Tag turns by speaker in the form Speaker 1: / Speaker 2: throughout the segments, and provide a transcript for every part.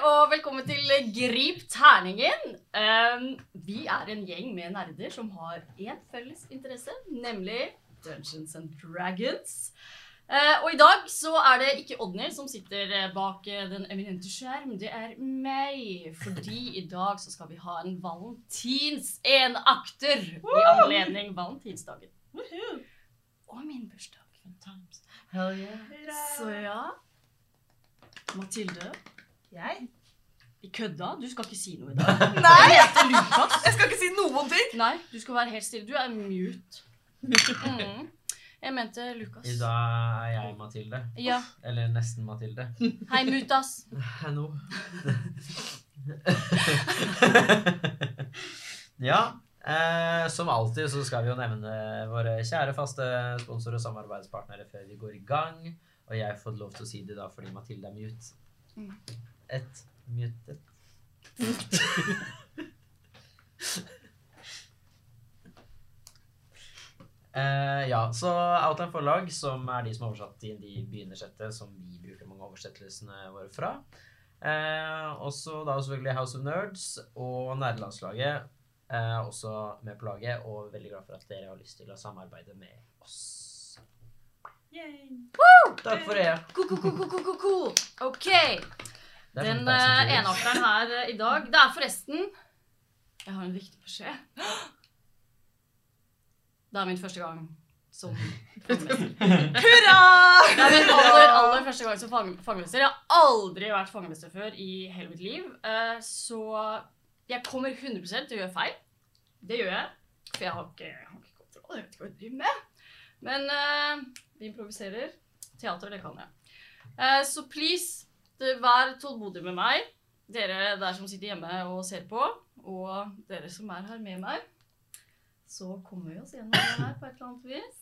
Speaker 1: og velkommen til Grip terningen. Um, vi er en gjeng med nerder som har én felles interesse, nemlig Dungeons and Dragons. Eh, og i dag så er det ikke Odny som sitter eh, bak eh, den eminente skjerm, det er meg. Fordi i dag så skal vi ha en valentins enakter i anledning valentinsdagen. Og min bursdag. Hell yeah. Så ja. Mathilde,
Speaker 2: Jeg?
Speaker 1: vi kødda. Du skal ikke si noe i dag.
Speaker 2: Nei!
Speaker 1: Jeg heter Lukas.
Speaker 2: Jeg skal ikke si noen ting!
Speaker 1: Nei, du skal være helt stille. Du er mute. Mm. Jeg mente Lukas.
Speaker 3: I dag er jeg Mathilde.
Speaker 1: Ja.
Speaker 3: Eller nesten Mathilde.
Speaker 1: Hei, mutas.
Speaker 3: Hallo. ja, eh, som alltid så skal vi jo nevne våre kjære faste sponsorer og samarbeidspartnere før vi går i gang. Og jeg får lov til å si det da fordi Mathilde er mute.
Speaker 1: Mm.
Speaker 3: Et mute. Eh, ja, så Outland Forlag, som er de som har oversatt inn de begynnersettet som vi bruker mange av oversettelsene våre fra. Eh, også da selvfølgelig House of Nerds og Nerdelandslaget. Eh, også med på laget, og veldig glad for at dere har lyst til å samarbeide med oss. Takk for det.
Speaker 1: Ko-ko-ko-ko-ko-ko. OK.
Speaker 3: Det er
Speaker 1: Den
Speaker 3: sånn det er
Speaker 1: eh,
Speaker 3: som driver.
Speaker 1: enarteren her eh, i dag Det er forresten Jeg har en viktig beskjed. Det er min første gang som fangemester.
Speaker 2: Hurra!
Speaker 1: Det er min aller, aller første gang som fang- fangemester. Jeg har aldri vært fangemester før i hele mitt liv. eh, Så jeg kommer 100 til å gjøre feil. Det gjør jeg. For jeg har ikke, jeg har ikke kontroll. Jeg vet ikke hva jeg driver med. Men eh, vi improviserer. Teater, det kan jeg. Eh, så please, det, vær tålmodig med meg. Dere der som sitter hjemme og ser på, og dere som er her med meg. Så kommer vi oss gjennom det her på et eller annet vis.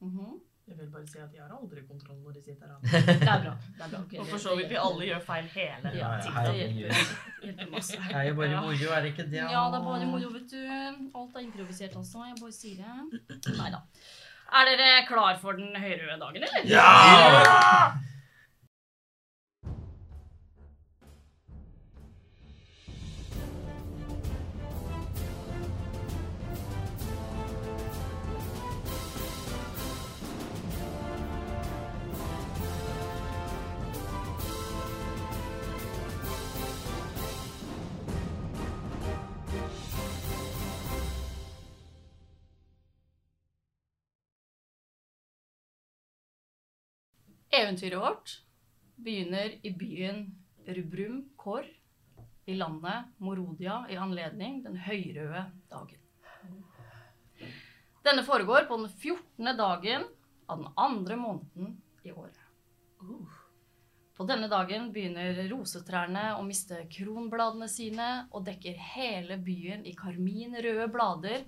Speaker 1: Mhm.
Speaker 2: Jeg vil bare si at jeg har aldri kontroll når de sitter her.
Speaker 1: Det er bra. Det er bra. ok,
Speaker 4: Og
Speaker 1: det-
Speaker 4: for så
Speaker 1: det
Speaker 4: vidt vi
Speaker 1: hjelper.
Speaker 4: alle gjør feil hele
Speaker 1: Ja,
Speaker 3: ja,
Speaker 4: tiden.
Speaker 3: her er
Speaker 1: det
Speaker 3: mye.
Speaker 1: hjelper. hjelper masse.
Speaker 3: Det er jo bare moro, er det ikke det?
Speaker 1: Ja, det er bare moro, vet du. Alt er improvisert også. Jeg bare sier det. Nei da. Er dere klar for den høyrøde dagen, eller?
Speaker 3: Ja!
Speaker 1: Eventyret vårt begynner i byen Rubrum Kor i landet Morodia i anledning den høyrøde dagen. Denne foregår på den 14. dagen av den andre måneden i året. På denne dagen begynner rosetrærne å miste kronbladene sine og dekker hele byen i karminrøde blader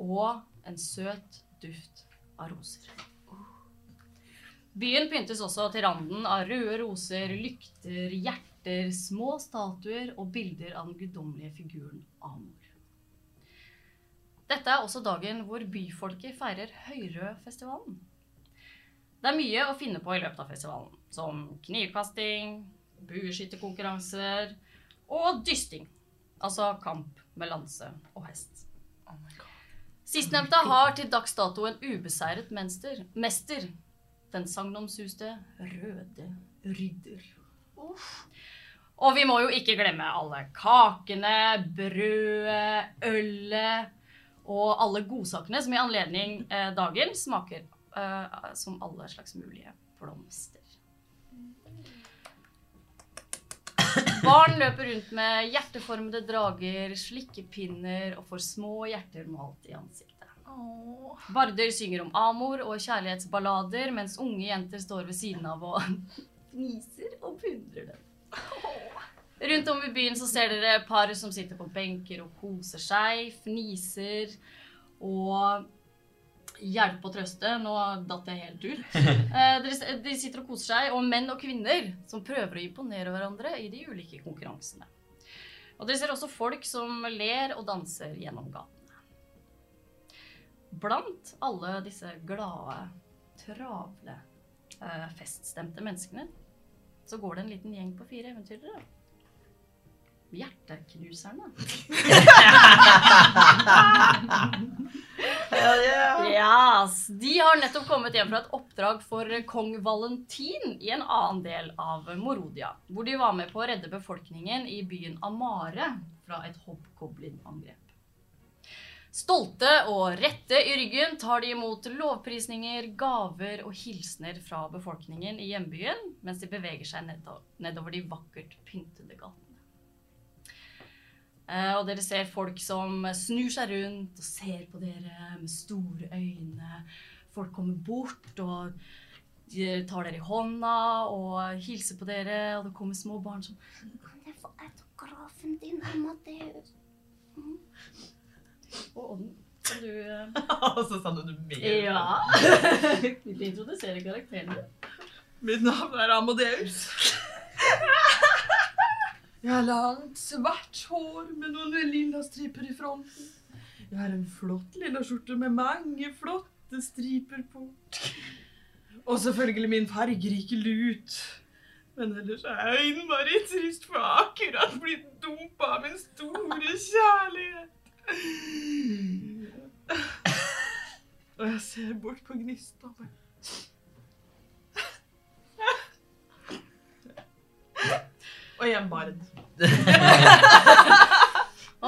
Speaker 1: og en søt duft av roser. Byen pyntes også til randen av røde roser, lykter, hjerter, små statuer og bilder av den guddommelige figuren Amor. Dette er også dagen hvor byfolket feirer Høyrødfestivalen. Det er mye å finne på i løpet av festivalen, som knivkasting, bueskytterkonkurranser og dysting, altså kamp med lanse og hest. Sistnevnte har til dags dato en ubeseiret menster, mester, den sagnomsuste røde rydder. Og vi må jo ikke glemme alle kakene, brødet, ølet og alle godsakene som i anledning eh, dagen smaker eh, som alle slags mulige blomster. Barn løper rundt med hjerteformede drager, slikkepinner og får små hjerter malt i ansiktet. Barder synger om amor og kjærlighetsballader, mens unge jenter står ved siden av og fniser og beundrer dem. Rundt om i byen så ser dere par som sitter på benker og koser seg, fniser og hjelpe og trøste. Nå datt jeg helt ut. Eh, dere s- De sitter og koser seg, og menn og kvinner som prøver å imponere hverandre i de ulike konkurransene. Og dere ser også folk som ler og danser gjennom gaten. Blant alle disse glade, travle, eh, feststemte menneskene, Så går det en liten gjeng på fire eventyrere. Hjerteknuserne.
Speaker 3: Hell yeah!
Speaker 1: Yes. De har nettopp kommet hjem fra et oppdrag for kong Valentin i en annen del av Morodia, hvor de var med på å redde befolkningen i byen Amare fra et hobgoblin-angrep. Stolte og rette i ryggen tar de imot lovprisninger, gaver og hilsener fra befolkningen i hjembyen, mens de beveger seg nedo- nedover de vakkert pyntede gatene. Eh, Og dere ser folk som snur seg rundt og ser på dere med store øyne. Folk kommer bort og de tar dere i hånda og hilser på dere. Og det kommer små barn som
Speaker 4: Kan jeg få autografen din, Amadeus?
Speaker 1: Å, ånden. Kan du eh,
Speaker 2: Og så sa du det mer.
Speaker 1: Ja. Vil du introdusere karakteren din?
Speaker 2: Mitt navn er Amadeus. Jeg har langt, svart hår med noen lilla striper i fronten. Jeg har en flott lilla skjorte med mange flotte striper på. Og selvfølgelig min fargerike lut. Men ellers er jeg innmari trist, for jeg har akkurat blitt dumpa av min store kjærlighet. Og jeg ser bort på gnista. og Og jeg er Bard.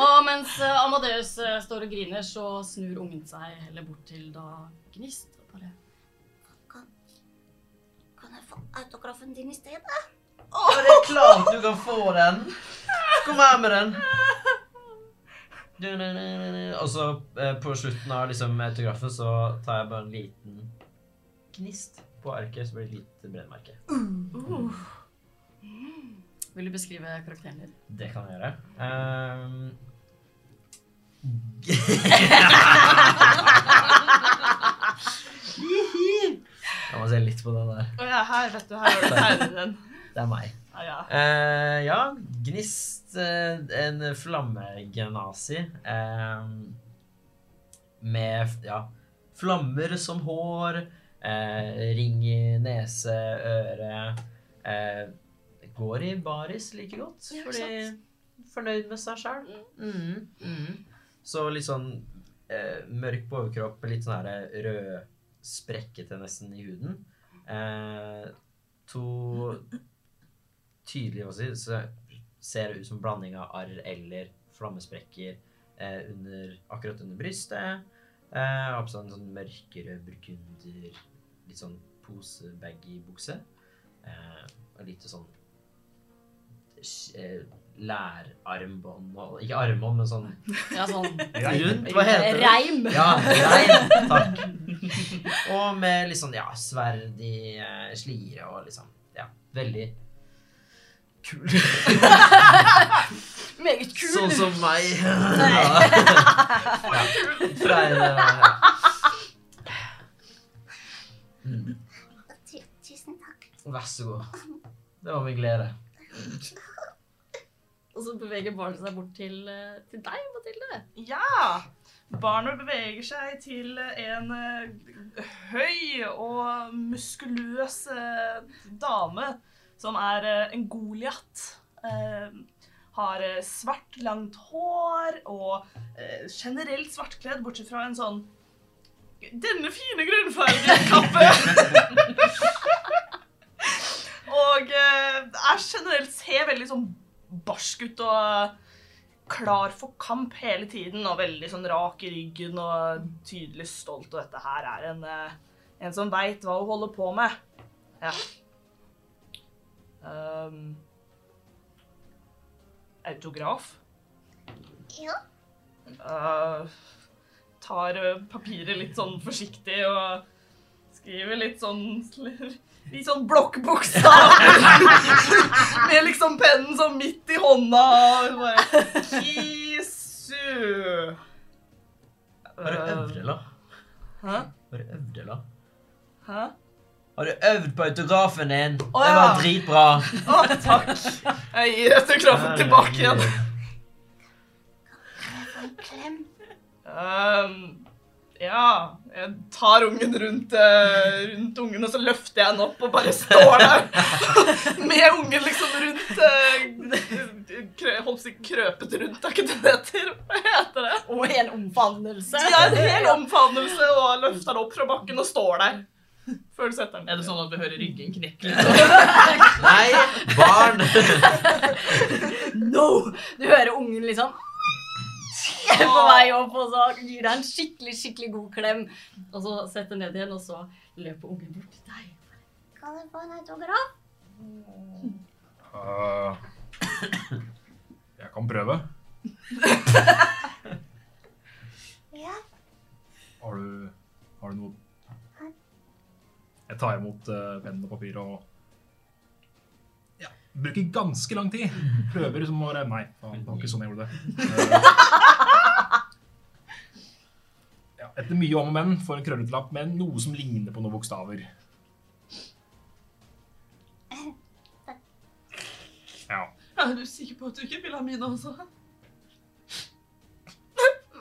Speaker 1: Og mens eh, Amadeus eh, står og griner, så snur ungen seg heller bort til da Gnist. og bare
Speaker 4: Kan, kan jeg få autografen din i stedet?
Speaker 3: Ja, det er klart du kan få den. Kom her med den. Du, du, du, du, du. Og så eh, på slutten av liksom, autografen så tar jeg bare en liten gnist på arket, så blir det et lite brennmerke.
Speaker 1: Vil du beskrive karakteren din?
Speaker 3: Det kan jeg gjøre. Ehm. jeg må se litt på den der.
Speaker 2: Og jeg er her, vet du. Her har du ternen.
Speaker 3: Det er meg.
Speaker 2: Ja, ja.
Speaker 3: Eh, ja, Gnist, eh, en flammegenasi eh, med f- ja, flammer som hår, eh, ring i nese, øre eh, Går i baris like godt,
Speaker 1: Ja, ikke
Speaker 3: fordi fornøyd med seg sjøl. Mm. Mm. Så litt sånn eh, mørk på overkropp, litt sånn her rød sprekkete nesten i huden. Eh, to tydelige hva skal jeg si, så ser det ut som en blanding av arr eller flammesprekker eh, under, akkurat under brystet. Eh, og på seg en sånn mørkere burgunder, litt sånn posebaggy bukse. Eh, og lite sånn sk- eh, lærarmbånd og Ikke armbånd, men sånn
Speaker 1: Ja, sånn
Speaker 3: rundt. Hva heter det?
Speaker 1: reim.
Speaker 3: Ja, rein. Takk. Og med litt sånn, ja, sverd i eh, slire og liksom Ja, veldig kul.
Speaker 1: Meget kul.
Speaker 3: Sånn som meg. Ja. Ja. Fra en eh, mm.
Speaker 4: Tu- Tusen takk.
Speaker 3: Vær så god. Det var min glede.
Speaker 1: Og så beveger barnet seg bort til, eh, til deg, Mathilde.
Speaker 2: Ja! Barnet beveger seg til en eh, høy og muskuløs eh, dame som er eh, en Goliat. Eh, Har eh, svart, langt hår og eh, generelt svartkledd, bortsett fra en sånn Denne fine grønnfargen kappe! og eh, er generelt ser veldig sånn barsk ut og klar for kamp hele tiden og veldig sånn rak i ryggen og tydelig stolt. Og dette her er en, eh, en som veit hva hun holder på med. Ja. Ehm, autograf.
Speaker 4: Ja,
Speaker 2: Eh, tar eh, papiret litt sånn forsiktig og skriver litt sånn Litt sånn blokkbokstav med liksom pennen sånn midt i hånda. Og bare Kisu.
Speaker 3: Har du øvd,
Speaker 2: Eh,
Speaker 3: eller?
Speaker 2: Hæ?
Speaker 3: Har du øvd, eller?
Speaker 2: Hæ?
Speaker 3: Har du øvd på autografen din?
Speaker 2: Å,
Speaker 3: Det
Speaker 2: ja.
Speaker 3: var dritbra.
Speaker 2: Å, takk. Jeg gir autografen tilbake igjen.
Speaker 4: en klem.
Speaker 2: Ehm, Ja. Jeg tar ungen rundt, eh, rundt ungen, og så løfter jeg den opp og bare står der med ungen liksom rundt eh, krø, Holdt på å si krøpet rundt, er ikke det det heter? Hva heter det?
Speaker 1: Og en omfavnelse.
Speaker 2: Det er en hel omfavnelse og løfter den opp fra bakken og står der. Før du setter den. Er det sånn at vi hører ryggen knekke litt?
Speaker 3: Nei, barn!
Speaker 1: No! Du hører ungen liksom på vei opp, og så gir deg en skikkelig skikkelig god klem. Og så setter ned igjen, og så løper ungen bort til deg.
Speaker 4: Kan jeg få en autograf?
Speaker 5: Eh, jeg kan prøve.
Speaker 4: Ja.
Speaker 5: Har du, har du noe Jeg tar imot eh, pennen og papiret og ja, bruker ganske lang tid. Prøver liksom å være Nei, faen, det var ikke sånn jeg gjorde det. Eh, ja, etter mye om og men får en krøllete lapp med noe som ligner på noen bokstaver. Ja.
Speaker 2: Er du sikker på at du ikke vil ha mine også?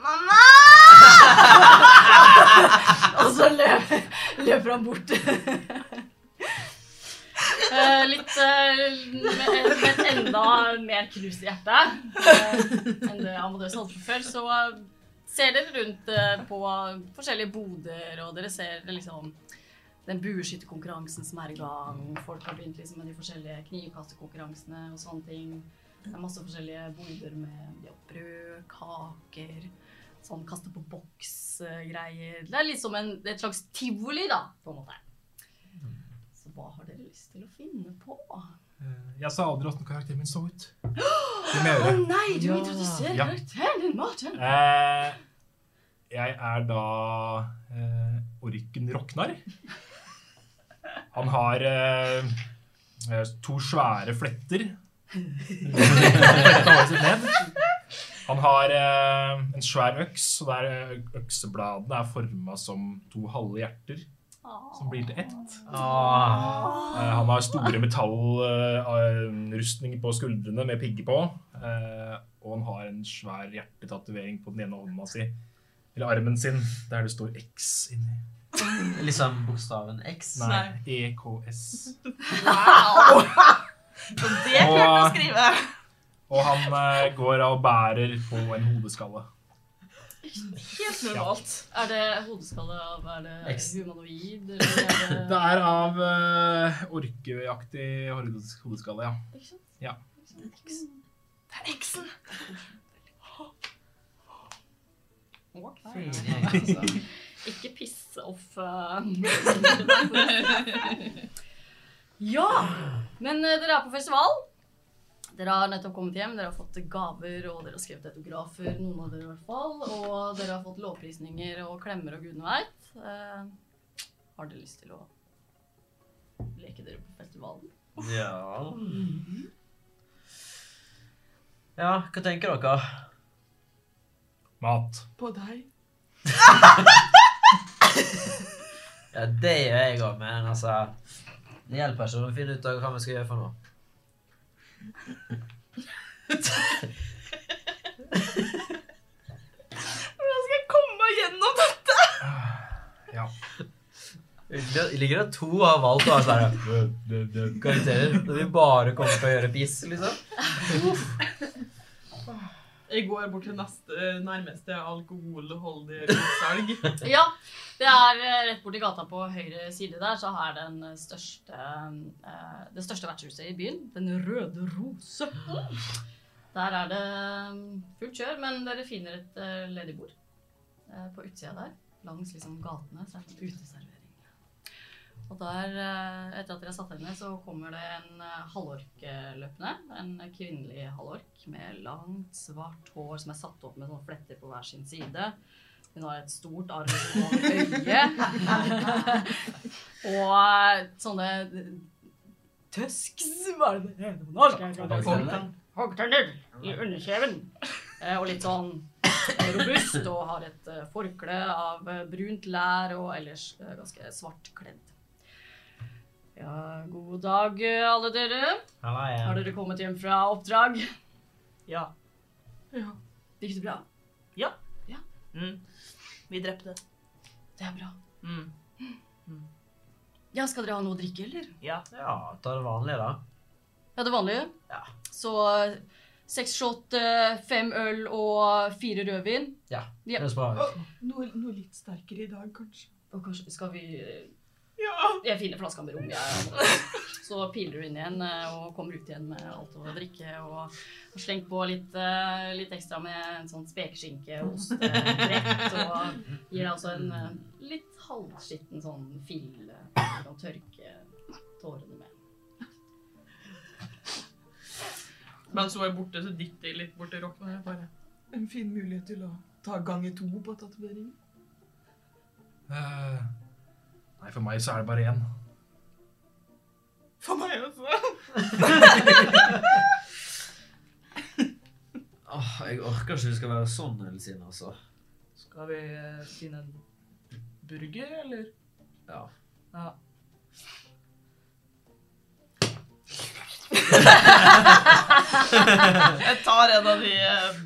Speaker 4: Mamma!
Speaker 1: Og så løper, løper han bort. Eh, litt eh, med, med et enda mer krus i hjertet eh, enn det Amadeus hadde fra før, så eh, ser dere rundt eh, på forskjellige boder, og dere ser liksom den bueskytterkonkurransen som er i gang. Folk har begynt liksom med de forskjellige knivkastekonkurransene og sånne ting. Det er masse forskjellige boder med ja, brød, kaker sånn kaste på boks-greier. Det er litt som en, et slags tivoli, da, på en måte. Så hva har dere lyst til å finne på? Å
Speaker 5: Eh, Jeg sa aldri åssen karakteren min så ut. Det må jeg gjøre.
Speaker 1: nei, du
Speaker 3: Ja.
Speaker 1: introduserer
Speaker 5: Ja.
Speaker 1: karakteren din, Martin!
Speaker 5: Eh, jeg er da eh, orken Roknar. Han har eh, eh, to svære fletter. Flettene har sitt ned. Han har eh, en svær øks, og der eh, øksebladene er forma som to halve hjerter som blir til ett.
Speaker 3: Åh.
Speaker 5: Eh, han har store metallrustninger på skuldrene med pigger på. eh, og han har en svær hjertetatovering på den ene hånda si. Eller armen sin, der det står X inni.
Speaker 3: Liksom bokstaven X.
Speaker 5: Nei, E EKS.
Speaker 2: Wow! Det klarte jeg å skrive.
Speaker 5: Og han eh, går og bærer på en hodeskalle.
Speaker 2: Helt normalt.
Speaker 1: Er det hodeskalle av Er det
Speaker 3: Ex.
Speaker 1: humanoid? Eller er
Speaker 5: Det
Speaker 1: det
Speaker 5: er av eh, orkeaktig hordes- hodeskalle, ja.
Speaker 1: Ikke sant?
Speaker 5: Ja.
Speaker 2: Det er eksen.
Speaker 1: Ok.
Speaker 3: Altså.
Speaker 1: Ikke piss off eh. Ja! Men eh, dere er på festival. Dere har nettopp kommet hjem, dere har fått gaver og dere har skrevet autografer. noen av dere i hvert fall, Og dere har fått lovprisninger og klemmer og gudene veit. Eh, har dere lyst til å leke dere på festivalen?
Speaker 3: Ja Ja, hva tenker dere?
Speaker 5: Mat.
Speaker 2: På deg.
Speaker 3: Ja, det gjør jeg òg, men altså Det hjelper ikke å finne ut av hva vi skal gjøre for noe.
Speaker 2: Hvordan skal jeg komme meg gjennom dette?
Speaker 5: Ja.
Speaker 3: Det ligger det to av valgt og er sånn her, karakterer. Og vi bare kommer til å gjøre piss, liksom.
Speaker 2: Jeg går bort til neste, nærmeste alkoholholdige utsalg.
Speaker 1: Ja, det er eh, rett borti gata på høyre side der, så er den største, eh, det største vertshuset i byen. Den røde rose. Der er det mm, fullt kjør, men dere finner et eh, ledig bord eh, på utsida der. Langs liksom gatene så er det en uteservering. Og der, eh, etter at dere har satt dere ned, så kommer det en eh, halvork eh, løpende. En kvinnelig halvork med langt, svart hår som er satt opp med sånne fletter på hver sin side. Hun har et stort arm over øyet. og sånne tøsks Hva er sånn det det heter på norsk? Jeg kan ikke
Speaker 3: Hoggtenner.
Speaker 1: hoggtenner i underkjeven. Eh, Og litt sånn robust og har et eh, forkle av eh, brunt lær og ellers eh, ganske svart kledd. Ja, god dag, eh, alle dere.
Speaker 3: Halla,
Speaker 1: Har
Speaker 3: jeg.
Speaker 1: dere kommet hjem fra oppdrag?
Speaker 2: Ja.
Speaker 1: Gikk det bra?
Speaker 2: Mm. Vi drepte.
Speaker 1: Det er bra.
Speaker 2: Mm.
Speaker 1: Ja, skal dere ha noe å drikke, eller?
Speaker 2: Ja.
Speaker 3: Ja, ta det vanlige, da.
Speaker 1: Ja, det vanlige.
Speaker 3: Ja.
Speaker 1: Så eh, seks shot, eh, fem øl og fire rødvin.
Speaker 3: Ja.
Speaker 1: Ja.
Speaker 3: Ellers bare
Speaker 2: Noe, noe litt sterkere i dag, kanskje.
Speaker 1: Og kanskje skal vi eh,
Speaker 2: Ja.
Speaker 1: Jeg finner flaska med rom, jeg. Så piler du inn igjen eh, og kommer ut igjen med alt å drikke. Og har slengt på litt, eh, litt ekstra med en sånn spekeskinke og ostebrett. Og gir deg også en eh, litt halvskitten sånn fille du kan tørke tårene med.
Speaker 2: Mens hun er borte, så dytter jeg litt borti rocken. og jeg Bare. En fin mulighet til å ta ganger to på tatoveringen.
Speaker 5: Eh, nei, for meg så er det bare én.
Speaker 2: For meg også.
Speaker 6: Åh, jeg orker ikke det skal være sånn hele tiden, altså.
Speaker 2: Skal vi eh, finne en burger, eller?
Speaker 6: Ja.
Speaker 2: Ja. Jeg tar en av de eh,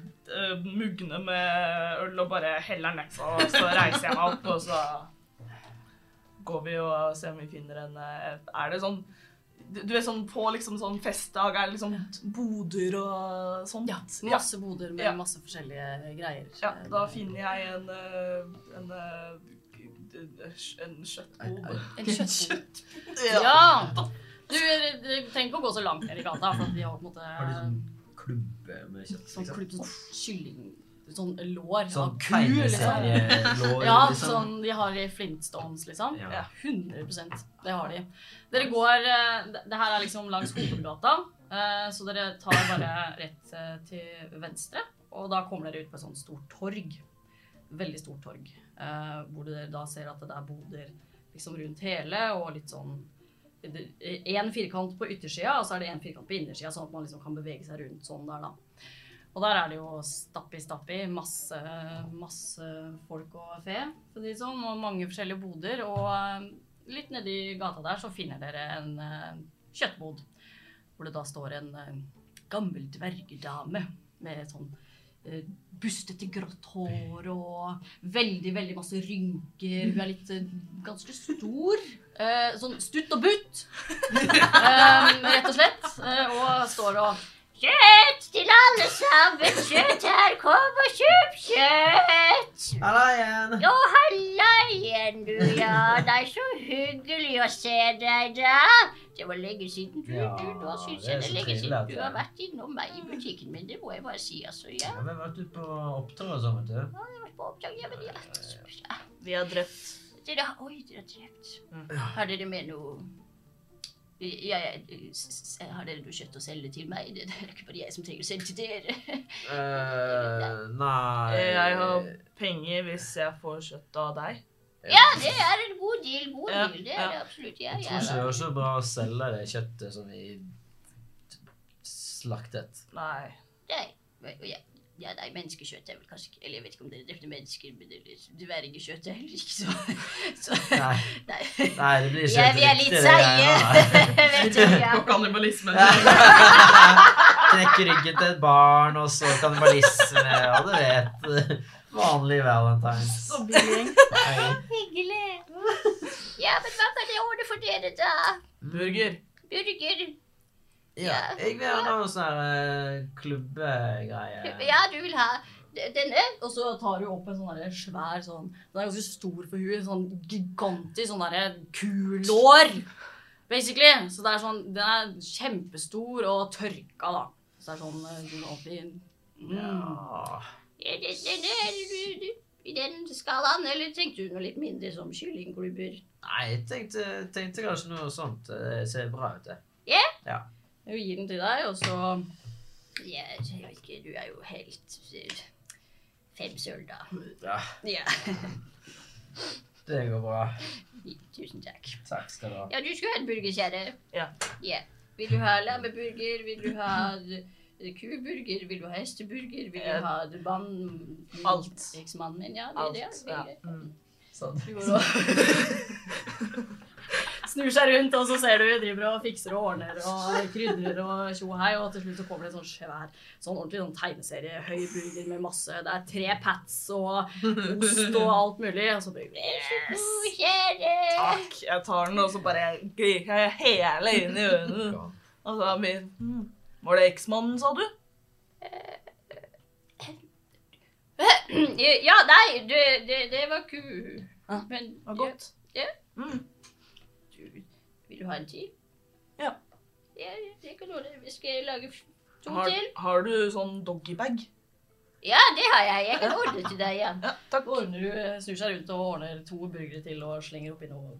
Speaker 2: muggene med øl og bare heller den vekk, og så reiser jeg meg opp, og så går vi og ser om vi finner en eh, Er det sånn Du vet sånn på liksom sånn festdag er det liksom boder og sånt?
Speaker 1: Ja, masse boder med
Speaker 2: Ja.
Speaker 1: masse forskjellige greier.
Speaker 2: Ja, da finner jeg en eh, en eh, en kjøttbod.
Speaker 1: En kjøttbod.
Speaker 2: Ja.
Speaker 1: Ja! Du, du trenger ikke å gå så langt ned i gata, for at vi har på en måte
Speaker 6: Har de sånn klubbe med kjøtt?
Speaker 1: sånn klubb, sånn kylling... Sånn lår
Speaker 6: Sånn
Speaker 1: av ku, liksom.
Speaker 6: tegneserielår,
Speaker 1: Ja,
Speaker 3: liksom.
Speaker 1: sånn de har i Flintstones, liksom.
Speaker 6: Ja.
Speaker 1: 100 Det har de. Dere går eh, Det det her er liksom langs hovedgata, eh, så dere tar bare rett eh, til venstre. Og da kommer dere ut på et sånt stort torg. Veldig stort torg. eh, Hvor dere da ser at det er boder liksom rundt hele, og litt sånn Én firkant på yttersida, og så er det én firkant på innersida, sånn at man liksom kan bevege seg rundt sånn der, da. Og der er det jo stappi, stappi, masse, masse folk og fe, for å si det sånn, og mange forskjellige boder. Og eh, litt nedi gata der så finner dere en eh, kjøttbod, hvor det da står en eh, gammel dvergedame med sånn eh, bustete grått hår og veldig, veldig masse rynker. Hun er litt eh, ganske stor. Eh, sånn stutt og butt, eh, rett og slett. Eh, og står og
Speaker 4: Kjøtt til alle sammen! Kjøtt her, kom og kjøp kjøtt!
Speaker 6: Halla igjen!
Speaker 4: Å, halla igjen, du, ja. Det er så hyggelig å se deg, da. Det var lenge siden du,
Speaker 3: Ja,
Speaker 4: du Nå syns
Speaker 3: det er
Speaker 4: jeg det
Speaker 3: så
Speaker 4: er lenge
Speaker 3: trivelig at
Speaker 4: siden du
Speaker 3: det-
Speaker 4: har vært innom meg i butikken min. Det må jeg bare si, altså. Ja,
Speaker 3: Ja, Vi har vært ute på oppdrag og sånn, vet du.
Speaker 4: jeg Ah, var på oppdrag. Ja, men ja. ja. Mm.
Speaker 2: Vi har drept
Speaker 4: Dere har Oi, dere har drept. Har dere med noe ja, ja, s- s- Har dere noe kjøtt å selge til meg? Det det er ikke bare jeg som trenger å selge til dere.
Speaker 3: Eh, nei
Speaker 2: Jeg har penger hvis jeg får kjøtt av deg.
Speaker 4: Ja, det er en god deal. God
Speaker 2: Ja,
Speaker 4: deal. Det er det
Speaker 2: ja.
Speaker 4: absolutt. Ja,
Speaker 3: Jeg tror
Speaker 4: ja.
Speaker 3: ikke det var så bra å selge det kjøttet som vi slaktet.
Speaker 2: Nei.
Speaker 4: Nei. men- Ja, ja, nei, menneskekjøtt er vel kanskje ikke Eller jeg vet ikke om dere drepte mennesker, men dere- dvergekjøtt er heller ikke så, så
Speaker 3: Nei,
Speaker 4: Nei.
Speaker 3: nei det blir ikke
Speaker 4: Ja, vi er
Speaker 3: riktig,
Speaker 4: litt
Speaker 3: det greiene der.
Speaker 4: seige, vet du.
Speaker 2: På
Speaker 4: Ja.
Speaker 2: kannibalisme.
Speaker 3: Knekke ryggen til et barn, og så kannibalisme, og du vet. Vanlig valentines. Nei.
Speaker 4: Hyggelig. Ja, men hva kan jeg ordne for dere, da?
Speaker 2: Burger.
Speaker 4: Burger?
Speaker 3: Ja, jeg vil gjerne ha noen sånne eh, klubbegreier.
Speaker 4: Ja, du vil ha d- denne?
Speaker 1: Og så tar hun opp en sånn der svær sånn Den er ganske stor på huet. Sånn gigantisk sånn derre kulår. Basically. Så det er sånn Den er kjempestor og tørka, da. Så det er sånn eh, sånn ordentlig mm.
Speaker 3: Ja.
Speaker 4: Ja, den, denne er du- du- i den skalaen, eller tenkte du noe litt mindre som kyllingklubber?
Speaker 3: Nei, jeg tenkte, tenkte kanskje noe sånt. Det ser bra ut, det.
Speaker 1: Hun gir den til deg, og så
Speaker 4: Ja, jeg vet ikke, du er jo helt eh, Fem sølv, da.
Speaker 3: Ja,
Speaker 4: Ja,
Speaker 3: det går bra.
Speaker 4: tusen takk.
Speaker 3: Takk skal du ha.
Speaker 4: Ja, du skulle ha en burger, kjære.
Speaker 2: Ja.
Speaker 4: Ja. Vil du ha lammeburger? Vil du ha eh, kuburger? Vil du ha hesteburger? Vil
Speaker 2: Eh,
Speaker 4: du ha mann...
Speaker 2: alt. mm.
Speaker 4: Eksmannen min, ja. Det,
Speaker 2: Alt.
Speaker 4: det, er
Speaker 2: Ja.
Speaker 4: veldig greit.
Speaker 2: Mm. Sånn.
Speaker 1: Du går og
Speaker 7: Snur seg rundt, og så ser du driver og fikser og ordner og krydrer og tjo og hei, og til slutt så kommer det en sånn svær, sånn ordentlig sånn tegneserie, høy burger med masse, det er tre pats og ost og alt mulig, og så bare
Speaker 1: Yes. Kjære.
Speaker 2: Takk, jeg tar den, og så bare glir jeg hele inn i øynene. Og så er min «Hm, Var det eksmannen, sa du?
Speaker 1: Ja, nei, det, det, det var ku.
Speaker 2: Ah.
Speaker 1: Men
Speaker 2: Det var godt.
Speaker 1: Ja.
Speaker 2: Mm.
Speaker 1: du, vil du ha en til?
Speaker 2: Ja.
Speaker 1: Ja, det kan du ordne. Vi skal lage f- to
Speaker 2: Har,
Speaker 1: til.
Speaker 2: har du sånn doggybag?
Speaker 1: Ja, det har jeg. Jeg kan ordne til deg, ja.
Speaker 2: Ja, takk.
Speaker 7: ordner du, snur seg rundt og ordner to burgere til og slenger oppi noe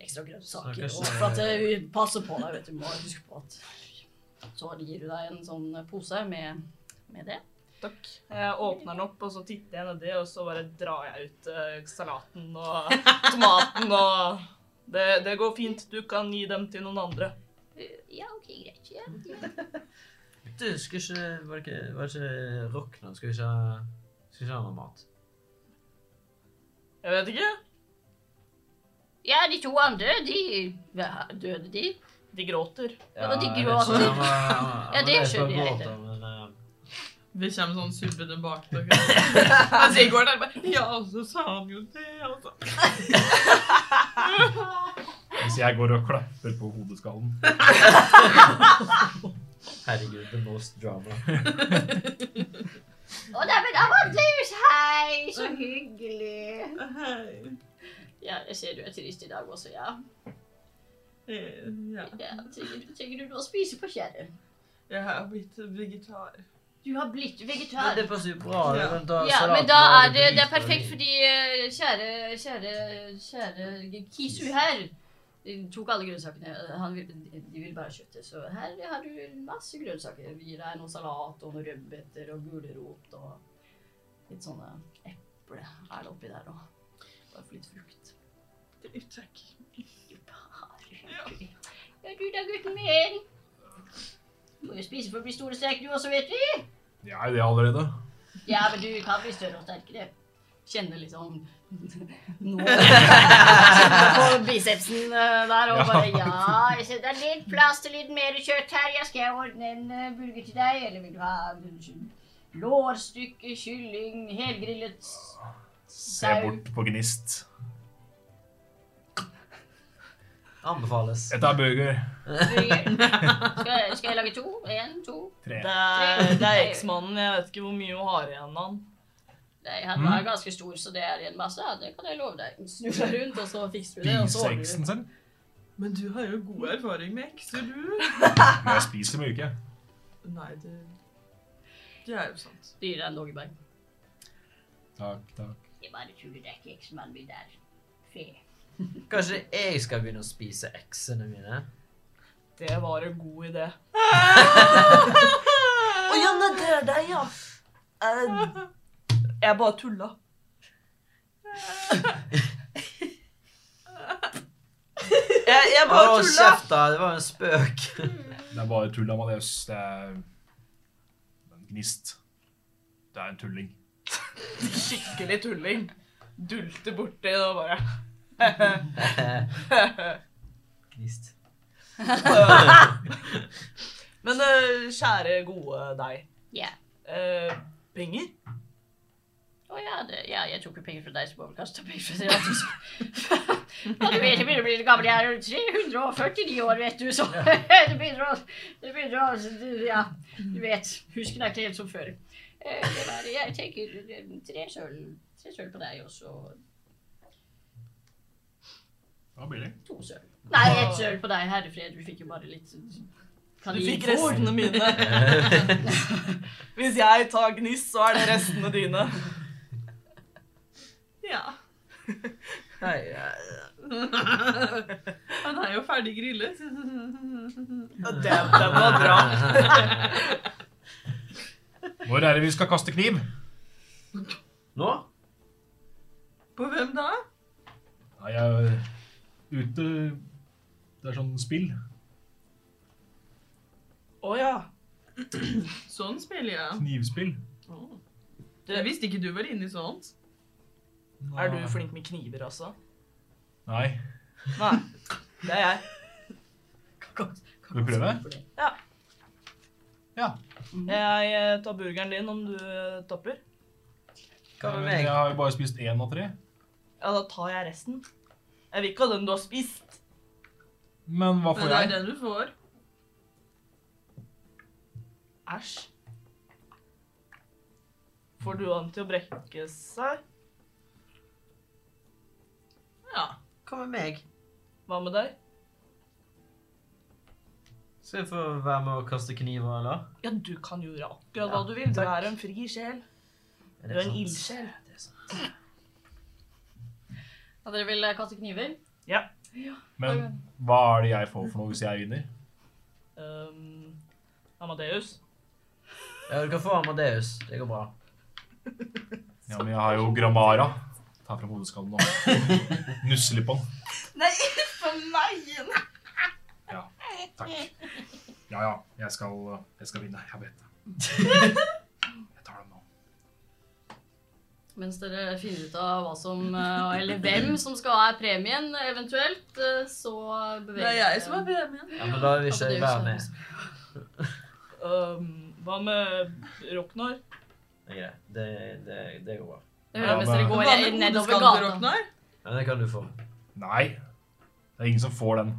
Speaker 7: ekstra grønnsaker.
Speaker 3: Snakkes.
Speaker 7: Og for at eh, vi passer på deg, vet du, må huske på at Så gir du deg en sånn pose med, med det.
Speaker 2: Takk. Jeg åpner den opp, og så titter jeg nedi, og så bare drar jeg ut eh, salaten og tomaten og det, det går fint. Du kan gi dem til noen andre.
Speaker 1: Ja, ok, greit. Ja.
Speaker 3: Du, skulle ikke Var det ikke, var det ikke Rokna? Skulle ikke ha Skulle ikke ha noe mat?
Speaker 2: Jeg vet ikke.
Speaker 1: ja, de to andre, de hva, døde de.
Speaker 2: De gråter.
Speaker 1: Ja, og de
Speaker 3: jeg vet ikke,
Speaker 1: gråter.
Speaker 3: han var- han-
Speaker 1: Ja,
Speaker 3: han
Speaker 1: det
Speaker 3: var
Speaker 1: skjønner jeg
Speaker 3: gråter, men, eh,
Speaker 8: Vi kommer sånn subbete bak dere. Mens jeg går der bare Ja, så sa han jo det, altså.
Speaker 5: Hvis jeg går og klapper på hodeskallen.
Speaker 3: Herregud, the most drama.
Speaker 1: Å, nei, men Amadeus, hei! Så hyggelig.
Speaker 8: Hei.
Speaker 1: Ja, jeg ser du er trist i dag også, ja.
Speaker 8: Eh, Ja.
Speaker 1: ja trenger, trenger du noe å spise på, kjære?
Speaker 8: Jeg har blitt vegetar.
Speaker 1: Du har blitt
Speaker 3: Men
Speaker 1: vegetar.
Speaker 3: det passer jo bra.
Speaker 8: Ja.
Speaker 3: men da-
Speaker 1: Ja, men
Speaker 3: salaten
Speaker 1: da
Speaker 3: var
Speaker 1: er det, det er
Speaker 3: dritbra.
Speaker 1: perfekt, fordi eh, kjære, kjære, kjære Kisu her eh, tok alle grønnsakene. eh, Han vil, de vil bare ha kjøttet, så her har du masse grønnsaker. Vi gir deg noe salat og noen rødbeter og gulrot og litt sånne eple er det oppi der og bare for litt frukt.
Speaker 8: Takk.
Speaker 1: Bare Ja, du da, gutten min. Du må jo spise for å bli store strek, du også, vet du.
Speaker 5: Jeg er jo det allerede.
Speaker 1: Ja, men du kan bli større og sterkere.
Speaker 7: Kjenner liksom nå Kjenner på bicepsen eh, der og bare ja.
Speaker 1: Ja, jeg ser det er litt plass til litt mer kjøtt her. Jeg skal ordne en eh, burger til deg. Eller vil du ha unnskyld, lårstykke, kylling, helgrillet s-
Speaker 5: Se
Speaker 1: sau?
Speaker 5: bort på gnist.
Speaker 3: Anbefales.
Speaker 5: Dette er burger.
Speaker 1: Burger. Skal, skal jeg lage to? En, to?
Speaker 5: Tre.
Speaker 2: Det er, det er eksmannen. Jeg vet ikke hvor mye hun har igjen av han.
Speaker 1: Nei,
Speaker 5: Mm.
Speaker 1: han var ganske stor, så det er en masse. Ja, det kan jeg love deg.
Speaker 7: Snur seg rundt, og så fikser du det. Og så
Speaker 5: Spiser
Speaker 7: ordner du.
Speaker 5: eksen selv?
Speaker 8: Men du har jo god erfaring med ekser, du.
Speaker 5: Men jeg spiser mye ikke.
Speaker 8: Nei, det Det er jo sant.
Speaker 7: Du gir deg en doggebag.
Speaker 5: Takk, takk.
Speaker 1: Jeg bare tuller, det er ikke eksmannen min der. Fe.
Speaker 3: Kanskje jeg skal begynne å spise eksene mine?
Speaker 2: Det var en god idé.
Speaker 8: Å
Speaker 2: ja, nei, det er deg, ja. Eh, jeg bare tulla. jeg, jeg bare
Speaker 3: Å,
Speaker 2: tulla.
Speaker 3: kjeft, da! Det var en spøk.
Speaker 5: Det er bare tull, Amadeus. Det er det er en gnist. Det er en tulling.
Speaker 2: Skikkelig tulling. Dulte borti det og bare
Speaker 1: Mm.
Speaker 3: Gnist.
Speaker 2: Men eh, kjære, gode deg.
Speaker 1: Ja.
Speaker 2: Eh, penger?
Speaker 1: Å ja, det, ja, jeg tok jo penger fra deg, så må jeg vel kanskje ta penger fra deg. også. Ja, du vet, jeg begynner å bli litt gammel. Jeg er jo 349 år, vet du, så det begynner å Det begynner å du- Ja, du vet. Husken er ikke helt som før. Eh, Det var, jeg tenker eh, tre sølv tre sølv på deg, og så
Speaker 5: Det var billig.
Speaker 1: to sølv. Nei, ett sølv på deg, herrefred. Du fikk jo bare litt
Speaker 2: Du
Speaker 1: kanin.
Speaker 2: fikk restene mine. Hvis jeg tar gniss, så er det restene dine.
Speaker 8: Ja.
Speaker 3: Nei, ja.
Speaker 8: Han er jo ferdig grillet.
Speaker 2: Og den, den var bra.
Speaker 5: Når er det vi skal kaste kniv?
Speaker 3: Nå?
Speaker 8: På hvem da?
Speaker 5: Nei, jeg er ute Det er sånn spill.
Speaker 2: Å ja.
Speaker 8: Sånn spiller jeg.
Speaker 5: Knivspill.
Speaker 8: Å. Jeg visste ikke du var inne i sånt.
Speaker 2: Er du flink med kniver, altså?
Speaker 5: Nei.
Speaker 2: Nei. Det er jeg.
Speaker 5: Vil du prøve? Ja.
Speaker 2: Jeg eh, tar burgeren din om du eh, topper.
Speaker 3: Hva med
Speaker 5: Eh, Jeg
Speaker 3: meg?
Speaker 5: har jo bare spist én av tre.
Speaker 2: Ja, da tar jeg resten. Jeg vil ikke ha den du har spist.
Speaker 5: Men hva
Speaker 7: Men
Speaker 5: får
Speaker 7: det er
Speaker 5: jeg?
Speaker 7: den du får.
Speaker 2: Æsj. Får du han til å brekke seg?
Speaker 7: Ja.
Speaker 3: Hva med meg?
Speaker 2: Hva med deg?
Speaker 3: Skal jeg få være med og kaste kniver, eller?
Speaker 2: Ja, du kan jo gjøre akkurat
Speaker 3: Ja,
Speaker 2: hva du vil. Du
Speaker 3: takk.
Speaker 2: er en fri sjel. Du
Speaker 3: Er det
Speaker 2: er en
Speaker 3: sant?
Speaker 2: ildsjel.
Speaker 3: Det er sant.
Speaker 1: Ja, dere vil eh, kaste kniver?
Speaker 5: Men hva er det jeg får for noe hvis jeg vinner?
Speaker 2: Um, Amadeus.
Speaker 3: Ja, du kan få Amadeus. Det går bra.
Speaker 5: Ja, men jeg har jo Grammara. Ta fram hodeskallen nå. Nusse litt på den.
Speaker 2: Nei, for meg!
Speaker 5: Ja, takk. Ja, ja, jeg skal, jeg skal vinne. Jeg vet det. Jeg tar den nå.
Speaker 1: Mens dere finner ut av hva som, eh, eller hvem som skal ha premien eventuelt, eh, så beveger
Speaker 7: Det er jeg som er premien.
Speaker 3: Ja, men da vil ikke jeg være med.
Speaker 2: Um, hva med Roknar?
Speaker 3: Det er greit. Det, det, det går bra.
Speaker 1: Det hører jeg mens
Speaker 5: Ja,
Speaker 1: dere
Speaker 5: men-
Speaker 7: Hva
Speaker 1: går
Speaker 7: med
Speaker 1: nedover
Speaker 7: hodeskallen til
Speaker 1: gata.
Speaker 7: Ragnar?
Speaker 3: Ja, det kan du få.
Speaker 5: Nei, det er ingen som får den.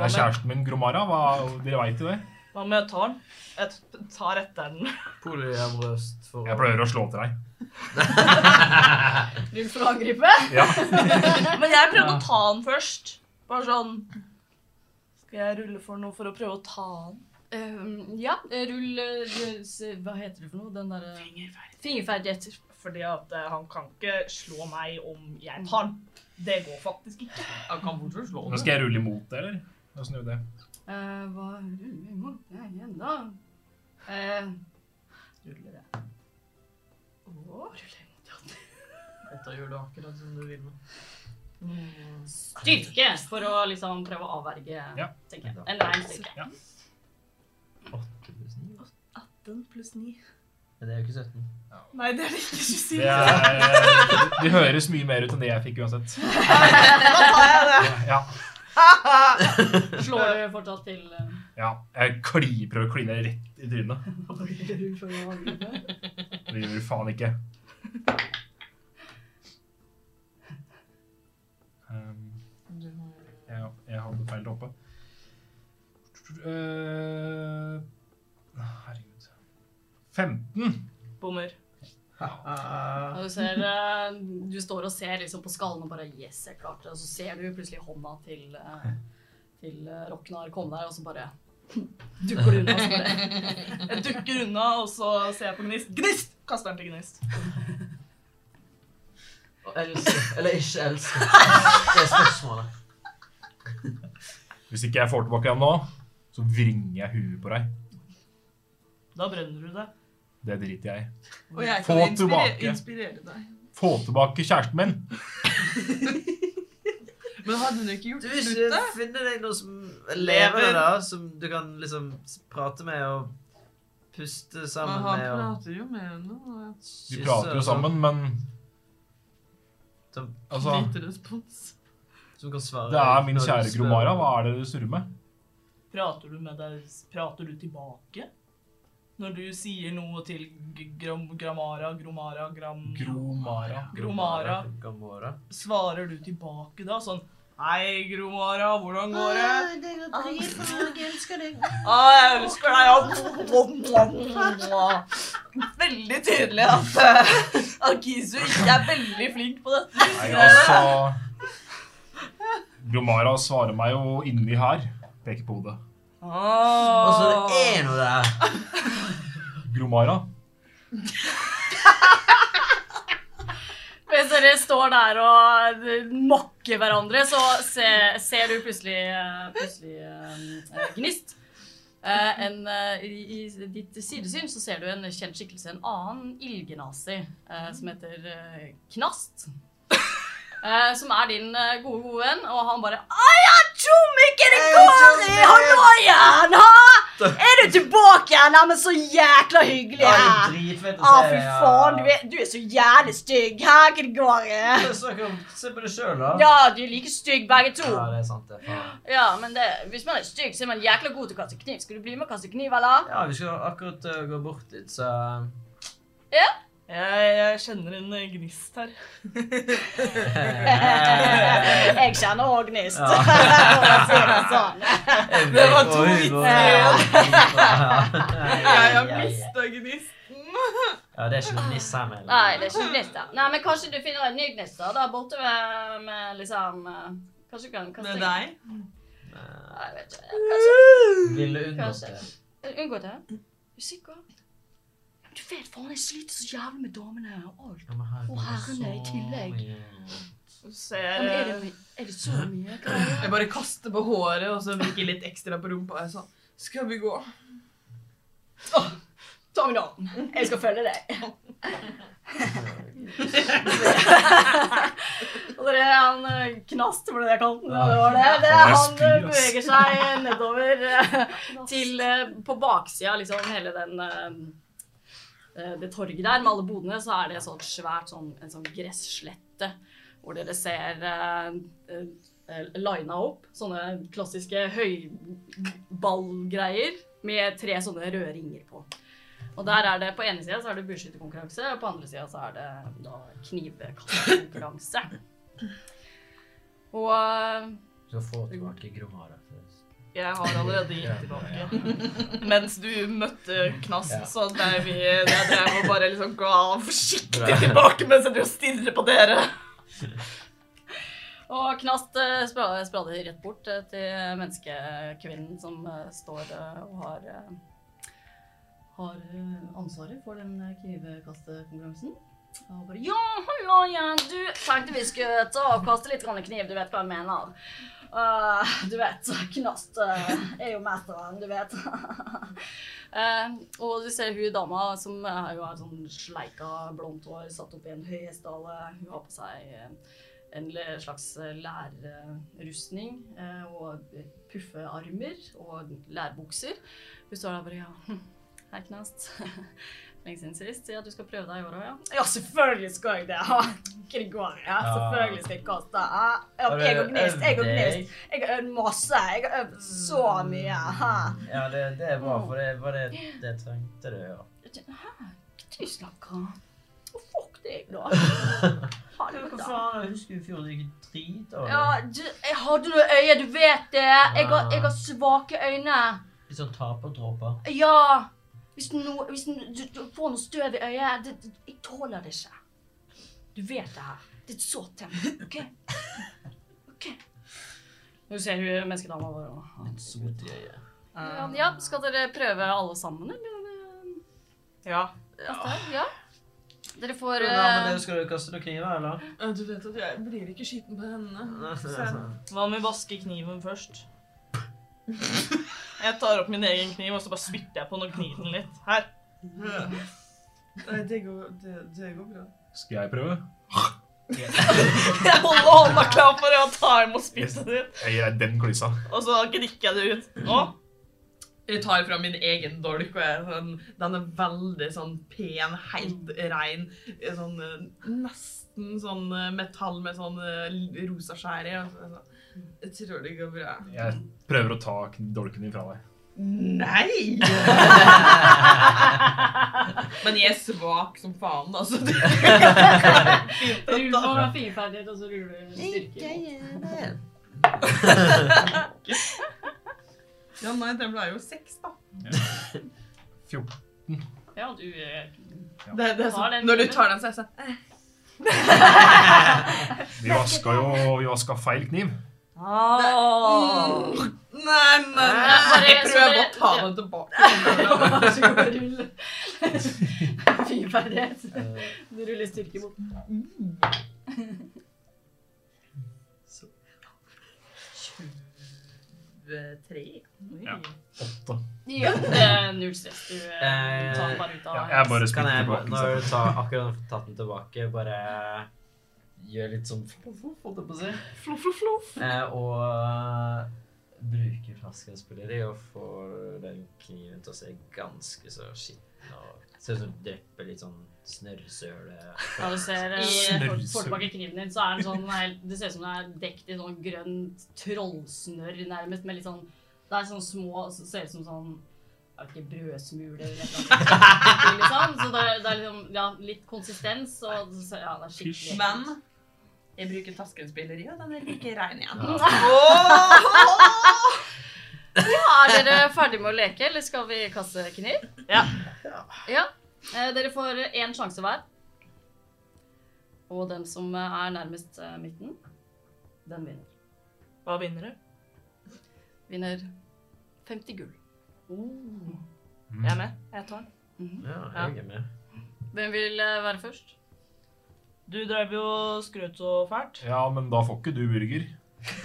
Speaker 5: Det er kjæresten min, Gromara. Hva, dere veit jo det.
Speaker 2: Hva med jeg tar den? Jeg t- tar etter den.
Speaker 3: Polyamorøst for
Speaker 5: Jeg pleier å slå til deg.
Speaker 1: Rull for å angripe.
Speaker 5: Ja.
Speaker 2: Men jeg prøvde å ta den først. Bare sånn Skal jeg rulle for noe for å prøve å ta den?
Speaker 1: Eh, ja, eh, rull eh, rull- se- Hva heter det for noe? Den derre Fingerferdigheter.
Speaker 2: Fordi at eh, han kan ikke slå meg om jeg tar den. Det går faktisk ikke.
Speaker 7: Jeg kan fortsatt slå
Speaker 5: Nå skal jeg rulle imot det, eller? Åssen gjør vi det?
Speaker 1: Eh, hva ruller mot deg igjen, da? Eh, ruller jeg. Å, ruller jeg.
Speaker 7: Dette gjør du akkurat som du vil med.
Speaker 1: Styrke for å liksom prøve å avverge,
Speaker 5: Ja.
Speaker 1: tenker jeg. En rein styrke.
Speaker 2: Den pluss ni.
Speaker 3: Men det er jo ikke 17.
Speaker 2: Nei, det er det ikke.
Speaker 5: Det,
Speaker 2: 27.
Speaker 5: er, eh, det høres mye mer ut enn det jeg fikk uansett.
Speaker 2: Da tar jeg det.
Speaker 5: Ja.
Speaker 1: Slår du fortsatt til eh,
Speaker 5: ja. Jeg kli, prøver å kline rett i trynet.
Speaker 1: rull for å angripe?
Speaker 5: Det gjør du faen ikke. Ehm, jeg, jeg hadde feil til å hoppe. Eh, herregud 15!
Speaker 2: Bommer.
Speaker 1: Og du, ser, eh, du står og ser liksom på skallen og bare Yes, jeg klarte det. Og så ser du plutselig hånda til, eh, til eh, Roknar komme der, og så bare dukker du unna. og Så bare,
Speaker 2: Jeg dukker unna, og så ser jeg på Gnist. Gnist! Kaster den til Gnist.
Speaker 3: Elsker, eller ikke elsker. Det er spørsmålet.
Speaker 5: Hvis ikke jeg får tilbake den nå, så vringer jeg huet på deg.
Speaker 2: Da brenner du deg.
Speaker 5: Det driter jeg i.
Speaker 7: Og jeg
Speaker 5: Få
Speaker 7: kan inspirere,
Speaker 5: tilbake.
Speaker 7: inspirere deg.
Speaker 5: Få tilbake kjæresten min!
Speaker 7: Men hadde hun ikke gjort
Speaker 3: Du
Speaker 7: det
Speaker 3: vil
Speaker 7: til slutt,
Speaker 3: ikke
Speaker 7: da?
Speaker 3: finne deg noe som lever da, som du kan liksom prate med og puste sammen
Speaker 7: Men han
Speaker 3: med og
Speaker 7: prater jo med henne. og jeg-
Speaker 5: Vi
Speaker 3: kysse
Speaker 5: prater
Speaker 3: og
Speaker 5: jo
Speaker 3: sånn,
Speaker 5: sammen, men
Speaker 3: Som-
Speaker 5: Altså,
Speaker 7: Lite respons.
Speaker 3: Som kan svare
Speaker 5: det er min
Speaker 3: når du
Speaker 5: kjære
Speaker 3: spør.
Speaker 5: Gromara. Hva er det du surrer med?
Speaker 2: Prater du med deg Prater du tilbake? Når du sier noe til G- gram, Gramara, Gromara, Gram...
Speaker 5: Gromara.
Speaker 2: Gromara.
Speaker 3: Gromara.
Speaker 2: Svarer du tilbake da? Sånn Hei, Gromara, hvordan går det?
Speaker 4: det går dritt, jeg elsker deg.
Speaker 2: Å, jeg elsker deg. ja. Veldig tydelig at, eh, at Kisu ikke er veldig flink på dette.
Speaker 5: Nei, altså Gromara svarer meg jo inni her. Peker på hodet.
Speaker 3: Altså, det er noe der.
Speaker 5: Gromara.
Speaker 1: Mens dere står der og mokker hverandre, så se, ser du plutselig, eh, plutselig eh, Gnist. Eh, en, eh, i, I ditt sidesyn så ser du en kjent skikkelse, en annen ildgenazi, eh, som heter eh, Knast. Eh, som er din eh, gode, gode venn, og han bare Ai, han tror ikke det går i Halloien, ha! Er du tilbake igjen? Nei, men så jækla hyggelig
Speaker 3: Ja, det er
Speaker 1: her!
Speaker 3: dritfett å
Speaker 1: Å,
Speaker 3: se,
Speaker 1: fy
Speaker 3: ja.
Speaker 1: faen, du er, du er så jævlig stygg. Her, Gregori.
Speaker 3: Men snakker om- Se på deg sjøl, da.
Speaker 1: Ja, du er like stygg begge to.
Speaker 3: Ja, det er sant, det. Faen.
Speaker 1: Ja, men det, hvis man er stygg, så er man jækla god til å kaste kniv. Skal du bli med å kaste kniv, eller?
Speaker 3: Ja, vi skal akkurat eh, gå bort dit, så
Speaker 2: Jeg, jeg kjenner en eh, gnist her.
Speaker 1: Jeg kjenner òg gnist.
Speaker 3: Ja.
Speaker 1: for å si det sånn.
Speaker 3: Det
Speaker 7: var to vitser Jeg har
Speaker 3: Ja,
Speaker 7: mista gnisten.
Speaker 3: det er ikke noe niss her med.
Speaker 1: Nei, det er ikke gnist der. Nei, men kanskje du finner en ny gnist da, der borte ved med liksom eh, Kanskje du kan kaste
Speaker 7: Med deg?
Speaker 3: Eh,
Speaker 1: Nei, jeg vet ikke.
Speaker 3: Ville unngått det.
Speaker 1: Unngå det. Er du sikker? Men Du vet faen, jeg sliter så jævlig med damene og alt.
Speaker 3: Ja, men herregud,
Speaker 1: Å, herren er i
Speaker 3: så
Speaker 1: tillegg.
Speaker 3: mye.
Speaker 2: Så
Speaker 3: Eh.
Speaker 1: Ja, men er, det,
Speaker 2: jeg,
Speaker 1: my- er det så mye greier?
Speaker 7: Jeg bare kaster på håret og så vrikker litt ekstra på rumpa. Jeg sa skal vi gå?
Speaker 1: Ta meg nå. Jeg skal følge deg. Og det er han eh, Knast, var det det jeg kalte han? Det var det. det er han eh,
Speaker 5: Spy, ass.
Speaker 1: beveger seg nedover eh, til eh, På baksida, liksom, hele den eh, eh, det torget der med alle bodene, så er det sånn svært sånn, en sånn gresslette hvor dere ser eh, eh, eh, lina opp sånne klassiske høyballgreier med tre sånne røde ringer på. Og der er det, På ene sida så er det bueskytterkonkurranse, og på andre sida så er det da knivkastkonkurranse. Og eh,
Speaker 3: Du skal få tilbake Gromara. forresten.
Speaker 2: jeg har allerede gitt
Speaker 3: Ja,
Speaker 2: tilbake.
Speaker 3: ja.
Speaker 2: Mens du møtte Knast,
Speaker 3: Ja.
Speaker 2: så drev vi jeg drev og bare liksom ga han forsiktig tilbake mens jeg drev og stirret på dere.
Speaker 1: og Knast eh, spra- sprader rett bort eh, til menneskekvinnen som eh, står eh, og har eh, har eh, ansvaret for den eh, knivkastekonkurransen. Og bare Ja, hallo igjen! Du tenkte vi skulle ta og kaste litt grann kniv, du vet hva jeg mener. Eh, du vet, Knast eh, er jo mesteren, du vet. Eh, og du ser hun dama som eh, jo er sånn sleika, blondt hår, satt opp i en høy hestehale. Hun har på seg eh, en le- slags eh, lærrustning eh, og puffearmer og lærbukser. Hun står der bare ja. hm, Hei, Knast. Lenge siden sist. Ja, du skal prøve deg i år òg, ja? Ja, selvfølgelig skal jeg det. Gregor, ja.
Speaker 3: selvfølgelig
Speaker 1: skal jeg kaste. Jeg har øvd masse. Jeg har øvd så mye. Hæ?
Speaker 3: Ja, det, det er bra, for det var det det trengte du, ja.
Speaker 1: Du snakker Å, Fuck deg, da.
Speaker 3: Hva
Speaker 1: Helvete.
Speaker 3: faen, jeg husker i fjor du gikk drit av
Speaker 1: Ja,
Speaker 3: det.
Speaker 1: du, jeg hadde noe øye, du vet det. Jeg har, jeg har svake øyne.
Speaker 3: Litt sånn taperdråper.
Speaker 1: Ja. Hvis, no, hvis no, du, du får noe støv i øyet det, det, Jeg tåler det ikke. Du vet det her. Det er så tent. OK? OK. Nå ser hun menneskedama vår òg.
Speaker 3: Litt sot i øyet.
Speaker 1: Ja, skal dere prøve alle sammen, eller?
Speaker 2: Ja.
Speaker 1: Ja. ja. Dere får
Speaker 3: Ja, men
Speaker 1: eh,
Speaker 3: dere skal jo kaste noen kniver, eller?
Speaker 7: «Ja, Du vet at jeg blir ikke skitten på henne.
Speaker 3: sånn.
Speaker 7: Sen.
Speaker 2: Hva om vi vasker kniven først? Jeg tar opp min egen kniv, og så bare spytter jeg på den og gnir den litt. Her.
Speaker 7: Nei, det går, det, det går bra.
Speaker 5: Skal jeg prøve?
Speaker 2: Jeg holder hånda klar for å ta imot spyttet ditt,
Speaker 5: Jeg gir deg den klysa.
Speaker 2: og så gnikker jeg det ut. Nå.
Speaker 7: Jeg tar fra min egen dolk, og jeg, er sånn, den er veldig sånn pen, helt rein. eh, Sånn, eh, nesten sånn eh, metall med sånn eh, l- rosa skjær i. og så er jeg sånn, Jeg tror det går bra.
Speaker 5: Jeg prøver å ta kn- dolken din fra deg.
Speaker 7: Nei! Men jeg er svak som faen, altså.
Speaker 1: eh, Rull på finferdighet, og så ruller du styrke.
Speaker 7: Ja, nei, det ble jo seks, da.
Speaker 5: 14.
Speaker 1: Ja, du eh,
Speaker 7: Det, det
Speaker 1: Har
Speaker 7: er sånn,
Speaker 1: den
Speaker 7: når du
Speaker 1: kniven?
Speaker 7: tar den, så er jeg sånn eh,
Speaker 5: Vi vaska jo vi vaska feil kniv.
Speaker 1: Ah.
Speaker 7: mm, Nei, nei,
Speaker 1: Nei,
Speaker 7: nei. Jeg
Speaker 1: bare-
Speaker 7: prøver å
Speaker 1: så
Speaker 7: ta
Speaker 1: dere-
Speaker 7: den tilbake.
Speaker 1: Vær så god, rull. Finferdighet.
Speaker 3: Eh,
Speaker 1: Du ruller styrke mot Mm.
Speaker 7: Tre.
Speaker 5: Ja. Åtte.
Speaker 1: Ja, det er null stress. Du eh,
Speaker 3: Eh,
Speaker 1: tar den bare ut av
Speaker 5: Ja, jeg bare
Speaker 3: Kan
Speaker 5: spytter
Speaker 3: jeg,
Speaker 5: tilbake. liksom.
Speaker 3: når
Speaker 5: den
Speaker 3: du tar akkurat har tatt den tilbake, bare gjør litt sånn floff, floff, holdt jeg på å si. Eh, og eh, bruker flaskespilleri og får den kniven til å se ganske så skitten og ser ut som hun drepper litt sånn snørrsøle.
Speaker 1: Ja, du ser eh,
Speaker 5: Snørrsøl.
Speaker 1: får- får tilbake kniven din, så er den sånn helt, Det ser ut som den er dekt i sånn grønt trollsnørr nærmest, med litt sånn Det er sånn små så Ser ut som sånn jeg vet ikke, brødsmuler eller noe. Liksom. Så det, er- det er liksom ja, litt konsistens, og så- ja, det er skikkelig
Speaker 7: Men jeg bruker taskenspilleri, og den er like rein igjen.
Speaker 1: Er dere ferdig med å leke, eller skal vi kaste kniv?
Speaker 2: Ja.
Speaker 1: Ja. Eh, Dere får én sjanse hver. Og den som eh, er nærmest eh, midten, den vinner.
Speaker 2: Hva vinner du?
Speaker 1: Vinner 50 gull.
Speaker 2: Jeg er
Speaker 5: Mm.
Speaker 2: med. Jeg tar den.
Speaker 3: Ja, jeg er med.
Speaker 1: Hvem vil eh, være først?
Speaker 2: Du drev jo og skrøt så fælt.
Speaker 5: Ja, men da får ikke du burger.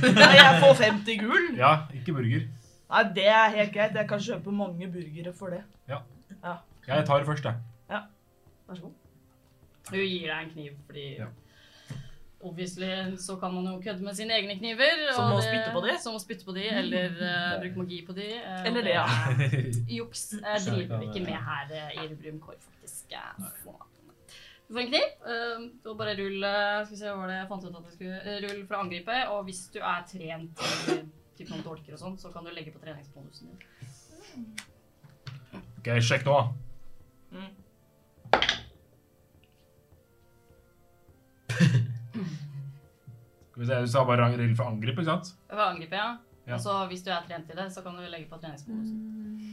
Speaker 2: Nei, jeg får 50 gull!
Speaker 5: Ja, ikke burger.
Speaker 2: Nei, det er helt greit. Jeg kan kjøpe mange burgere for det.
Speaker 5: Jeg tar det først, jeg.
Speaker 1: Vær så god. Hun gir deg en kniv, fordi
Speaker 5: Ja.
Speaker 1: Obviously så kan man jo kødde med sine egne kniver.
Speaker 2: Som
Speaker 1: og
Speaker 2: å spytte på de.
Speaker 1: Som å spytte på de, eller eh, bruke magi på de. eh, og
Speaker 2: Eller det, ja.
Speaker 1: Juks eh, driver vi ikke med her eh, i Rubrum Kår, faktisk. eh, så. Du får en kniv. eh, og bare rull eh, Skal vi se hva var det jeg fant ut at jeg skulle eh, Rull for å angripe. Og hvis du er trent i typ noen dolker og sånn, så kan du legge på treningsbonusen din.
Speaker 5: Ok, sjekk nå. da. Skal vi se, Du sa bare ang- regel for angrep, ikke sant?
Speaker 1: For å angripe, ja.
Speaker 5: Ja.
Speaker 1: Og så hvis du er trent i det, så kan du legge på treningsbonusen.
Speaker 7: Mm.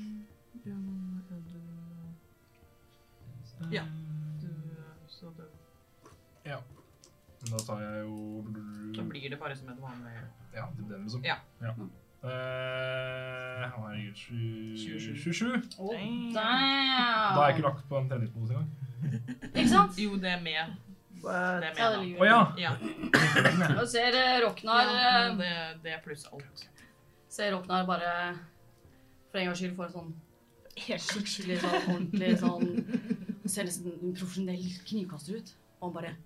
Speaker 7: Ja.
Speaker 5: Da tar jeg jo
Speaker 7: Da blir det bare som et vanlig
Speaker 5: Ja, det blir den, liksom.
Speaker 7: Ja.
Speaker 5: Eh, herregud, sju-
Speaker 7: 27.
Speaker 5: 27.
Speaker 1: Oh,
Speaker 2: Damn.
Speaker 5: Da har jeg
Speaker 1: damn.
Speaker 5: ikke lagt på en treningsbonus engang.
Speaker 1: Ikke sant?
Speaker 7: Jo, det er med. Det
Speaker 1: Ja,
Speaker 7: er med
Speaker 1: det
Speaker 7: da.
Speaker 1: lyver.
Speaker 5: Å ja!
Speaker 7: Ja.
Speaker 1: Og ser eh, Roknar
Speaker 7: ja
Speaker 1: eh,
Speaker 7: men det, det er pluss alt.
Speaker 1: Ser Roknar bare for en gangs skyld får en sånn helt skikkelig sånn ordentlig sånn Ser nesten en profesjonell knivkaster ut. Og han bare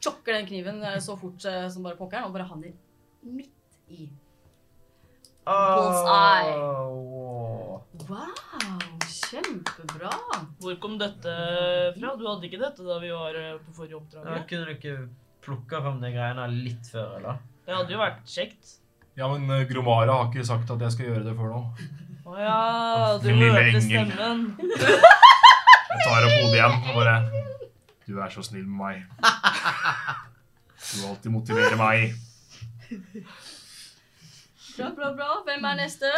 Speaker 1: tjokker den kniven eh, så fort eh, som bare pokkeren, og bare havner midt i. Bullseye.
Speaker 3: Åh.
Speaker 1: Wow, kjempebra!
Speaker 2: Hvor kom dette fra? Du hadde ikke dette da vi var eh, på forrige
Speaker 3: Ja,
Speaker 2: oppdrag.
Speaker 3: kunne du ikke plukka fram de greiene litt før, eller?
Speaker 2: Det hadde jo vært kjekt.
Speaker 5: Ja, men eh, Gromara har ikke sagt at jeg skal gjøre det før nå.
Speaker 2: Å ja, du
Speaker 5: Lille
Speaker 2: hørte
Speaker 5: engel.
Speaker 2: stemmen.
Speaker 5: Jeg tar opp hodet igjen og bare Du er så snill med meg. Du alltid motiverer meg.
Speaker 1: Bra, bra, bra. Hvem er neste?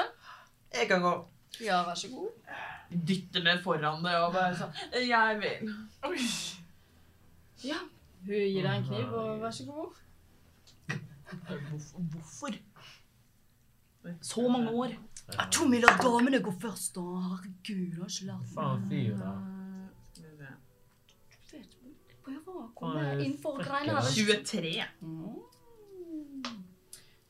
Speaker 3: Jeg kan gå.
Speaker 1: Ja, vær så god.
Speaker 7: Dytter ned foran det og bare sånn Jeg vil.
Speaker 1: Ja. Hun gir deg en kniv, og vær så god.
Speaker 2: Hvorfor? Så mange år.
Speaker 1: Ja, Tommy, la damene gå først, da. Herregud, har ikke lært
Speaker 3: Faen fyr, da.
Speaker 1: Prøv å komme
Speaker 3: Faen,
Speaker 1: inn for
Speaker 3: fuck
Speaker 1: greiene her.
Speaker 3: it.
Speaker 7: 23.
Speaker 1: Mm.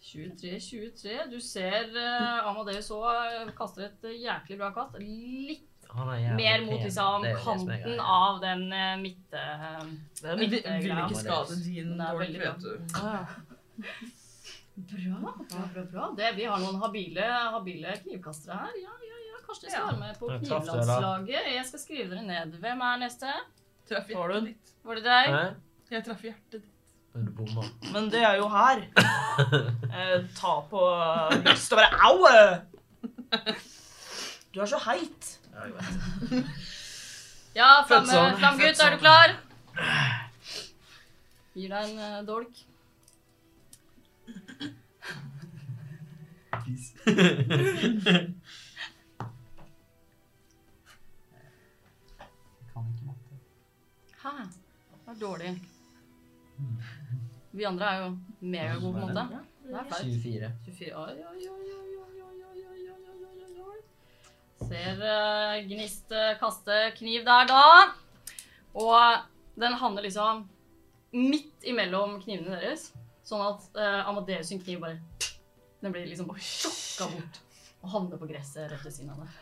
Speaker 1: 23, 23. Du ser eh, Amadeus òg kaster et eh, jæklig bra kast. Litt
Speaker 3: Han er jævlig
Speaker 1: mer mot
Speaker 3: pen.
Speaker 1: liksom
Speaker 3: Det er det som er
Speaker 1: kanten
Speaker 3: greia.
Speaker 1: av den eh, midte... eh,
Speaker 7: Jeg vil, vil ikke skade din
Speaker 1: Den er
Speaker 7: dårlig,
Speaker 1: veldig bra.
Speaker 7: vet du.
Speaker 1: Bra, bra, bra. bra. Det, vi har noen habile, habile knivkastere her. Ja, ja, ja. Kanskje dere skal være med på
Speaker 3: Ja, traff dere, da.
Speaker 1: knivlandslaget. Jeg skal skrive dere ned. Hvem er neste?
Speaker 7: Traff
Speaker 2: Har du
Speaker 7: hjertet
Speaker 2: den?
Speaker 7: ditt.
Speaker 1: Var det deg?
Speaker 3: Hæ?
Speaker 7: Jeg traff hjertet ditt.
Speaker 3: Men Du bomma.
Speaker 2: Men det er jo her. Eh, ta på lyst og bare Au! eh! Du er så heit.
Speaker 3: Ja, jeg vet.
Speaker 1: Ja, fram,
Speaker 3: Født sånn.
Speaker 1: fram
Speaker 3: Født
Speaker 1: gutt, er
Speaker 3: sånn.
Speaker 1: du klar? Gir deg en eh, dolk.
Speaker 3: Kan ikke matte.
Speaker 1: Hæ? Det er dårlig. Vi andre er jo megagode på en måte. Det er flaut.
Speaker 3: 24.
Speaker 1: 24 Oi, oi, oi, oi, oi, oi, oi, oi, oi, oi, oi, oi, oi. Ser eh, Gnist eh, kaste kniv der da. Og den havner liksom midt imellom knivene deres. Sånn at eh, Amadeus sin kniv bare Den blir liksom bare sjokka bort. Og havner på gresset rett ved siden av deg.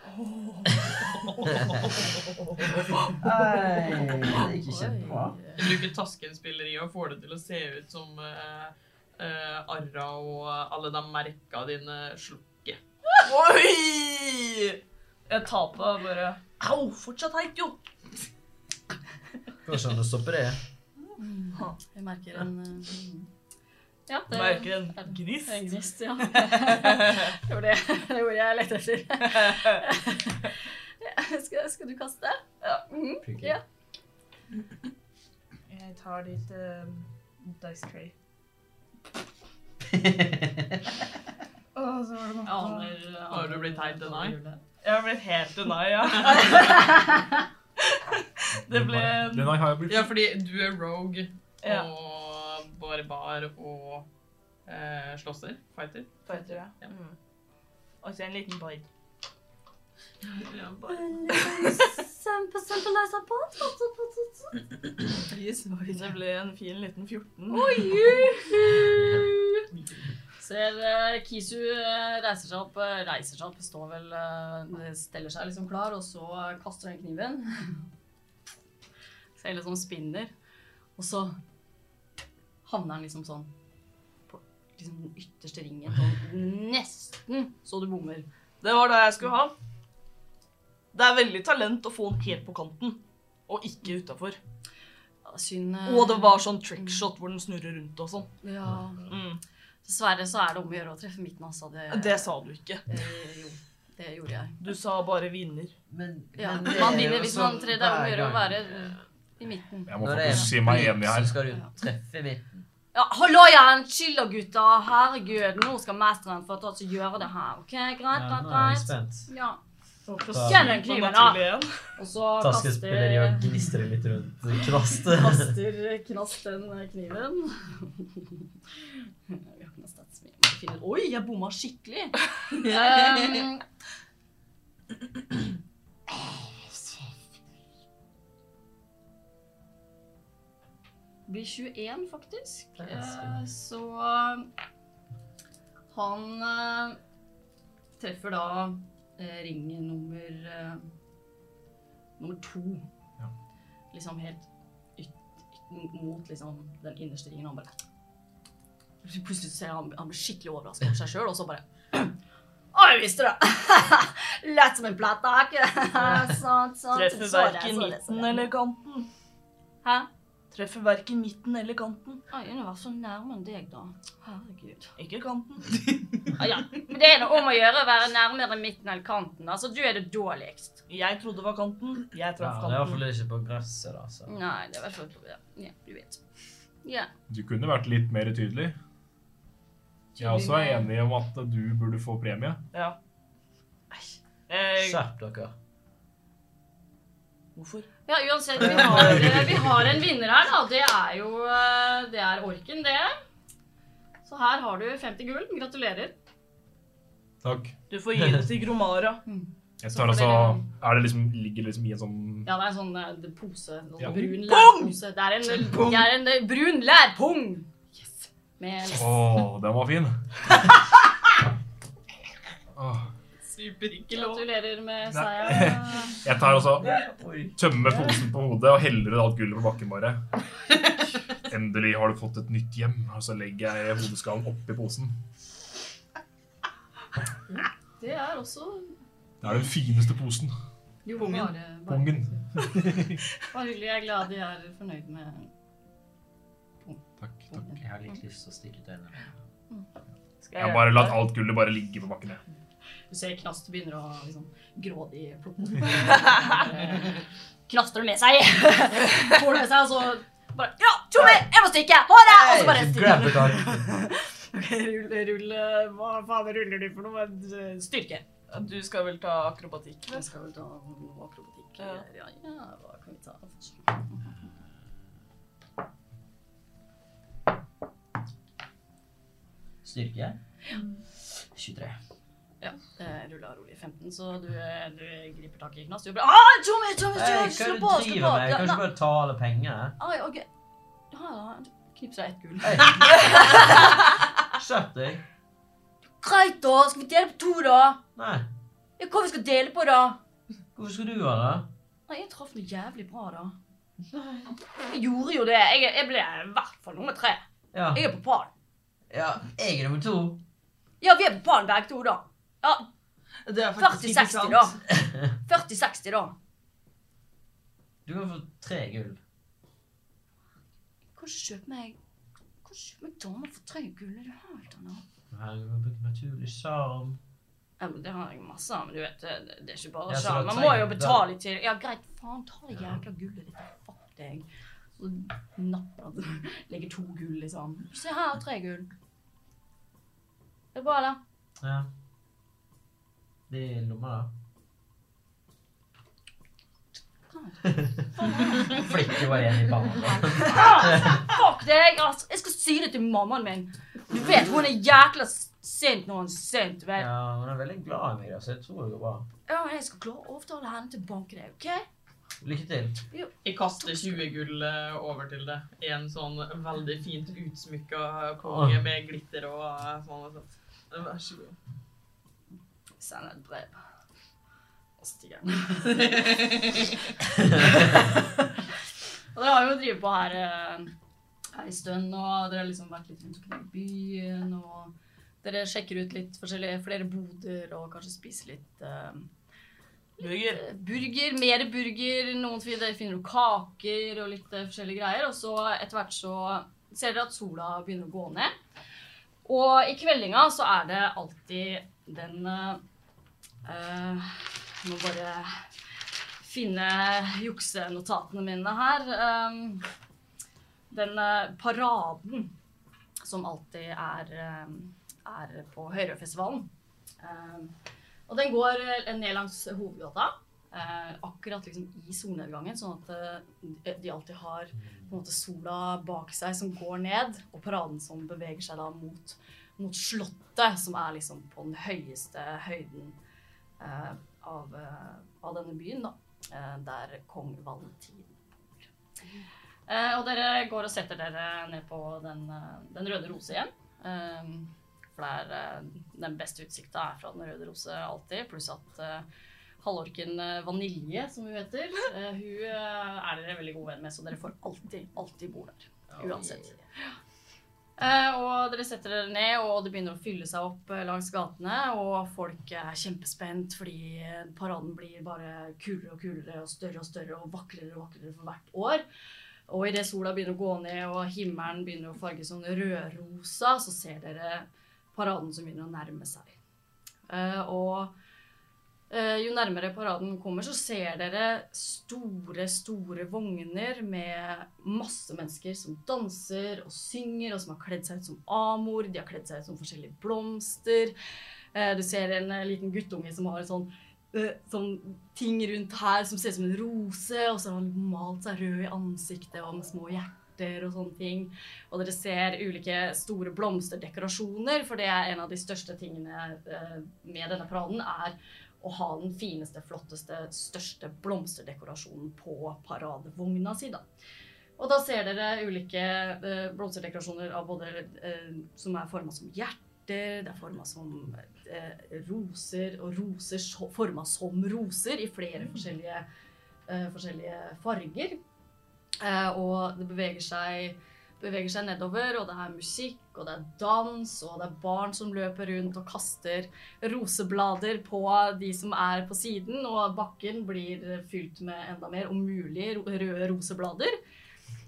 Speaker 3: Det gikk
Speaker 1: Oi.
Speaker 7: Jeg bruker taskenspilleri og får det til å se ut som eh, eh, arra og alle de merka dine slukker.
Speaker 2: Oi! Jeg taper bare Au, fortsatt heit, jo!
Speaker 3: Kanskje han stopper det.
Speaker 1: Jeg merker en eh, Ja, det
Speaker 2: Merker en gnist.
Speaker 1: en gnist. Ja. Det var det, det var det jeg lette etter. Skal, skal du kaste?
Speaker 3: Mm.
Speaker 1: Mhm. Ja.
Speaker 2: Jeg tar ditt eh, dice tray. Å, så var det matta.
Speaker 1: Aner
Speaker 7: Har du blitt teit denne?
Speaker 2: Jeg har blitt helt unna, ja. Det ble
Speaker 5: Den har jeg blitt
Speaker 7: Ja, fordi du er rogue
Speaker 2: Ja.
Speaker 7: og barbar og eh, slåsser. Fighter.
Speaker 2: Fighter, ja. Mm. Og så en liten bard.
Speaker 7: Ja,
Speaker 2: Det ble en fin liten 14.
Speaker 1: Ser eh, Kisu eh, reiser seg opp, eh, reiser seg opp, står vel, eh, steller seg liksom klar, og så eh, kaster han kniven. Så hele sånn spinner, og så havner han liksom sånn på liksom den ytterste ringen, sånn nesten så du bommer.
Speaker 2: Det var det jeg skulle ha. Det er veldig talent å få den helt på kanten, og ikke utafor.
Speaker 1: Ja, Synd. eh,
Speaker 2: Og det var sånn trickshot hvor den snurrer rundt og sånn.
Speaker 1: Ja.
Speaker 2: Mm.
Speaker 1: Dessverre så er det om å gjøre å treffe midten, altså. Det,
Speaker 2: Det sa du ikke.
Speaker 1: Eh, jo, det gjorde jeg.
Speaker 2: Du sa bare vinner.
Speaker 3: Men,
Speaker 1: Ja,
Speaker 3: men det
Speaker 1: man
Speaker 3: er
Speaker 1: vinner
Speaker 3: jo
Speaker 1: hvis man
Speaker 3: sånn
Speaker 1: trer det er om å
Speaker 3: hver
Speaker 1: gjøre å
Speaker 3: gang.
Speaker 1: være i midten.
Speaker 5: Jeg må
Speaker 3: Når det er
Speaker 5: faktisk si meg enig
Speaker 3: så
Speaker 5: her.
Speaker 3: skal du treffe midten.
Speaker 1: Ja, hallo igjen, chill da gutta. Herregud, nå skal mesteren få ta oss og gjøre det her. Ok, greit,
Speaker 3: Ja,
Speaker 1: greit,
Speaker 3: nå er jeg
Speaker 1: greit.
Speaker 3: spent.
Speaker 1: Ja.
Speaker 3: Da-
Speaker 1: Fjell den kniven, da.
Speaker 2: igjen.
Speaker 1: Og så
Speaker 3: Taskespiller gjør
Speaker 1: kaster,
Speaker 3: gnistrer litt rundt knastet.
Speaker 1: kaster knast den kniven. Vi har ikke noe stats som jeg må finne ut. Oi, jeg bomma skikkelig. Um, blir 21, faktisk.
Speaker 3: Det er ganske
Speaker 1: Eh,
Speaker 3: bra.
Speaker 1: Så han eh, treffer da eh, ringen nummer eh, nummer to.
Speaker 5: Ja.
Speaker 1: Liksom helt yt, yt, mot liksom, den innerste ringen. Han bare Plutselig ser jeg han, han blir skikkelig overrasket over seg sjøl, og så bare Å, jeg visste det! Lett som en platehake. sånn, sånn.
Speaker 2: Treffer
Speaker 1: Så det,
Speaker 2: verken
Speaker 1: så det, så
Speaker 2: midten
Speaker 1: det.
Speaker 2: eller kanten.
Speaker 1: Hæ?
Speaker 2: Treffer verken midten eller kanten.
Speaker 1: Oi, hun var så nærme deg, da. Herregud.
Speaker 2: Ikke kanten.
Speaker 1: Ah, ja. Men det er noe om å gjøre å være nærmere midten eller kanten. Altså, du er det dårligst.
Speaker 2: Jeg trodde det var kanten. Jeg
Speaker 3: Ja,
Speaker 2: traff
Speaker 3: det er i hvert
Speaker 2: kanten.
Speaker 3: fall ikke på gresset, da. Så.
Speaker 1: Nei, det er i hvert fall ja. ja, du vet. Ja.
Speaker 5: Du kunne vært litt mer tydelig. Jeg er også enig om at du burde få premie.
Speaker 2: Ja. Eh,
Speaker 3: Skjerp dere.
Speaker 2: hvorfor?
Speaker 1: Ja, uansett, vi har, eh, vi har en vinner her, da. Det er jo eh, Det er orken, det. Så her har du 50 gull. Gratulerer.
Speaker 5: Takk.
Speaker 2: Du får gi det til Gromara.
Speaker 5: Jeg
Speaker 1: Så
Speaker 5: tar
Speaker 1: får
Speaker 5: altså
Speaker 1: dere-
Speaker 5: Er det liksom Ligger liksom i en sånn
Speaker 1: Ja, det er en sånn eh, pose. en Sånn
Speaker 5: Ja.
Speaker 1: brun lærpose. Det er en, det er en eh, brun lærpung! Yes. Med
Speaker 5: Å, den var fin. Åh.
Speaker 7: Super ikke lov.
Speaker 1: Gratulerer med seier.
Speaker 5: Jeg tar også tømmer posen på hodet og heller alt gullet på bakken bare. Endelig har du fått et nytt hjem, og så legger jeg hodeskallen oppi posen.
Speaker 1: Det er også
Speaker 5: Det er den fineste posen.
Speaker 1: Jo, bare, bare,
Speaker 5: Pungen.
Speaker 1: bare hyggelig. Jeg er glad de er fornøyd med
Speaker 5: Takk, takk.
Speaker 1: boken.
Speaker 3: Jeg har litt lyst til å stikke ut øynene.
Speaker 2: Skal
Speaker 5: Jeg har bare latt alt gullet bare ligge på bakken. jeg.
Speaker 1: Du ser Knast begynner å liksom, grådig plukke opp. Eh, Knaster det med seg. Får det med seg, og så bare Ja, Tjommi, jeg må stikke! Ha det! Og så bare stikker.
Speaker 3: Grabber tak.
Speaker 1: Ok, Rull, rull eh, Hva faen ruller du for noe? Eh, Styrke.
Speaker 2: Du skal vel ta akrobatikk?
Speaker 1: Jeg skal vel ta noe akrobatikk.
Speaker 2: Ja.
Speaker 1: Ja, ja, hva kan vi ta? først?
Speaker 3: Styrke. 23.
Speaker 1: Ja, eh, rulla rolig 15, så du, eh, du griper tak i Knast. Du bare ah, Tjommi, Tjommi,
Speaker 3: Hei,
Speaker 1: Tjommi,
Speaker 3: hva er
Speaker 1: slå
Speaker 3: det du
Speaker 1: på! Slå
Speaker 3: driver
Speaker 1: på!
Speaker 3: med?
Speaker 1: Ja,
Speaker 3: Kan
Speaker 1: nei.
Speaker 3: ikke bare ta alle pengene?
Speaker 1: Ai, ok. Ja, da knipser jeg ett gull.
Speaker 3: Skjerp deg.
Speaker 1: Greit, da. Skal vi dele på to, da?
Speaker 3: Nei.
Speaker 1: Ja, hva vi skal dele på, da?
Speaker 3: Hvorfor skal du ha det?
Speaker 1: Nei, jeg traff noe jævlig bra, da. Jeg gjorde jo det. Jeg, jeg ble i hvert fall nummer tre.
Speaker 3: Ja.
Speaker 1: Jeg er på pallen.
Speaker 3: ja. Jeg er nummer to.
Speaker 1: Ja, vi er på pallen begge to, da. Ja,
Speaker 7: Det er faktisk ikke
Speaker 1: 40-60,
Speaker 7: sant.
Speaker 1: da. 40-60, da.
Speaker 3: Du kan få tre gull.
Speaker 1: Kanskje kjøp meg Kanskje kjøp meg damer for tre gull? Er det helt annet?
Speaker 3: Her kan du bruke naturlig sjarm.
Speaker 1: Ja, men det har jeg masse av, men du vet, det, det er ikke bare
Speaker 3: Ja, så
Speaker 1: sjarm.
Speaker 3: da
Speaker 1: Man må jo
Speaker 3: trenger-
Speaker 1: betale til Ja, greit, faen, ta det
Speaker 3: Ja.
Speaker 1: jækla gullet ditt. Fuck deg. Så napper du Legger to gull, liksom. Se her, tre gull. Det er bra, da.
Speaker 3: Ja. Det er lomma, da. Flikker bare igjen i banen.
Speaker 1: Fuck deg, ass! Jeg skal si det til mammaen min. Du vet, hun er jækla sint når hun er sint, vet
Speaker 3: Ja, hun er veldig glad i meg, da, så jeg tror det går bra.
Speaker 1: Ja, men jeg skal klare å overtale henne til å banke deg, OK?
Speaker 3: Lykke til.
Speaker 7: Jeg kaster 20 gull eh, over til det. I en sånn veldig fint utsmykka konge
Speaker 3: Åh.
Speaker 7: med glitter og eh, sånn. og sånn. Eh, Vær så god.
Speaker 1: Send et brev. Og stiger den. Og dere har jo drevet på her eh, her en stund, og dere har liksom vært litt rundt omkring i byen, og dere sjekker ut litt forskjellige flere boder, og kanskje spiser litt eh,
Speaker 2: Burger.
Speaker 1: eh, burger, mer burger, noen finner, finner noen kaker og litt eh, forskjellige greier. Og så etter hvert så ser dere at sola begynner å gå ned. Og i kveldinga så er det alltid den eh, eh, Jeg må bare finne juksenotatene mine her. eh, den eh, paraden som alltid er, eh, er på Høyrøyfestivalen. Eh, og den går eh, ned langs hovedgata. eh, akkurat liksom i solnedgangen, sånn at eh, de alltid har på en måte, sola bak seg som går ned, og paraden som beveger seg da mot, mot Slottet, som er liksom på den høyeste høyden eh, av, eh, av denne byen, da, eh, der kong Valentin bor. Eh, og dere går og setter dere ned på den, eh, den røde rose igjen. Eh, for det er eh, den beste utsikta er fra Den røde rose alltid. Pluss at eh, halvorken eh, Vanilje, som hun heter, eh, hun eh, er dere veldig gode venn med, så dere får alltid, alltid bo der. Uansett. Eh, og dere setter dere ned, og det begynner å fylle seg opp eh, langs gatene. Og folk er kjempespent fordi eh, paraden blir bare kulere og kulere og større og større og vakrere og vakrere for hvert år. Og idet sola begynner å gå ned og himmelen begynner å farges sånn rødrosa, så ser dere paraden som begynner å nærme seg. Eh, og eh, jo nærmere paraden kommer, så ser dere store, store vogner med masse mennesker som danser og synger, og som har kledd seg ut som amor, de har kledd seg ut som forskjellige blomster. Eh, du ser en eh, liten guttunge som har en sånn eh, Sånn ting rundt her som ser ut som en rose, og så har han malt seg rød i ansiktet og med små hjerter og sånne ting. Og dere ser ulike store blomsterdekorasjoner, for det er en av de største tingene eh, med denne paraden, er å ha den fineste, flotteste, største blomsterdekorasjonen på paradevogna si, da. Og da ser dere ulike eh, blomsterdekorasjoner av både eh, som er forma som hjerter, det er forma som eh, roser, og roser forma som roser i flere forskjellige, eh, forskjellige farger. Eh, og det beveger seg beveger seg nedover, og det er musikk, og det er dans, og det er barn som løper rundt og kaster roseblader på de som er på siden, og bakken blir fylt med enda mer, om mulig, ro- røde roseblader.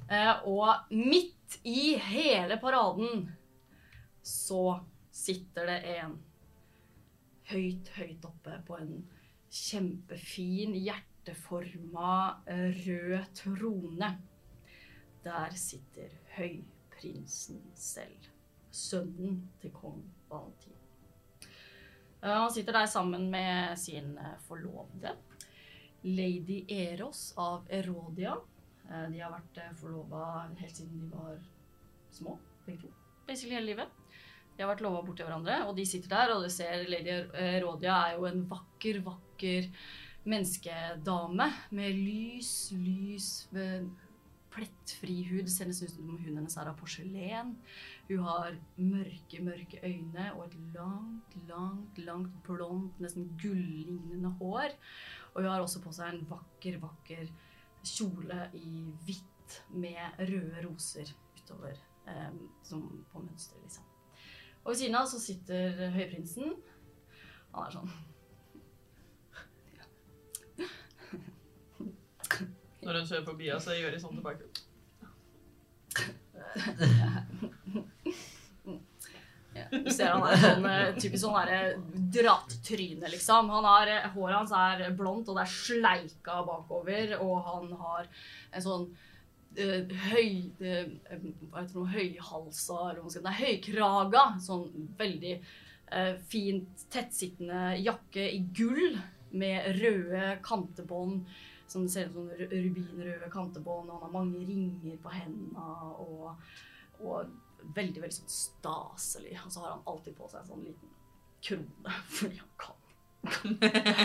Speaker 1: Eh, og midt i hele paraden så sitter det en høyt, høyt oppe på en kjempefin, hjerteforma, eh, rød trone. Der sitter høyprinsen selv, sønnen til kong Valentin. Eh, Han sitter der sammen med sin eh, forlovede, lady Eros av Erodia. Eh, De har vært forlova helt siden de var små, begge to. Basically hele livet. De har vært lova bort til hverandre, og de sitter der, og du ser lady Er- Erodia er jo en vakker, vakker menneskedame med lys, lys ved plettfri hud. Det ser nesten ut som om huden hennes er av porselen. Hun har mørke, mørke øyne og et langt, langt, langt blondt, nesten gullignende hår. Og hun har også på seg en vakker, vakker kjole i hvitt med røde roser utover, eh, som på mønster, liksom. Og ved siden av så sitter høyprinsen. Han er sånn
Speaker 7: Når han kjører forbi oss, så gjør de sånn tilbake.
Speaker 1: Du ser han er sånn, eh, typisk sånn der, eh, drattryne, liksom. Han har, eh, håret hans er blondt, og det er sleika bakover, og han har en sånn eh, høy, eh, hva heter det, noe, høyhalsa, eller hva man skal si, nei, høykraga, sånn veldig eh, fint tettsittende jakke i gull, med røde kantebånd, som ser ut som ru- rubinrøde kantebånd, og han har mange ringer på hendene, og, og veldig veldig sånn staselig. Og så har han alltid på seg en sånn liten krone fordi han kan.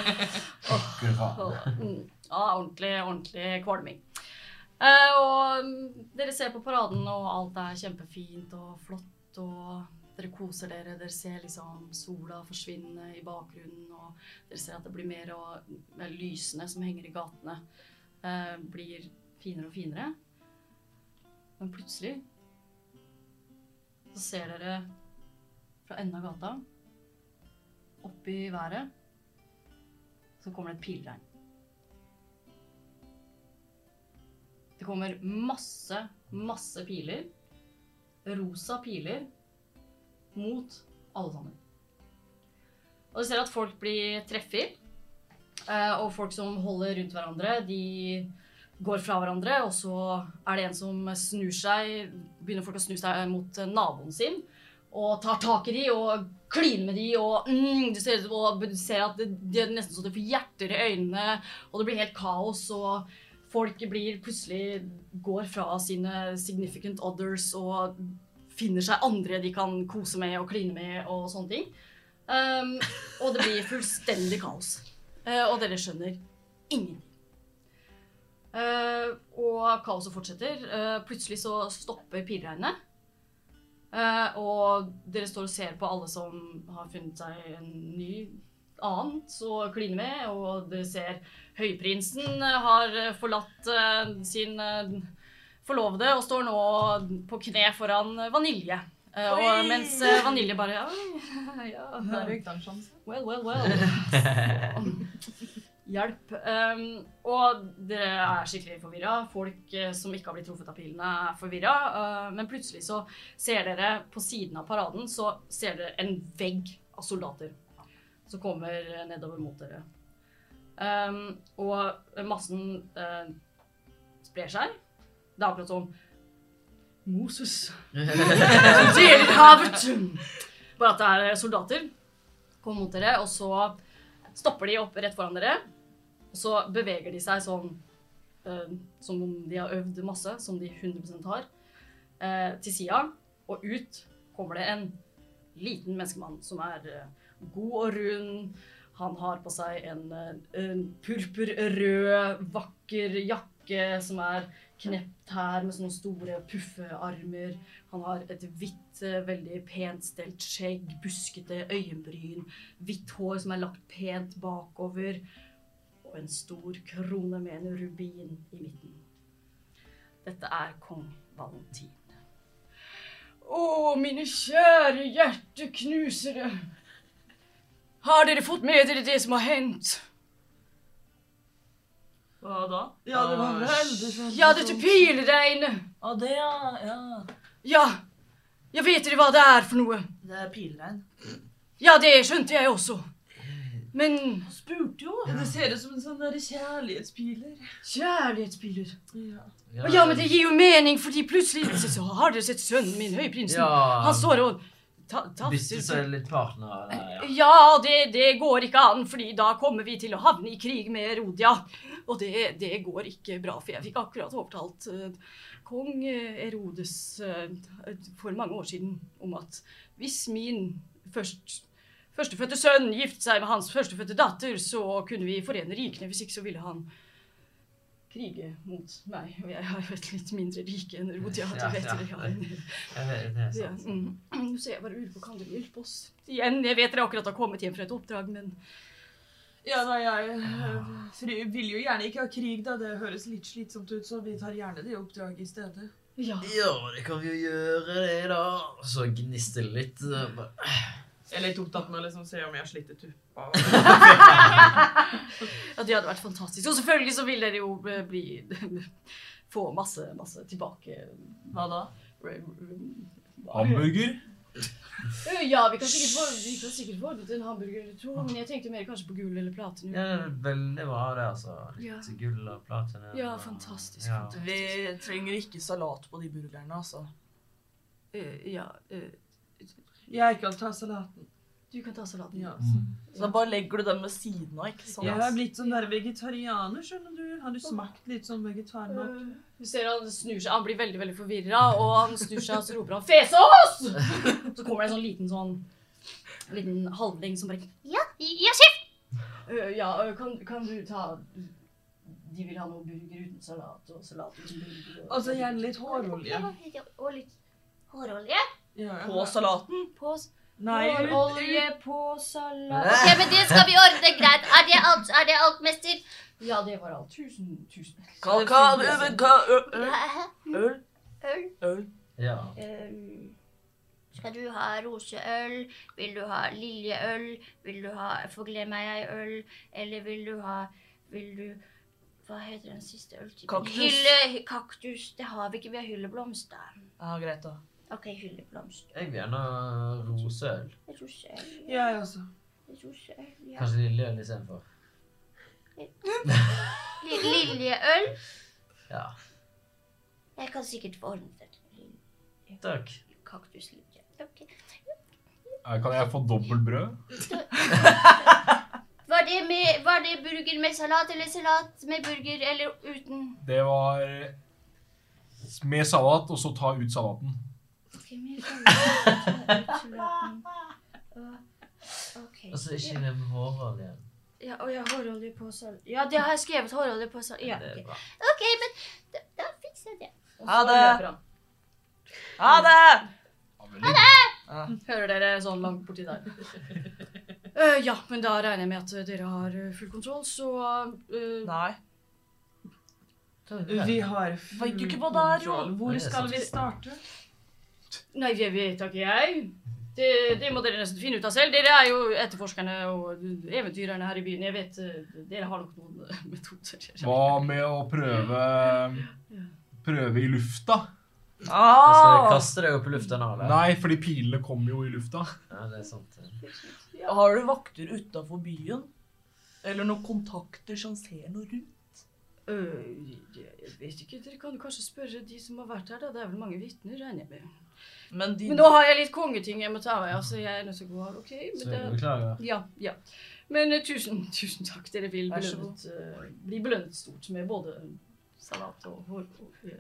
Speaker 6: Akkurat.
Speaker 1: Mm. Ja, ordentlig, ordentlig kvalming. Eh, og mm, dere ser på paraden, og alt er kjempefint og flott. Og dere koser dere. Dere ser liksom sola forsvinne i bakgrunnen. Og dere ser at det blir mer og mm, mer lysene som henger i gatene, eh, blir finere og finere. Men plutselig så ser dere fra enden av gata, opp i været, så kommer det et pilregn. Det kommer masse, masse piler. Rosa piler. Mot alle sammen. Og du ser at folk blir treffer. eh, Og folk som holder rundt hverandre, de går fra hverandre. Og så er det en som snur seg, begynner folk å snu seg mot naboen sin. Og tar tak i de og kliner med de og mm, du, ser, og du ser at det, det er nesten så du får hjerter i øynene. Og det blir helt kaos. og folk blir plutselig går fra sine significant others og finner seg andre de kan kose med og kline med og sånne ting. Um, og det blir fullstendig kaos. Eh, og dere skjønner ingenting. Eh, og kaoset fortsetter. Eh, plutselig så stopper pilregnet. Eh, og dere står og ser på alle som har funnet seg en ny annen å kline med, og dere ser Høyprinsen eh, har eh, forlatt eh, sin eh, forlovede og står nå på kne foran eh, Vanilje. Eh,
Speaker 2: Oi!
Speaker 1: og mens eh, Vanilje bare «Oi, ja,
Speaker 7: Da
Speaker 1: der,
Speaker 7: er det en sjanse.
Speaker 1: Well, well, well. Hjelp. Um, og dere er skikkelig forvirra. Folk eh, som ikke har blitt truffet av pilene, er forvirra. Uh, men plutselig så ser dere på siden av paraden så ser dere en vegg av soldater som kommer eh, nedover mot dere. Um, og massen eh, sprer seg. Det er akkurat som Moses. Delhavet! Bare at det er soldater. Kommer mot dere, og så stopper de opp rett foran dere. Og så beveger de seg sånn eh, som om de har øvd masse, som de 100 har, eh, til sida. Og ut kommer det en liten menneskemann som er eh, god og rund. Han har på seg en, eh, en purpurrød, vakker jakke som er knept her med sånne store puffearmer. Han har et hvitt, eh, veldig pent stelt skjegg, buskete øyenbryn, hvitt hår som er lagt pent bakover, og en stor krone med en rubin i midten. Dette er kong Valentin. Å, mine kjære hjerteknusere! Har dere fått med dere det som har hendt?
Speaker 2: Hva da?
Speaker 7: Ja, det var veldig sånn.
Speaker 1: Ja, dette pilregnet!
Speaker 2: Å, Ah, det, ja. ja.
Speaker 1: Ja, jeg vet dere hva det er for noe.
Speaker 2: Det er pilregn.
Speaker 1: Ja, det skjønte jeg også. Men
Speaker 2: Du spurte jo.
Speaker 7: Det ser ut som en sånn der kjærlighetspiler.
Speaker 1: kjærlighetsbiler
Speaker 7: Ja.
Speaker 1: Å Ja, men det gir jo mening, fordi plutselig så- så har dere sett sønnen min, høyprinsen. Han står og ta,
Speaker 3: Bytter
Speaker 1: tafser.
Speaker 3: seg litt partner der, ja.
Speaker 1: Ja, det, det går ikke an, fordi da kommer vi til å havne i krig med Erodia. Og det, det går ikke bra, for jeg fikk akkurat overtalt eh, kong eh, Erodes eh, for mange år siden om at hvis min først, førstefødte sønn giftet seg med hans førstefødte datter, så kunne vi forene rikene. Hvis ikke så ville han krige mot meg. Og jeg har jo et litt mindre rike enn Erodia.
Speaker 3: Ja,
Speaker 1: det vet
Speaker 3: ja.
Speaker 1: dere. Ja.
Speaker 3: Jeg vet, det er
Speaker 1: Ja,
Speaker 3: sant.
Speaker 1: mm. Nå ser jeg bare lurer på, kan dere hjelpe oss? Igjen, jeg vet dere akkurat har kommet hjem fra et oppdrag, men
Speaker 7: Ja, nei, jeg eh, fri- vil jo gjerne ikke ha krig, da. Det høres litt slitsomt ut, så vi tar gjerne det oppdraget i stedet.
Speaker 1: ja.
Speaker 3: Ja, det kan vi jo gjøre, det, da. Så gnister det litt. eh, bare,
Speaker 7: Jeg er litt opptatt med å liksom se om jeg har slitt i tuppa.
Speaker 1: Ja, det hadde vært fantastisk. Og selvfølgelig så vil dere jo eh, bli Få masse, masse tilbake.
Speaker 2: Hva da?
Speaker 5: Hamburger?
Speaker 1: Eh, Ja, vi kan sikkert få, vi kan sikkert få ut en hamburger eller to, men jeg tenkte mer kanskje på gull eller platinu.
Speaker 3: Ja, vel, det var det, altså.
Speaker 1: Ja.
Speaker 3: Litt gull og platina.
Speaker 1: Ja, fantastisk.
Speaker 3: Ja.
Speaker 1: fantastisk.
Speaker 2: Vi trenger ikke salat på de burgerne, altså.
Speaker 1: Eh, ja, eh,
Speaker 7: Jeg kan ta salaten.
Speaker 1: du kan ta salaten.
Speaker 7: Ja, så.
Speaker 5: Mm.
Speaker 2: Så da bare legger du dem ved siden av, ikke sant?
Speaker 7: Jeg har blitt sånn der vegetarianer, skjønner du. Har du smakt litt sånn vegetarmat?
Speaker 1: Eh, Du ser han snur seg, han blir veldig veldig forvirra, og han snur seg og så roper han 'Fesås!' Så kommer det en sånn liten sånn en liten halvling som bare
Speaker 4: Ja, ja, sjef!
Speaker 1: «Øh, 'Ja, øh, kan, kan du ta De vil ha noe burger uten salat og salat uten burger. og-
Speaker 7: Og så Altså, gjerne litt hårolje.
Speaker 4: Og litt hårolje
Speaker 7: Ja, jeg
Speaker 2: På
Speaker 7: har-
Speaker 2: salaten?
Speaker 1: Mm,
Speaker 4: på
Speaker 7: Nei, ut-
Speaker 1: Olje på salat
Speaker 4: Ok, men det skal vi ordne greit. Er det alt, er det alt mester?
Speaker 1: Ja, det var alt. Tusen, tusen
Speaker 2: Hva, hva, hva, ø- øl?
Speaker 4: Ja.
Speaker 2: Øl?
Speaker 4: Øl.
Speaker 2: Øl?
Speaker 3: Ja.
Speaker 4: Øhm, skal du ha roseøl? Vil du ha liljeøl? Vil du ha forglemmegei-øl? Eller vil du ha Vil du Hva heter den siste øltypen?
Speaker 2: Kaktus.
Speaker 4: Hylle, kaktus. Det har vi ikke. Vi har hylleblomst, da.
Speaker 2: Ja, greit, da.
Speaker 4: OK, hylleblomst.
Speaker 3: Jeg vil gjerne ha roseøl.
Speaker 4: Roseøl.
Speaker 7: jeg også.
Speaker 4: Roseøl, ja.
Speaker 3: Kanskje lilleøl istedenfor.
Speaker 4: Li- Liljeøl?
Speaker 3: Ja.
Speaker 4: Jeg kan sikkert få ordnet det.
Speaker 3: Takk.
Speaker 4: Kaktuslilje. Ok.
Speaker 5: Eh, Kan jeg få dobbelt brød?
Speaker 4: Var det, med, var det burger med salat eller salat med burger eller uten?
Speaker 5: Det var med salat, og så ta ut salaten.
Speaker 4: Ok, men jeg kan ta ut salaten. Og- ok.
Speaker 3: Og så ikke glem håroljen.
Speaker 4: Ja, og jeg har hårolje på sal... Ja, det har jeg skrevet hårolje på sal... Ja,
Speaker 3: Det
Speaker 4: ok.
Speaker 3: er bra.
Speaker 4: Ok, men da, da fikser jeg det.
Speaker 2: Ha det! Ha det!
Speaker 1: Hører dere sånn langt borti der. Eh, ja, men da regner jeg med at dere har eh, full kontroll, så eh,
Speaker 2: Nei.
Speaker 7: Vi har full
Speaker 2: Vet du ikke hva det er, jo?
Speaker 7: kontroll. Hvor
Speaker 3: Det er
Speaker 7: skal
Speaker 3: sant.
Speaker 7: vi starte?
Speaker 1: Nei, det vet da ikke jeg. Det, det må dere nesten finne ut av selv. Dere er jo etterforskerne og eventyrerne her i byen. Jeg vet eh, dere har nok noen eh, metoder.
Speaker 5: Hva med å prøve Prøve i lufta?
Speaker 3: Jeg skal
Speaker 2: Ah,
Speaker 3: kaste deg opp i lufta nå, eller?
Speaker 5: Nei, fordi pilene kommer jo i lufta.
Speaker 3: Ja, det er sant.
Speaker 2: har du vakter utafor byen? Eller noen kontakter som ser noe rundt?
Speaker 1: Øh, jeg vet ikke. Dere kan jo kanskje spørre de som har vært her, da. Det er vel mange vitner, regner jeg med.
Speaker 2: Men de
Speaker 1: Men nå har jeg litt kongeting jeg må ta av, altså. Jeg er nødt til å gå av. OK? Men
Speaker 3: Så
Speaker 1: det,
Speaker 3: jeg beklager.
Speaker 1: Ja, ja. Men eh, tusen, tusen takk. Dere vil
Speaker 2: Vær så
Speaker 1: belønnet, eh, bli belønnet stort med både salat og hår. Og,
Speaker 7: Med en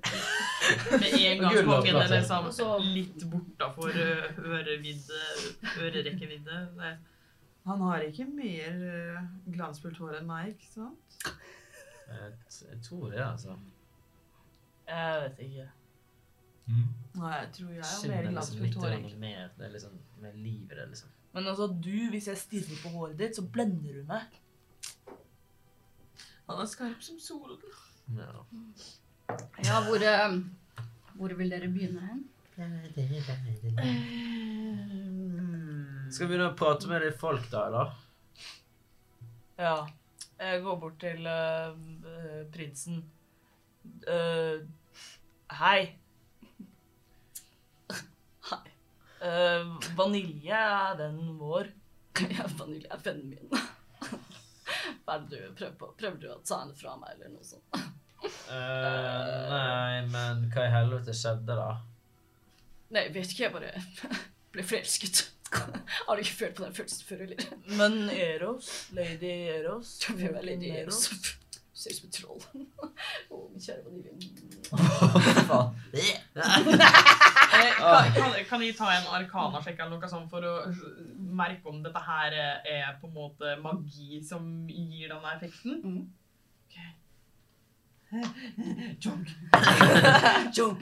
Speaker 7: gang
Speaker 3: Gull og
Speaker 7: kongen er
Speaker 3: plater.
Speaker 7: liksom
Speaker 1: Og så-
Speaker 7: litt bortafor eh, ørevidde, ørerekkevidde. Nei. Han har ikke mer eh, glansfullt hår enn meg, ikke sant?
Speaker 3: Jeg t- Jeg tror det, altså.
Speaker 2: Jeg vet ikke.
Speaker 7: Nei, jeg tror jeg har
Speaker 3: Skinner
Speaker 7: mer
Speaker 3: liksom litt
Speaker 7: glansfullt hår.
Speaker 3: grann mer. Det er liksom med liv i det, liksom.
Speaker 2: Men altså, du, hvis jeg stirrer på håret ditt, så blender du meg.
Speaker 7: egentlig. Han er skarp som solen.
Speaker 3: Ja.
Speaker 1: ja, hvor, eh, hvor vil dere begynne hen?
Speaker 3: Skal vi begynne å prate med de folk, da, eller?
Speaker 2: Ja. Jeg går bort til eh, eh, prinsen. Eh, hei. Hei. Eh, vanilje er vennen vår.
Speaker 1: Ja, vanilje er vennen min. Hva er det du prøver på? Prøver du å ta henne fra meg, eller noe sånt?
Speaker 3: Eh, nei, men hva i helvete skjedde, da?
Speaker 1: Nei, jeg vet ikke. Jeg bare ble forelsket. Har du ikke følt på den følelsen før, eller?
Speaker 2: Men Eros, lady Eros
Speaker 1: Du blir veldig
Speaker 2: Lady
Speaker 1: dyr. så- Ser ut som et troll. Å, min kjære vanilje.
Speaker 7: Eh, Kan, kan, kan jeg ta en arkanasjekk eller noe sånt for å merke om dette her eh, er på en måte magi som gir denne effekten?
Speaker 1: Mhm.
Speaker 7: Ok. Jong.
Speaker 1: Joe.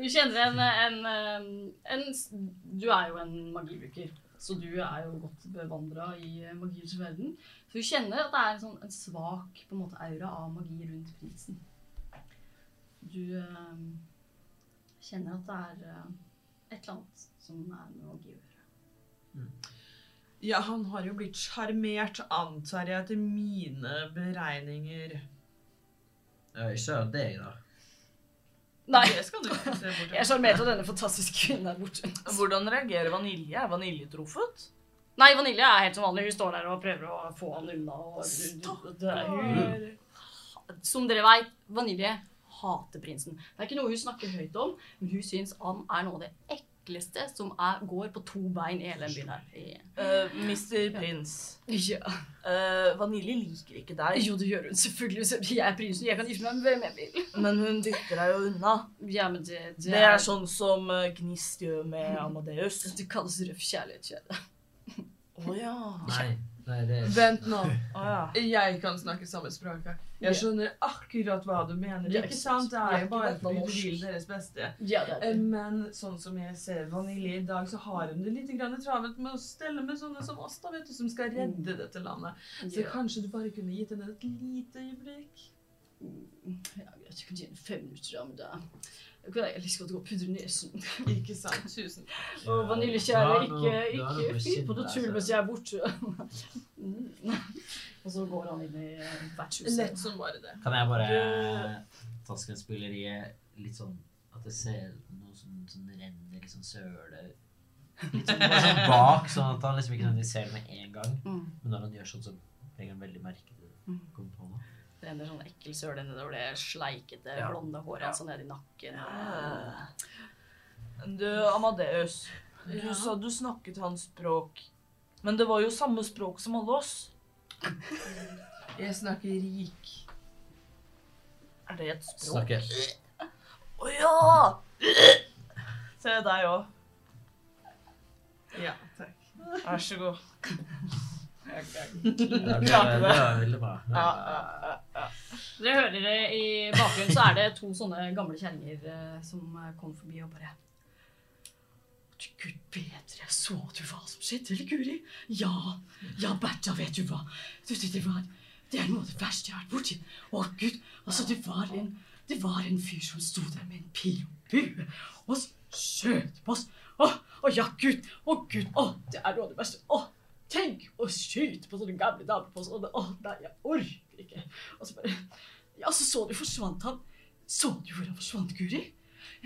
Speaker 1: Du kjenner en, en, eh, en s- Du er jo en magibruker, så du er jo godt bevandra i eh, magiens verden. Så du kjenner at det er en, sånn, en svak på en måte, aura av magi rundt prinsen. Du eh, kjenner at det er eh, et eller annet som er med å gjøre.
Speaker 7: Ja, han har jo blitt sjarmert, antar jeg, etter mine beregninger.
Speaker 6: Eh, Ikke av deg, da.
Speaker 1: Nei,
Speaker 7: Det skal du ikke se bort
Speaker 1: jeg
Speaker 7: fra.
Speaker 1: sjarmerte denne fantastiske kvinnen der borte.
Speaker 2: Hvordan reagerer vanilje? Er vanilje truffet?
Speaker 1: Nei, Vanilje er helt som vanlig. Hun står der og prøver å få han unna. Og det er hun. Som dere vet, Vanilje hater prinsen. Det er ikke noe hun snakker høyt om, men hun syns han er noe av det ekleste som er, går på to bein i hele den byen her.
Speaker 2: Eh, Mr. Prins,
Speaker 1: Ja.
Speaker 2: eh, vanilje liker ikke deg,
Speaker 1: Jo, det gjør hun selvfølgelig. Så Jeg er prinsen, jeg kan gifte meg med hvem jeg vil.
Speaker 2: men hun dytter deg jo unna.
Speaker 1: Ja, men det, det,
Speaker 2: Det er sånn som eh, Gnist gjør med Amadeus.
Speaker 1: Det kalles røff kjærlighet, kjære.
Speaker 2: Å ja.
Speaker 6: Nei. Nei, det er
Speaker 7: Vent nå.
Speaker 2: Å ja.
Speaker 7: Jeg kan snakke samme språk. her. Jeg skjønner akkurat hva du mener.
Speaker 1: Ja,
Speaker 7: Ikke sant? Det er jo bare
Speaker 1: dette
Speaker 7: fordi du
Speaker 1: norsk.
Speaker 7: vil deres beste.
Speaker 1: Ja, det
Speaker 7: Eh,
Speaker 1: er det.
Speaker 7: Men sånn som jeg ser Vanilje i dag, så har hun det litt grann travelt med å stelle med sånne som oss, da, vet du, som skal redde dette landet. Så
Speaker 1: Ja.
Speaker 7: kanskje du bare kunne gitt henne et lite øyeblikk?
Speaker 1: Ja, greit, jeg kan gi henne fem minutter, ja, men da Jeg kan jeg like godt gå og pudre nesen.
Speaker 7: Ikke sant? Tusen takk.
Speaker 1: Og vaniljekjære, ikke, ikke fyr på noe
Speaker 3: altså.
Speaker 1: tull mens jeg er borte. Mm. og så går han inn i eh, vertshuset.
Speaker 7: Lett som bare det.
Speaker 3: Kan jeg bare taske en spilleriet litt sånn at jeg ser noe som, som renner litt sånn søle Litt sånn, bare sånn bak, sånn at han liksom ikke nødvendigvis ser det med en gang.
Speaker 1: Mm.
Speaker 3: Men når han gjør sånn, så legger han veldig merke til det.
Speaker 7: Mm.
Speaker 3: Kom på nå.
Speaker 1: Det renner sånn ekkel søle nedover det sleikete,
Speaker 3: Ja.
Speaker 1: blonde håret hans og ned i nakken.
Speaker 2: Eh, Ah. Du, Amadeus, du
Speaker 7: Ja.
Speaker 2: sa du snakket hans språk. Men det var jo samme språk som alle oss.
Speaker 7: Jeg snakker rik.
Speaker 2: Er det et språk?
Speaker 3: Snakker.
Speaker 2: Å ja! Se deg òg.
Speaker 7: Ja, takk.
Speaker 2: Vær så god.
Speaker 3: Ja, det,
Speaker 2: Klarte det.
Speaker 3: det var veldig bra.
Speaker 2: Ja, ja, ja, ja.
Speaker 1: Dere hører det i bakgrunnen, så er det to sånne gamle kjerringer eh, som eh, kom forbi og bare «Du Gud bedre, så du hva som skjedde, eller Guri? Ja, ja, Bertha, vet du hva? Du, det, det, var, det er noe av det verste jeg har vært borti. Å, Gud, altså, det var en, det var en fyr som sto der med en pil og bue og s- skjøt på oss. Å, å ja, Gud, å, Gud, å, det er noe av det verste. Å, tenk å skyte på sånne gamle damer på oss. Å, det- å, nei, jeg orker ikke. Og så bare Ja, så så du forsvant han. Så du hvor han forsvant, Guri?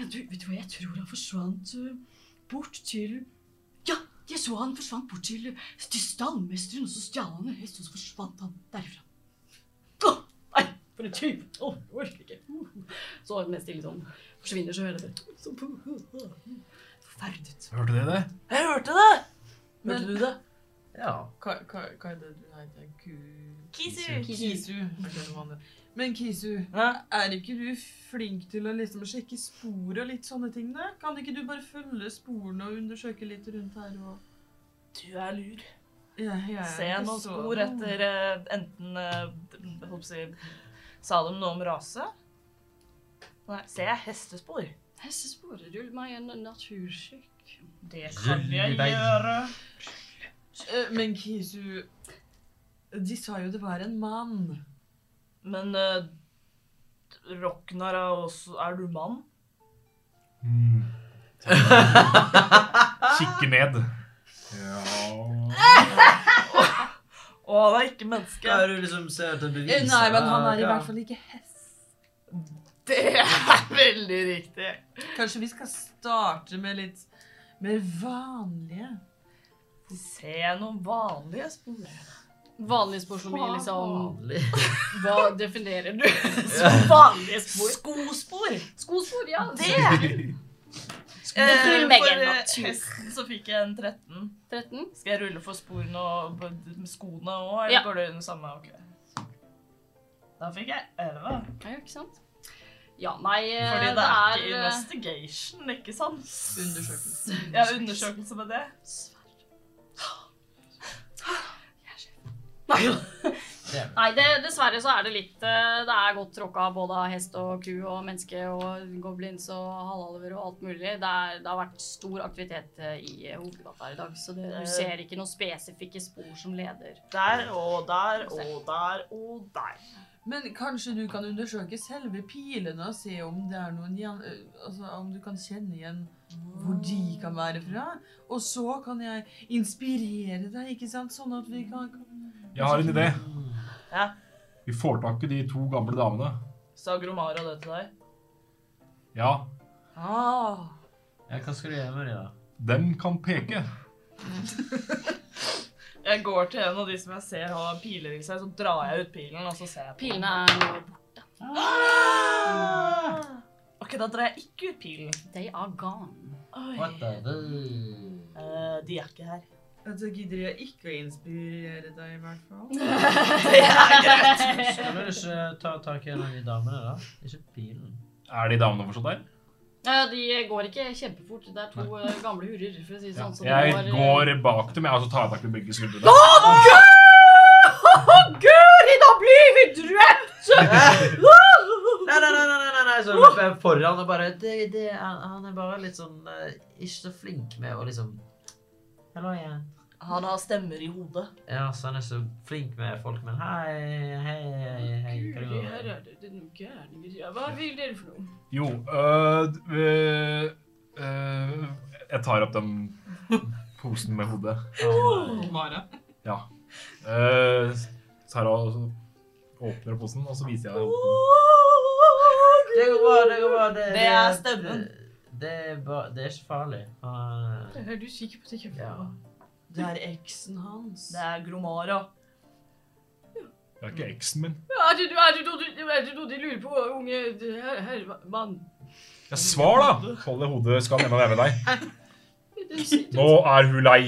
Speaker 1: Ja, du, vet du hva, jeg tror han forsvant øh, bort til Ja, jeg så han forsvant bort til, øh, til stallmesteren, og så stjal han en hest, og så forsvant han derfra. Å, nei, for en type! Å, jeg orker ikke. Uh, Så mens de liksom forsvinner, så hører jeg det så- uh, Forferdet.
Speaker 5: Hørte dere det?
Speaker 2: Jeg hørte det!
Speaker 7: Men-
Speaker 2: Hørte du det?
Speaker 3: Ja.
Speaker 7: Hva, hva, hva er det du heter? Ku-
Speaker 2: Kisu.
Speaker 7: Kisu. Ok, det var det. Men Kisu,
Speaker 2: Hæ?
Speaker 7: er ikke du flink til å liksom sjekke spor og litt sånne ting? da? Kan ikke du bare følge sporene og undersøke litt rundt her? og...
Speaker 2: Du er lur.
Speaker 7: Ja, jeg er
Speaker 2: Se
Speaker 7: ikke
Speaker 2: noen
Speaker 7: så-
Speaker 2: spor etter eh, enten eh, jeg håper å si, Sa de noe om rase? Nei, ser jeg hestespor?
Speaker 1: Hestespor, rull meg en naturskikk.
Speaker 2: Det
Speaker 3: kan jeg gjøre.
Speaker 7: Eh, Men Kisu De sa jo det var en mann.
Speaker 2: Men uh, Roknar er også Er du mann?
Speaker 5: Mm. Kikke ned. Ja
Speaker 2: Å, han er ikke menneske.
Speaker 6: Skal du liksom se etter bevis?
Speaker 7: Eh, Nei, men han er i
Speaker 6: Ja,
Speaker 7: hvert fall ikke hest.
Speaker 2: Det er veldig riktig.
Speaker 7: Kanskje vi skal starte med litt mer vanlige?
Speaker 2: Se noen vanlige spor.
Speaker 1: Vanlige spor som i liksom
Speaker 6: vanlig.
Speaker 1: Hva definerer du som vanlige spor?
Speaker 2: Skospor.
Speaker 1: Skospor, ja.
Speaker 2: Det!
Speaker 1: Til meg
Speaker 2: for
Speaker 1: en
Speaker 2: eh,
Speaker 1: natur.
Speaker 2: hesten så fikk jeg en 13.
Speaker 1: 13.
Speaker 2: Skal jeg rulle for sporene og b- med skoene òg, eller
Speaker 1: Ja.
Speaker 2: går det under samme? Ok. Da fikk jeg 11.
Speaker 1: Ja, ikke sant? Ja, nei, eh,
Speaker 2: Fordi det
Speaker 1: det
Speaker 2: er
Speaker 1: er
Speaker 2: ikke
Speaker 1: eh,
Speaker 2: investigation, ikke sant?
Speaker 7: Undersøkelse.
Speaker 2: Ja, undersøkelse med det.
Speaker 1: Nei, det, dessverre så er det litt eh, Det er godt tråkka både av hest og ku og menneske og goblins og halvalver og alt mulig. Det, er, det har vært stor aktivitet eh, i eh, hovedgata her i dag, så det,
Speaker 2: Eh.
Speaker 1: du ser ikke noen spesifikke spor som leder.
Speaker 2: Der og der og der og der.
Speaker 7: Men kanskje du kan undersøke selve pilene og se om, det er noen, gjen- eh, altså, om du kan kjenne igjen hvor de kan være fra. Og så kan jeg inspirere deg, ikke sant? Sånn at vi kan
Speaker 5: Jeg har en idé.
Speaker 2: Ja.
Speaker 5: Vi får tak i de to gamle damene.
Speaker 2: Sa Gromara det til deg?
Speaker 5: Ja,
Speaker 7: ah.
Speaker 3: Ja, hva skal du gjøre med det, da?
Speaker 5: dem kan peke.
Speaker 2: Jeg går til en av de som jeg ser har piler i seg, så drar jeg ut pilen, og så ser jeg på
Speaker 1: Pilene er nå
Speaker 3: Ah!
Speaker 2: den. Ok, da drar jeg ikke ut pilen.
Speaker 1: They are gone.
Speaker 2: Oi.
Speaker 3: What the hell?
Speaker 2: Eh, de er ikke her.
Speaker 7: Så gidder jeg ikke å inspirere deg, i hvert fall.
Speaker 3: Skal du ikke ta tak i en av de damene, da? Ikke pilen.
Speaker 5: Er de damene fortsatt der?
Speaker 1: Eh, De går ikke kjempefort. Det er to eh, gamle hurrer, for å si det sånn. så de
Speaker 5: Jeg
Speaker 1: eh,
Speaker 5: går bak dem, jeg, og så tar jeg tak i begge skuldrene.
Speaker 4: Guri, da blir vi drept!
Speaker 3: Nei, nei, nei, nei, nei, nei, så løper jeg foran og bare det, det, er- Han er bare litt sånn eh, Ikke så flink med å liksom Hallo igjen.
Speaker 2: Han har stemmer i hodet.
Speaker 3: Ja, så han er så flink med folk, men hei, hei, hei, hei. hva det går?
Speaker 4: Her er det det er noen gærninger. Ja, Hva vil dere for noe?
Speaker 5: Jo, øh, d- øh, øh, jeg tar opp den posen med hodet.
Speaker 7: Mara.
Speaker 5: Ja. Øh, tar og så åpner posen, og så viser jeg den.
Speaker 3: Det går bra, det går bra. Det,
Speaker 2: Det er stemmen.
Speaker 3: Det, det, er ba- det er ikke farlig. Han, eh,
Speaker 4: Er du sikker på at det ikke
Speaker 3: ja.
Speaker 7: Det er eksen hans.
Speaker 2: Det er Gromara.
Speaker 5: Det er ikke eksen min.
Speaker 4: Er det, er, det noe, du- er det noe de lurer på, unge herr her, mann?
Speaker 5: Ja, svar, da! Hold det hodet skal enda nærme deg.
Speaker 4: Den sitter-
Speaker 5: Nå er hun lei.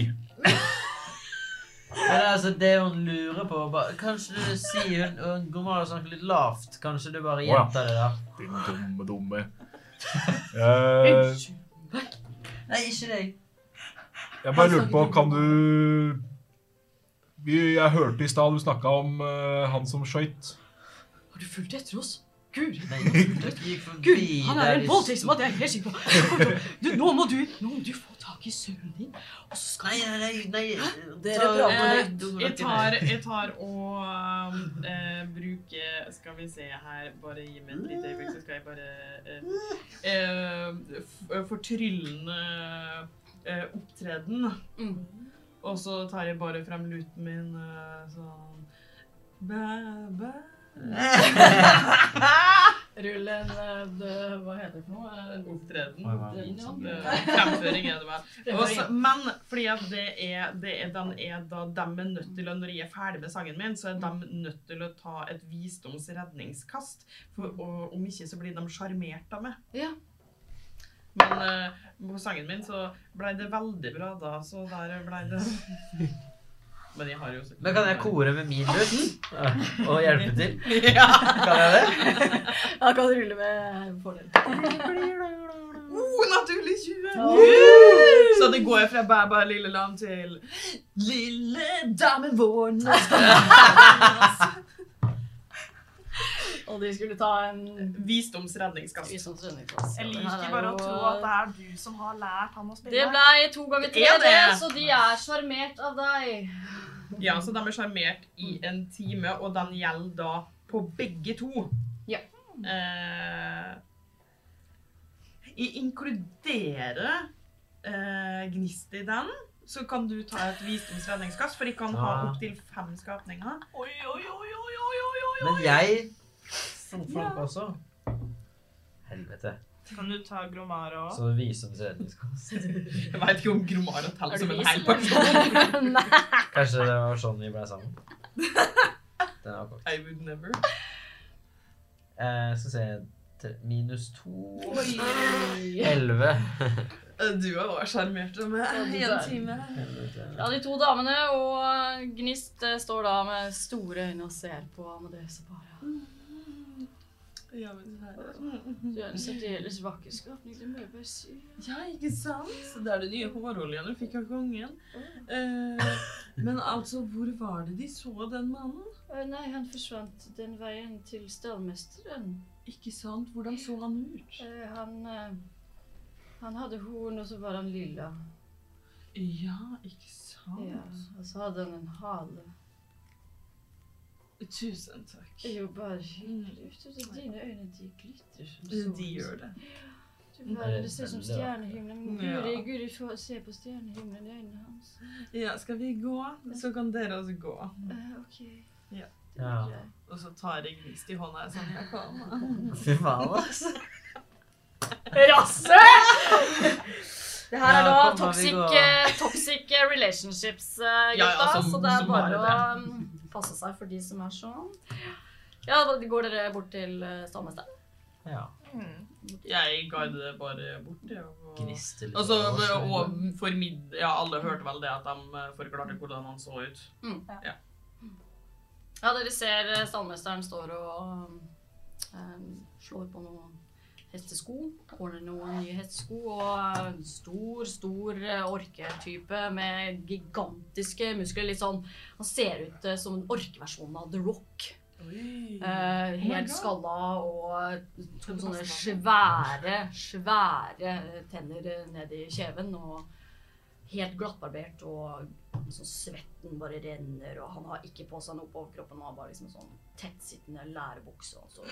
Speaker 3: Men altså, det hun lurer på bare, Kanskje du sier hun, hun går med og snakker litt lavt. Kanskje du bare
Speaker 5: Å, ja.
Speaker 3: gjentar det, da.
Speaker 5: Din dumme, dumme. Eh,
Speaker 3: Nei, ikke deg.
Speaker 5: jeg bare lurte på, kan du Vi- Jeg hørte i stad du snakka om eh, han som skøyt.
Speaker 4: Har du fulgt etter oss? Guri,
Speaker 3: Nei, gikk
Speaker 4: Gud,
Speaker 3: forbi
Speaker 4: han er
Speaker 3: der
Speaker 4: en
Speaker 3: de-
Speaker 4: voldtektsmann, det er jeg helt sikker på. Kom til å- Du, nå, må du, nå må du få tak i sønnen din, og så skal
Speaker 3: Nei, nei, nei, nei.
Speaker 2: Dere
Speaker 3: ta- Eh,
Speaker 2: prater
Speaker 3: ta-
Speaker 7: litt.
Speaker 3: dumme dere.
Speaker 7: Jeg tar, jeg tar og um, eh, bruker Skal vi se her Bare gi meg et lite øyeblikk, så skal jeg bare eh, eh, f- Fortryllende eh, opptreden.
Speaker 1: Mm.
Speaker 7: Og så tar jeg bare frem luten min eh, sånn bæ, bæ.
Speaker 4: Rull en eh, det- Hva heter det for noe? Eh,
Speaker 7: Opptreden.
Speaker 3: Oi, hva er det?
Speaker 4: den, ja.
Speaker 7: Eh, Fremføring er det vel.
Speaker 4: Det er
Speaker 7: Og så-
Speaker 4: bare-
Speaker 7: men fordi at det er, det er, den er da dem er nødt til å, når jeg er ferdig med sangen min, så er dem nødt til å ta et visdomsredningskast. For, og om ikke så blir de sjarmert av meg.
Speaker 1: Ja.
Speaker 7: Men eh, på sangen min så blei det veldig bra da, så der blei det Men jeg har jo
Speaker 3: Men kan jeg kore med min lutt og hjelpe til?
Speaker 7: Ja.
Speaker 3: Kan jeg det?
Speaker 4: Ja, kan rulle med fordel.
Speaker 7: Oh, naturlig 20! Så det går fra Bæ Bæ Lille Lam til Lille dame vår nå skal
Speaker 4: Og de skulle ta en
Speaker 7: Visdomsredningskast.
Speaker 1: visdomsredningsklasse.
Speaker 2: Jeg liker bare å tro at det er du som har lært han å spille.
Speaker 1: Det blei to ganger tre,
Speaker 7: Er det?
Speaker 1: det, så de er sjarmert av deg.
Speaker 7: Ja, så de er sjarmert i en time, og den gjelder da på begge to.
Speaker 1: Ja.
Speaker 7: Eh, jeg inkluderer eh, gnist i den, så kan du ta et visdomsredningskast, for jeg kan ha
Speaker 3: Ja.
Speaker 7: opptil fem skapninger.
Speaker 2: Oi, oi, oi, oi, oi, oi, oi.
Speaker 3: Men jeg som folk også. Helvete.
Speaker 2: Kan du ta Gromara òg?
Speaker 3: Så visumsredningskast.
Speaker 7: Jeg veit ikke om Gromara teller
Speaker 4: Er du
Speaker 7: som en
Speaker 4: vis,
Speaker 7: hel person.
Speaker 3: Kanskje det var sånn vi ble sammen. Den er ok.
Speaker 7: I would never.
Speaker 3: Eh, skal vi se tre- Minus to
Speaker 1: Oi.
Speaker 3: Elleve.
Speaker 7: Eh, Du har vært sjarmert av meg.
Speaker 1: Ja, du er.
Speaker 7: time.
Speaker 3: Helvete.
Speaker 1: Ja, de to damene og Gnist eh, står da med store øyne og ser på Amadeus og bare
Speaker 7: Ja, men herre. mm.
Speaker 1: Du er en særdeles vakker skapning, det må jeg bare si.
Speaker 7: Ja, ikke sant? Så det er den nye håroljen du fikk av kongen. Eh, men altså, hvor var det de så den mannen?
Speaker 1: Eh, Nei, han forsvant den veien til stallmesteren.
Speaker 7: Ikke sant? Hvordan så han ut?
Speaker 1: Eh, Han eh, Han hadde horn, og så var han lilla.
Speaker 7: Ja, ikke sant?
Speaker 1: Ah. Ja, og så hadde han en hale.
Speaker 7: Tusen takk.
Speaker 4: Jo, bare
Speaker 7: hyggelig.
Speaker 4: Dine øyne de glitrer som
Speaker 7: De gjør det.
Speaker 3: bare-
Speaker 4: det
Speaker 1: Mm.
Speaker 4: ser ut som stjernehimmelen.
Speaker 7: Ja.
Speaker 4: Guri, Guri, få se på stjernehimmelen i øynene hans.
Speaker 7: Ja, skal vi gå? Så kan dere også gå.
Speaker 4: Eh, ok.
Speaker 7: Ja.
Speaker 4: Det blir greit.
Speaker 7: Og så tar jeg gnist i hånda sånn jeg kan.
Speaker 3: Fy faen, ass.
Speaker 1: Altså. Rasse! Det her
Speaker 3: Ja,
Speaker 1: er da
Speaker 3: kom, da, vi
Speaker 1: toxic,
Speaker 3: går.
Speaker 1: eh, toxic relationships, eh,
Speaker 7: Ja, ja,
Speaker 1: gutta.
Speaker 7: som-
Speaker 1: så det er
Speaker 7: som
Speaker 1: bare
Speaker 7: er
Speaker 1: å mm, passe seg for de som er sånn. Ja, da går dere bort til eh, stallmesteren.
Speaker 3: Ja.
Speaker 7: Jeg guider det bare bort. ja, og-
Speaker 3: Gnister litt.
Speaker 7: Og så
Speaker 3: Altså, over oss,
Speaker 7: og
Speaker 3: men-
Speaker 7: formid... Ja, alle hørte vel det at de eh, forklarte hvordan han så ut.
Speaker 1: Mm. Ja, dere ser eh, stallmesteren står og eh, slår på noen hestesko. Ordner noen nye hestesko og en stor, stor eh, orketype med gigantiske muskler. Litt sånn Han ser ut eh, som en orkeversjon av The Rock. Eh,
Speaker 7: my
Speaker 1: helt
Speaker 7: God.
Speaker 1: skalla og to
Speaker 7: Kan du
Speaker 1: sånne
Speaker 7: passe
Speaker 1: svære, svære tenner ned i kjeven. Og helt glattbarbert og så svetten bare renner. Og han har ikke på seg noe på overkroppen, han har bare liksom en sånn tettsittende lærebukse. Og så.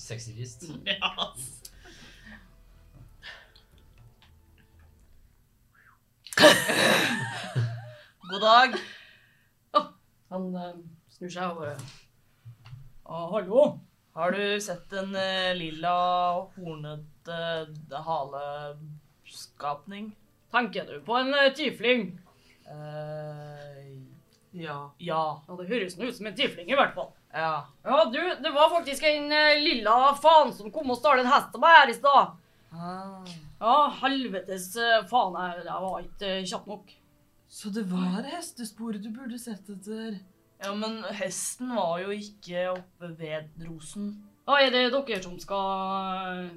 Speaker 3: Sexy beast.
Speaker 7: Ja, ass.
Speaker 2: God dag.
Speaker 1: Han eh, snur seg og bare
Speaker 2: Å, hallo. Har du sett den eh, lilla hornete haleskapning?
Speaker 1: Tenker du på en eh, tifling?
Speaker 2: Eh,
Speaker 7: Ja.
Speaker 2: ja.
Speaker 1: Ja, det høres nå ut som en tifling i hvert fall.
Speaker 2: Ja.
Speaker 1: Ja, du, det var faktisk en eh, lilla faen som kom og stjal en hest til meg her i stad.
Speaker 2: Ah.
Speaker 1: Ja, helvetes eh, faen, jeg, jeg var ikke eh, kjapp nok.
Speaker 7: Så det var hestesporet du burde sett etter.
Speaker 2: Ja, men hesten var jo ikke oppe ved rosen.
Speaker 1: Ja, er det dere som skal eh,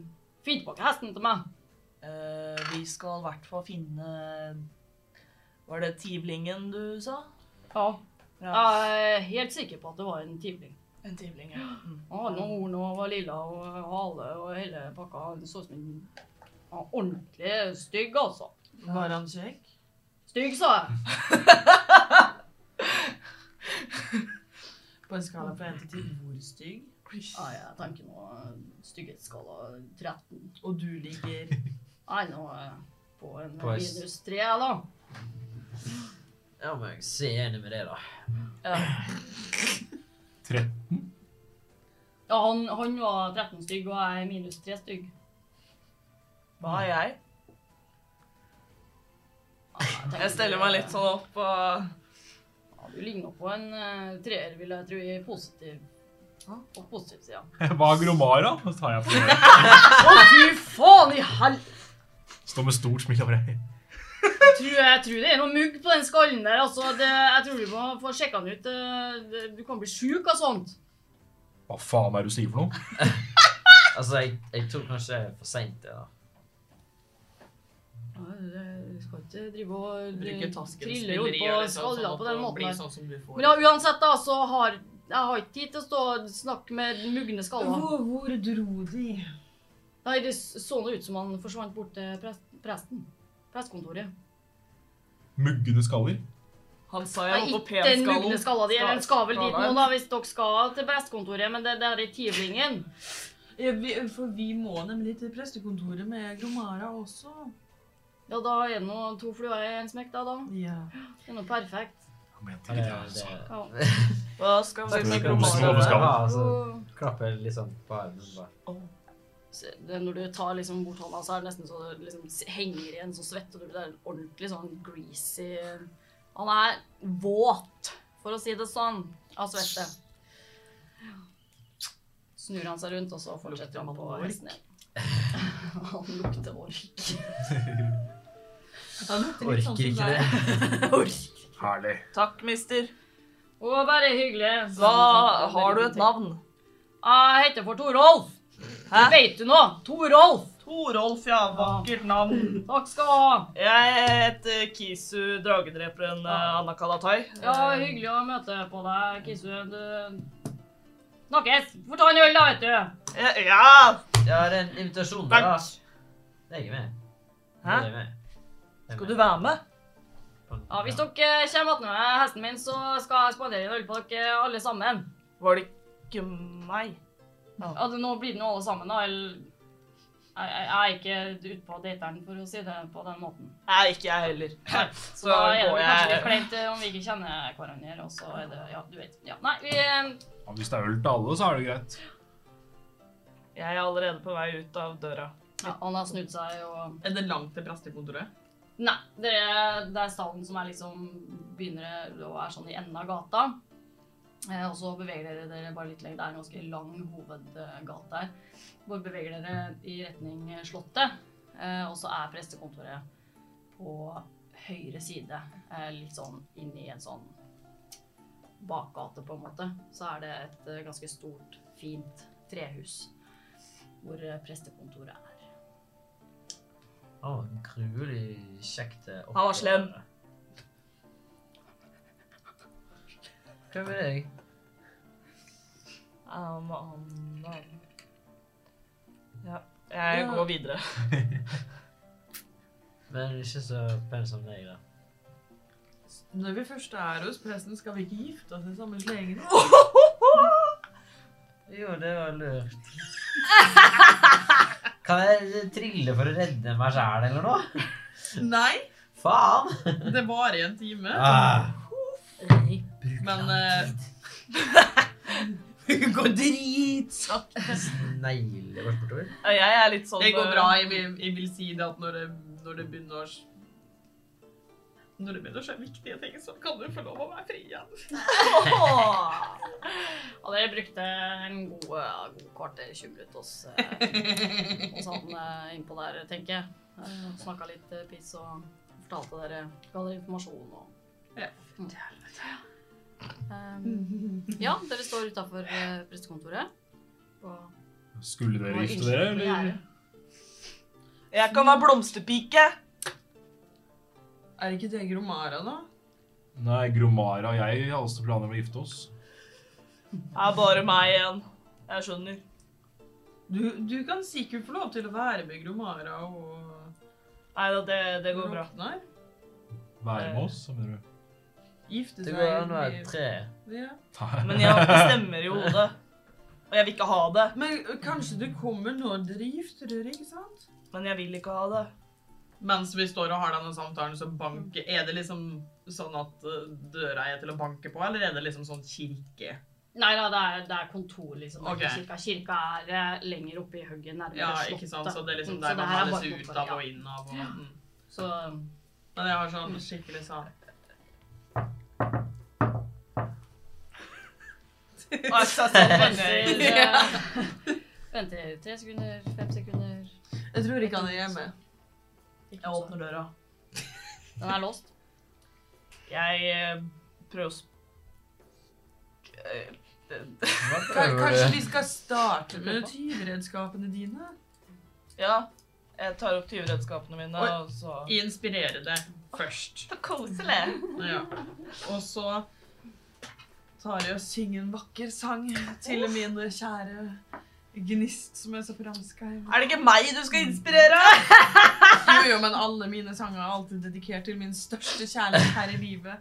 Speaker 1: finne tilbake hesten til meg?
Speaker 2: Eh, vi skal i hvert fall finne Var det tivlingen du sa?
Speaker 1: Ja.
Speaker 2: Ja.
Speaker 1: Jeg er helt sikker på at det var en tivling.
Speaker 2: En tivling, ja. Mm.
Speaker 1: Han hadde noen horn og var lilla og hale og hele pakka. Han så ut som en ja, ordentlig stygg, altså.
Speaker 7: Var han kjekk?
Speaker 1: Stygg, sa jeg.
Speaker 7: På en skala fra 1 til 10, hvor stygg? Ah,
Speaker 1: Ja, jeg tenker nå eh, stygghetsskala 13.
Speaker 7: Og du ligger
Speaker 1: Nei, nå er jeg på en
Speaker 3: På en s-
Speaker 1: minus 3, jeg, da.
Speaker 3: Ja, men jeg er så enig med det, da.
Speaker 5: 13.
Speaker 1: Ja, han, han var 13 stygg, og jeg er minus 3 stygg.
Speaker 2: Hva har jeg?
Speaker 1: Ja, tenker-
Speaker 2: Jeg steller meg litt sånn opp og
Speaker 1: Ja, du ligner på en eh, treer, vil jeg tro, i positiv. På positiv sida.
Speaker 5: Hva er Gromara? Så tar jeg på det.
Speaker 1: Fy faen i hel...
Speaker 5: Står med stort smil over deg.
Speaker 1: Jeg tror, jeg tror det er noe mugg på den skallen der. altså. Det, jeg tror du må få sjekka den ut. eh, det- Du kan bli sjuk av sånt.
Speaker 5: Hva faen er det du sier for noe?
Speaker 3: Altså, jeg, jeg tok kanskje for seint det, da.
Speaker 1: Ja, Du skal ikke drive og eh,
Speaker 7: bruker tasken,
Speaker 1: trille rundt på
Speaker 2: liksom,
Speaker 1: skalla på den måten
Speaker 7: blir
Speaker 1: her.
Speaker 7: liksom, sånn som du får.
Speaker 1: Men ja, uansett, da, så har jeg har ikke tid til å stå og snakke med mugne skaller.
Speaker 7: hvor dro de?
Speaker 1: Nei, det så nå ut som han forsvant bort til pres- presten. Prestkontoret.
Speaker 5: Muggende skaller.
Speaker 2: Han sa
Speaker 1: Nei,
Speaker 2: jeg var på
Speaker 1: ikke den
Speaker 2: penskallen.
Speaker 1: mugne skalla di. eller Den skal vel dit nå,
Speaker 2: Skalaen.
Speaker 1: da, hvis dere skal til prestkontoret. Men det, det er i tivlingen.
Speaker 7: Ja, vi, for vi må nemlig til prestekontoret med Gromara også.
Speaker 1: Ja, da er det nå to fluer i en smekk, da. da.
Speaker 7: Ja.
Speaker 1: Det er nå perfekt.
Speaker 5: Jeg mente
Speaker 3: Det,
Speaker 5: ikke det,
Speaker 3: det,
Speaker 5: altså.
Speaker 1: Ja.
Speaker 2: Hva skal vi
Speaker 5: Takk
Speaker 2: med
Speaker 5: skal du ha.
Speaker 2: grommarer?
Speaker 5: skallen.
Speaker 3: Ja, altså,
Speaker 1: Og-
Speaker 3: klapper litt sånn på armen. Bare.
Speaker 1: Så det, når du tar liksom bort hånda, så er det nesten så det liksom s- henger igjen sånn svett. Og du blir en ordentlig sånn greasy Han er våt, for å si det sånn, av svette. Snur han seg rundt, og så fortsetter han på
Speaker 7: Lukter han
Speaker 1: hesten igjen. Han lukter ork.
Speaker 7: Han lukter
Speaker 3: Orker
Speaker 7: litt sånn som
Speaker 3: ikke
Speaker 7: deg.
Speaker 3: det.
Speaker 5: Herlig.
Speaker 2: Takk, mister.
Speaker 1: Å, bare hyggelig.
Speaker 2: Hva Har du et navn?
Speaker 1: Jeg heter for Torolf. Hæ? Vet du noe? Torolf.
Speaker 2: Torolf, ja. Vakkert navn.
Speaker 1: Takk skal du ha.
Speaker 2: Jeg heter Kisu, dragedreperen eh, Anna Kalatai.
Speaker 1: Ja, hyggelig å møte på deg, Kisu. Du snakkes. Få ta en øl, da, vet du.
Speaker 2: Ja, ja.
Speaker 3: Jeg har en invitasjon, da.
Speaker 2: Takk.
Speaker 3: Det er jeg med. Det
Speaker 2: Hæ?
Speaker 3: er jeg med. Det er
Speaker 2: Skal
Speaker 3: med.
Speaker 2: du være med?
Speaker 1: Ja, Hvis dere kommer attmed hesten min, så skal jeg spandere en øl på dere alle sammen.
Speaker 2: Var det ikke meg?
Speaker 1: Ja, det, nå blir det nå alle sammen, da. Eller jeg, jeg, jeg er ikke ute på dateren, for å si det på den måten.
Speaker 2: Nei, ikke jeg heller.
Speaker 1: Så da er det vel kanskje litt flaut eh, om vi ikke kjenner hverandre, og så er det Ja, du vet. Ja. Nei, vi eh,
Speaker 5: Ja, hvis det er øl til alle, så er det greit.
Speaker 2: Jeg er allerede på vei ut av døra.
Speaker 1: ja, Han har snudd seg og
Speaker 7: Er det langt til prestekontoret?
Speaker 1: Nei, det er, det er stallen som er liksom begynner å er sånn i enden av gata. Eh, og så beveger dere dere bare litt lenger. Det er en ganske lang hovedgate der. Hvor beveger dere i retning eh, Slottet. Eh, og så er prestekontoret på høyre side. Eh, litt sånn inn i en sånn bakgate, på en måte. Så er det et eh, ganske stort, fint trehus hvor eh, prestekontoret er.
Speaker 6: Å, gruelig kjekt. eh,
Speaker 2: var slem.
Speaker 6: oppgjør. Hvem er jeg?
Speaker 2: Um, um, um. Ja, jeg går videre.
Speaker 6: Men ikke så pen som deg, da.
Speaker 7: Når vi først er hos presten, skal vi ikke gifte oss i samme slenge?
Speaker 6: Jo, det var lurt. Kan jeg eh, trille for å redde meg sjæl eller noe?
Speaker 7: Nei,
Speaker 6: Faen!
Speaker 7: det varer i en time.
Speaker 6: Ah.
Speaker 7: Men eh,
Speaker 6: Det går dritsakte. Snegler bort bortover.
Speaker 2: Ja, Jeg er litt sånn
Speaker 7: det går
Speaker 2: eh,
Speaker 7: bra. Jeg vil, jeg vil si det at når det, når det begynner å s- Når det begynner å skje viktige ting, så kan du få lov å være fri igjen.
Speaker 1: Og dere brukte en god, ja, god kvarter, 20 minutter hos, eh, hos han eh, innpå der, tenker jeg. Eh, Snakka litt eh, piss og fortalte dere, ga dere informasjon og
Speaker 7: Ja.
Speaker 1: Mm. Um, ja, dere står utafor eh, prestekontoret. Og,
Speaker 5: Skulle dere
Speaker 1: og
Speaker 5: gifte dere,
Speaker 1: innskyter på
Speaker 5: eller?
Speaker 1: gjerdet.
Speaker 2: Jeg kan være blomsterpike.
Speaker 7: Er ikke det Gromara, da?
Speaker 5: Nei, Gromara og jeg har også planer om å gifte oss.
Speaker 2: Det er bare meg igjen. Jeg skjønner.
Speaker 7: Du, du kan sikkert få lov til å være med Gromara og
Speaker 2: Nei, da, det, det går bra.
Speaker 7: Roknar.
Speaker 5: Være med oss, mener du?
Speaker 7: Gifte
Speaker 6: Det
Speaker 7: seg
Speaker 6: går an å være
Speaker 7: bli-
Speaker 6: eh, tre.
Speaker 7: Ja.
Speaker 2: Men jeg bestemmer i hodet. Og jeg vil ikke ha det.
Speaker 7: Men ø, kanskje du kommer når dere gifter dere, ikke sant?
Speaker 2: Men jeg vil ikke ha det.
Speaker 7: Mens vi står og har denne samtalen, så banker Er det liksom sånn at ø, døra er til å banke på, eller er det liksom sånn kirke?
Speaker 1: Nei da, det er, det er kontor, liksom. det er ikke
Speaker 7: Ok.
Speaker 1: Kirka, kirka er eh, lenger oppe i hugget, nærmere
Speaker 7: Ja,
Speaker 1: slottet.
Speaker 7: ikke sant? Så det er liksom
Speaker 1: Mm,
Speaker 7: der
Speaker 1: det
Speaker 7: man
Speaker 1: her er
Speaker 7: meldes
Speaker 1: bare
Speaker 7: ut
Speaker 1: kontor,
Speaker 7: av
Speaker 1: ja.
Speaker 7: og inn av og mm.
Speaker 1: Så eh,
Speaker 7: Men jeg har sånn skikkelig sånn
Speaker 2: Og jeg skal sånn
Speaker 1: venter,
Speaker 2: fornøyd.
Speaker 1: eh, venter tre sekunder, fem sekunder
Speaker 7: Jeg tror ikke han er hjemme.
Speaker 1: ikke
Speaker 2: Jeg
Speaker 1: så-
Speaker 2: åpner døra.
Speaker 1: Den er låst.
Speaker 2: Jeg eh, prøver å sp- eh, det-
Speaker 6: Hva
Speaker 7: Kanskje vi skal starte med tyvredskapene dine?
Speaker 2: Ja. Jeg tar opp tyvredskapene mine,
Speaker 7: Oi.
Speaker 2: og så
Speaker 7: Inspirere det først.
Speaker 2: Så koselig.
Speaker 7: Ja. Og så tar jeg og synger en vakker sang til min kjære gnist som er så fransk her.
Speaker 2: Er det ikke meg du skal inspirere?
Speaker 7: Jo, jo, men alle mine sanger er alltid dedikert til min største kjærlighet her i livet.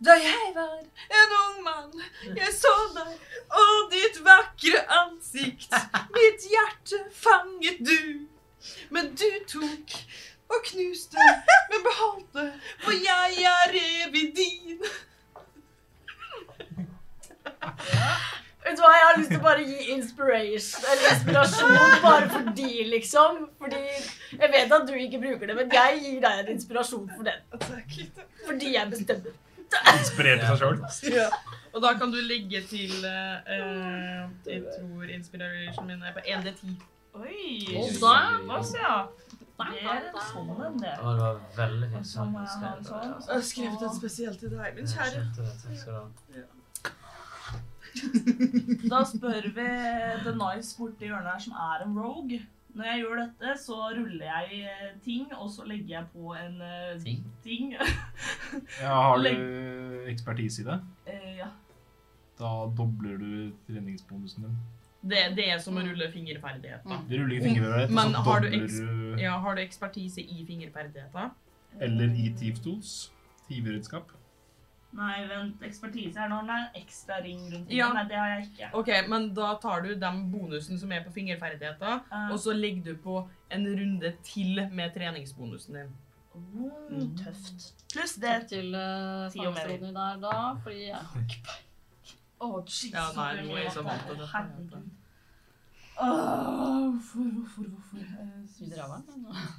Speaker 7: Da jeg var en ung mann, jeg så deg og ditt vakre ansikt. Mitt hjerte fanget du, men du tok og knuste, men beholdt det, for jeg er evig din.
Speaker 4: Vet du hva, jeg har lyst til å bare gi inspiration, eller inspirasjon bare for de, liksom. Fordi jeg vet at du ikke bruker det, men jeg gir deg en inspirasjon for den. Fordi jeg bestemmer.
Speaker 5: Inspirert av seg sjøl.
Speaker 7: Og da kan du legge til eh, Jeg tror inspirasjonen min er på 1D10.
Speaker 2: Oi.
Speaker 1: Og da-
Speaker 2: Hva sier jeg? Det er en sånn en, det.
Speaker 6: Å, det var veldig fint
Speaker 2: Så
Speaker 6: sang.
Speaker 2: må jeg ha en sånn.
Speaker 7: Jeg har skrevet en spesiell til deg, min kjære.
Speaker 2: Da spør vi The Nice borti hjørnet her, som er en rogue. Når jeg gjør dette, så ruller jeg eh, ting, og så legger jeg på en eh,
Speaker 6: Ting?
Speaker 2: ting.
Speaker 5: Ja, har du ekspertise i det?
Speaker 2: Eh, ja.
Speaker 5: Da dobler du treningsbonusen din.
Speaker 7: Det, det er som å rulle fingerferdigheter.
Speaker 5: Du ruller ikke fingrene ditt,
Speaker 7: Men
Speaker 5: og så
Speaker 7: har du
Speaker 5: dobler
Speaker 7: eks-
Speaker 5: du
Speaker 7: Ja, har du ekspertise i fingerferdigheter?
Speaker 5: Eller i Thief Tools. Tiveredskap.
Speaker 2: Nei, vent. Ekspertise er når den er en ekstra ring rundt. Ja.
Speaker 7: Ja.
Speaker 2: Nei, det har jeg ikke.
Speaker 7: Ok, men da tar du den bonusen som er på fingerferdigheter,
Speaker 2: Eh,
Speaker 7: og så legger du på en runde til med treningsbonusen din.
Speaker 2: mm, tøft. Pluss det
Speaker 1: Takk til uh,
Speaker 2: Si og mer.
Speaker 1: fagstatsråden der, da. Fordi jeg har ikke peiling.
Speaker 2: Å, Jesus.
Speaker 7: Ja, nei, nå er jeg så vant til dette.
Speaker 2: Herregud. Åh, hvorfor, hvorfor, hvorfor? Eh,
Speaker 1: Vi drar meg, men, uh,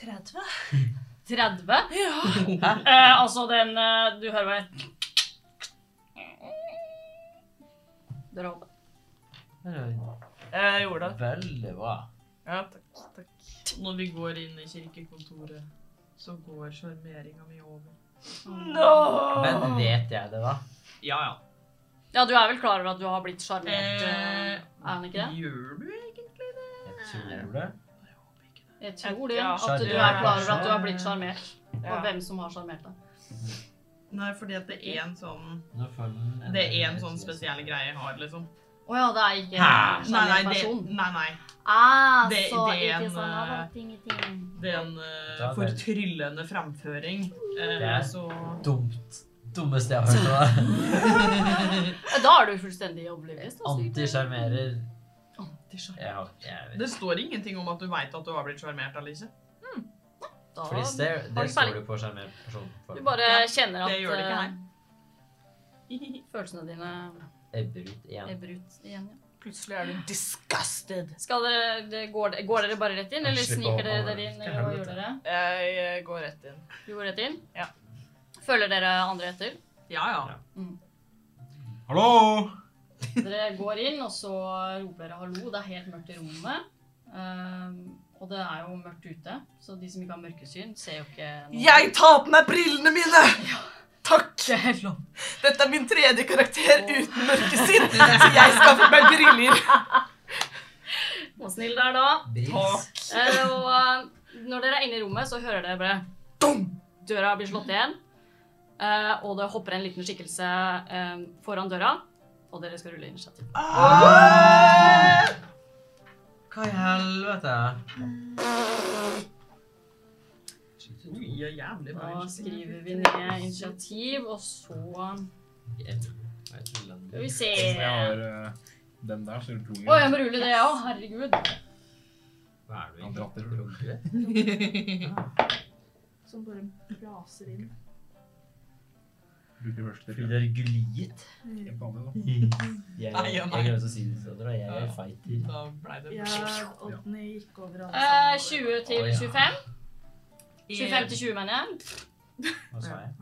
Speaker 2: 30?
Speaker 1: 30?
Speaker 2: Ja.
Speaker 1: Eh, altså den eh, Du hører meg Dere håper.
Speaker 2: Jeg gjorde det.
Speaker 3: Veldig bra.
Speaker 2: Ja, takk. takk.
Speaker 7: Når vi går inn i kirkekontoret, så går sjarmeringa mi over.
Speaker 3: Men vet jeg det, da?
Speaker 7: Ja, ja.
Speaker 1: Ja, du er vel klar over at du har blitt sjarmert?
Speaker 7: Eh,
Speaker 1: eh, Er han ikke det?
Speaker 7: Gjør du egentlig det?
Speaker 3: Jeg tror det.
Speaker 7: Jeg håper ikke det.
Speaker 1: Jeg tror det.
Speaker 2: Ja,
Speaker 1: At du er
Speaker 3: sjarmert,
Speaker 1: klar over
Speaker 3: kanskje.
Speaker 1: at du har blitt sjarmert.
Speaker 2: Ja.
Speaker 1: Og hvem som har sjarmert deg.
Speaker 7: Nei, fordi at det er en sånn
Speaker 3: Nå får den en-
Speaker 7: Det er en sånn spesiell greie jeg har, liksom.
Speaker 1: Å ja, det er ikke en
Speaker 3: Hæ?
Speaker 7: Nei, nei,
Speaker 1: sjarmert
Speaker 7: det,
Speaker 1: person.
Speaker 7: nei, nei.
Speaker 1: Ah,
Speaker 7: Det-
Speaker 1: så
Speaker 7: det er
Speaker 1: ikke
Speaker 7: en,
Speaker 1: sånn
Speaker 7: eh,
Speaker 1: ah, ting, ting.
Speaker 7: det er en eh,
Speaker 3: Da er det-
Speaker 7: fortryllende fremføring. eh,
Speaker 3: Det er-
Speaker 7: Så
Speaker 3: Dumt. Dummeste jeg har hørt. om det.
Speaker 1: Ja, Da er du fullstendig altså. oblivious. da, sikkert.
Speaker 3: Antisjarmerer. Jeg har jeg vet.
Speaker 7: det står ingenting om at du veit at du har blitt sjarmert eller ikke.
Speaker 1: Da-
Speaker 3: Fordi
Speaker 1: Har
Speaker 3: det, det
Speaker 1: du
Speaker 3: står
Speaker 1: peiling?
Speaker 3: det på sjarmert person. for.
Speaker 1: Du bare kjenner at
Speaker 7: det gjør det ikke her.
Speaker 1: eh, Følelsene dine
Speaker 3: Ebber ut igjen.
Speaker 1: ebber ut igjen. Ja.
Speaker 2: Plutselig er du disgusted.
Speaker 1: Skal dere, det, går, det- går dere bare rett inn, eller
Speaker 3: Slipp å
Speaker 1: sniker dere
Speaker 3: holde
Speaker 1: dere inn? Eller hva gjør dere?
Speaker 2: Jeg eh, går rett inn.
Speaker 1: Du går rett inn?
Speaker 2: Ja.
Speaker 1: Følger dere andre etter?
Speaker 7: Ja, ja.
Speaker 5: Hallo!
Speaker 1: Dere går inn, og så roper dere hallo. Det er helt mørkt i rommet. Ehm, og det er jo mørkt ute, så de som ikke har mørkesyn, ser jo ikke noe.
Speaker 2: Jeg tar på meg brillene mine! Takk!
Speaker 1: Det er helt lov.
Speaker 2: Dette er min tredje karakter uten mørkesinn, så jeg skaffer meg briller.
Speaker 1: Og snill der, da.
Speaker 3: Brils.
Speaker 1: Eh, og eh, når dere er inne i rommet, så hører dere bare Dum! Døra blir slått igjen. Eh, og det hopper en liten skikkelse eh, foran døra, og dere skal rulle initiativ.
Speaker 3: Hva i helvete?
Speaker 7: Oi, ja, jævlig bra.
Speaker 1: Da
Speaker 7: initiativ.
Speaker 1: skriver vi ned initiativ, og så
Speaker 3: Jeg tror den-
Speaker 1: Skal vi se
Speaker 5: Jeg har eh, den der, så du
Speaker 1: Å, jeg må rulle det òg. Herregud.
Speaker 3: Hva er du
Speaker 5: Han dratt det.
Speaker 3: egentlig?
Speaker 2: Som bare raser inn.
Speaker 5: Bruker første
Speaker 3: Fordi det er guliet.
Speaker 5: Jeg kan det, da.
Speaker 3: Jeg, jeg,
Speaker 7: Nei, ja, nei.
Speaker 3: glemmer å si det, så jeg tror jeg er fighter.
Speaker 7: Da blei det
Speaker 2: Odny gikk over
Speaker 1: Eh, 20 til
Speaker 3: Å, ja.
Speaker 1: 25. 25 til 20, mener jeg.
Speaker 3: Hva sa jeg?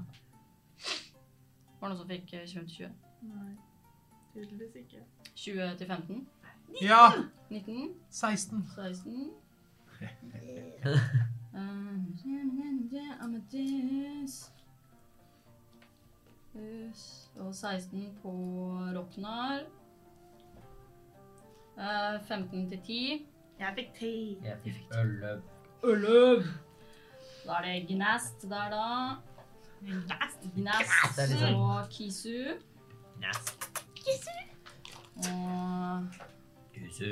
Speaker 1: Var det noen som fikk eh, 25 til 20?
Speaker 2: Nei, tydeligvis ikke.
Speaker 1: 20 til 15.
Speaker 5: Ja!
Speaker 1: 19.
Speaker 5: 16.
Speaker 1: 16. Eh, Amadeus. Yes. Og 16 på Roknar. Eh, 15 til 10.
Speaker 2: Jeg fikk ti.
Speaker 3: Jeg fikk øløv.
Speaker 1: Da er det Gnast der, da. Gnast
Speaker 3: Det er litt sånn-
Speaker 1: og Kisu.
Speaker 3: Nest.
Speaker 1: Og
Speaker 3: Husu.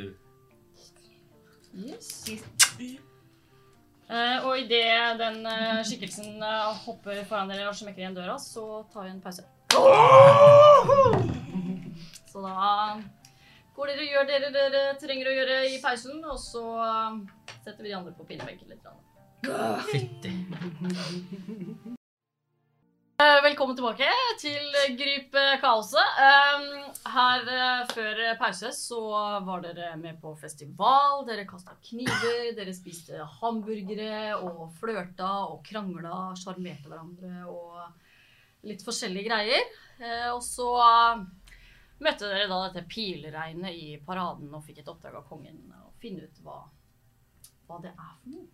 Speaker 1: Yes. Eh, og idet den eh, skikkelsen eh, hopper foran dere og smekker igjen døra, så tar vi en pause. Så da går dere og gjør det dere, dere trenger å gjøre i pausen, og så eh, setter vi de andre på pinnebenken litt. grann.
Speaker 3: Ah. Fytti.
Speaker 1: Eh, Velkommen tilbake til Gryp eh, kaoset. Um, Her eh, før eh, pause så var dere med på festival. Dere kasta kniver, dere spiste hamburgere og flørta og krangla, sjarmerte hverandre og litt forskjellige greier. Eh, Og så eh, møtte dere da dette pilregnet i paraden og fikk et oppdrag av kongen eh, å finne ut hva, hva det er for noe.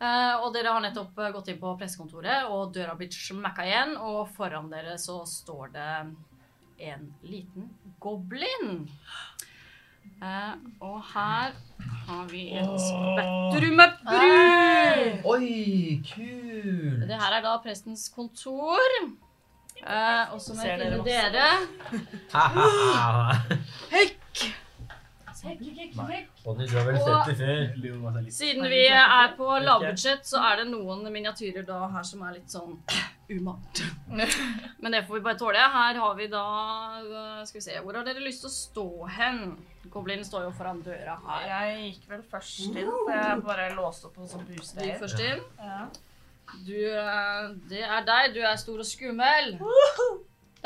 Speaker 1: Eh, og dere har nettopp eh, gått inn på pressekontoret, og døra har blitt smekka igjen. Og foran dere så står det en liten goblin. Eh, og her har vi en spektrumbru.
Speaker 3: Oi, kul!
Speaker 1: Det her er da prestens kontor. Eh, og så må jeg
Speaker 2: Ser dere
Speaker 1: finne dere.
Speaker 3: Ha, ha, ha.
Speaker 1: Høyk!
Speaker 6: Bonnie, du har vel
Speaker 1: Og-
Speaker 6: sett det før?
Speaker 5: Jeg lurer på om at det er litt-
Speaker 1: Siden vi er på lavbudsjett, så er det noen miniatyrer da her som er litt sånn umalt. Men det får vi bare tåle. Her har vi da eh, Skal vi se, hvor har dere lyst til å stå hen? Goblinen står jo foran døra her.
Speaker 2: Jeg gikk vel først inn, for jeg bare låste opp en sånn
Speaker 1: Du gikk
Speaker 2: busleir.
Speaker 1: først inn.
Speaker 2: Ja.
Speaker 1: Du, eh, det er deg. Du er stor og skummel.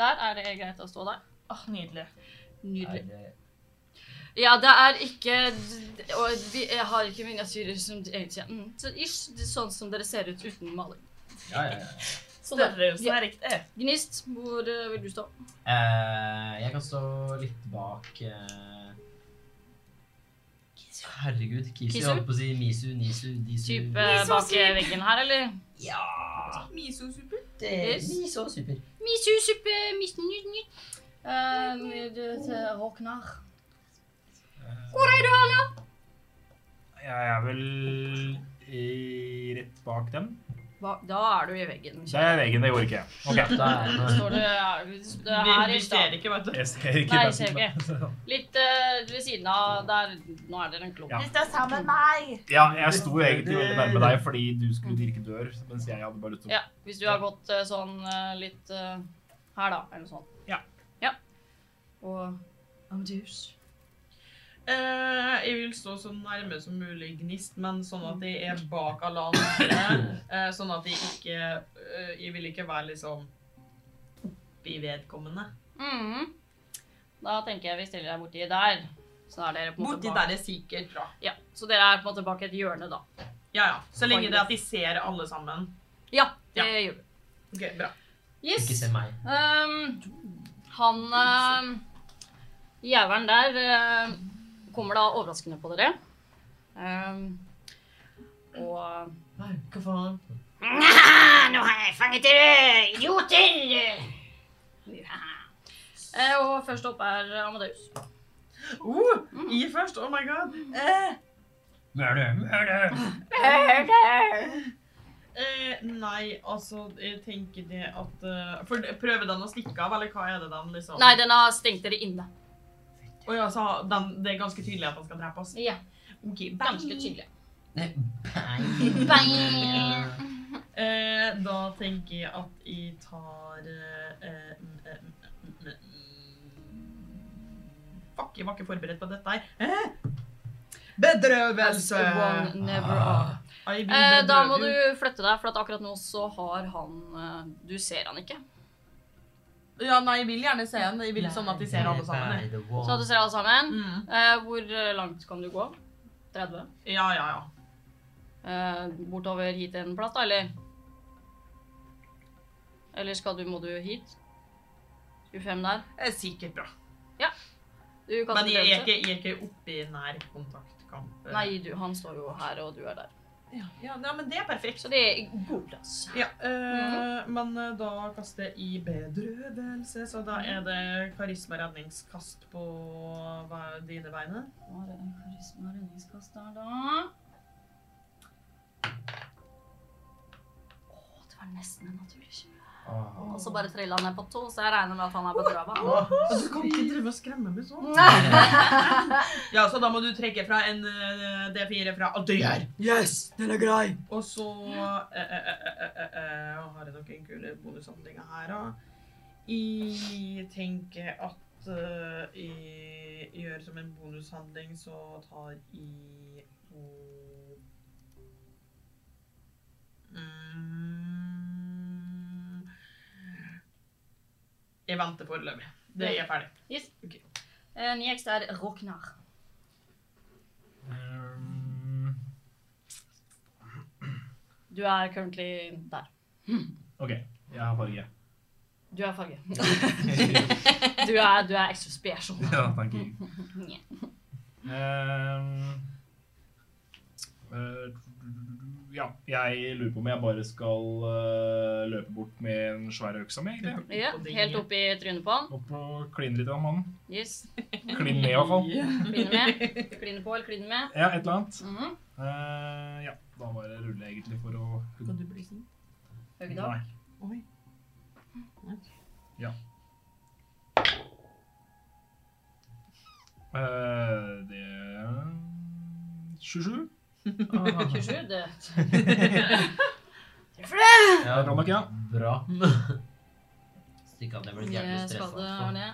Speaker 1: Der er det greit å stå der.
Speaker 2: Åh, nydelig.
Speaker 1: Nydelig.
Speaker 6: Er det-
Speaker 1: Ja, det er ikke Og vi jeg har ikke miniatyrer som egentlig er mm, så ish, det er sånn som dere ser ut uten maling.
Speaker 6: Ja, ja, ja.
Speaker 1: Sånn der.
Speaker 2: Størrelsen er riktig.
Speaker 1: Gnist, hvor eh, vil du stå?
Speaker 3: Eh, jeg kan stå litt bak eh... Herregud, Kisu.
Speaker 1: Kisu?
Speaker 3: Jeg holdt på å si Misu, Nisu, Disu
Speaker 1: Type
Speaker 3: Miso.
Speaker 1: bak veggen her, eller?
Speaker 3: Ja!
Speaker 7: Miso-suppe.
Speaker 3: Det,
Speaker 1: Yes.
Speaker 3: Miso super.
Speaker 1: Misusuppe, misnytnytt.
Speaker 7: Eh,
Speaker 1: Håknar. Hvor er du, Anja?
Speaker 5: Jeg er vel i, rett bak dem.
Speaker 1: Da er du i veggen.
Speaker 5: Det er veggen, det går ikke. Ok.
Speaker 3: Da er det
Speaker 1: Står du er du- det er her i
Speaker 7: Vi ser
Speaker 1: stad.
Speaker 7: ikke, vet du.
Speaker 5: Jeg ser ikke.
Speaker 1: Nei,
Speaker 5: den.
Speaker 1: jeg ser ikke. Litt eh, ved siden av der. Nå er dere en klump.
Speaker 5: Ja.
Speaker 2: De står sammen med meg.
Speaker 5: Ja, jeg sto egentlig veldig nærme deg fordi du skulle dirke dør, mens jeg hadde bare lyst til å
Speaker 1: Ja, hvis du har gått eh, sånn eh, litt eh, her, da, eller noe sånt.
Speaker 5: Ja.
Speaker 1: ja. Og Amadeus.
Speaker 7: Eh, jeg vil stå så nærme som mulig gnist, men sånn at jeg er bak alle andre. eh, sånn at jeg ikke eh, Jeg vil ikke være liksom oppi vedkommende.
Speaker 1: Mhm. Da tenker jeg vi stiller deg borti der. Så er dere på en måte
Speaker 7: Borti
Speaker 1: bak-
Speaker 7: der er sikkert bra.
Speaker 1: Ja, så dere er på en måte bak et hjørne, da.
Speaker 7: Ja, ja. Så lenge det er at de ser alle sammen.
Speaker 1: Ja, det
Speaker 7: Ja.
Speaker 1: gjør vi.
Speaker 7: Ok, bra.
Speaker 1: Yes.
Speaker 3: Ikke se meg.
Speaker 1: Ehm, han uh, jævelen der eh, kommer da overraskende på dere. Ehm, og
Speaker 3: Nei, hva faen?
Speaker 4: Nja, Nå har jeg fanget dere, idioter!
Speaker 1: eh, Og først opp er Amadeus.
Speaker 7: Oh, I først? Oh my god. Eh,
Speaker 6: Møle, møle.
Speaker 7: eh, nei, altså, jeg tenker det at eh, For prøver den å stikke av, eller hva er det den liksom
Speaker 1: Nei, den har stengt dere inne.
Speaker 7: Å ja, så har den, det er ganske tydelig at den skal drepe oss?
Speaker 1: Ja,
Speaker 7: Ok,
Speaker 1: ganske
Speaker 7: bang.
Speaker 1: tydelig.
Speaker 3: Nei,
Speaker 1: Bang!
Speaker 7: Eh, da tenker jeg at jeg tar eh, eh, mm, eh, mm, mm, mm. Fuck, jeg var ikke forberedt på dette her. Eh?
Speaker 1: As
Speaker 7: Bedrøvelse!
Speaker 1: one never are.
Speaker 7: I will
Speaker 1: Eh, da må du
Speaker 7: bedrøve
Speaker 1: flytte deg, for at akkurat nå så har han eh, Du ser han ikke.
Speaker 7: Ja, nei, jeg vil gjerne se den. Jeg vil sånn at de ser alle sammen. jeg.
Speaker 1: Så du ser alle sammen.
Speaker 7: Mm.
Speaker 1: Eh, hvor eh, langt kan du gå? 30?
Speaker 7: Ja, ja, ja.
Speaker 1: Eh, bortover hit en plass, da, eller? Eller skal du, må du hit? 25 der.
Speaker 7: Det er sikkert bra.
Speaker 1: Du kan
Speaker 7: Men jeg er
Speaker 1: ikke
Speaker 7: ikke, jeg er ikke oppe i nær kontaktkamp.
Speaker 1: Nei, du, han står jo her, og du er der.
Speaker 7: Ja, ja, ja, men det er perfekt.
Speaker 1: Så det er god plass.
Speaker 7: Ja, eh, men eh, da kaster jeg i bedrøvelse, så da er det karisma-redningskast på hva- dine vegne.
Speaker 1: Hva er det en karisma og redningskast der, da? Å, det var nesten en naturlig 20. Og så bare trilla han ned på to, så jeg regner med at han er bedrava.
Speaker 7: Og du kan ikke drive og skremme meg sånn. Ja, så da må du trekke fra en eh, D4 fra alt du gjør.
Speaker 3: Yes, den er grei!
Speaker 7: Og så eh, eh, eh, eh, eh, eh, har jeg noen kule bonushandlinger her, da. Jeg tenker at eh, jeg gjør som en bonushandling, så tar jeg og mm, Jeg venter foreløpig. Det er ferdig.
Speaker 1: Yes.
Speaker 7: Ok.
Speaker 1: Eh, Ny X er Roknar.
Speaker 5: Um,
Speaker 1: Du er currently der.
Speaker 5: Ok, jeg har farge.
Speaker 1: Du er farge. Du er, du er ekstra special.
Speaker 5: Ja, thank you. Ehm, eh, ja, jeg lurer på om jeg bare skal eh, løpe bort med en svær øksa mi, egentlig.
Speaker 1: Ja, helt opp i trynet på han.
Speaker 5: Opp og kline litt av mannen.
Speaker 1: Yes.
Speaker 5: Kline ned, i hvert fall.
Speaker 1: Kline med. Kline på eller kline med.
Speaker 5: Ja, et eller annet.
Speaker 1: Mhm.
Speaker 5: Eh, ja, da bare ruller jeg egentlig for å
Speaker 7: Kan du bli sånn?
Speaker 1: Høgda.
Speaker 5: Nei.
Speaker 7: Oi.
Speaker 5: Ja. Eh, det er Ah. 27.
Speaker 1: 27, det
Speaker 3: Ja,
Speaker 5: Det rammer ikke, ja.
Speaker 3: Bra. Stikke av, det blir jævlig altså.
Speaker 1: det
Speaker 3: stressa.
Speaker 1: skade var det.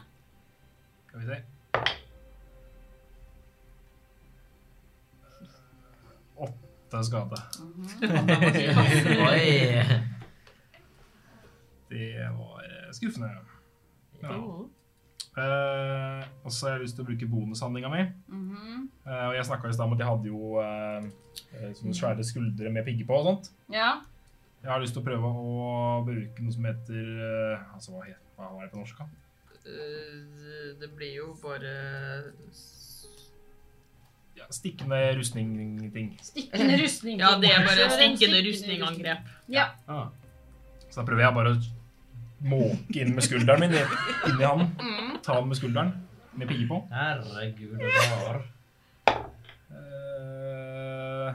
Speaker 5: Skal vi se. Åtte skade.
Speaker 3: Oi!
Speaker 5: Det var eh, skuffende. Ja.
Speaker 7: Oh.
Speaker 5: Eh, og så har jeg lyst til å bruke bonushandlinga mi.
Speaker 1: Mhm.
Speaker 5: Eh, og jeg snakka i stad om at jeg hadde jo eh, eh, sånne svære skuldre med pigger på og sånt.
Speaker 1: Ja.
Speaker 5: Jeg har lyst til å prøve å bruke noe som heter eh, Altså, hva, het, hva er det på norsk? da?
Speaker 7: Eh, Det blir jo bare
Speaker 5: Ja, stikkende rustning-ting.
Speaker 1: Stikkende rustning.
Speaker 7: Ja, det er bare
Speaker 1: Stikkende
Speaker 7: stikkende
Speaker 1: rustning.
Speaker 7: rustningangrep.
Speaker 5: Så da prøver jeg bare å måke inn med skulderen min inn i han. Ta han med skulderen med pigger på.
Speaker 3: Herregud, det var
Speaker 5: Eh,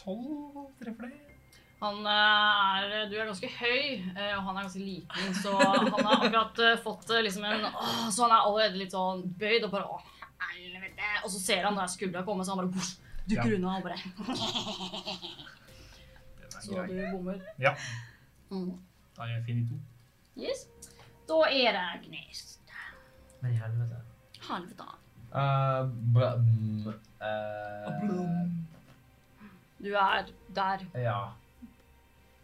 Speaker 5: Tolv treffer det.
Speaker 1: Han eh, er, du er ganske høy, eh, og han er ganske liten, så han har akkurat eh, fått eh, liksom en åh, Så han er allerede litt sånn bøyd og bare åh, helvete. Og så ser han der skuldra komme, så han bare bors, dukker
Speaker 5: Ja.
Speaker 1: unna og bare Så
Speaker 5: Den er grei.
Speaker 1: du bommer.
Speaker 5: Ja.
Speaker 1: Mm.
Speaker 5: Da er jeg fin i to.
Speaker 1: Yes. Da er det Agnes.
Speaker 3: Men i helvete.
Speaker 1: Helvete.
Speaker 3: Eh, bra- mm, eh,
Speaker 1: Du er der.
Speaker 3: Ja.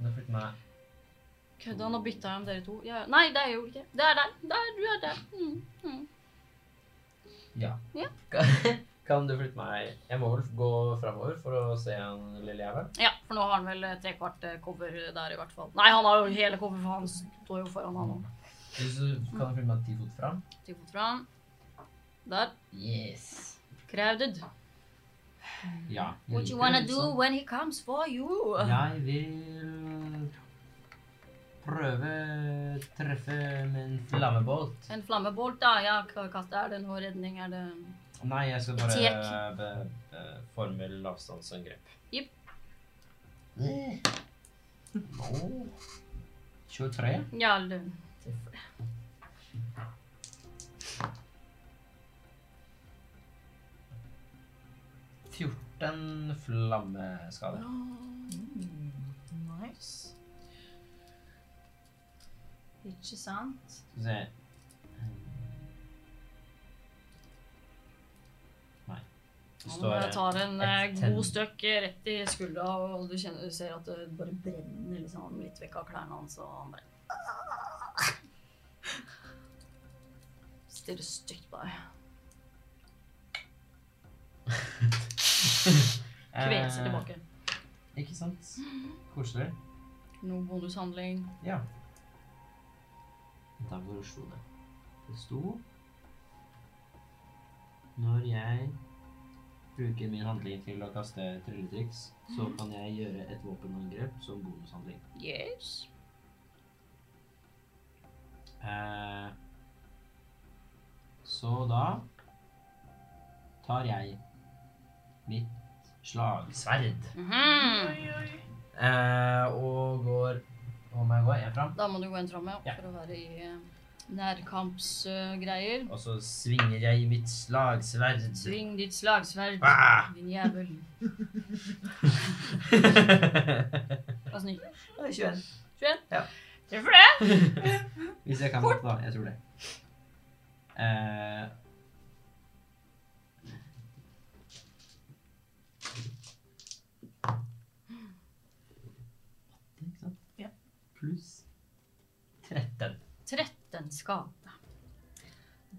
Speaker 3: Nå flytter jeg meg.
Speaker 1: Kødda, nå bytta jeg om dere to. Ja, ja. nei, det er jo ikke Det er der. Der, du er der. Mm.
Speaker 3: Ja.
Speaker 1: Ja.
Speaker 3: Kan- Kan du flytte meg Jeg må vel gå framover for å se han lille jævelen?
Speaker 1: Ja, for nå har han vel eh, trekvart eh, cover der, i hvert fall. Nei, han har jo hele cover, for han står jo foran han nå.
Speaker 3: Hvis du kan du flytte meg ti fot fram?
Speaker 1: Ti fot fram. Der.
Speaker 3: Yes.
Speaker 1: Crowded.
Speaker 3: Mm. Ja. jeg
Speaker 1: What
Speaker 3: liker
Speaker 1: you wanna
Speaker 3: det,
Speaker 1: do
Speaker 3: sånn.
Speaker 1: when he comes for you?
Speaker 3: Jeg vil prøve treffe med en flammebolt.
Speaker 1: En flammebolt, da. Ja, hva kaster er det nå? Redning er det
Speaker 3: Nei, jeg skal bare
Speaker 1: Tek.
Speaker 3: be, be, formel avstandsangrep.
Speaker 1: Jipp.
Speaker 3: Eh. Åh. 23?
Speaker 1: Ja, eller
Speaker 3: Treffer det. Fjorten flammeskader.
Speaker 2: Nice.
Speaker 1: Ikke sant?
Speaker 3: Skal vi se Nei. Det står
Speaker 1: Han tar en eh,
Speaker 3: et tenn.
Speaker 1: god støkk eh, rett i skuldra, og du, kjenner, du ser at det bare brenner liksom, litt vekk av klærne hans, og han bare Stirrer stygt på deg. Kveser
Speaker 3: eh,
Speaker 1: tilbake.
Speaker 3: Ikke sant? Koselig.
Speaker 1: Noe bonushandling.
Speaker 3: Ja. Da hvor sto det? Det sto Når jeg bruker min handling til å kaste trylletriks, så kan jeg gjøre et våpenangrep som bonushandling.
Speaker 1: Yes.
Speaker 3: Eh, så da tar jeg mitt slagsverd
Speaker 1: Mhm.
Speaker 2: Oi, oi.
Speaker 3: eh, og går Hvor må jeg gå? En fram?
Speaker 1: Da må du gå en fram, ja,
Speaker 3: Ja.
Speaker 1: for å være i eh, nærkampsgreier.
Speaker 3: Og så svinger jeg i mitt slagsverd.
Speaker 1: Sving ditt slagsverd,
Speaker 3: Ah!
Speaker 1: din jævel. Hva sniker du?
Speaker 3: 21.
Speaker 1: 21?
Speaker 3: Ja.
Speaker 1: Treffer det?
Speaker 3: Hvis jeg kan det, da. Jeg tror det. Eh, ikke sant?
Speaker 2: Ja.
Speaker 3: Pluss 13.
Speaker 1: 13 skade.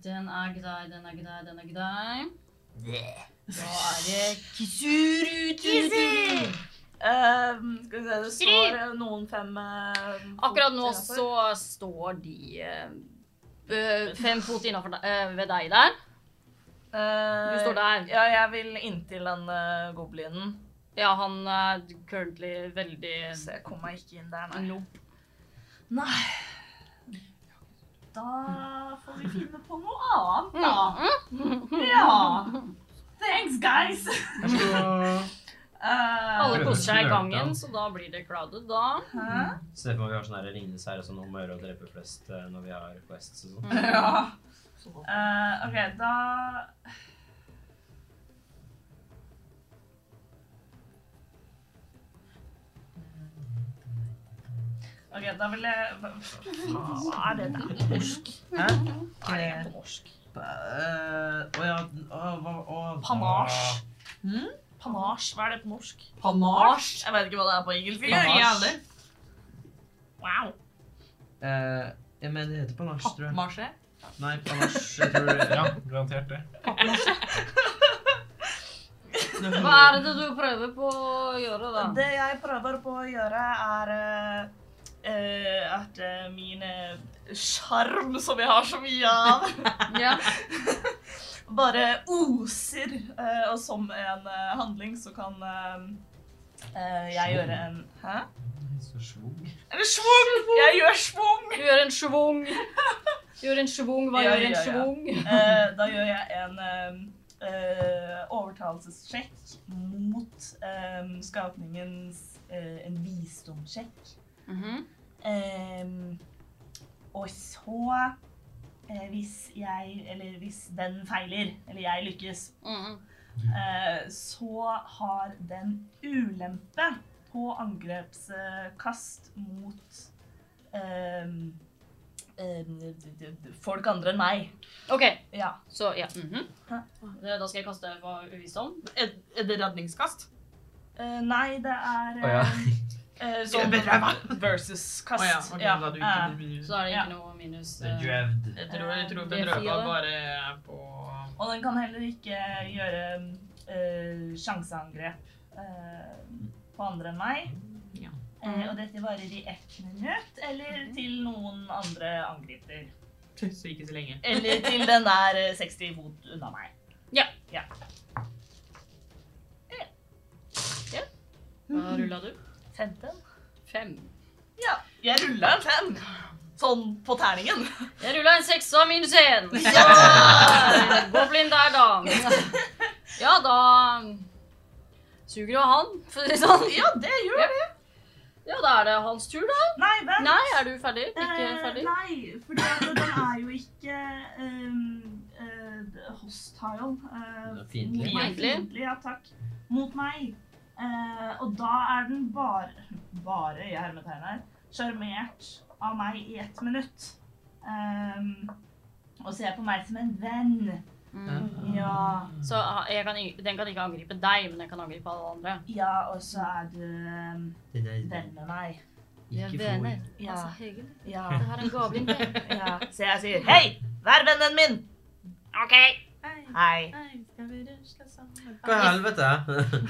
Speaker 1: Den er gdei, den er gdei, den er gdei. Da er det Kisuru! Kisuru!
Speaker 2: Ehm, skal vi se, det står eh, noen fem eh,
Speaker 1: Akkurat nå
Speaker 2: fot innenfor.
Speaker 1: så står de eh, eh, fem fot innafor deg, eh, ved deg der.
Speaker 2: Eh,
Speaker 1: Du står der.
Speaker 2: Ja, jeg vil inntil den eh, goblinen.
Speaker 1: Ja, han er currently veldig
Speaker 2: Så jeg kom meg ikke inn der, nei.
Speaker 1: Nope.
Speaker 2: Nei. Da får vi finne på noe annet, da. Ja. Mm. Thanks, guys. Eh,
Speaker 1: Alle
Speaker 3: Prøver
Speaker 1: koser seg i
Speaker 3: snørt, ja.
Speaker 1: gangen, så da blir det crowded, da.
Speaker 2: hæ?
Speaker 3: Se for meg vi har sånn her Ringenes herre sånn om å gjøre å drepe flest eh, når vi har quests og sånn.
Speaker 2: Ja. Eh, ok, da Ok, da vil jeg Hva faen, hva er det der?
Speaker 3: Hæ?
Speaker 2: Hva er det på norsk? Eh,
Speaker 3: Å ja å, hva- å,
Speaker 2: Panasj.
Speaker 7: Mm?
Speaker 2: Panasj, hva er det på norsk?
Speaker 7: Panasj.
Speaker 2: Jeg vet ikke hva det er på engelsk.
Speaker 7: Ikke
Speaker 2: engang.
Speaker 7: jævlig.
Speaker 2: Wow.
Speaker 3: Eh, jeg mener det heter panasj, tror jeg.
Speaker 7: Pappmasje.
Speaker 3: Nei, panasj, jeg tror det.
Speaker 5: Ja, garantert det.
Speaker 1: Hva er det du prøver på å gjøre, da?
Speaker 2: Det jeg prøver på å gjøre, er eh, eh, at eh, min eh, sjarm, som jeg har så mye av,
Speaker 1: Ja.
Speaker 2: bare oser. eh, og som en eh, handling så kan eh, eh, jeg gjøre en Hæ?
Speaker 3: Mm. Så svung.
Speaker 2: Eller schwung! Jeg gjør schwung!
Speaker 1: Du gjør en schwung. Gjør en schwung, hva
Speaker 2: Ja,
Speaker 1: gjør en
Speaker 2: ja, ja.
Speaker 1: schwung?
Speaker 2: Eh, da gjør jeg en eh, eh, overtalelsessjekk mot eh, skapningens eh, en visdomssjekk.
Speaker 1: Mhm.
Speaker 2: Ehm, og så eh, hvis jeg, eller hvis den feiler, eller jeg lykkes,
Speaker 1: Mhm.
Speaker 2: eh, så har den ulempe på angrepskast mot ehm, ehm, d- d- d- folk andre enn meg.
Speaker 1: OK,
Speaker 2: Ja.
Speaker 1: så ja. mhm. Det- Da skal jeg kaste på visdom.
Speaker 7: Er, er det redningskast?
Speaker 2: Eh, nei, det er
Speaker 3: Å ja.
Speaker 2: eh, eh,
Speaker 7: Jeg
Speaker 2: sånn
Speaker 7: vet hva.
Speaker 2: versus-kast.
Speaker 7: Å ja, ok, da du ikke
Speaker 2: eh,
Speaker 7: blir-
Speaker 1: Så er det
Speaker 2: Ja.
Speaker 1: ikke noe minus.
Speaker 3: Så
Speaker 1: eh,
Speaker 3: Dread.
Speaker 7: Jeg tror, jeg tror
Speaker 1: Det er
Speaker 7: bedrøva
Speaker 1: fire.
Speaker 7: bare er på
Speaker 2: og den kan heller ikke gjøre eh, sjanseangrep eh, på andre enn meg.
Speaker 7: ja.
Speaker 1: Mm.
Speaker 2: Eh, og dette varer i ett minutt, eller til noen andre angriper.
Speaker 7: Så ikke så lenge.
Speaker 2: Eller til den er eh, 60 fot unna meg.
Speaker 1: Hva rulla du?
Speaker 2: 15?
Speaker 1: Fem.
Speaker 2: Ja, jeg rulla en fem. Sånn på terningen.
Speaker 1: Jeg rulla en seksa minus én. Så gå blind der, da. Ja, da mm, suger jo han, for å si det sånn.
Speaker 2: Ja, det gjør det.
Speaker 1: Ja, da er det hans tur, da.
Speaker 2: Nei, vent.
Speaker 1: Nei, er du ferdig? Ikke
Speaker 2: Eh,
Speaker 1: ferdig?
Speaker 2: Nei, for den er jo ikke ehm, eh, hostile. eh,
Speaker 3: Den er fiendtlig.
Speaker 2: mot meg.
Speaker 1: Fiendtlig.
Speaker 2: Fiendtlig, ja takk. Mot meg. Eh, og da er den bare, bare i hermetegn her, sjarmert av meg i ett minutt. Ehm, og ser på meg som en venn.
Speaker 1: Mm.
Speaker 2: Ja,
Speaker 1: Så ah, jeg kan, i- den kan ikke angripe deg, men den kan angripe alle andre.
Speaker 2: ja og så er du ehm,
Speaker 3: Den er
Speaker 2: venn med meg.
Speaker 3: ikke for. Ah.
Speaker 2: Ja.
Speaker 1: Altså, Hegel,
Speaker 2: Ja,
Speaker 1: det her er en gavling, det.
Speaker 2: ja. Så jeg sier hei, vær vennen min!
Speaker 4: OK.
Speaker 2: Hei.
Speaker 3: Hva i helvete?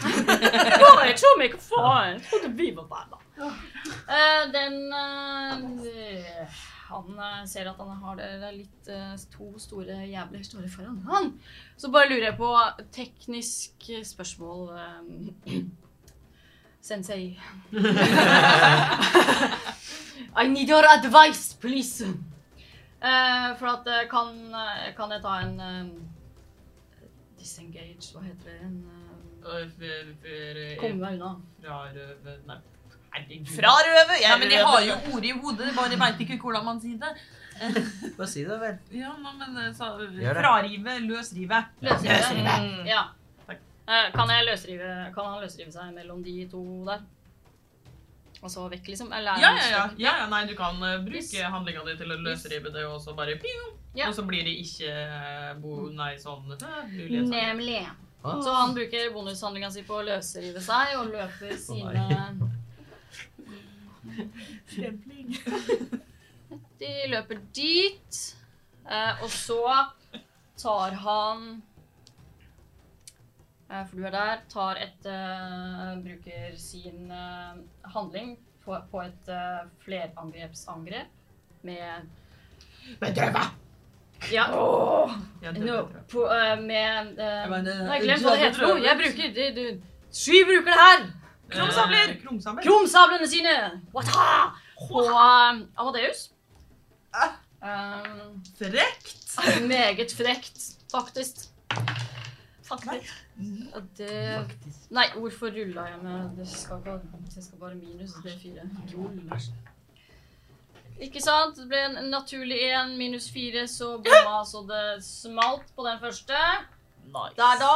Speaker 1: Nei, jeg tror ikke faen. Jeg trodde vi var der, da. den eh, Han eh, ser at han har det, det er litt eh, to store jævler står foran han. Så bare lurer jeg på teknisk spørsmål eh, Sensei. I need your advice, please. Eh, for at eh, kan, eh, kan jeg ta en eh, Disengage, hva heter det? En, eh, komme meg unna.
Speaker 7: Frarøve... Nei, herregud.
Speaker 2: Frarøve!
Speaker 7: Nei, men jeg har jo ordet i hodet, bare veit ikke hvordan man sier det.
Speaker 3: Bare si det, vel.
Speaker 7: Ja, nei, men eh, sa,
Speaker 3: det.
Speaker 7: Frarive, løsrive.
Speaker 1: Løsrive.
Speaker 7: Mm.
Speaker 1: Ja.
Speaker 7: sånn Takk.
Speaker 1: Eh, Kan, jeg løsrive, kan han løsrive seg mellom de to der? Og så vekk, liksom? Eller er
Speaker 7: Ja,
Speaker 1: han
Speaker 7: ja, ja.
Speaker 1: sløv?
Speaker 7: ja, ja nei, du kan eh,
Speaker 1: Hvis-
Speaker 7: bruke handlinga di til å løsrive det, og så bare ping,
Speaker 1: Ja.
Speaker 7: og så blir det ikke eh, bo, nei, sånn eh, mulighet.
Speaker 1: Nemlig.
Speaker 3: Ah.
Speaker 1: Så han bruker bonushandlinga si på å løsrive seg og løper sine De løper dit, eh, og så tar han eh, For du er der. Tar et eh, Bruker sin eh, handling på, på et eh, flerangrepsangrep med
Speaker 7: Bedøva!
Speaker 1: Ja.
Speaker 7: Ja,
Speaker 1: No,
Speaker 7: det, tror jeg.
Speaker 1: på, eh, med eh,
Speaker 7: Jeg mener,
Speaker 1: Nå har jeg glemt hva det heter. nå.
Speaker 7: Jabbertrøbbel.
Speaker 1: Jeg bruker du, du, Sky bruker det her!
Speaker 7: Krumsabler! Krumsabler.
Speaker 1: Krumsablene sine! Wata! På eh, Amadeus.
Speaker 7: Ah.
Speaker 1: Um,
Speaker 7: Frekt!
Speaker 1: meget frekt, faktisk. Faktisk. Og Det Nei, hvorfor rulla jeg med Det skal, ikke, det skal bare minus D4. Lol. Ikke sant? Det ble en naturlig 1 minus 4, så bomma så det smalt på den første.
Speaker 2: Nice.
Speaker 1: Der, da.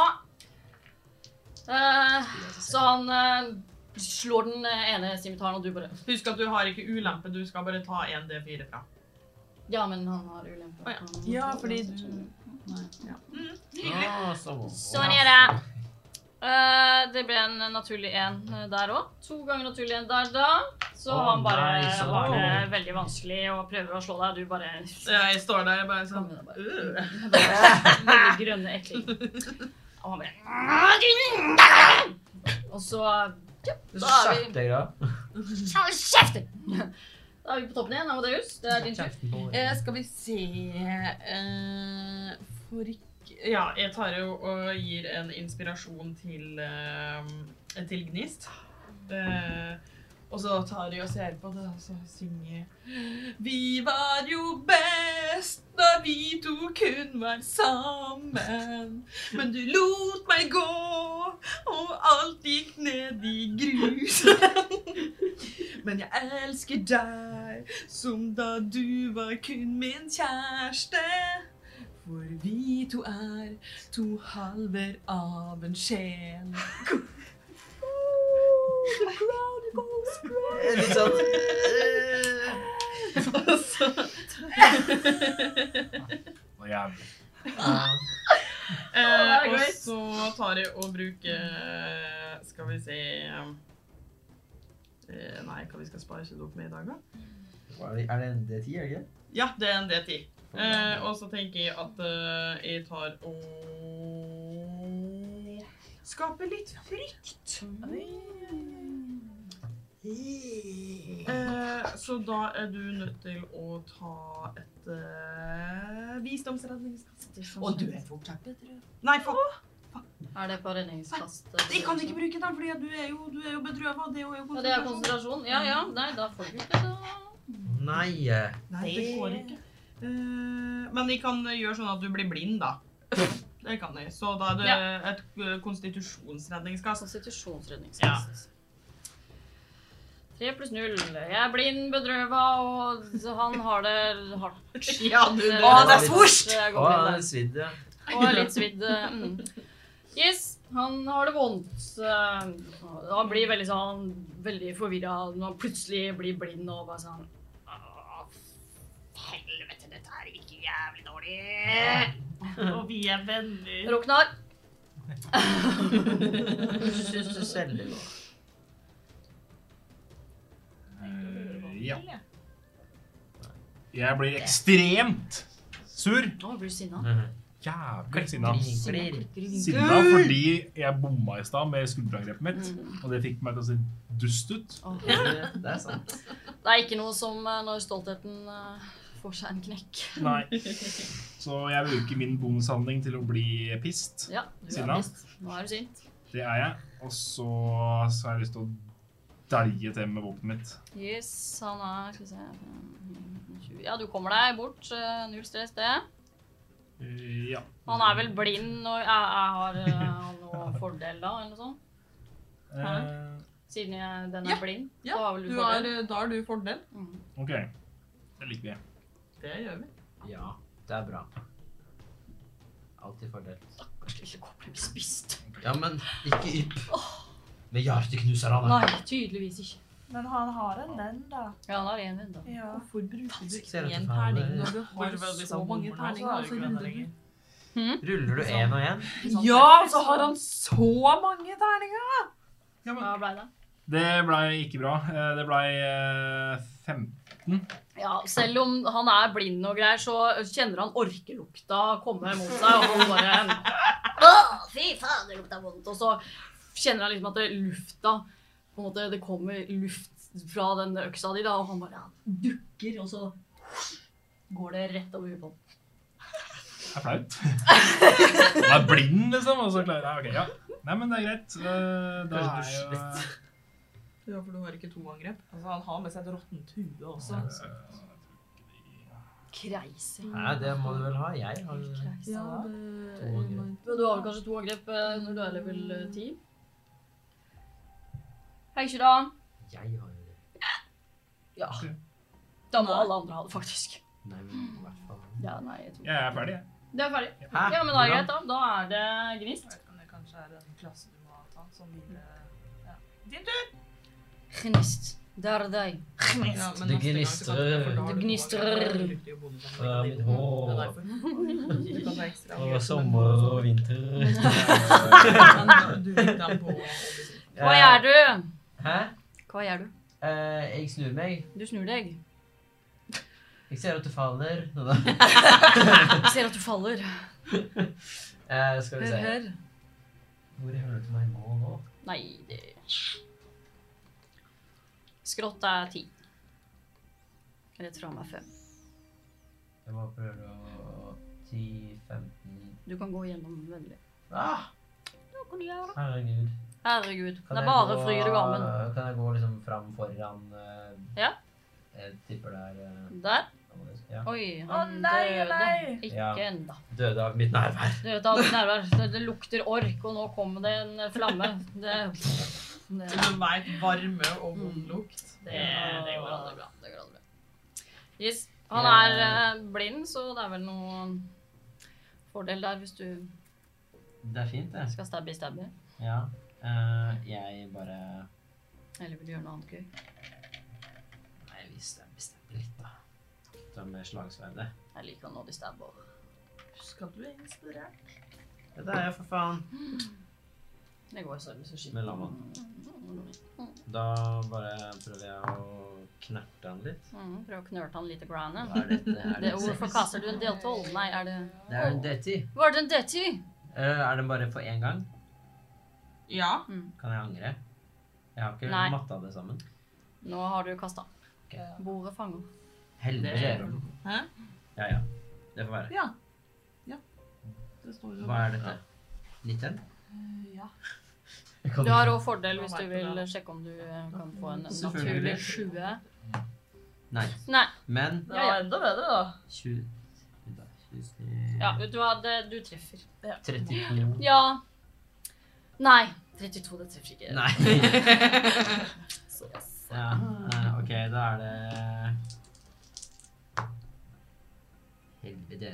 Speaker 1: Eh, så han eh, slår den ene simitaren, og du bare
Speaker 7: Husk at du har ikke ulempe, du skal bare ta en D4 fra.
Speaker 1: Ja, men han har ulempe.
Speaker 7: Å, ja.
Speaker 1: Han-
Speaker 7: Ja, fordi du-
Speaker 1: Nei.
Speaker 3: Ah, så-
Speaker 1: Sånn er det. Eh, det ble en naturlig én der òg. To ganger naturlig én der da. Så
Speaker 3: Å,
Speaker 1: han bare
Speaker 3: nice.
Speaker 1: har det veldig vanskelig og prøver å slå deg. Du bare
Speaker 7: Jeg står der bare sånn
Speaker 1: Kom med deg bare.
Speaker 7: øh.
Speaker 1: Lille grønne ekling. Og han bare Og så
Speaker 3: Det er
Speaker 1: Da
Speaker 3: så
Speaker 1: er vi-
Speaker 3: sakte, ja.
Speaker 1: Hold kjeft! Da er vi på toppen igjen, Amadeus. Det er din tur.
Speaker 3: Kjeften på
Speaker 7: Eh, Skal vi se eh, For ikke Ja, jeg tar jo og gir en inspirasjon til, eh, til Gnist. Eh, og så tar de og ser på det, og så synger Vi var jo best da vi to kun var sammen. Men du lot meg gå, og alt gikk ned i grusen. Men jeg elsker deg som da du var kun min kjæreste. For vi to er to halver av en sjel.
Speaker 3: Litt sånn eh,
Speaker 7: Og så
Speaker 5: Noe jævlig.
Speaker 3: ja.
Speaker 7: Eh,
Speaker 1: det er
Speaker 7: og
Speaker 1: greit.
Speaker 7: så tar jeg og bruker Skal vi se eh, Nei, hva vi skal spare ikke opp med i dag, da?
Speaker 3: Hva Er det- er det en D10, er det ikke?
Speaker 7: Ja, det er en D10. Eh, og så tenker jeg at eh, jeg tar og Skaper litt frykt.
Speaker 1: Mm.
Speaker 7: Eh, så da er du nødt til å ta et eh, visdomsredningskast. Og du er fortsatt Nei, fuck.
Speaker 1: Er det på redningskast?
Speaker 7: Jeg kan ikke bruke den, fordi at du er jo, du er jo bedrøvet, og det er jo
Speaker 1: Og det er konsentrasjon? Ja ja, nei, da får du ikke det.
Speaker 3: Nei. eh,
Speaker 7: Nei, det går ikke. Eh, men jeg kan gjøre sånn at du blir blind, da. Det kan jeg. Så da er det et eh, konstitusjonsredningskast.
Speaker 1: Konstitusjonsredningskast. Tre pluss null. Jeg er blind, bedrøva, og han har det hardt.
Speaker 7: Ja, du,
Speaker 1: Det-
Speaker 7: Å, det er
Speaker 3: litt-
Speaker 7: svosj!
Speaker 1: Det går
Speaker 3: Å,
Speaker 1: blind,
Speaker 3: den svidde. ja.
Speaker 1: det. Og er litt svidd. eh, Mm. Yes, han har det vondt. eh, Han blir veldig sånn veldig forvirra når han plutselig blir blind og bare sånn «Åh, Helvete, dette her virker jævlig dårlig.
Speaker 2: Og vi er venner.
Speaker 1: Roknar.
Speaker 3: Syns du selv det går?
Speaker 5: Eh, ja. Jeg blir ekstremt sur.
Speaker 1: Nå blir du sinna.
Speaker 5: Jævlig sinna.
Speaker 3: Blir.
Speaker 5: Sinna fordi jeg bomma i stad med skulderangrepet mitt, og det fikk meg til å se dust ut.
Speaker 1: Åh.
Speaker 3: Det er sant.
Speaker 1: Det er ikke noe som eh, når stoltheten eh, får seg en knekk.
Speaker 5: Nei. Så jeg bruker min bonushandling til å bli pissed.
Speaker 1: Ja, du
Speaker 5: Sinna?
Speaker 1: er best. Nå er du sint.
Speaker 5: Det er jeg. Og så, så har jeg lyst til å dælje til med våpenet mitt.
Speaker 1: Yes, han er Skal vi se 20. Ja, du kommer deg bort. eh, Null stress, det.
Speaker 5: Eh, ja.
Speaker 1: Han er vel blind og jeg, jeg har eh, han noe fordel da, eller noe sånt.
Speaker 5: Eh,
Speaker 1: Siden jeg, den er
Speaker 7: Ja.
Speaker 1: blind,
Speaker 7: Ja,
Speaker 1: så har vel du,
Speaker 7: Du har,
Speaker 1: fordel.
Speaker 7: eh, da har du fordel.
Speaker 1: Mm.
Speaker 5: OK. Det liker vi.
Speaker 7: Det gjør vi.
Speaker 3: Ja, det er bra. Alltid fordel.
Speaker 1: Stakkars lille kopp ble spist.
Speaker 3: Ja, men ikke ypp. Med hjertet knuser han.
Speaker 1: Nei, tydeligvis ikke.
Speaker 2: Men han har en venn, da.
Speaker 1: Ja, han har én venn, da.
Speaker 2: Ja.
Speaker 7: Hvorfor bruker du
Speaker 3: Ser at
Speaker 7: ikke en
Speaker 3: du faen-
Speaker 7: terning når du
Speaker 2: Bare
Speaker 7: har
Speaker 2: vel de
Speaker 7: så
Speaker 2: samme
Speaker 7: mange
Speaker 2: bommerne,
Speaker 7: terninger?
Speaker 2: så er det
Speaker 7: og så
Speaker 2: ikke
Speaker 7: runder
Speaker 2: det lenger.
Speaker 7: du?
Speaker 3: Ruller du én og én?
Speaker 1: Sånn.
Speaker 7: Ja, så har han så mange terninger!
Speaker 1: Hva ble det?
Speaker 5: Det blei ikke bra. Eh, Det blei eh, 15.
Speaker 1: Ja, selv om han er blind og greier, så kjenner han orkelukta komme mot seg, og han bare Åh, fy faen, det lukta vondt. Og så kjenner han liksom at det lufta på en måte, Det kommer luft fra den øksa di, da, og han bare ja, dukker, og så går det rett over huet på ham.
Speaker 5: Det er flaut. Han er blind, liksom. Og så klarer Nei, ok, ja. Nei, men det er greit. Eh, Da
Speaker 3: Kanskje
Speaker 5: er
Speaker 3: du
Speaker 5: jo
Speaker 7: Ja, for du har ikke to angrep. Altså, han har med seg et råttent hue også.
Speaker 1: Kreiser.
Speaker 3: Nei, det må du vel ha. Jeg har
Speaker 1: Kreiser.
Speaker 7: Ja,
Speaker 3: To angrep.
Speaker 7: det...
Speaker 1: Men Du har vel kanskje to angrep eh, når du er level eh, 10? Hei, ikke da.
Speaker 3: Jeg har jo det.
Speaker 1: Ja. Da må alle andre ha det, faktisk.
Speaker 3: Nei, men i hvert fall.
Speaker 1: Ja, nei, jeg tror.
Speaker 5: Jeg er ferdig, jeg.
Speaker 1: Det er ferdig.
Speaker 3: Hæ?
Speaker 1: Ja, men da er det greit, da. Da er det gnist.
Speaker 2: Men det kanskje er den klassen du må ha tatt, som
Speaker 7: eh,
Speaker 1: Gnist. Det er deg.
Speaker 7: Ja, men
Speaker 3: Det
Speaker 7: neste gang så kan jeg
Speaker 3: gnistrer.
Speaker 7: forklare
Speaker 1: Det gnistrer.
Speaker 3: Ja,
Speaker 7: tilbake. Jeg er lykkelig å bo
Speaker 3: mitt
Speaker 7: med
Speaker 3: hår.
Speaker 7: deg. Det er derfor. Du kan ta ekstra.
Speaker 3: Og sommer og vinter.
Speaker 7: Men du gikk dem på, obviously.
Speaker 1: Hva
Speaker 3: Eh.
Speaker 1: gjør du?
Speaker 3: Hæ?
Speaker 1: Hva gjør du?
Speaker 3: Eh, jeg snur meg.
Speaker 1: Du snur deg.
Speaker 3: Jeg ser at du faller. Nå da.
Speaker 1: Jeg ser at du faller.
Speaker 3: Eh, skal vi
Speaker 1: Hør,
Speaker 3: se.
Speaker 1: hør.
Speaker 3: Hvor hører du meg nå? nå?
Speaker 1: Nei, det Skrått er ti. Rett fra meg fem.
Speaker 3: Jeg må prøve å 10-15
Speaker 1: Du kan gå gjennom vennlig.
Speaker 3: ah,
Speaker 1: Ja, kan du gjøre det.
Speaker 3: Herregud.
Speaker 1: Herregud.
Speaker 3: Kan
Speaker 1: Det
Speaker 3: jeg
Speaker 1: er bare
Speaker 3: gå-
Speaker 1: fryd og gammen.
Speaker 3: Kan jeg gå liksom fram foran eh,
Speaker 1: Ja.
Speaker 3: Jeg tipper det er eh,
Speaker 1: Der.
Speaker 3: ja.
Speaker 1: Oi, han
Speaker 2: Å nei, å
Speaker 1: døde.
Speaker 2: nei!
Speaker 1: Ikke
Speaker 3: Ja.
Speaker 1: enda.
Speaker 3: Døde av mitt nærvær.
Speaker 1: Du vet, alt nærvær. Det, det lukter ork, og nå kommer det en flamme. Det, det,
Speaker 7: Du vet varme og vond lukt.
Speaker 1: det, det går aldri bra. Det går aldri bra. Yes. Han
Speaker 3: Ja.
Speaker 1: er eh, blind, så det er vel noen fordel der hvis du
Speaker 3: Det er fint, det.
Speaker 1: skal stabbe i stabbe.
Speaker 3: Ja. Eh, jeg bare
Speaker 1: Eller vil du gjøre noe annet gøy?
Speaker 3: Nei, jeg visste jeg bestemte litt, da. Så med slagsverdet.
Speaker 1: Jeg liker når de stabber.
Speaker 7: Skal du inspirere?
Speaker 3: Dette er jeg, for faen.
Speaker 1: Det går så så skikkelig.
Speaker 3: Med lammaen. Mm. Da bare prøver jeg å knerte han litt.
Speaker 1: Mm, prøv å knørte han litt i grandet.
Speaker 3: Hva er dette? Er
Speaker 1: Det,
Speaker 3: det en
Speaker 1: hvorfor
Speaker 3: seks?
Speaker 1: kaster du en del tolv? Nei, er det
Speaker 3: Det er en D10.
Speaker 1: Var det en D10?
Speaker 3: Eh, Er den bare for én gang?
Speaker 7: Ja.
Speaker 3: Kan jeg angre? Jeg har ikke
Speaker 1: Nei.
Speaker 3: matta det sammen.
Speaker 1: Nå har du kasta.
Speaker 3: Ok.
Speaker 1: Bordet fanger.
Speaker 3: Helvete.
Speaker 7: Hæ?
Speaker 3: Ja, ja. Det får være.
Speaker 7: Ja. Ja. Det står jo
Speaker 3: Hva er dette? 19?
Speaker 7: Ja.
Speaker 1: Du har òg fordel hvis du vil sjekke om du eh, kan få en naturlig
Speaker 3: Selvfølgelig.
Speaker 1: 20.
Speaker 3: Nei.
Speaker 1: Nei.
Speaker 3: Men
Speaker 1: Ja, ja.
Speaker 2: enda bedre, da.
Speaker 3: 20
Speaker 1: Ja, vet du hva, det- du treffer.
Speaker 3: 32
Speaker 1: Ja. Nei. 32, det treffer ikke.
Speaker 3: Nei.
Speaker 1: Så, yes.
Speaker 3: Ja, eh, OK, da er det Helvete.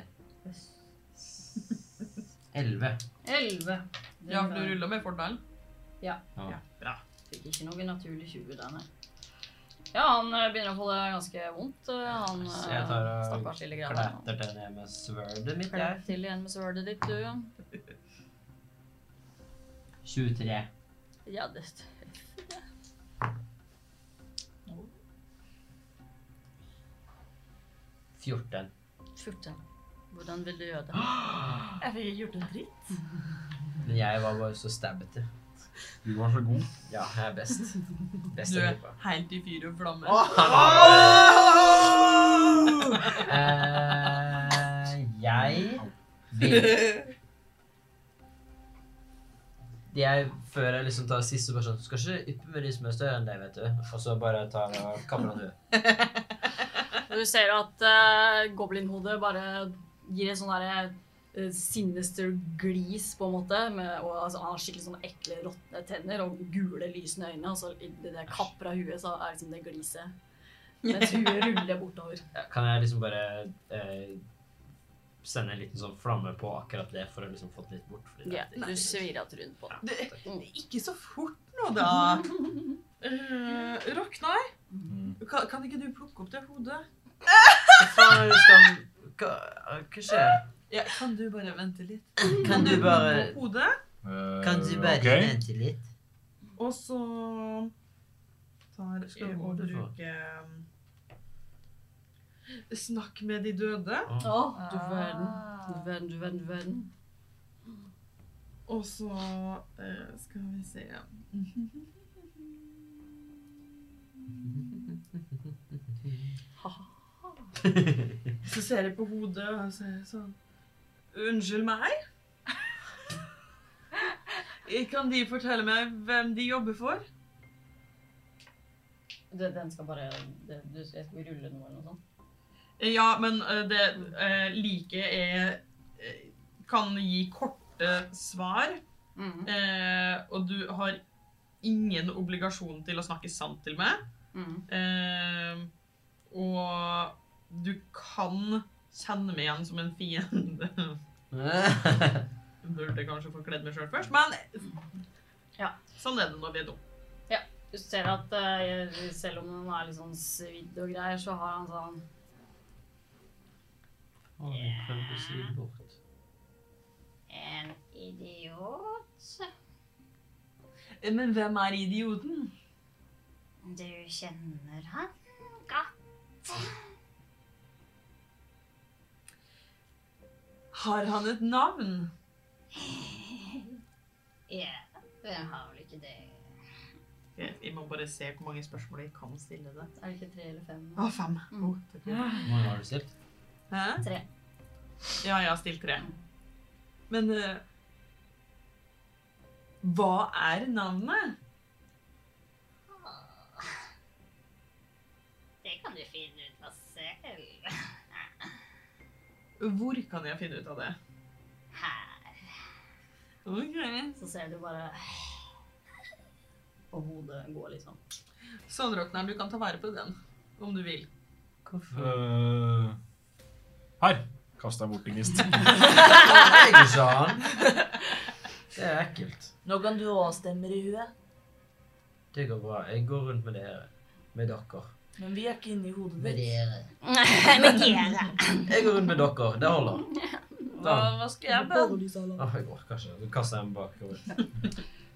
Speaker 3: 11.
Speaker 1: 11.
Speaker 7: Ja, for du ruller med fordelen.
Speaker 1: Fikk ikke noe naturlig 20 der, nei. Ja, han eh, begynner å få det ganske vondt, eh, han
Speaker 3: Så
Speaker 1: eh,
Speaker 3: jeg tar og
Speaker 1: stakkars lille greia. der.
Speaker 3: Kletter det ned med sverdet mitt, jeg.
Speaker 1: Klapp til igjen med sverdet ditt, du.
Speaker 3: 23.
Speaker 1: Ja, det
Speaker 7: Nå.
Speaker 3: 14.
Speaker 1: 14. Hvordan vil du gjøre det?
Speaker 2: Jeg fikk ikke gjort en dritt.
Speaker 3: Men jeg var bare så stabbete.
Speaker 5: Du var så god.
Speaker 3: Ja, jeg er best. Best
Speaker 7: Du
Speaker 3: i
Speaker 7: er
Speaker 3: gruppa.
Speaker 7: helt i fyr og flamme.
Speaker 3: Eh, jeg vil jeg, Før jeg liksom tar siste så bare sånn Du skal ikke yppe med de som er større enn deg, vet du. Og så bare tar jeg og kapper han huet.
Speaker 1: Og Du ser at uh, goblinhodet bare gir en sånn derre eh, sinister glis, på en måte. Med, og altså, han har skikkelig sånne ekle, råtne tenner og gule, lysende øyne. Og så i det der kapper av huet, så er liksom det gliset Mens huet ruller bortover.
Speaker 3: Kan jeg liksom bare eh, sende en liten sånn flamme på akkurat det for å liksom få det litt bort? Fordi det
Speaker 1: Ja,
Speaker 3: er litt
Speaker 1: du
Speaker 3: ekkelt.
Speaker 1: svir av trynet på det.
Speaker 7: Det, ikke så fort nå, da. Uh, Ragnar,
Speaker 5: Mm,
Speaker 7: kan, kan ikke du plukke opp det hodet?
Speaker 3: Hva faen er det som Hva, hva skjer?
Speaker 7: Ja, kan du bare vente litt?
Speaker 3: Kan du
Speaker 7: På
Speaker 3: bare
Speaker 7: hodet,
Speaker 5: eh,
Speaker 3: Kan du bare vente litt?
Speaker 7: og så tar
Speaker 3: Skal vi
Speaker 7: jeg og
Speaker 3: ordne for?
Speaker 7: bruker um, Snakk med de døde,
Speaker 1: Å, du
Speaker 7: Ah.
Speaker 1: verden. Du verden, du verden, du verden.
Speaker 7: og så eh, skal vi se Så ser jeg på hodet og sier sånn Unnskyld meg? Kan de fortelle meg hvem de jobber for?
Speaker 1: Det, den skal bare det, du, Jeg skal rulle den eller noe sånt.
Speaker 7: Ja, men eh, det eh, like er eh, kan gi korte svar,
Speaker 1: Mhm,
Speaker 7: eh, og du har mm. ingen obligasjon til å snakke sant til meg.
Speaker 1: mhm.
Speaker 7: Eh, Og du kan kjenne meg igjen som en fiende. Burde kanskje få kledd meg sjøl først, men
Speaker 1: Ja.
Speaker 7: sånn er det når vi er dumme.
Speaker 1: Du ser at eh, jeg- selv om han er litt sånn svidd og greier, så har han sånn
Speaker 4: En idiot.
Speaker 7: Men hvem er idioten?
Speaker 4: Du kjenner han godt.
Speaker 7: Har han et navn?
Speaker 4: Ja, hvem har vel ikke det?
Speaker 7: Jeg jeg må bare se hvor mange spørsmål jeg kan stille det.
Speaker 1: Er det ikke tre eller fem?
Speaker 7: Å, fem.
Speaker 1: Mm.
Speaker 7: Oh, takk.
Speaker 3: mange har du stilt?
Speaker 7: Hæ?
Speaker 1: Tre.
Speaker 7: Ja, jeg har stilt tre. Men eh, Hva er navnet?
Speaker 4: Det kan du finne ut av selv.
Speaker 7: Hvor kan jeg finne ut av det?
Speaker 4: Her.
Speaker 7: Ok.
Speaker 1: Så ser du bare Og hodet går litt sånn.
Speaker 7: Sandrokneren, du kan ta vare på den om du vil.
Speaker 5: Øh, her kasta jeg bort en gnist.
Speaker 3: Nei, ikke sant? Det er ekkelt.
Speaker 9: Nå kan du òg stemmer i huet.
Speaker 3: Det går bra. Jeg går rundt med dere. Med dere.
Speaker 9: Men vi er ikke inni hodet
Speaker 3: Med
Speaker 9: ditt.
Speaker 3: dere.
Speaker 4: Men dere.
Speaker 3: Jeg går rundt med dere. Det holder.
Speaker 7: Hva, hva skal jeg be?
Speaker 9: Pålysala.
Speaker 3: Åh, jeg orker ikke. Du kaster jeg meg bakover.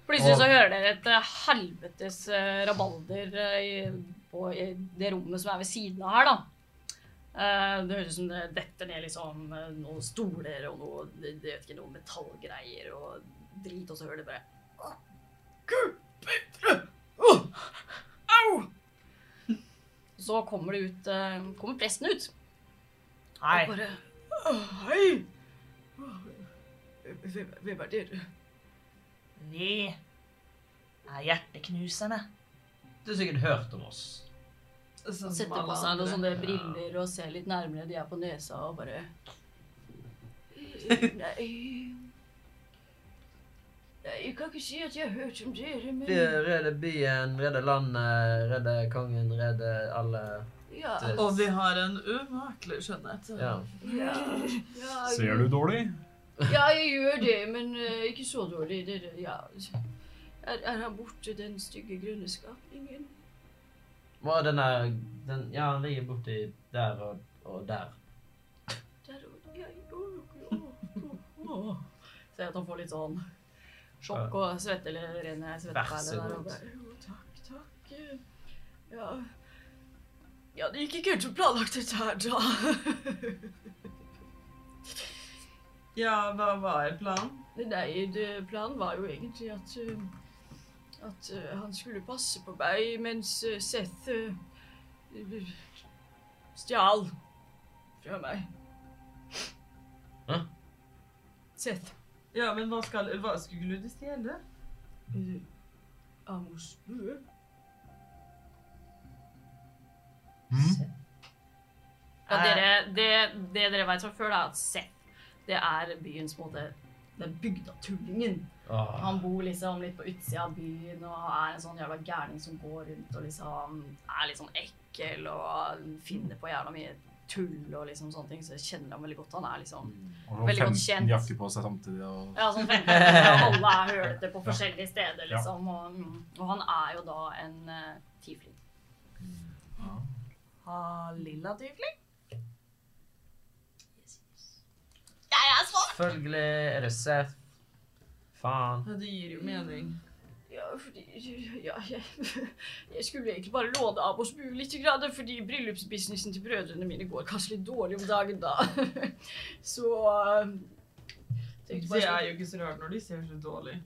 Speaker 1: Plutselig så hører dere et eh, helvetes eh, rabalder eh, i, på, i det rommet som er ved siden av her, da. Eh, det høres ut som det detter ned liksom, eh, noen stoler og noe, det- det vet ikke, noen metallgreier og drit, og så hører dere bare «Åh, Gud, bedre! Åh, Au! Så kommer det ut eh, Kommer presten ut.
Speaker 2: Hei.
Speaker 1: Og bare «Åh, Hei! Åh, Hvem, hvem er dere?
Speaker 9: Vi er hjerteknuserne.
Speaker 3: Du har sikkert hørt om oss.
Speaker 7: Sånn som
Speaker 1: Setter på
Speaker 7: alle
Speaker 1: seg noen
Speaker 7: andre.
Speaker 1: sånne briller og ser litt nærmere de er på nesa og bare Nei Nei, jeg kan ikke si at jeg har hørt om dere, men
Speaker 3: Redde byen, redde landet, redde kongen, redde alle.
Speaker 1: Ja.
Speaker 7: Og vi har en umakelig skjønnhet.
Speaker 3: Ja.
Speaker 1: ja, ja,
Speaker 5: Ser du dårlig?
Speaker 1: ja, jeg gjør det, men eh, ikke så dårlig. Det, det, ja. Er, er han borte, den stygge grønne skapningen?
Speaker 3: Hva er den der den, Ja, han ligger borti der og, og der.
Speaker 1: Der og jeg, å, å, å, å. Ser at han får litt sånn sjokk og svette eller rene
Speaker 3: Vær så
Speaker 1: svetteperler der.
Speaker 3: god.
Speaker 1: Og bare, jo, takk, takk. Ja. ja, det gikk ikke helt som planlagt dette her, da.
Speaker 7: Ja, hva var planen?
Speaker 1: Nei, det, planen var jo egentlig at eh, at eh, han skulle passe på meg mens eh, Seth eh, stjal fra meg.
Speaker 3: Hæ?
Speaker 1: Seth.
Speaker 7: Ja, men hva, skal, hva skulle du stjele?
Speaker 1: eh, Amors bue.
Speaker 5: Mhm.
Speaker 1: Hm? Ja, dere, det, det dere vet fra før, da, er at Seth, det er byens på en måte den bygdatullingen.
Speaker 3: Åh.
Speaker 1: Han bor liksom litt på utsida av byen og er en sånn jævla gærning som går rundt og liksom er litt sånn ekkel og finner på jævla mye tull og liksom sånne ting, så jeg kjenner ham veldig godt. Han er liksom
Speaker 5: Og
Speaker 1: Veldig godt
Speaker 5: 15
Speaker 1: kjent.
Speaker 5: jakker på seg samtidig. Og...
Speaker 1: ja, sånn 15 år, og alle er hølete på forskjellige steder, liksom. Og, mm, og han er jo da en uh, tiefling.
Speaker 9: Ha lilla tyvling.
Speaker 3: Selvfølgelig er det Seth. Faen.
Speaker 7: Ja, Det
Speaker 1: Mm,
Speaker 7: gir jo mening.
Speaker 1: Ja, fordi ja, jeg, jeg skulle egentlig bare låne av oss bue litt, grann, fordi bryllupsbusinessen til brødrene mine går kanskje litt dårlig om dagen, da. Så eh,
Speaker 7: Det
Speaker 1: tenkte bare- sånn-
Speaker 7: er jo ikke så rart når de ser så dårlig.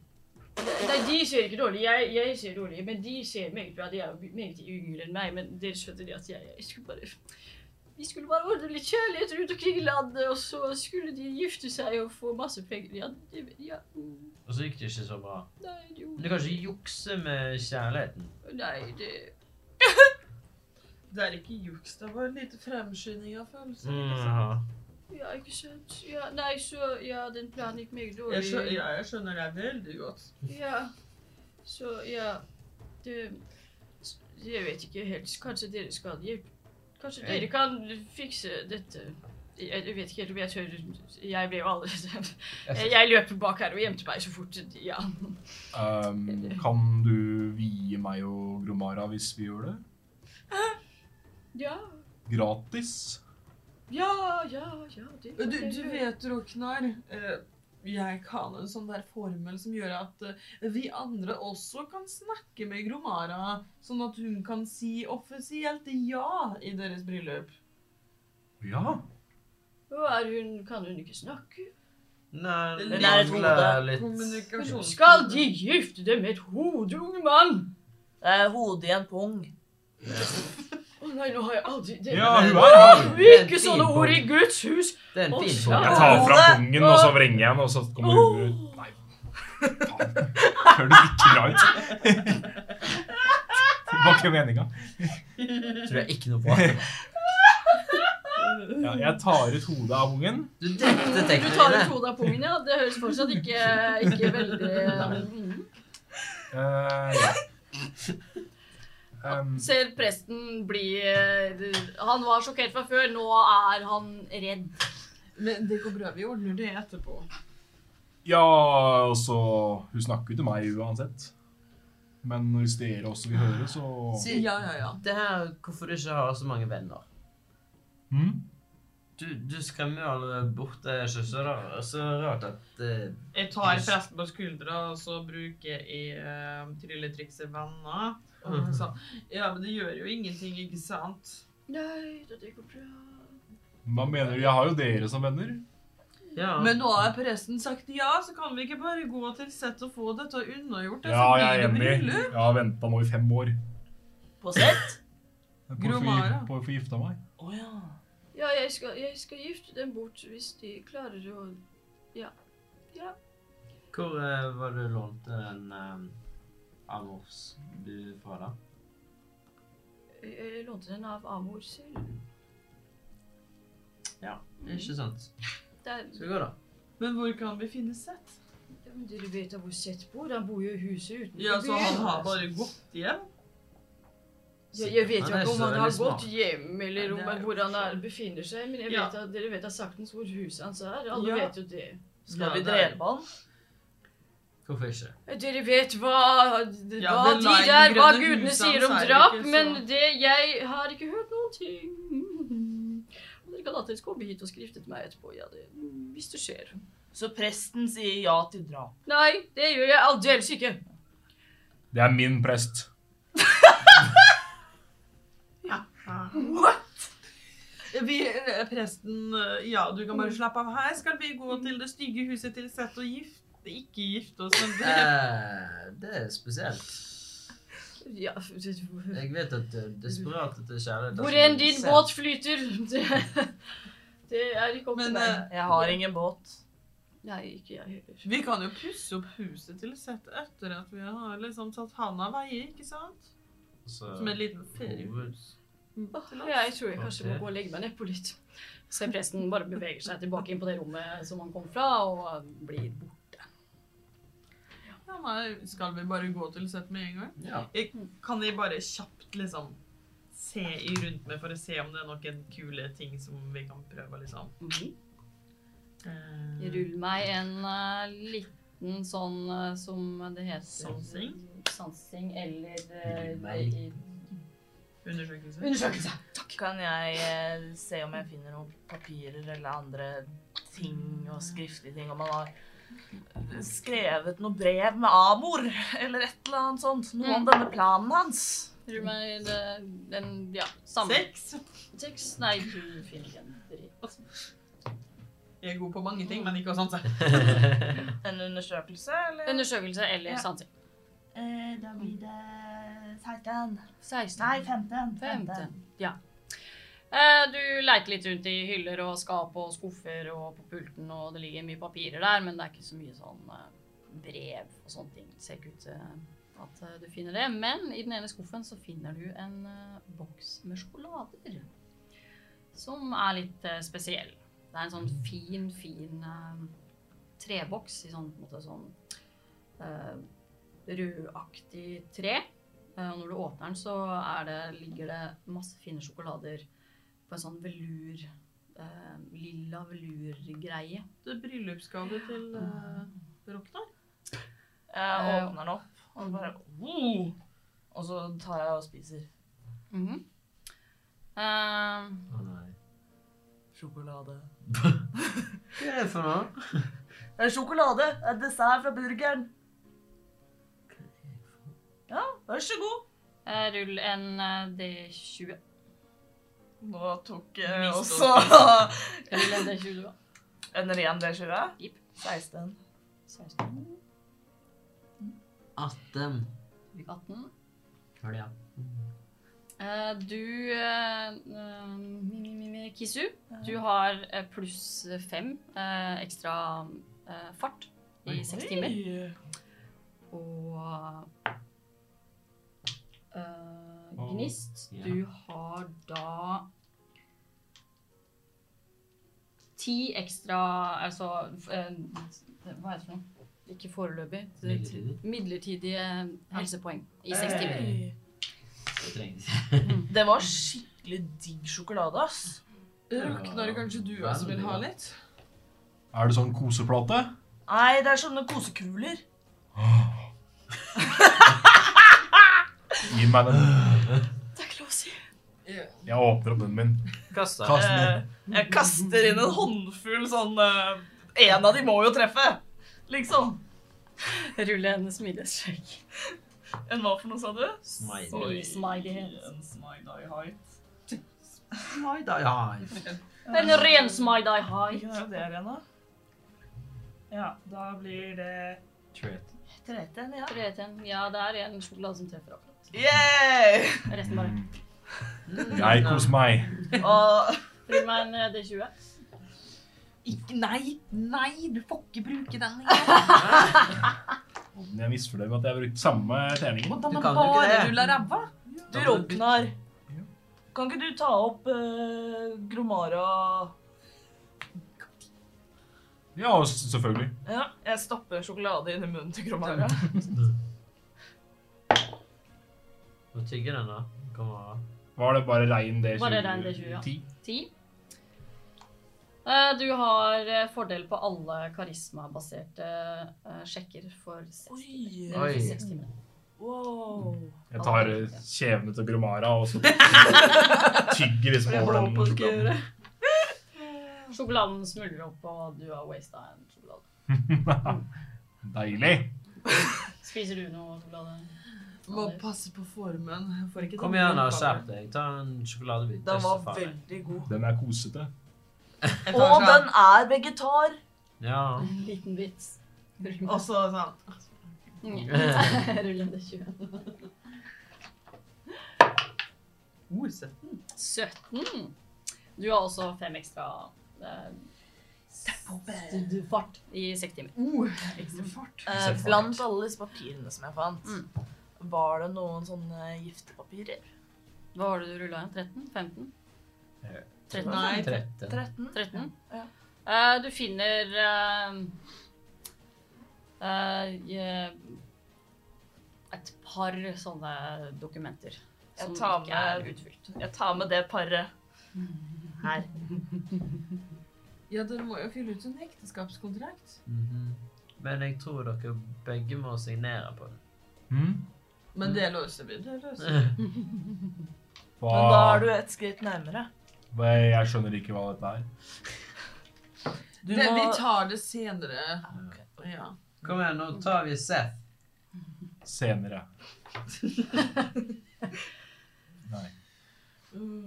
Speaker 1: Nei, de ser ikke dårlig. Jeg, jeg ser dårlig, men de ser meget bra. De er jo meget yngre enn meg, men dere skjønner det at jeg, jeg skulle bare Vi skulle bare ordne litt kjærlighet rundt omkring i landet, og så skulle de gifte seg og få masse penger. Ja, det, ja mm,
Speaker 3: Og så gikk det ikke så bra.
Speaker 1: Nei, jo
Speaker 3: Men du kan ikke jukse med kjærligheten.
Speaker 1: Nei, det
Speaker 7: Det er ikke juks, det var en liten fremskynding av følelser. liksom. ikke sant?
Speaker 3: Mhm.
Speaker 1: Ja, ikke sant. Ja, nei, så Ja, den planen gikk meget dårlig.
Speaker 7: Jeg skjønner, ja, jeg skjønner deg veldig godt.
Speaker 1: Ja. Så, ja. Det Jeg vet ikke helt. Kanskje dere skal hjelpe Kanskje dere kan fikse dette Jeg vet ikke helt om jeg tør Jeg ble jo allerede Jeg løper bak her og gjemte meg så fort Ja.
Speaker 5: Ehm, kan du vie meg og Gromara hvis vi gjør det?
Speaker 1: Ja,
Speaker 5: Gratis?
Speaker 1: ja, ja, ja det
Speaker 7: Du, du vet, Roknar, eh, jeg kan en sånn der formel som gjør at eh, vi andre også kan snakke med Gromara, sånn at hun kan si offisielt ja i deres bryllup.
Speaker 5: Ja.
Speaker 1: Og er hun, kan hun ikke snakke?
Speaker 3: Nei,
Speaker 7: Hun
Speaker 2: er et hode.
Speaker 3: mangler litt
Speaker 7: Kommunikasjon.
Speaker 1: Skal de gifte dem med et hode, unge mann?
Speaker 2: Det er hodet i en pung.
Speaker 1: Å nei, nå har jeg aldri det.
Speaker 5: Ja, hun er her!
Speaker 1: Ikke sånne ord i Guds hus!
Speaker 3: Det er en
Speaker 1: Å,
Speaker 3: fin
Speaker 1: ja. Oh.
Speaker 5: Jeg
Speaker 3: bok.
Speaker 5: tar fra pungen, og så vrenger jeg den, og så kommer hun ut. Nei, faen. Hør du vikra ut? Det var ikke meninga.
Speaker 3: Tror jeg ikke noe på.
Speaker 5: Ja, jeg tar ut hodet av pungen.
Speaker 3: Du drepte
Speaker 1: Du tar
Speaker 3: teknikerne.
Speaker 1: ut hodet av pungen, ja. Det høres fortsatt ikke, ikke veldig mm.
Speaker 5: Eh, ja. Ehm,
Speaker 1: Ser presten bli eh, Han var sjokkert fra før, nå er han redd.
Speaker 7: Men det går bra. Vi ordner det etterpå.
Speaker 5: ja, altså Hun snakker jo til meg uansett. Men hvis dere også vil høre, så
Speaker 3: Si-
Speaker 7: Ja, ja, ja.
Speaker 3: Det er hvorfor du ikke har så mange venner.
Speaker 5: hm?
Speaker 3: Du, du skremmer jo alle bort eh, søstre. Det er så rart at eh,
Speaker 7: Jeg tar presten på skuldra, og så bruker jeg uh, trylletrikset venner. Og han sa, ja, men det gjør jo ingenting, ikke sant?
Speaker 1: Nei, det går bra.
Speaker 5: Hva mener du? Jeg har jo dere som venner.
Speaker 3: Ja.
Speaker 7: Men nå har presten sagt ja, så kan vi ikke bare gå til sett og få dette unnagjort.
Speaker 5: Ja, jeg er enig.
Speaker 7: bryllup.
Speaker 5: Jeg har venta nå i fem år
Speaker 2: På sett?
Speaker 5: på å få gi-
Speaker 7: Gromara.
Speaker 5: på å få gifta meg.
Speaker 2: Å ja.
Speaker 1: Ja, jeg skal, jeg skal gifte dem bort hvis de klarer å
Speaker 3: Hvor eh, var det du lånte den um, Amors du fra, da?
Speaker 1: Jeg jeg lånte den av Amor selv.
Speaker 3: Ikke sant?
Speaker 1: Det er,
Speaker 3: Skal vi gå, da?
Speaker 7: Men hvor kan vi finne sett?
Speaker 1: ja, men dere vet da hvor Seth bor? Han bor jo i huset utenfor
Speaker 7: Ja, så han har bare gått hjem.
Speaker 1: Ja, jeg vet jo
Speaker 3: Han er
Speaker 1: ikke om
Speaker 3: så
Speaker 1: han har
Speaker 3: veldig smart.
Speaker 1: gått hjem, eller om,
Speaker 7: Nei, det er jo
Speaker 1: hvor han er,
Speaker 7: sant.
Speaker 1: befinner seg, men jeg
Speaker 7: Ja.
Speaker 1: vet at, dere vet da saktens hvor huset hans er. Alle
Speaker 7: Ja.
Speaker 1: vet jo det.
Speaker 2: Skal vi
Speaker 7: Ja, det er-
Speaker 2: drepe han?
Speaker 3: Hvorfor ikke?
Speaker 1: Dere vet hva,
Speaker 7: Ja,
Speaker 1: hva
Speaker 7: det
Speaker 1: de
Speaker 7: lei-
Speaker 1: der,
Speaker 7: grønne
Speaker 1: hva gudene
Speaker 7: husene
Speaker 1: sier om
Speaker 7: er det
Speaker 1: drap,
Speaker 7: ikke så-
Speaker 1: men det, jeg har ikke hørt noen ting. Og dere kan alltids komme hit og skrifte til meg etterpå, ja, det, hvis det skjer.
Speaker 2: Så presten sier ja til drap.
Speaker 1: Nei, det gjør jeg aldeles ikke.
Speaker 5: Det er min prest.
Speaker 7: Vi, eh, presten, eh, ja, du kan bare slappe av her. Skal vi gå til det stygge huset til sett og gifte? Ikke gifte oss, men drepe?
Speaker 3: Eh, det er spesielt.
Speaker 1: Ja, hvor
Speaker 3: Jeg vet at du er desperat etter kjærlighet. altså,
Speaker 1: enn din båt flyter, det, det er ikke opp til
Speaker 7: Men
Speaker 1: meg.
Speaker 7: eh,
Speaker 2: Jeg har ingen båt.
Speaker 1: Nei, ikke jeg heller.
Speaker 7: vi kan jo pusse opp huset til sett etter at vi har liksom tatt han av veie, ikke sant?
Speaker 3: Altså,
Speaker 7: Som en liten feriehus.
Speaker 1: Åh, Jeg tror jeg kanskje må gå og legge meg nedpå litt. Så presten bare beveger seg tilbake inn på det rommet som han kom fra, og blir borte.
Speaker 7: Ja, nei, skal vi bare gå til sett med en gang?
Speaker 3: Ja.
Speaker 7: Jeg, kan jeg bare kjapt liksom se i rundt meg for å se om det er noen kule ting som vi kan prøve, liksom? Eh,
Speaker 10: Rull meg en eh, liten sånn eh, som det heter
Speaker 7: Sansing?
Speaker 10: Sansing eller
Speaker 3: Rull meg.
Speaker 10: eh, i-
Speaker 7: Undersøkelse?
Speaker 1: Undersøkelse!
Speaker 2: Kan jeg eh, se om jeg finner noen papirer eller andre ting og skriftlige ting? Om han har skrevet noe brev med Amor eller et eller annet sånt? Noe om denne planen hans?
Speaker 10: Rull meg det, den Ja, samme.
Speaker 7: Seks?
Speaker 10: Seks? Nei, du finner ikke en dritt.
Speaker 7: Jeg er god på mange ting, men ikke sånn hos han.
Speaker 2: En undersøkelse, eller?
Speaker 10: Undersøkelse eller sansing.
Speaker 2: Eh, da blir det 16.
Speaker 10: 16.
Speaker 2: 15.
Speaker 10: 15. Ja. Eh, Du leiter litt rundt i hyller og skap og skuffer og på pulten, og det ligger mye papirer der, men det er ikke så mye sånn eh, brev og sånne ting. Det ser ikke ut til at eh, du finner det. Men i den ene skuffen så finner du en eh, boks med sjokolader. Som er litt eh, spesiell. Det er en sånn fin, fin eh, treboks i sånn, på en måte, sånn eh, rødaktig tre. Eh, Og når du åpner den, så er det, ligger det masse fine sjokolader
Speaker 1: på en sånn velur eh, Lilla velurgreie.
Speaker 7: Det er bryllupsgave til uh, Roknar.
Speaker 1: Eh,
Speaker 2: Jeg åpner den opp, og så bare wow! Og så tar jeg og spiser.
Speaker 1: Mhm. Eh,
Speaker 3: Å nei.
Speaker 2: Sjokolade.
Speaker 3: Hva er det for noe?
Speaker 2: Det er Eh, sjokolade! Det er dessert fra burgeren. Ja, vær så god.
Speaker 1: eh, rull en eh, D20.
Speaker 2: Nå tok jeg
Speaker 7: Mist
Speaker 2: også
Speaker 1: Rull en D20 da.
Speaker 2: en ren D20.
Speaker 1: Jipp.
Speaker 2: 16.
Speaker 1: 16.
Speaker 3: 18.
Speaker 1: 18.
Speaker 3: um, Hør det, ja.
Speaker 1: Eh, du eh, eh, mi, mi, mi, mi, Kisu, du har eh, pluss fem eh, ekstra eh, fart i seks timer. Og eh, Gnist,
Speaker 3: Ja.
Speaker 1: du har da ti ekstra Altså f- eh, Hva heter det for noe? Ikke foreløpig.
Speaker 3: Midlertidig. Eh.
Speaker 1: Midlertidige helsepoeng i seks timer.
Speaker 3: Hey. Det trengs.
Speaker 2: Det var skikkelig digg sjokolade, ass.
Speaker 7: Roknar, kanskje du også vil ha litt?
Speaker 5: Er det sånn koseplate?
Speaker 2: Nei, det er sånne kosekuler.
Speaker 5: Gi meg den.
Speaker 1: Det er ikke lov å si.
Speaker 5: Jeg åpner opp munnen min.
Speaker 3: Kasta.
Speaker 5: Kast
Speaker 2: Eh,
Speaker 5: den.
Speaker 2: jeg kaster inn en håndfull sånn eh, En av de må jo treffe, liksom.
Speaker 1: Rulle en smidighetssjekk.
Speaker 2: En hva for noe, sa du?
Speaker 3: Smiley.
Speaker 1: Oi. Smidighet.
Speaker 2: En smiley height.
Speaker 3: Smiley. Ja.
Speaker 1: En ren smidey high.
Speaker 2: Hvilken er det der igjen, da? Ja, da blir det
Speaker 3: Tret.
Speaker 2: 13, ja.
Speaker 1: Tre til en. Ja, det er en sjokolade som treffer akkurat.
Speaker 2: Yeah!
Speaker 1: Resten bare.
Speaker 5: Jeg koser meg.
Speaker 2: Og
Speaker 1: Rull meg en eh, D20.
Speaker 7: Ikke, nei, nei, du får ikke bruke den.
Speaker 5: Jeg er misfornøyd med at jeg har brukt samme terning.
Speaker 7: Da
Speaker 3: Du
Speaker 7: man
Speaker 3: kan jo ikke
Speaker 7: bare
Speaker 3: det.
Speaker 7: ruller ræva.
Speaker 2: du, Rognar. Kan ikke du ta opp eh, Gromara
Speaker 5: Ja, s- selvfølgelig.
Speaker 2: Ja, jeg stapper sjokolade inn i munnen til Gromara.
Speaker 3: Nå tygger den, da. Kom an.
Speaker 5: Var det bare rein D20?
Speaker 1: Bare rein D20, ja.
Speaker 5: 10?
Speaker 1: Ti. Eh, Du har eh, fordel på alle karismabaserte eh, sjekker for seks
Speaker 2: Oi!
Speaker 1: det er
Speaker 3: Oi.
Speaker 1: for seks timer.
Speaker 2: Wow.
Speaker 5: Jeg tar eh, kjevene til Gromara og så tygger liksom over den sjokoladen.
Speaker 1: Sjokoladen smuldrer opp, og du har wasta en sjokolade.
Speaker 5: Deilig.
Speaker 1: Spiser du noe sjokolade?
Speaker 7: Må passe på formen. Jeg Får ikke
Speaker 3: Kom igjen, da. Skjerp deg. Ta en sjokoladebit.
Speaker 2: Den var
Speaker 3: Teste faen.
Speaker 2: veldig god.
Speaker 5: Den er kosete.
Speaker 2: Og den er vegetar.
Speaker 3: Ja.
Speaker 1: Liten bit.
Speaker 7: Og så sånn.
Speaker 1: Rull en D20.
Speaker 7: Oh, søtt.
Speaker 1: 17. Du har også fem ekstra eh, fart i seks timer.
Speaker 7: Oh, ekstra fart.
Speaker 2: Eh, blant alle disse papirene som jeg fant,
Speaker 9: Mm.
Speaker 2: var det noen sånne giftepapirer?
Speaker 1: Hva var det du rulla igjen? 13? 15?
Speaker 3: Eh,
Speaker 1: 13.
Speaker 7: Nei,
Speaker 3: 13.
Speaker 2: 13?
Speaker 1: 13.
Speaker 2: Ja.
Speaker 1: Eh, du finner eh, eh, je- et par sånne dokumenter som
Speaker 2: Jeg tar
Speaker 1: ikke er
Speaker 2: med-
Speaker 1: utfylt.
Speaker 2: Jeg tar med det paret. Her.
Speaker 7: Ja, dere må jo fylle ut en ekteskapskontrakt.
Speaker 3: Mhm. Men jeg tror dere begge må signere på den.
Speaker 5: Mm.
Speaker 7: Men det løser vi. Det løser vi.
Speaker 3: Eh,
Speaker 5: Hva,
Speaker 2: Men da er du et skritt nærmere.
Speaker 5: hva, jeg skjønner ikke hva dette er.
Speaker 2: Du
Speaker 7: det,
Speaker 2: må
Speaker 7: vi tar det senere. Ja.
Speaker 3: Kom igjen, nå tar vi Seth.
Speaker 5: Senere. Nei.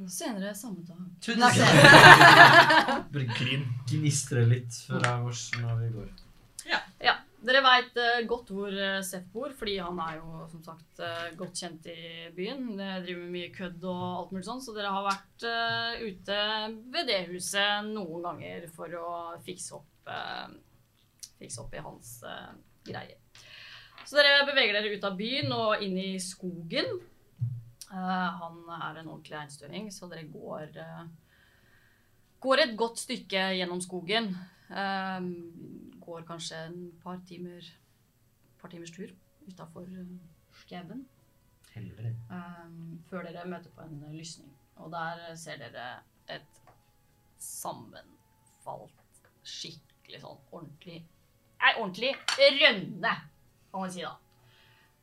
Speaker 1: Senere samme dag.
Speaker 3: Bare grin. Gnistrer litt fra oss når vi går.
Speaker 1: Ja, dere veit godt hvor eh, Seth bor, fordi han er jo som sagt eh, godt kjent i byen. Det driver med mye kødd og alt mulig sånn, så dere har vært eh, ute ved det huset noen ganger for å fikse opp, eh, fikse opp i hans eh, greier. Så dere beveger dere ut av byen og inn i skogen. Eh, han er en ordentlig einstøing, så dere går, eh, går et godt stykke gjennom skogen. Ehm, går kanskje en par timer par timers tur eh, utafor skauen
Speaker 3: Helvete.
Speaker 1: eh, ehm, før dere møter på en lysning. Og der ser dere et sammenfalt, skikkelig sånn ordentlig Ei, ordentlig rønne, kan man si da.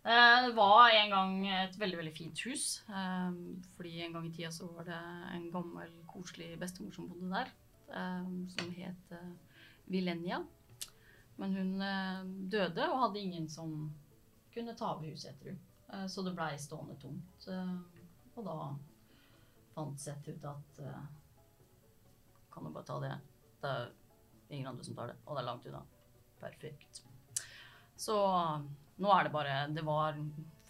Speaker 1: Eh, Det var en gang et veldig, veldig fint hus. eh, Fordi en gang i tida så var det en gammel, koselig bestemor som bodde der, eh, som het eh, Vilenia. Men hun eh, døde og hadde ingen som kunne ta over huset etter henne. Eh, Så det blei stående tomt. eh, Og da fant Seth ut at eh, Kan du bare ta det? Det er ingen andre som tar det, og det er langt unna. Perfekt. Så nå er det bare Det var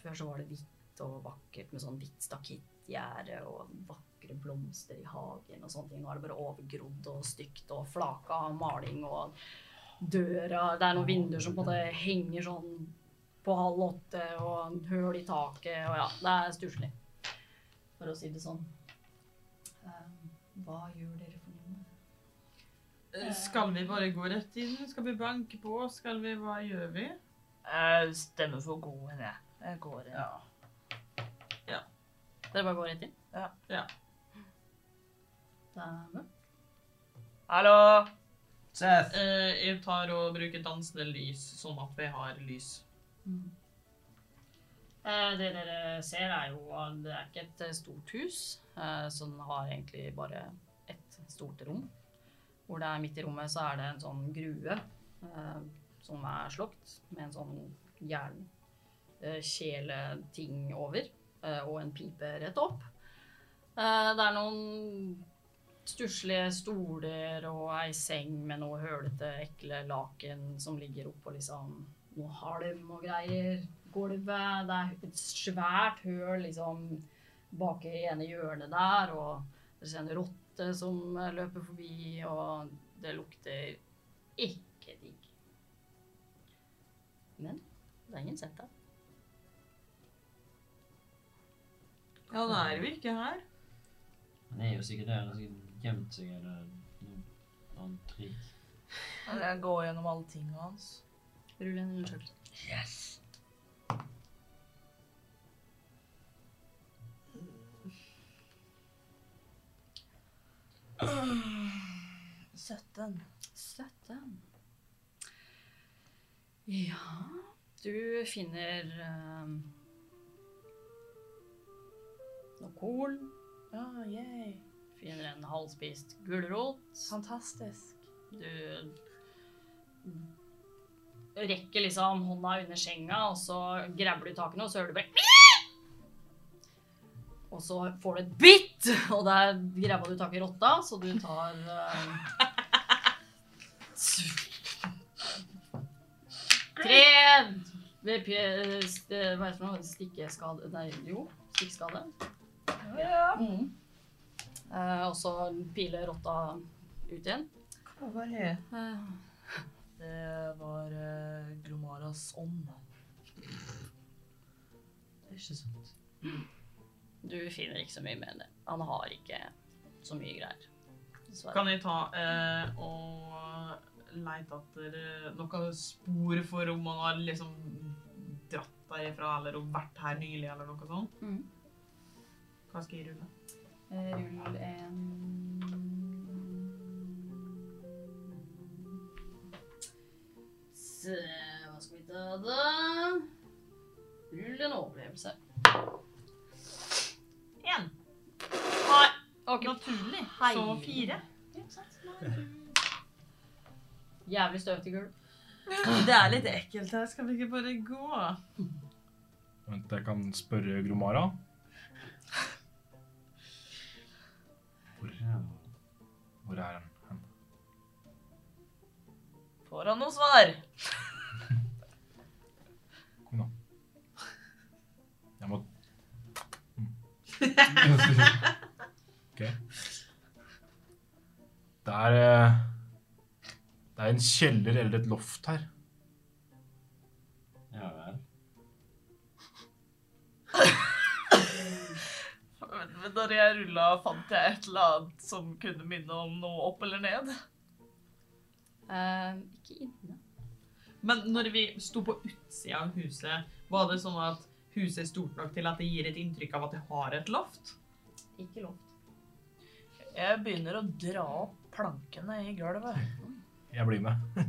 Speaker 1: Før så var det hvitt og vakkert med sånn hvitt stakittgjerde og vakre blomster i hagen og sånne ting. Nå er det bare overgrodd og stygt og flaka av maling og døra Det er noen vinduer som på en måte henger sånn på halv åtte, og høl i taket, og ja. Det er stusslig, for å si det sånn. Eh, Hva gjør dere for noe?
Speaker 7: Eh, Skal vi bare gå rett inn? Skal vi banke på? Skal vi Hva gjør vi?
Speaker 9: Jeg stemmer for Goen, jeg. Jeg går inn.
Speaker 7: Ja.
Speaker 1: Dere bare går rett inn?
Speaker 9: Ja.
Speaker 7: Ja.
Speaker 1: Det er mørkt.
Speaker 9: Hallo!
Speaker 3: Seth!
Speaker 7: Eh, jeg tar og bruker dansende lys, sånn at vi har lys.
Speaker 1: Eh, Det dere ser er jo at det er ikke et eh, stort hus, eh, så den har egentlig bare et stort rom. Hvor det er midt i rommet så er det en sånn grue eh, som er slokt med en sånn jern eh, kjeleting over eh, og en pipe rett opp. Eh, Det er noen stusslige stoler og ei seng med noe hølete, ekle laken som ligger oppå liksom noe halm og greier. Gulvet, det er et svært høl liksom bak i ene hjørnet der, og det er en rotte som eh, løper forbi, og det lukter ikke digg. Men det er ingen sett der.
Speaker 7: Ja, da er vi ikke her.
Speaker 6: Han er jo sikkert der. Han har sikkert gjemt seg eller noe annet triks.
Speaker 9: Jeg går gjennom alle tingene hans.
Speaker 1: Rull en undersøkelse.
Speaker 9: Søtten.
Speaker 1: Støtte. Ja Du finner eh, noe korn.
Speaker 9: Ja, yay.
Speaker 1: Finner en halvspist gulrot.
Speaker 9: Fantastisk.
Speaker 1: Du rekker liksom hånda under senga, og så grabber du takene, og så hører du bare Og så får du et bitt, og der grabba du tak i rotta, så du tar eh, Tre VP, eh, st- eh, Hva heter det for noe? Stikkeskade Nei, jo. Stikkskade. Mm. Eh, og så piler rotta ut igjen.
Speaker 7: Hva er
Speaker 1: Eh,
Speaker 9: Det var eh, Glomaras ånd.
Speaker 6: Det er ikke sant.
Speaker 1: Du finner ikke så mye med det. Han har ikke så mye greier. Dessverre.
Speaker 7: Kan jeg ta eh, og leite etter eh, noen spor for om man har liksom dratt derifra eller om vært her nylig eller noe sånt?
Speaker 1: Mhm.
Speaker 7: Hva skal jeg rulle?
Speaker 1: Eh, Rull en Se, hva skal vi ta da? Rull en overlevelse.
Speaker 7: Én.
Speaker 1: Ok.
Speaker 7: Naturlig. Så fire.
Speaker 1: Jævlig støvete gulv.
Speaker 7: Det er litt ekkelt her. Skal vi ikke bare gå?
Speaker 5: Vent, jeg kan spørre Gromara.
Speaker 6: Hvor er han?
Speaker 5: Hvor er han? hen?
Speaker 9: Får han noe svar?
Speaker 5: Kom, da. Jeg må Mm. OK. Det er eh, Det er en kjeller eller et loft her.
Speaker 6: Ja vel.
Speaker 2: Men men når jeg rulla, fant jeg et eller annet som kunne minne om noe opp eller ned.
Speaker 1: Eh, ikke inne.
Speaker 7: Men når vi sto på utsida av huset, var det sånn at huset er stort nok til at det gir et inntrykk av at det har et loft?
Speaker 1: Ikke loft.
Speaker 2: Jeg begynner å dra opp plankene i gulvet.
Speaker 5: Jeg blir med.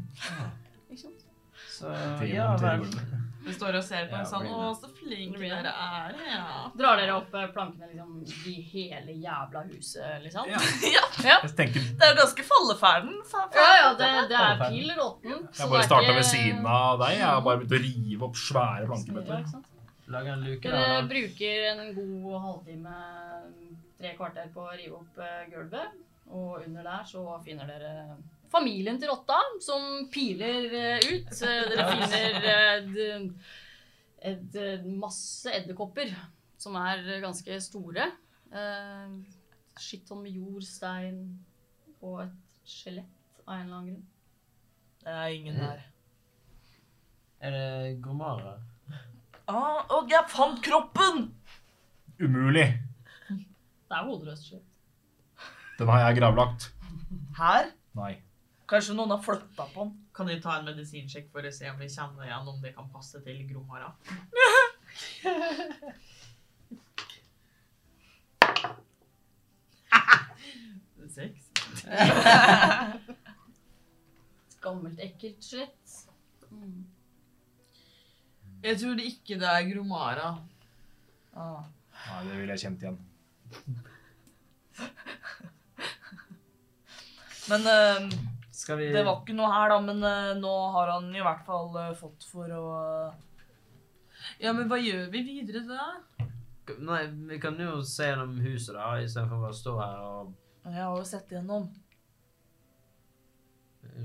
Speaker 3: Så
Speaker 5: Til-
Speaker 3: ja
Speaker 5: til
Speaker 3: vel.
Speaker 5: gulvet.
Speaker 7: Vi står og ser på
Speaker 3: Ja,
Speaker 7: en sånn
Speaker 3: blir
Speaker 7: Å,
Speaker 3: det.
Speaker 7: så flinke
Speaker 1: Blir det.
Speaker 7: dere er. Ja.
Speaker 1: Drar dere opp eh, plankene liksom i hele jævla huset, liksom?
Speaker 5: Ja.
Speaker 1: Ja.
Speaker 5: Jeg tenker
Speaker 2: Det er jo ganske falleferden. fa- fa-
Speaker 1: Ja, ja, det, det er pill råttent.
Speaker 5: Jeg bare starta ved siden av deg. Jeg har bare begynt å rive opp svære plankebøtter.
Speaker 11: Lag en luke, da.
Speaker 1: Dere bruker en god halvtime, tre kvarter på å rive opp eh, gulvet. Og under der så finner dere familien til rotta, som piler eh, ut. Eh, Dere finner eh, d- et, eh, masse edderkopper, som er ganske store. Eh, Skitton med jord, stein og et skjelett av en eller annen grunn.
Speaker 2: Det er ingen
Speaker 3: Mm.
Speaker 2: der.
Speaker 11: Er det gomarer?
Speaker 2: Ah, og jeg fant kroppen!
Speaker 5: Umulig.
Speaker 1: Det er hodeløst skjelett.
Speaker 5: Den har jeg gravlagt.
Speaker 2: Her?
Speaker 5: Nei.
Speaker 2: Kanskje noen har flytta på den.
Speaker 7: Kan de ta en medisinsjekk for å se om vi kjenner igjen om det kan passe til Gromara? Seks.
Speaker 1: Gammelt, ekkelt skjelett. Mm.
Speaker 7: Jeg tror det ikke det er Gromara.
Speaker 2: Ah.
Speaker 5: Nei, det ville jeg kjent igjen.
Speaker 2: Men eh,
Speaker 3: Skal vi
Speaker 2: det var ikke noe her, da. Men eh, nå har han i hvert fall eh, fått for å eh,
Speaker 7: Ja, men hva gjør vi videre da?
Speaker 3: Nei, vi kan jo se gjennom huset, da, istedenfor bare å stå her
Speaker 2: eh,
Speaker 3: og
Speaker 2: Jeg har jo sett igjennom.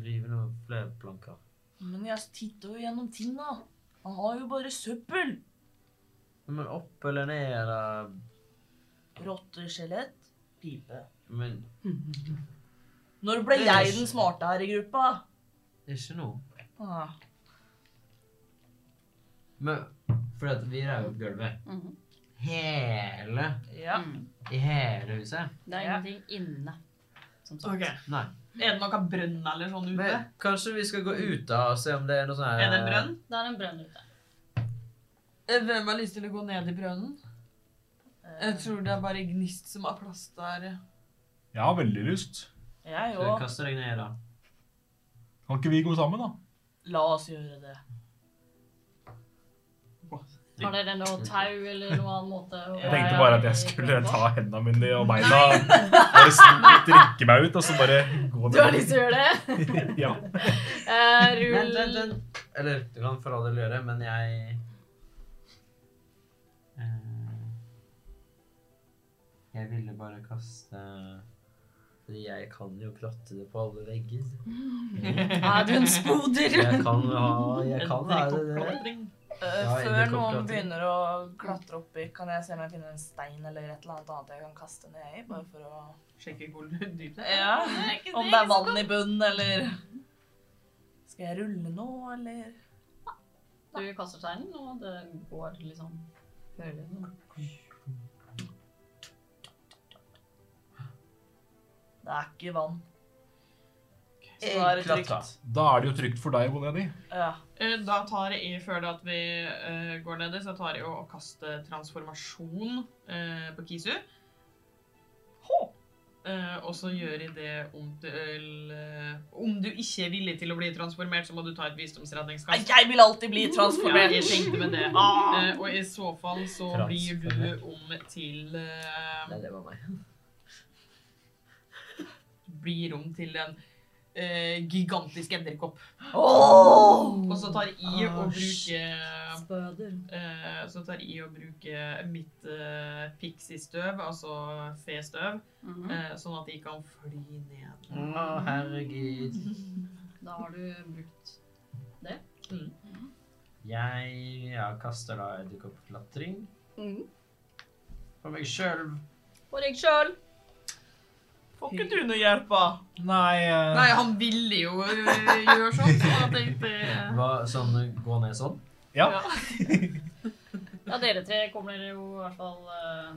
Speaker 3: rive noen flere planker.
Speaker 2: Men jeg titter jo gjennom ting, da. Han har jo bare søppel.
Speaker 3: Men opp eller ned, eller
Speaker 2: Rotteskjelett. Pipe.
Speaker 3: Men
Speaker 2: Når ble
Speaker 3: Det er
Speaker 2: jeg
Speaker 3: ikke-
Speaker 2: den smarte her i gruppa?
Speaker 3: ikke nå.
Speaker 2: Ah.
Speaker 3: Men fordi at vi rev opp gulvet.
Speaker 1: Mhm.
Speaker 3: Hele
Speaker 2: Ja.
Speaker 3: I hele huset?
Speaker 1: Det er
Speaker 2: Ja.
Speaker 1: ingenting inne. Som sagt.
Speaker 7: Ok.
Speaker 3: Nei.
Speaker 7: Er det noe brønn eller sånn ute?
Speaker 3: Men kanskje vi skal gå ut da og se om det er noe sånn her
Speaker 7: Er det en brønn?
Speaker 1: Det er en brønn ute.
Speaker 7: Eh, Hvem har lyst til å gå ned i brønnen?
Speaker 2: Eh,
Speaker 7: Jeg tror det er bare Gnist som har plass der.
Speaker 5: Jeg har veldig lyst.
Speaker 2: Jeg
Speaker 3: Så
Speaker 2: òg.
Speaker 3: eh, kaster deg ned, da.
Speaker 5: Kan ikke vi gå sammen, da?
Speaker 2: La oss gjøre det.
Speaker 1: Har dere noe tau eller noen annen måte? å-
Speaker 5: Jeg tenkte bare at jeg skulle ta hendene mine og beina, bare sn- drikke meg ut, og så bare gå
Speaker 1: Du har lyst til å gjøre det?
Speaker 5: Ja.
Speaker 1: Eh,
Speaker 3: Vent, vent,
Speaker 1: rull
Speaker 3: vent. Eller du kan for all del gjøre, men jeg Eh, Jeg ville bare kaste Fordi jeg kan jo klatte det på alle vegger.
Speaker 1: Er du en spoder?
Speaker 3: Jeg kan ha Jeg kan være det.
Speaker 7: Drikkeoppblomstring.
Speaker 2: Eh,
Speaker 3: Ja,
Speaker 2: Før
Speaker 3: edderkoppklattring.
Speaker 2: noen begynner å klatre oppi, kan jeg se om jeg finner en stein eller et eller annet annet jeg kan kaste ned i? Bare for å
Speaker 7: Sjekke hvor dypt det er.
Speaker 2: Ja, Om det er vann i bunnen, eller Skal jeg rulle nå, eller
Speaker 1: Du kaster steinen, og det går liksom Hører du noe?
Speaker 2: Det er ikke vann. Så
Speaker 3: Jeg
Speaker 2: da er det
Speaker 3: klatra.
Speaker 2: trygt.
Speaker 5: Da er det jo trygt for deg å gå ned i.
Speaker 2: Ja.
Speaker 7: Eh, Da tar jeg i før det at vi eh, går nedi, så tar jeg og kaster transformasjon eh, på Kisu. Hå! Eh, og så gjør jeg det om til eh, Om du ikke er villig til å bli transformert, så må du ta et
Speaker 2: Nei,
Speaker 7: visdomsredningskast.
Speaker 2: Jeg vil alltid bli
Speaker 7: Ja,
Speaker 2: transformert.
Speaker 7: jeg tenkte med det. Eh, og i så fall så blir
Speaker 3: Transformert.
Speaker 7: du om til eh,
Speaker 3: Nei, det var meg.
Speaker 7: Blir om til en eh, gigantisk edderkopp. Og så tar jeg og bruker
Speaker 1: Spøder.
Speaker 7: Eh, så tar jeg og bruker mitt eh, pixie-støv, altså fe-støv,
Speaker 1: Mhm.
Speaker 7: eh, sånn at jeg kan fly ned.
Speaker 3: Å, herregud.
Speaker 1: Da har du brukt
Speaker 3: Jeg ja, kaster da edderkoppklatring
Speaker 1: Mhm.
Speaker 3: på meg sjøl.
Speaker 1: For deg sjøl.
Speaker 2: Får ikke du noe hjelp, da?
Speaker 5: Nei, eh,
Speaker 7: Nei, han ville jo eh, gjøre sånn, så jeg tenkte
Speaker 3: Sånn, gå ned sånn.
Speaker 1: Ja, dere tre kommer dere jo i hvert fall eh,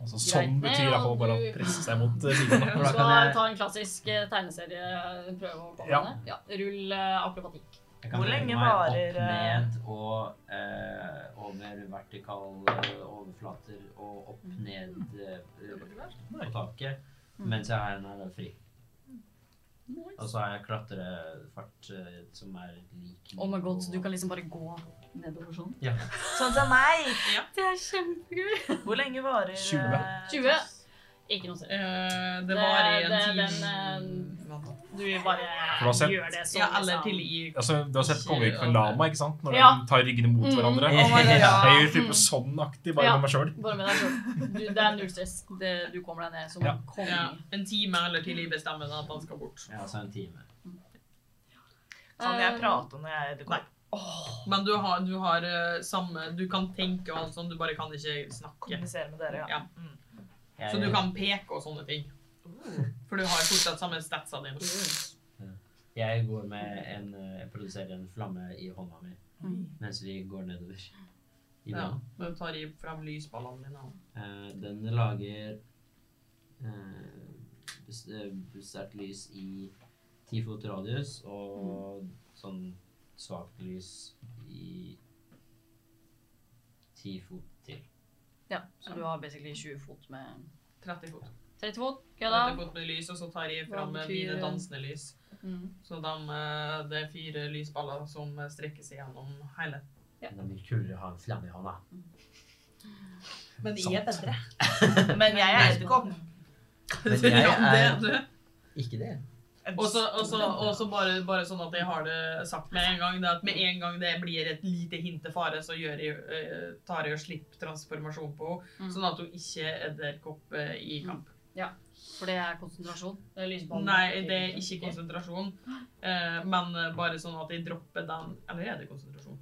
Speaker 5: altså Sånn betyr iallfall bare å presse seg mot eh, siden.
Speaker 3: For da
Speaker 1: Så
Speaker 3: kan jeg-
Speaker 1: ta en klassisk eh, tegneserie. eh, Prøve å komme
Speaker 5: Ja.
Speaker 1: ned. Ja, rull eh, akrobatikk.
Speaker 3: Jeg kan
Speaker 2: Hvor
Speaker 3: bevege
Speaker 2: lenge
Speaker 3: meg
Speaker 2: varer,
Speaker 3: Opp,
Speaker 2: eh?
Speaker 3: ned og eh, over
Speaker 1: Mm.
Speaker 3: vertikale overflater og opp, ned eh, på taket. mens jeg har henne fri. Og så har jeg klatrefart eh, som er lik
Speaker 1: Oh my god, så du kan liksom bare gå nedover sånn?
Speaker 3: Ja.
Speaker 2: Sånn som meg.
Speaker 1: Det er kjempegøy!
Speaker 2: Hvor lenge varer
Speaker 5: 20.
Speaker 2: eh,
Speaker 1: 20. Ikke noe selv.
Speaker 7: Eh, det
Speaker 1: Det-
Speaker 7: var i en
Speaker 1: det-
Speaker 7: tid.
Speaker 1: den, eh,
Speaker 7: Vant da.
Speaker 1: Du bare
Speaker 5: For du har sett-
Speaker 1: gjør det sånn.
Speaker 7: ja, eller
Speaker 1: liksom.
Speaker 7: til i
Speaker 5: Altså, du har sett kongevirket med lama, ikke sant? Når
Speaker 1: Ja.
Speaker 5: de tar ryggene mot
Speaker 1: Mm.
Speaker 5: hverandre.
Speaker 12: Oh my God,
Speaker 7: ja.
Speaker 5: Jeg gjør type sånn-aktig sånn bare
Speaker 1: Ja.
Speaker 5: med meg sjøl.
Speaker 1: Bare med deg selv. Du, det er null stress. Det, du kommer deg ned som
Speaker 5: Ja.
Speaker 1: konge.
Speaker 7: ja, en time eller til i bestemmer at han skal bort.
Speaker 3: Ja, så en time.
Speaker 2: Kan jeg
Speaker 1: Eh,
Speaker 2: prate når jeg
Speaker 7: Nei. Men du har, du har eh, samme Du kan tenke og alt sånt, du bare kan ikke snakke.
Speaker 2: kommuniserer med dere?
Speaker 7: Ja.
Speaker 2: Ja. Mm.
Speaker 3: Jeg,
Speaker 7: Så du kan peke og sånne ting. For du har fortsatt samme statsa dine.
Speaker 3: jeg går med en eh, Jeg produserer en flamme i hånda mi
Speaker 1: Mm.
Speaker 3: mens vi går nedover. I
Speaker 7: Ja,
Speaker 3: vann.
Speaker 7: du tar i fram lysballene dine. og-
Speaker 3: Eh, den lager eh, bes- eh, sterkt lys i ti fot radius og sånn svakt lys i ti fot til.
Speaker 1: Ja, så du har basically 20 fot med
Speaker 7: 30 fot.
Speaker 1: 30 fot.
Speaker 7: 30
Speaker 1: Kødda. Mm.
Speaker 7: fot med lys, og så tar jeg
Speaker 1: Hva
Speaker 7: fram
Speaker 1: betyr-
Speaker 7: mine dansende lys.
Speaker 1: Mm.
Speaker 7: Så de, eh, det er fire lysballer som strekker seg gjennom hele.
Speaker 3: Men Det blir kulere å ha en flamme i hånda.
Speaker 7: Men
Speaker 5: jeg er
Speaker 7: bedre.
Speaker 2: Men jeg er edderkopp.
Speaker 3: Men jeg er-
Speaker 7: det, det.
Speaker 3: Ikke det.
Speaker 7: Og så- og så- og så bare, bare sånn at jeg har det sagt med en gang, det er at med en gang det blir et lite hint til fare, så gjør jeg, eh, tar jeg og slipper transformasjon på henne,
Speaker 1: Mm.
Speaker 7: sånn at hun ikke er edderkopp eh, i kamp.
Speaker 1: For det er konsentrasjon. Det er lysbanen.
Speaker 7: Nei, det er ikke konsentrasjon, eh, men eh, bare sånn at jeg dropper den, eller er det konsentrasjon?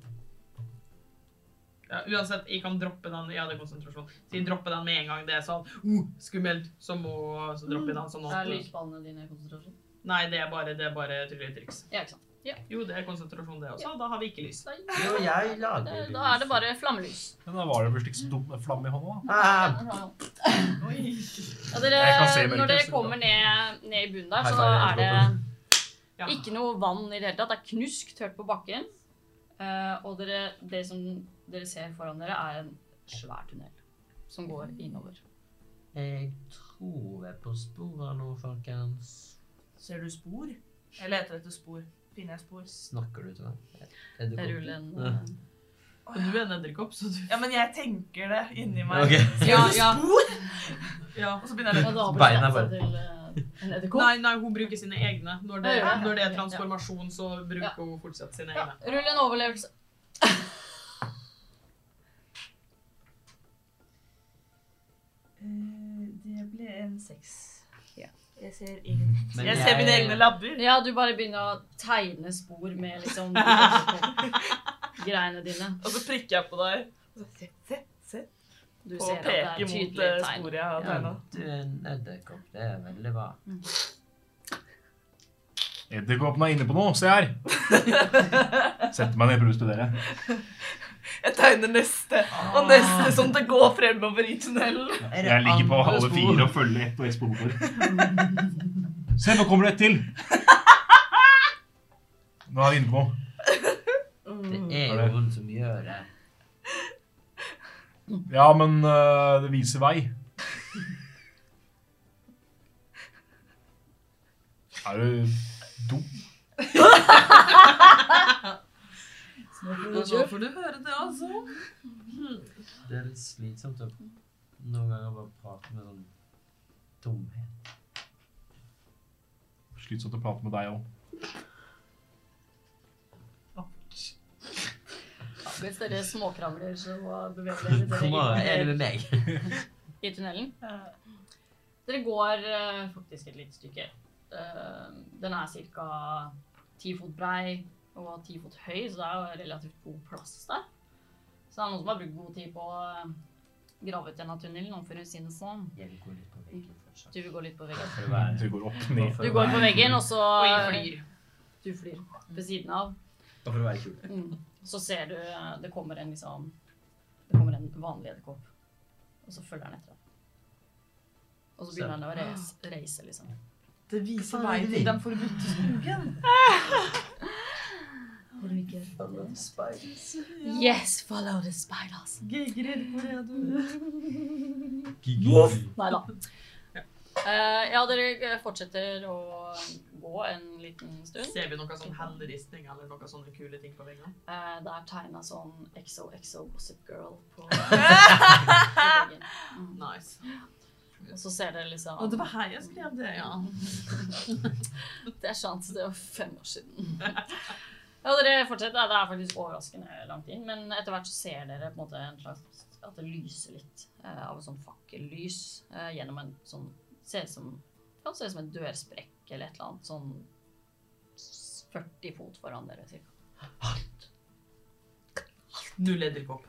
Speaker 7: Ja, uansett, jeg kan droppe den, ja det er konsentrasjon, så jeg dropper den med en gang det er sånn, uh, skummelt, så må, så dropper jeg den sånn
Speaker 1: Mm, Er
Speaker 7: at,
Speaker 1: lysbanene dine konsentrasjon?
Speaker 7: nei, det er bare, det er bare trylletriks.
Speaker 1: Ja, ikke sant.
Speaker 7: Jo, det er konsentrasjon det også, da har vi ikke lys.
Speaker 3: Jo, jeg lager
Speaker 1: Det-
Speaker 3: lys.
Speaker 1: Da er det bare flammelys.
Speaker 5: Men da var det plutselig ikke så dumt med flamme i hånda. da.
Speaker 12: Ah,
Speaker 1: Ja,
Speaker 5: Jeg kan se
Speaker 1: dere,
Speaker 5: mørket,
Speaker 1: når dere
Speaker 5: så
Speaker 1: kommer ned, ned i bunnen der,
Speaker 12: High
Speaker 1: så
Speaker 12: five,
Speaker 1: er det
Speaker 7: Ja.
Speaker 1: ikke noe vann i det hele tatt. Det er knusk tørt på bakken. Eh, og dere, det som dere ser foran dere, er en svær tunnel som går innover.
Speaker 3: Jeg tror jeg er på sporet av noe, folkens.
Speaker 2: Ser du spor? Jeg leter etter spor. Finner jeg spor?
Speaker 3: Snakker du til meg? Er du
Speaker 1: Det
Speaker 3: kopi?
Speaker 1: ruller en eh,
Speaker 7: Og du er en edderkopp, så du
Speaker 2: Ja, men jeg tenker det inni meg.
Speaker 3: Ok.
Speaker 1: Ja, ja.
Speaker 2: Spor?
Speaker 7: ja.
Speaker 2: Og så begynner jeg
Speaker 1: Og da har vi
Speaker 3: Beina
Speaker 1: stansa
Speaker 3: bare-
Speaker 1: eh, til eh, en edderkopp.
Speaker 7: Nei, nei, hun bruker sine egne. Når det,
Speaker 1: Ja, ja, ja.
Speaker 7: når det er
Speaker 1: Ja.
Speaker 7: transformasjon, så bruker
Speaker 1: Ja.
Speaker 7: hun fortsatt sine
Speaker 1: Ja,
Speaker 7: egne.
Speaker 1: rull en overlevelse.
Speaker 2: Det ble en seks.
Speaker 1: Ja.
Speaker 2: Jeg ser ingen
Speaker 3: Men
Speaker 2: Jeg ser mine egne labber.
Speaker 1: Ja, du bare begynner å tegne spor med liksom greiene dine.
Speaker 2: Og så prikker jeg på deg. Og så se, se, se.
Speaker 1: Du
Speaker 2: Og
Speaker 1: ser at det er
Speaker 2: peker mot
Speaker 1: tydelige
Speaker 2: eh,
Speaker 1: tegn.
Speaker 2: sporet jeg har
Speaker 3: Ja,
Speaker 2: tegna.
Speaker 3: du er en edderkopp. Det er veldig bra.
Speaker 5: Edderkoppen er inne på noe. Se her! Setter meg ned og prøver å studere.
Speaker 2: Jeg tegner neste og neste som det går fremover i tunnelen.
Speaker 5: Jeg ligger på halve fire og følger ett og ett spor for. Se, nå kommer det ett til! Nå er vi inne på noe.
Speaker 3: Det er jo hun som gjør det.
Speaker 5: Ja, men øh, det viser vei. Er du dum?
Speaker 7: Ja, nå får du høre det, altså.
Speaker 3: Det er litt slitsomt å noen ganger bare prate med sånn tomhet.
Speaker 5: Slitsomt å prate med deg òg.
Speaker 1: Ja, Hvis dere småkrangler, så beveger
Speaker 3: Hvor
Speaker 1: dere
Speaker 3: er
Speaker 1: dere
Speaker 3: det med meg?
Speaker 1: i, i tunnelen. Dere går eh, faktisk et lite stykke. Eh, den er ca. ti fot brei og ti fot høy, så det er jo relativt god plass der. Så det er noen som har brukt god tid på å eh, grave ut denne tunnelen, om for å si det sånn.
Speaker 3: Jeg vil gå litt på veggen først.
Speaker 1: Du vil gå litt på veggen.
Speaker 3: For å være-
Speaker 5: Du går opp ned.
Speaker 3: for
Speaker 1: Du
Speaker 3: å
Speaker 1: går
Speaker 3: være
Speaker 1: på veggen, og så
Speaker 7: Og jeg flyr.
Speaker 1: Du flyr ved siden av.
Speaker 3: kul. For å være kul.
Speaker 1: Mm. Så ser du eh, det kommer en liksom Det kommer en vanlig edderkopp. Og så følger han etter ham. Og så begynner han å reise, reise liksom.
Speaker 7: Det viser vei til den forbudte skogen.
Speaker 1: Yes, follow the spiders.
Speaker 7: Gegrid, hvor er du?
Speaker 1: Nei da. Eh, ja, dere fortsetter å gå en liten stund.
Speaker 7: Ser vi noe sånn helleristning eller noe sånne kule ting på veggene?
Speaker 1: Eh, det er tegna sånn XOXO Gossip Girl på, på veggen. Mm.
Speaker 7: Nice.
Speaker 1: Og så ser dere liksom
Speaker 7: Og det var her jeg skrev det, ja.
Speaker 1: Det er sant. Det var fem år siden. Ja, dere fortsetter. Ja, Det er faktisk overraskende langt inn, men etter hvert så ser dere på en måte en slags at det lyser litt eh, av et sånt fakkellys eh, gjennom en sånn Ser ut som Kan se ut som en dørsprekk eller et eller annet sånn s- 40 fot foran dere, cirka.
Speaker 7: Null edderkopp.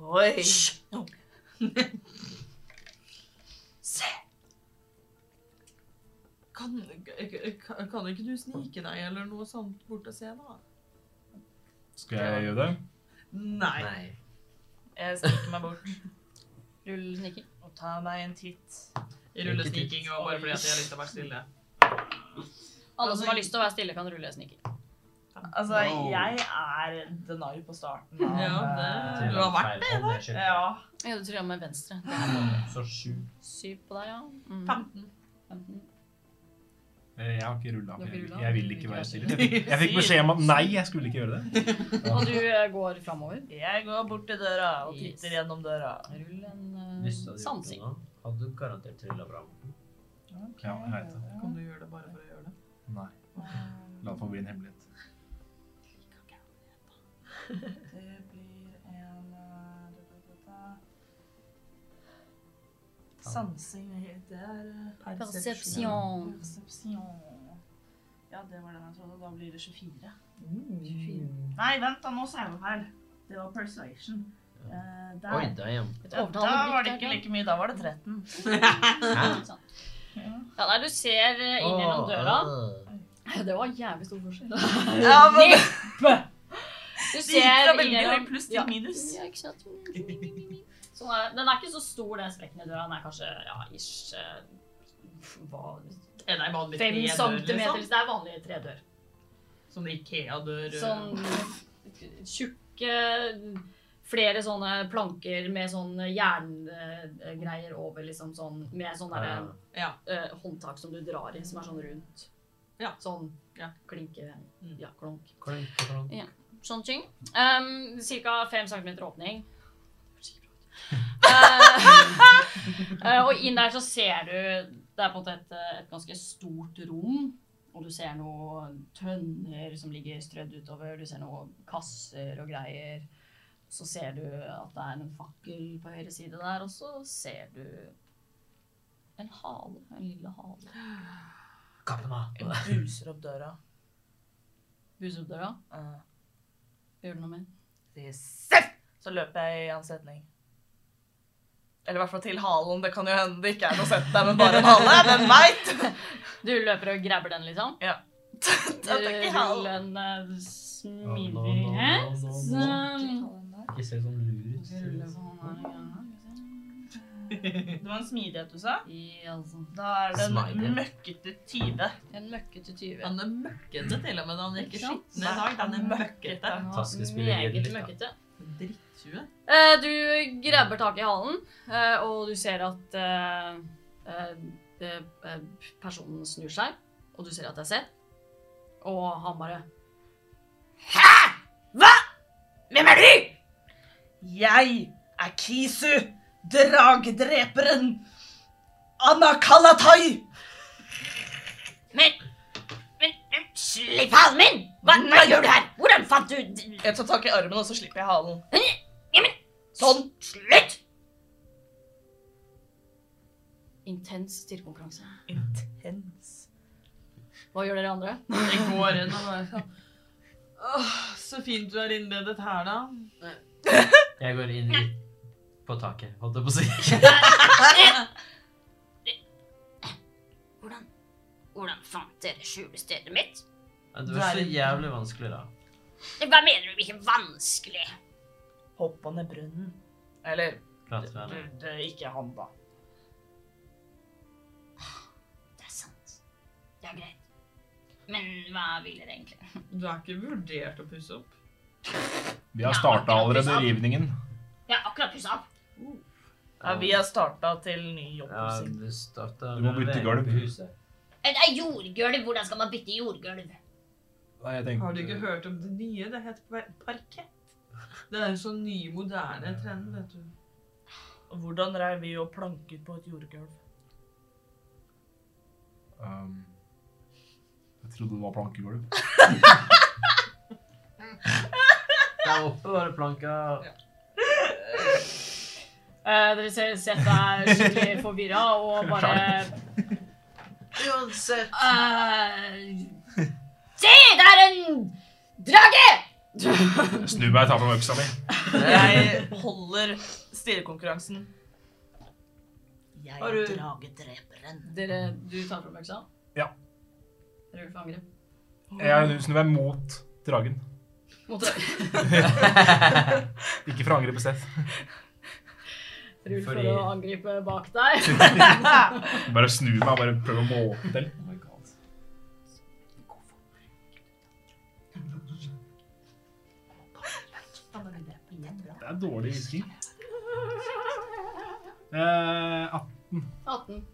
Speaker 2: Oi!
Speaker 7: Kan, kan, kan ikke du snike deg eller noe sånt bort og se, da?
Speaker 5: Skal jeg gjøre det?
Speaker 7: Nei.
Speaker 3: Nei.
Speaker 2: Jeg stikker meg bort
Speaker 1: Rull sniking.
Speaker 2: og tar meg en titt.
Speaker 7: Jeg ruller sniking og bare fordi at jeg har lyst til å være stille.
Speaker 1: Alle som har lyst til å være stille, kan rulle sniking.
Speaker 2: Altså, jeg er denier på starten. av- eh,
Speaker 7: Ja, det, du har vært det.
Speaker 13: da.
Speaker 2: Ja.
Speaker 1: Ja, du tror jeg med venstre.
Speaker 13: Så sju.
Speaker 1: Syv på deg, ja. Mm.
Speaker 7: 15.
Speaker 1: Femten.
Speaker 5: Eh, Jeg har ikke rulla.
Speaker 1: Du har ikke rullet?
Speaker 5: Jeg
Speaker 1: Du
Speaker 5: vil
Speaker 1: vil ikke
Speaker 5: ikke være
Speaker 1: være
Speaker 5: stille. Jeg fikk, jeg fikk beskjed om at nei, jeg skulle ikke gjøre det.
Speaker 1: Og du eh, går framover.
Speaker 2: Jeg går bort til døra og
Speaker 1: Yes.
Speaker 2: titter gjennom døra.
Speaker 1: Rull en eh,
Speaker 3: Hvis du hadde gjort det
Speaker 1: sansing.
Speaker 3: nå, hadde du garantert trilla bra.
Speaker 5: Ja, jeg vet det.
Speaker 7: Kan du gjøre det bare for å gjøre det?
Speaker 5: Nei. La det få bli en hemmelighet.
Speaker 2: Det blir en eh, da, da, da, da. Sansing Det er eh,
Speaker 1: Persepsjon.
Speaker 2: Mm. Persepsjon. Ja, det var den jeg trodde. Da blir det 24.
Speaker 3: Mm.
Speaker 2: Nei, vent da, nå sa jeg noe feil. Det var persuasion. Eh, der.
Speaker 3: Oi, damn.
Speaker 1: Et
Speaker 2: Da, da
Speaker 1: overtalende
Speaker 2: var det
Speaker 1: blikk
Speaker 2: ikke
Speaker 1: der,
Speaker 2: like mye. Da var det 13.
Speaker 1: Ikke sant? Ja, nei, du ser eh, inn gjennom
Speaker 3: Åh,
Speaker 1: døra.
Speaker 3: øh.
Speaker 1: Det var jævlig stor forskjell.
Speaker 2: Ja, men det
Speaker 1: Du
Speaker 2: gikk fra
Speaker 1: ser inn
Speaker 2: veldig høy
Speaker 1: gjennom
Speaker 2: pluss til minus.
Speaker 1: Ja, ikke sant? Sånn er, den er ikke så stor, den sprekken i døra. Den er kanskje ja, ish eh, hva,
Speaker 7: Er det en vanlig
Speaker 1: Fem
Speaker 7: tredør,
Speaker 1: centimeter.
Speaker 7: liksom?
Speaker 1: Så det er vanlig tredør.
Speaker 7: Sånn Ikea-dør.
Speaker 1: Sånn eh, tjukke Flere sånne planker med sånn jerngreier over, liksom sånn Med sånn derre
Speaker 7: Ja.
Speaker 1: eh, håndtak som du drar i, som er sånn rundt.
Speaker 7: Ja.
Speaker 1: Sånn
Speaker 7: Ja.
Speaker 1: klinke Ja, klonk.
Speaker 3: Klunk, klunk.
Speaker 1: Mm. Sånne ting. Um, cirka fem centimeter åpning. Eh, eh, og inn der så ser du Det er på en måte et, eh, et ganske stort rom. Og du ser noen tønner som ligger strødd utover. Du ser noen kasser og greier. Så ser du at det er en fakkel på høyre side der, og så ser du en hale. En lille hale.
Speaker 3: Kapp den av.
Speaker 2: Jeg buser opp døra.
Speaker 1: Buser opp døra.
Speaker 2: Eh,
Speaker 1: Gjør du noe mer?
Speaker 2: sier seff! Så løper jeg i hans retning. Eller i hvert fall til halen. Det kan jo hende det ikke er noe sett der, men bare en hale. Hvem veit?
Speaker 1: Du løper og grabber den, liksom?
Speaker 2: Ja. ikke
Speaker 1: Rull en uh, smidighet.
Speaker 3: Ikke se sånn lur ut.
Speaker 7: eh,
Speaker 2: Det var en smidighet du sa?
Speaker 1: Ja, altså.
Speaker 2: Da er det
Speaker 3: Smidighet.
Speaker 2: en møkkete tyve.
Speaker 1: En møkkete 20.
Speaker 7: Den er møkkete til og med. Den er ikke
Speaker 1: Ikke sant?
Speaker 7: skitten i dag. Den er møkkete.
Speaker 3: Taskespiller i
Speaker 1: Meget
Speaker 3: dritt, da.
Speaker 1: møkkete.
Speaker 7: Drittue.
Speaker 1: Eh, du grabber tak i halen, eh, og du ser at eh, eh, det- eh, personen snur seg, og du ser at det er Seth. Og han bare
Speaker 2: Hvem er du? Jeg er Kisu, dragdreperen Anakalatai.
Speaker 14: Men, men, men slipp halen min! Hva, hva gjør du her? Hvordan fant du d-
Speaker 2: Jeg tar tak i armen, og så slipper jeg halen.
Speaker 14: Sånn, slutt!
Speaker 1: Intens stirrekonkurranse.
Speaker 2: Intens.
Speaker 1: Hva gjør dere andre?
Speaker 7: Jeg går inn og bare sånn Åh, så fint du er innledet her, da.
Speaker 3: Jeg går inn i, på taket, holdt jeg på å si.
Speaker 14: Hvordan, hvordan fant dere skjulestedet mitt?
Speaker 3: Det var så jævlig vanskelig, da.
Speaker 14: Hva mener du ikke vanskelig?
Speaker 2: Hoppa ned brønnen. Eller
Speaker 3: Prate med henne.
Speaker 2: det er ikke han, da.
Speaker 14: Det er sant. Det er greit. Men hva vil dere egentlig?
Speaker 7: Du har ikke vurdert å pusse opp?
Speaker 5: Vi har starta allerede rivningen.
Speaker 14: Jeg har akkurat pusset opp.
Speaker 9: Ja, vi har starta til ny oppussing.
Speaker 3: Du
Speaker 5: Du må bytte gulv.
Speaker 14: Eh,
Speaker 4: Det er jordgulv! Hvordan skal man bytte jordgulv?
Speaker 5: Nei, jeg tenkte
Speaker 7: Har du ikke hørt om det nye? Det heter par- parkett. Det er en sånn ny, moderne trend, vet du.
Speaker 9: Hvordan reiv vi og planker på et jordgulv?
Speaker 5: Ehm, Jeg trodde det var plankegulv.
Speaker 3: Der oppe var det planka.
Speaker 1: Eh, dere ser Seth er skikkelig forvirra og bare
Speaker 3: Uansett.
Speaker 1: eh, Se, det er en drage!
Speaker 5: Jeg snur meg og tar fram øksa mi.
Speaker 9: Jeg holder stirrekonkurransen. Jeg
Speaker 1: Har du-
Speaker 9: er dragedreperen.
Speaker 1: Dere, du tar fram øksa?
Speaker 5: Ja.
Speaker 1: Rull for angrep.
Speaker 5: Jeg snur meg mot dragen.
Speaker 1: Mot dra-
Speaker 5: Ikke for å angripe Steff.
Speaker 1: Rull for
Speaker 3: Fordi-
Speaker 1: å angripe bak deg.
Speaker 5: Bare snur meg og bare prøver å måke til. Det er dårlig hvisking. Eh, ah,
Speaker 1: 18.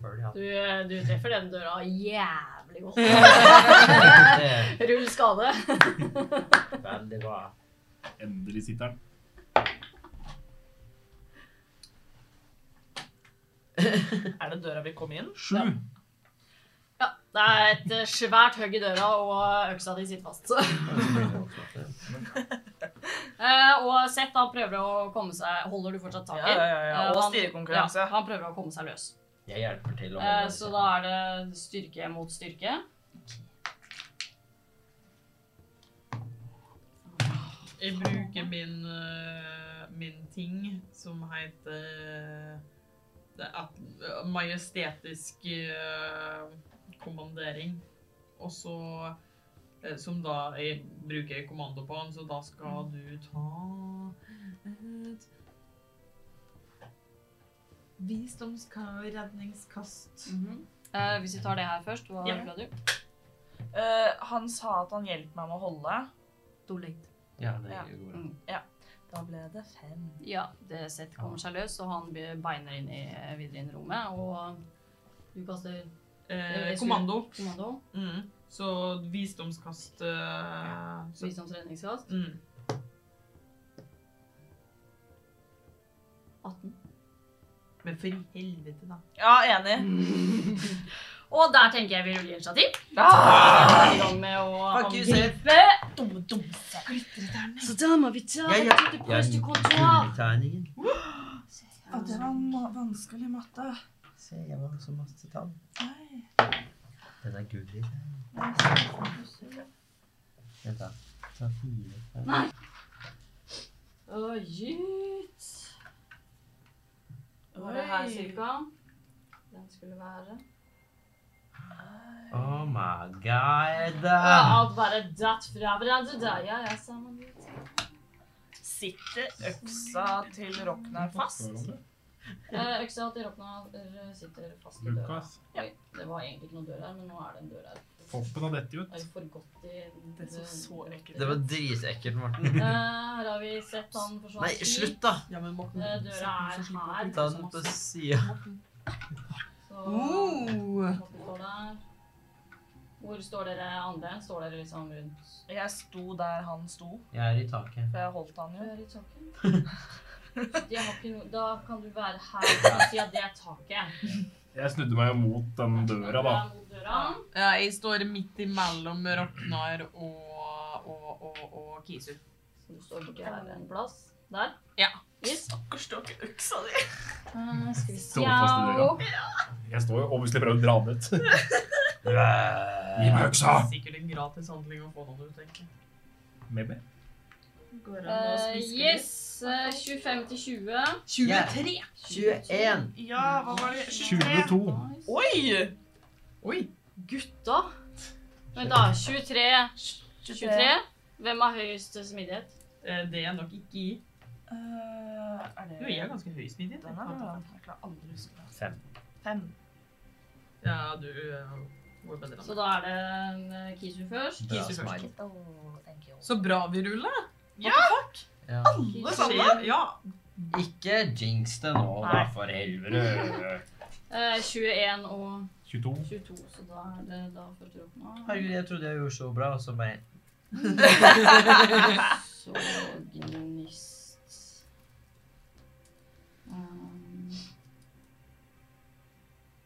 Speaker 3: Før de hadde
Speaker 1: Du, eh, du treffer den døra jævlig godt.
Speaker 3: det.
Speaker 1: Rull skade.
Speaker 3: Veldig bra.
Speaker 5: endelig sitter den.
Speaker 9: Er det døra vi kom inn?
Speaker 5: Sju.
Speaker 1: Ja, det er et eh, svært høgg i døra, og øksa di sitter fast. Eh, og Seth han prøver å komme seg Holder du fortsatt tak i?
Speaker 9: Ja, ja, ja, ja.
Speaker 1: Eh,
Speaker 9: Og
Speaker 1: han-
Speaker 9: stirrekonkurranse.
Speaker 1: Ja, han prøver å komme seg løs.
Speaker 3: Jeg hjelper til. å
Speaker 1: Eh,
Speaker 3: holde
Speaker 1: så
Speaker 3: det.
Speaker 1: da er det styrke mot styrke.
Speaker 7: Jeg bruker min, øh, min ting som heter eh, det er at- eh, majestetisk øh, kommandering. Og så øh, Som da jeg bruker kommando på han, så da skal du ta et Visdomskast redningskast.
Speaker 1: Eh, hvis vi tar det her først, hva
Speaker 7: Ja.
Speaker 1: rulla du?
Speaker 9: Eh, han sa at han hjelper meg med å holde.
Speaker 1: To late.
Speaker 3: Ja, det
Speaker 9: Ja.
Speaker 3: går bra.
Speaker 9: Da ble det fem.
Speaker 1: Ja, det Seth kommer seg løs, og han be- beiner inn i, videre inn i rommet. Og du kaster
Speaker 7: Eh,
Speaker 1: Jeg skulle-
Speaker 7: kommando.
Speaker 1: kommando.
Speaker 7: Mm. Så visdomskast øh, så-
Speaker 1: Visdomsredningskast.
Speaker 7: mm.
Speaker 1: 18.
Speaker 7: Men for i helvete, da.
Speaker 9: Ja, enig.
Speaker 1: Og der tenker jeg vi ruller initiativ. Vi er i gang med å
Speaker 3: Fuck you, Seth.
Speaker 1: angripe.
Speaker 9: Dumme, dumme.
Speaker 1: Så da må vi ta
Speaker 3: Jeg- jeg-
Speaker 1: dette brøstekontoret.
Speaker 3: Gullterningen.
Speaker 9: det var vanskelig matte.
Speaker 3: Se, jeg var så masse tall. Den er gul i den. Vent da. Ta fire.
Speaker 1: Nei. Å, gitt. Var det her cirka? Den skulle være.
Speaker 3: Oh my god.
Speaker 1: Ja, alt bare datt fra hverandre der. Ja, ja, sammen.
Speaker 9: Sitter øksa til Roknar fast?
Speaker 1: Eh, Øksa til Ropna eh, sitter fast i døra.
Speaker 5: Lukas,
Speaker 1: Oi, det var egentlig ikke noen dør her, men nå er det en dør her.
Speaker 5: toppen av dette ut.
Speaker 1: Er det for godt i...
Speaker 9: Det så så ekkelt
Speaker 3: Det var dritekkelt, Morten.
Speaker 1: Eh, her har vi sett han forsvant.
Speaker 3: Nei, slutt da.
Speaker 7: Ja, men Morten, sånn
Speaker 1: Eh, døra er her. liksom.
Speaker 3: Ta den på siden.
Speaker 1: Så...
Speaker 7: Oh.
Speaker 1: Morten står der. Hvor står dere andre? Står dere liksom rundt?
Speaker 9: Jeg sto der han sto,
Speaker 3: Jeg er i taket.
Speaker 9: for jeg holdt han jo.
Speaker 1: Jeg er i taket. Jeg har ikke noe... Da kan du være her på siden. Det er taket.
Speaker 5: Jeg snudde meg jo mot den døra, da.
Speaker 1: Mot døra.
Speaker 7: Ja, jeg står midt imellom Ragnar og, og, og, og Kisu.
Speaker 1: Så du står borti her en plass. Der.
Speaker 7: Ja.
Speaker 1: Yes.
Speaker 9: Stakkars stakke øksa di.
Speaker 1: Eh, skal vi se. Eh,
Speaker 5: Står fast i døra.
Speaker 1: Ja,
Speaker 5: Jeg står jo obviously og prøver å dra den ut. Gi meg
Speaker 3: Nei,
Speaker 5: øksa!
Speaker 7: Sikkert en gratis handling å få noen ut, tenker jeg.
Speaker 5: Maybe.
Speaker 7: Går
Speaker 1: eh, yes. eh, 25 til 20.
Speaker 3: 23. 21.
Speaker 9: Ja, hva var det?
Speaker 5: 22.
Speaker 1: Nice.
Speaker 9: Oi!
Speaker 7: Oi!
Speaker 1: Gutta. Vent da. 23. 23. Hvem har høyest smidighet?
Speaker 7: Eh, Det er nok ikke i.
Speaker 9: Eh, er det
Speaker 7: Jo, jeg er ganske høy smidig.
Speaker 9: Den er Jeg klarer aldri å huske det.
Speaker 3: Fem.
Speaker 9: Fem.
Speaker 7: Ja, du eh, går bedre
Speaker 1: Så
Speaker 7: enn meg.
Speaker 1: da er det eh, Kisu først.
Speaker 3: Bra
Speaker 7: Kisu først.
Speaker 3: smile.
Speaker 9: Oh, thank you.
Speaker 7: Så bra vi ruller.
Speaker 3: Ja.
Speaker 7: Alle sammen? Ja.
Speaker 6: Ikke jinx det nå, da,
Speaker 1: Nei.
Speaker 6: for helvete.
Speaker 1: Eh, 21 og
Speaker 5: 22.
Speaker 1: 22, så da er det da for troppen av.
Speaker 6: Herregud, jeg trodde jeg gjorde så bra, og så bare
Speaker 1: Så gnist um,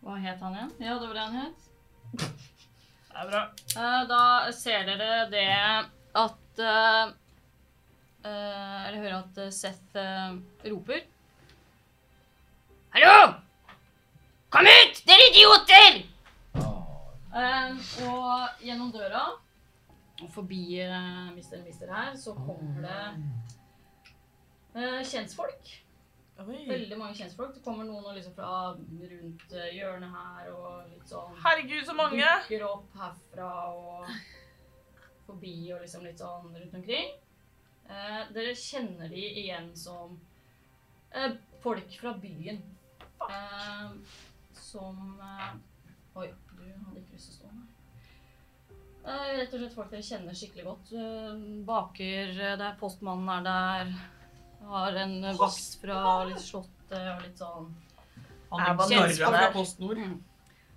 Speaker 1: Hva het han igjen? Ja, det var det han het.
Speaker 2: Det er bra.
Speaker 1: Eh, Da ser dere det at eh, eh, Eller hører at eh, Seth eh, roper. Hallo! Kom ut, dere idioter! Eh, og gjennom døra og forbi uh, Mister Mister her, så kommer det eh, kjentfolk.
Speaker 9: Oi.
Speaker 1: Veldig mange kjentfolk. Det kommer noen og liksom fra rundt eh, hjørnet her og litt sånn
Speaker 2: Herregud, så mange!
Speaker 1: dukker opp herfra og forbi og liksom litt sånn rundt omkring. Eh, dere kjenner de igjen som eh, folk fra byen. Eh, som eh, Oi, du hadde ikke lyst til å stå her. Eh, rett og slett folk dere kjenner skikkelig godt. Eh, baker eh, der, postmannen er der. Har en eh, vakt fra litt slottet og litt sånn
Speaker 9: Er
Speaker 1: Kjentfolk.
Speaker 9: vanilje der?
Speaker 7: PostNord.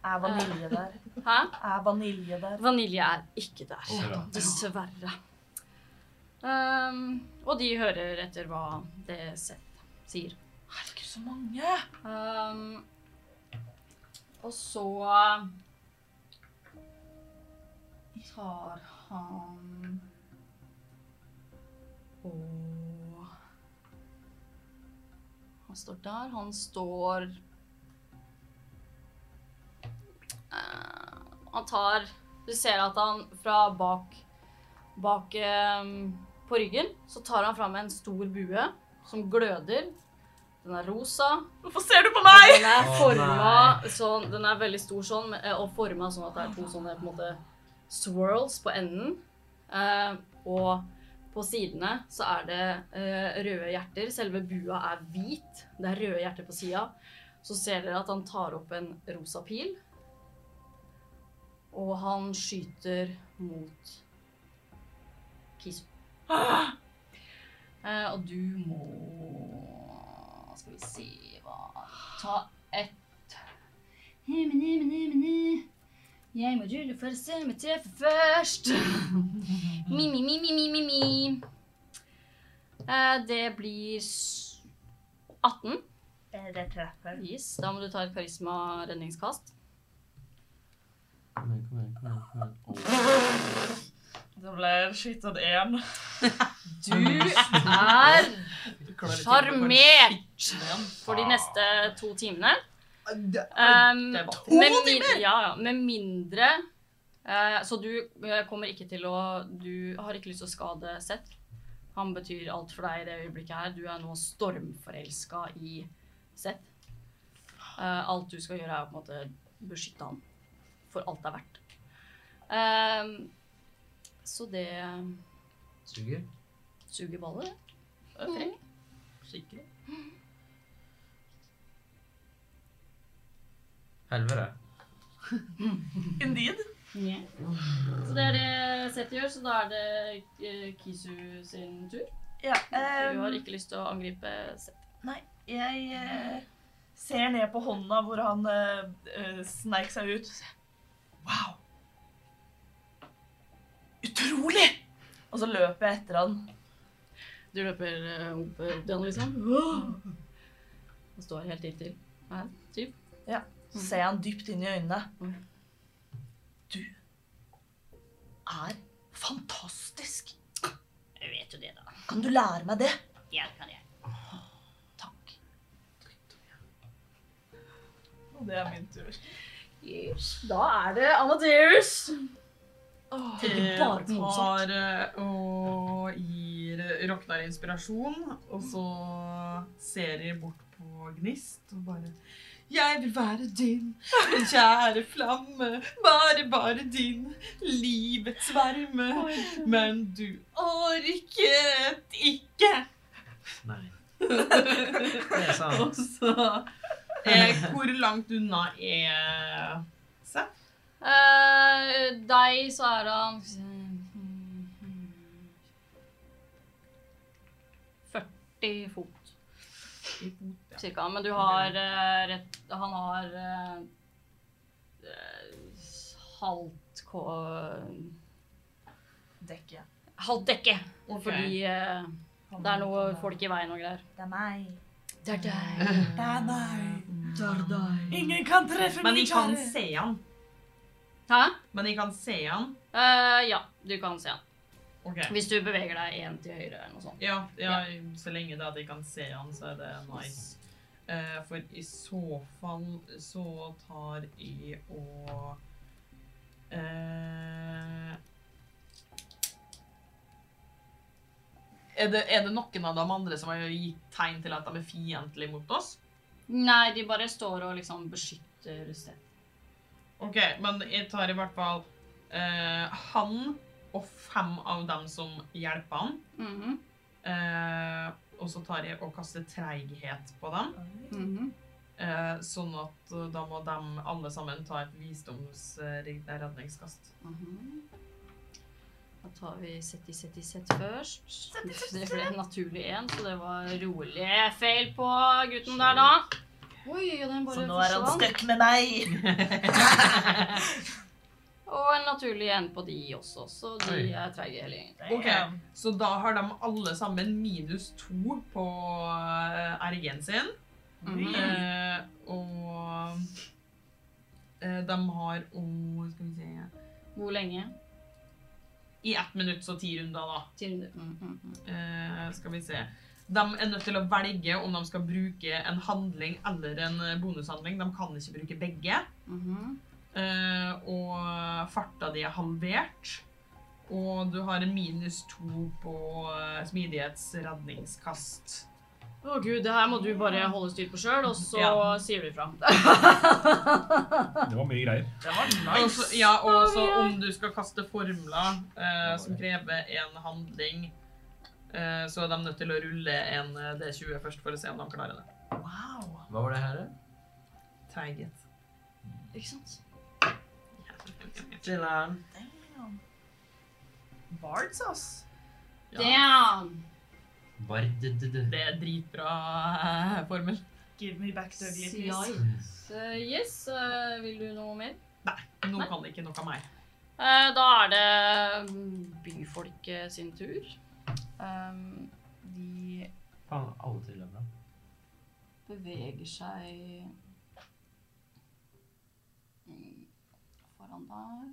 Speaker 9: Er vanilje der?
Speaker 1: Hæ?
Speaker 9: Er vanilje der?
Speaker 1: Vanilje er ikke der. Dessverre. Ehm, og de hører etter hva det Seth sier.
Speaker 9: Herregud, så mange!
Speaker 1: Ehm, og så tar han Og Han står der. Han står eh, Han tar Du ser at han fra bak Bak eh, på ryggen så tar han fram en stor bue som gløder. Den er rosa.
Speaker 2: Hvorfor ser du på meg?!
Speaker 1: Den er forma sånn, den er veldig stor sånn, men- eh, og forma sånn at det er to sånne på en måte swirls på enden. Eh, og på sidene så er det eh, røde hjerter. Selve bua er hvit. Det er røde hjerter på sida. Så ser dere at han tar opp en rosa pil. Og han skyter mot Kisu. Eh, og du må Skal vi se hva Ta ett Himini, mini, mini. Jeg må rulle for å se om jeg treffer først. mi, mi, mi, mi, mi, mi, mi. Eh, det blir s- 18.
Speaker 9: Det treffer.
Speaker 1: Yes, da må du ta et karisma-redningskast.
Speaker 6: Kom igjen, kom igjen, kom igjen, kom igjen. Åh.
Speaker 2: Det ble skitt en én.
Speaker 1: Du er sjarmert for de neste to timene. Um,
Speaker 7: det var
Speaker 1: med min- Ja, ja, med mindre eh, Så du eh, kommer ikke til å Du har ikke lyst til å skade Seth. Han betyr alt for deg i det øyeblikket her. Du er nå stormforelska i Seth. Eh, alt du skal gjøre, er å på en måte beskytte han for alt det er verdt. Ehm, så det
Speaker 6: Suger.
Speaker 1: suger ballet.
Speaker 7: Skikkelig.
Speaker 6: Helvete.
Speaker 2: Indeed.
Speaker 1: Yeah. Så det er det Seth gjør, så da er det eh, Kisu sin tur.
Speaker 2: Ja,
Speaker 1: Du har
Speaker 2: ehm,
Speaker 1: ikke lyst til å angripe Seth.
Speaker 2: jeg eh, ser ned på hånda hvor han eh, eh, sneik seg ut. Wow! Utrolig! Og så løper jeg etter han.
Speaker 1: Du løper eh, opp opp til han, liksom. Og står helt inntil. Nei, typ.
Speaker 2: Så ser jeg han dypt inn i øynene.
Speaker 1: Mm.
Speaker 2: Du er fantastisk!
Speaker 4: Jeg vet jo det, da.
Speaker 2: Kan du lære meg det?
Speaker 4: Ja, kan jeg.
Speaker 2: Takk. Og det er min
Speaker 7: Eh,
Speaker 2: tur.
Speaker 1: Da er det Amadeus.
Speaker 7: Jeg
Speaker 1: bare på sånn. motsatt.
Speaker 7: tar eh, og gir Roknar inspirasjon, og så ser jeg bort på Gnist og bare Jeg vil være din, min kjære flamme, bare, bare din, livets varme. Men du orket ikke.
Speaker 6: Nei. Det er sant.
Speaker 7: Og så eh, Hvor langt unna er Seth?
Speaker 1: Eh, deg, så er han 40 fot. Cirka. Men du har eh, rett Han har eh, eh, halvt k...
Speaker 9: Dekke.
Speaker 1: Halvt dekke.
Speaker 7: Ok.
Speaker 1: Fordi eh, det er noe folk i veien og greier.
Speaker 9: Det er meg.
Speaker 1: Det er deg.
Speaker 9: Det er meg. Ingen kan treffe
Speaker 7: Men
Speaker 9: min
Speaker 7: jeg kan
Speaker 9: kjære.
Speaker 7: se han.
Speaker 1: Hæ?
Speaker 7: Men jeg kan se han.
Speaker 1: Eh, ja, du kan se han.
Speaker 7: Ok.
Speaker 1: Hvis du beveger deg én til høyre eller noe sånt.
Speaker 7: Ja, ja, så lenge det er at jeg kan se han, så er det nice. Eh, for i så fall så tar jeg og eh, er, det, er det noen av de andre som har gitt tegn til at de er fiendtlige mot oss?
Speaker 1: Nei, de bare står og liksom beskytter stedet.
Speaker 7: Ok, men jeg tar i hvert fall eh, han og fem av dem som hjelper han.
Speaker 1: Mhm,
Speaker 7: Eh, og så tar jeg og kaster treighet på dem.
Speaker 1: mhm.
Speaker 7: Eh, sånn at eh, da må de alle sammen ta et visdomsredningskast.
Speaker 1: Mhm. Da tar vi Setti Setti Sett først. Det ble en naturlig én, så det var rolig feil på gutten der, da. Oi, og den bare
Speaker 9: Så nå er han
Speaker 1: forsvant.
Speaker 9: stuck med meg.
Speaker 1: Og en naturlig én på de også, så de er treige hele gjengen.
Speaker 7: Ok, Så da har de alle sammen minus to på eh, RG-en sin.
Speaker 1: Mhm.
Speaker 7: Eh, og eh, de har oh, Skal vi se
Speaker 1: Hvor lenge?
Speaker 7: I ett minutt så ti runder, da.
Speaker 1: Ti runder. Mm, mm, mm.
Speaker 7: Eh, skal vi se. De er nødt til å velge om de skal bruke en handling eller en eh, bonushandling. De kan ikke bruke begge.
Speaker 1: Mhm.
Speaker 7: Eh, og farta di er halvert. Og du har en minus to på eh, smidighetsredningskast.
Speaker 1: Å gud, det her må du bare holde styr på sjøl, og så
Speaker 7: Ja.
Speaker 1: sier du ifra.
Speaker 5: Det var mye greier.
Speaker 2: Det var
Speaker 7: Og
Speaker 2: nice.
Speaker 7: så- Ja, og så om du skal kaste formler eh, som krever en handling, eh, så er de nødt til å rulle en eh, D20 først for å se om de klarer det.
Speaker 9: Wow.
Speaker 6: Hva var det her? da?
Speaker 7: Treighet.
Speaker 1: Ikke sant?
Speaker 6: Chiller'n.
Speaker 9: Damn.
Speaker 2: Bards, ass.
Speaker 7: Ja.
Speaker 1: Damn!
Speaker 6: Bardedede.
Speaker 7: Det er dritbra eh, formel.
Speaker 2: Give me back the ugly
Speaker 1: CI.
Speaker 2: piece.
Speaker 1: Eh, yes, eh, vil du noe mer?
Speaker 7: Nå kan det ikke noe av meg.
Speaker 1: Eh, da er det mm, byfolket sin tur. Um, de
Speaker 6: Faen, alle triller bra.
Speaker 1: beveger seg mm, foran der.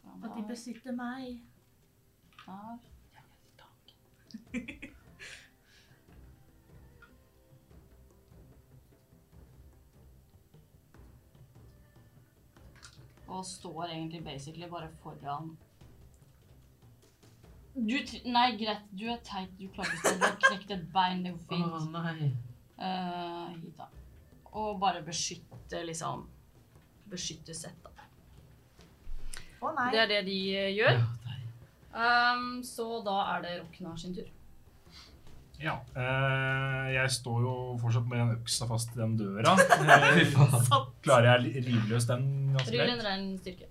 Speaker 1: Foran
Speaker 9: At de
Speaker 1: der.
Speaker 9: besitter meg.
Speaker 1: der. Og står egentlig basically bare foran du, tr- Nei, greit, du er teit. Du klarer ikke å Du har knekt et bein. Det går fint.
Speaker 6: nei.
Speaker 1: Eh, hit, da. Og bare beskytte, liksom Beskytte sett, da.
Speaker 9: Å nei.
Speaker 1: Det er det de eh, gjør. Ehm, så da er det Roknar sin tur.
Speaker 5: Ja. eh, jeg står jo fortsatt med den øksa fast i den døra. Eh, Klarer jeg li- livløs den ganske
Speaker 1: Rull en
Speaker 5: greit?
Speaker 1: ren styrke.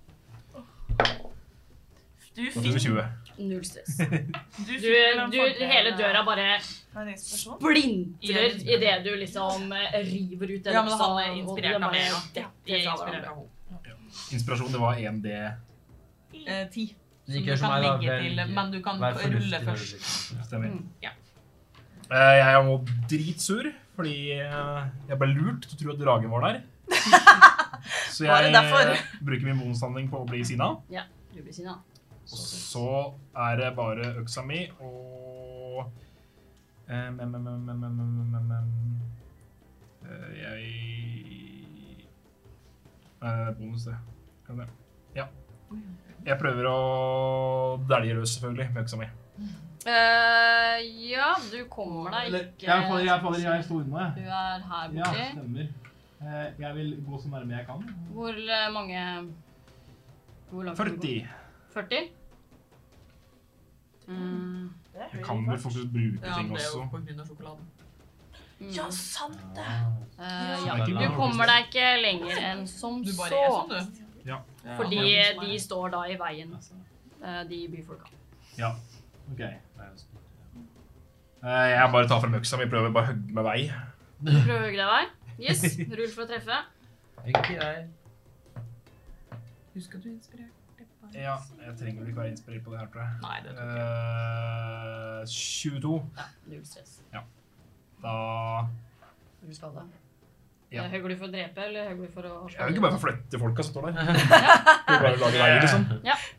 Speaker 9: Du
Speaker 5: Naturen
Speaker 9: fikk
Speaker 5: 20.
Speaker 1: Null stress.
Speaker 9: Du,
Speaker 1: Du, du, hele døra bare blintrer idet du liksom eh, river ut den
Speaker 7: Ja, men
Speaker 1: øksa,
Speaker 7: han er
Speaker 1: og
Speaker 7: inspirert
Speaker 1: den
Speaker 7: av
Speaker 1: bare
Speaker 7: meg, da.
Speaker 1: detter
Speaker 7: Jeg er
Speaker 1: fra
Speaker 7: inspirert
Speaker 1: hverandre.
Speaker 7: av henne.
Speaker 5: Inspirasjon, det var 1D.
Speaker 7: Eh, ti.
Speaker 6: Det
Speaker 7: Som
Speaker 6: gikk
Speaker 7: du
Speaker 6: jo som
Speaker 7: kan
Speaker 6: meg, da.
Speaker 7: legge til,
Speaker 6: Velg-
Speaker 7: men du kan
Speaker 6: vær fornuftig
Speaker 7: rulle
Speaker 6: når du
Speaker 7: først.
Speaker 3: liksom?
Speaker 6: bruker den.
Speaker 5: Stemmer.
Speaker 1: Mm.
Speaker 7: Ja.
Speaker 5: Eh, jeg er nå dritsur, fordi eh, jeg ble lurt til å tro at dragen var der.
Speaker 9: Var
Speaker 5: Så jeg eh,
Speaker 9: det derfor?
Speaker 5: bruker min bonushandling på å bli sinna.
Speaker 1: Du blir sinna.
Speaker 5: Og så er det bare øksa mi og eh, men, men, men, men, men, men, men, men. Eh, Jeg eh, Bonus, det. Kan det. Ja. Jeg prøver å dælje løs, selvfølgelig, med øksa mi.
Speaker 1: Eh, ja, du kommer deg
Speaker 15: Eller,
Speaker 1: ikke
Speaker 15: jeg faller, jeg faller, jeg står unna,
Speaker 1: Du
Speaker 15: jeg.
Speaker 1: er her
Speaker 15: Ja,
Speaker 1: borti.
Speaker 15: stemmer. Eh, Jeg vil gå så nærme jeg kan.
Speaker 1: Hvor eh, mange Hvor langt kan du gå?
Speaker 5: 40.
Speaker 1: 40? Mm.
Speaker 5: Jeg kan vel fortsatt bruke
Speaker 7: Ja,
Speaker 5: ting
Speaker 7: men det er jo
Speaker 5: også.
Speaker 7: på grunn av sjokoladen.
Speaker 1: Mm.
Speaker 9: Ja, sant det.
Speaker 1: Eh, ja.
Speaker 5: Ja, det er ikke
Speaker 1: Du
Speaker 5: bra.
Speaker 1: kommer deg ikke lenger enn som
Speaker 7: Du
Speaker 1: så.
Speaker 7: bare er sånn, du.
Speaker 1: Fordi de står da i veien, eh, de byfolka.
Speaker 5: Ja.
Speaker 15: Ok.
Speaker 5: Eh, Jeg bare tar frem øksa mi, prøver bare å hogge meg vei.
Speaker 1: Du prøver å hugge deg vei. Yes, Rull for å treffe.
Speaker 3: Ikke jeg.
Speaker 7: Husk at du er inspirert.
Speaker 5: Ja, jeg trenger vel ikke være inspirert på det her, tror jeg.
Speaker 7: Nei, det tror jeg.
Speaker 5: Eh, 22.
Speaker 1: Null stress.
Speaker 5: Da
Speaker 1: Er du skada?
Speaker 5: Ja.
Speaker 1: Hugger du for å drepe, eller hugger du for å
Speaker 5: Jeg vil ikke bare forflytte folka som står der. Du bare lager veier, liksom.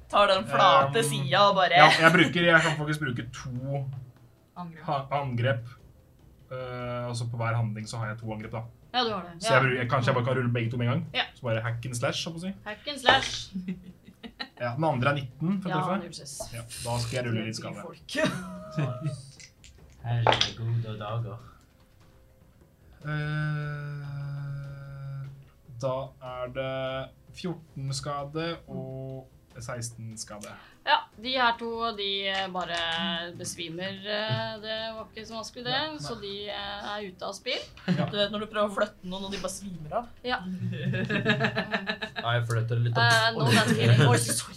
Speaker 9: Tar den flate
Speaker 5: Um,
Speaker 9: sida og bare
Speaker 5: Ja, jeg, bruker, jeg kan faktisk bruke to
Speaker 7: Angrep.
Speaker 5: ha angrep. Eh, og så på hver handling så har jeg to angrep, da.
Speaker 1: Ja, du har det.
Speaker 5: Så jeg, bruker, jeg, kanskje jeg bare kan rulle begge to med en gang?
Speaker 1: Ja.
Speaker 5: Så bare hack and slash, sånn å si.
Speaker 1: Hack and slash.
Speaker 5: Ja, den andre er 19 for å
Speaker 1: Ja,
Speaker 5: treffe.
Speaker 1: null stress.
Speaker 5: Ja, da skal jeg rulle litt skade.
Speaker 6: Herregud og dager.
Speaker 5: Eh, da er det 14 skade og 16 skade.
Speaker 1: Ja, de her to de eh, bare besvimer. eh, Det var ikke så vanskelig, det. Så de eh, er ute av spill.
Speaker 9: Du vet når du prøver å flytte noen, og de bare svimer av.
Speaker 3: Ja, jeg flytter litt opp.
Speaker 1: Eh, nå er det spill. Oi, sorry.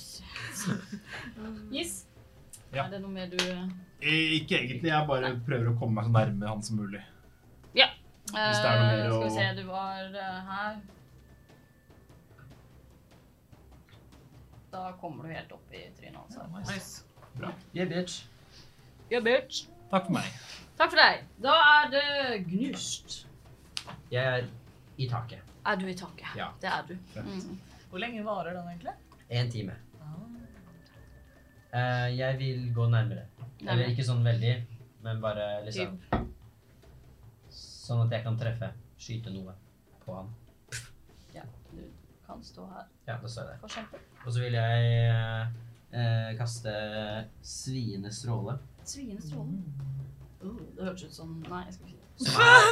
Speaker 1: Yes.
Speaker 5: Ja.
Speaker 1: Er det noe mer du eh,
Speaker 5: Eh, Ikke egentlig, jeg bare prøver å komme meg så nærme han som mulig. Hvis det er noe mer å-
Speaker 1: Eh, Skal vi se, du var eh, her. Da kommer du helt opp i trynet hans. her.
Speaker 3: Yeah, bitch.
Speaker 1: Ja, bitch.
Speaker 5: Takk for meg.
Speaker 1: Takk for deg. Da er det Gnust.
Speaker 3: Jeg er i taket.
Speaker 1: Er du i taket?
Speaker 3: Ja.
Speaker 1: Det er du. Mm.
Speaker 9: Hvor lenge varer den egentlig?
Speaker 3: En time.
Speaker 1: Ah.
Speaker 3: Eh, jeg vil gå nærmere. Eller
Speaker 1: Nærmere.
Speaker 3: ikke sånn veldig, men bare liksom Sånn at jeg kan treffe. Skyte noe på han.
Speaker 1: Kan stå her,
Speaker 3: Ja, da står jeg der.
Speaker 1: for eksempel.
Speaker 3: Og så vil jeg eh, eh, kaste sviende stråle.
Speaker 1: Sviende stråle. Oh, det hørtes ut som Nei, jeg skal ikke si det.
Speaker 3: Som er,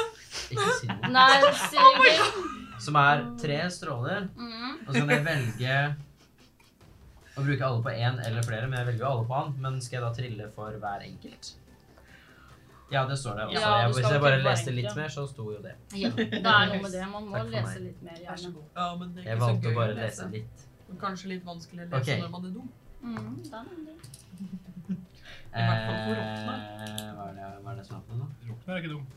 Speaker 3: ikke si noe.
Speaker 1: Nei, Sigrid.
Speaker 3: Som er tre stråler.
Speaker 1: Mm.
Speaker 3: Og så kan jeg velge å bruke alle på én eller flere, men jeg velger jo alle på han. Men skal jeg da trille for hver enkelt? Ja, det står det. Også.
Speaker 1: Ja, du
Speaker 3: jeg,
Speaker 1: skal
Speaker 3: hvis
Speaker 1: jo
Speaker 3: jeg bare
Speaker 1: trille hver
Speaker 3: leste litt
Speaker 1: enkelt, ja.
Speaker 3: mer, så sto jo det.
Speaker 1: Ja, det er noe med det. Man må
Speaker 3: Takk for
Speaker 1: lese
Speaker 3: meg.
Speaker 1: litt mer. Gjerne.
Speaker 7: Vær så god. Ja, men det er
Speaker 3: Jeg
Speaker 7: ikke så
Speaker 3: valgte
Speaker 7: gøy
Speaker 3: å bare lese litt.
Speaker 7: Men Kanskje litt vanskelig å lese
Speaker 3: Ok.
Speaker 7: når man er dum.
Speaker 1: Mm, det er noe med det.
Speaker 7: hvert fall for
Speaker 3: Eh, hva er det, hva er det som er på nå?
Speaker 5: Rokner er ikke dum.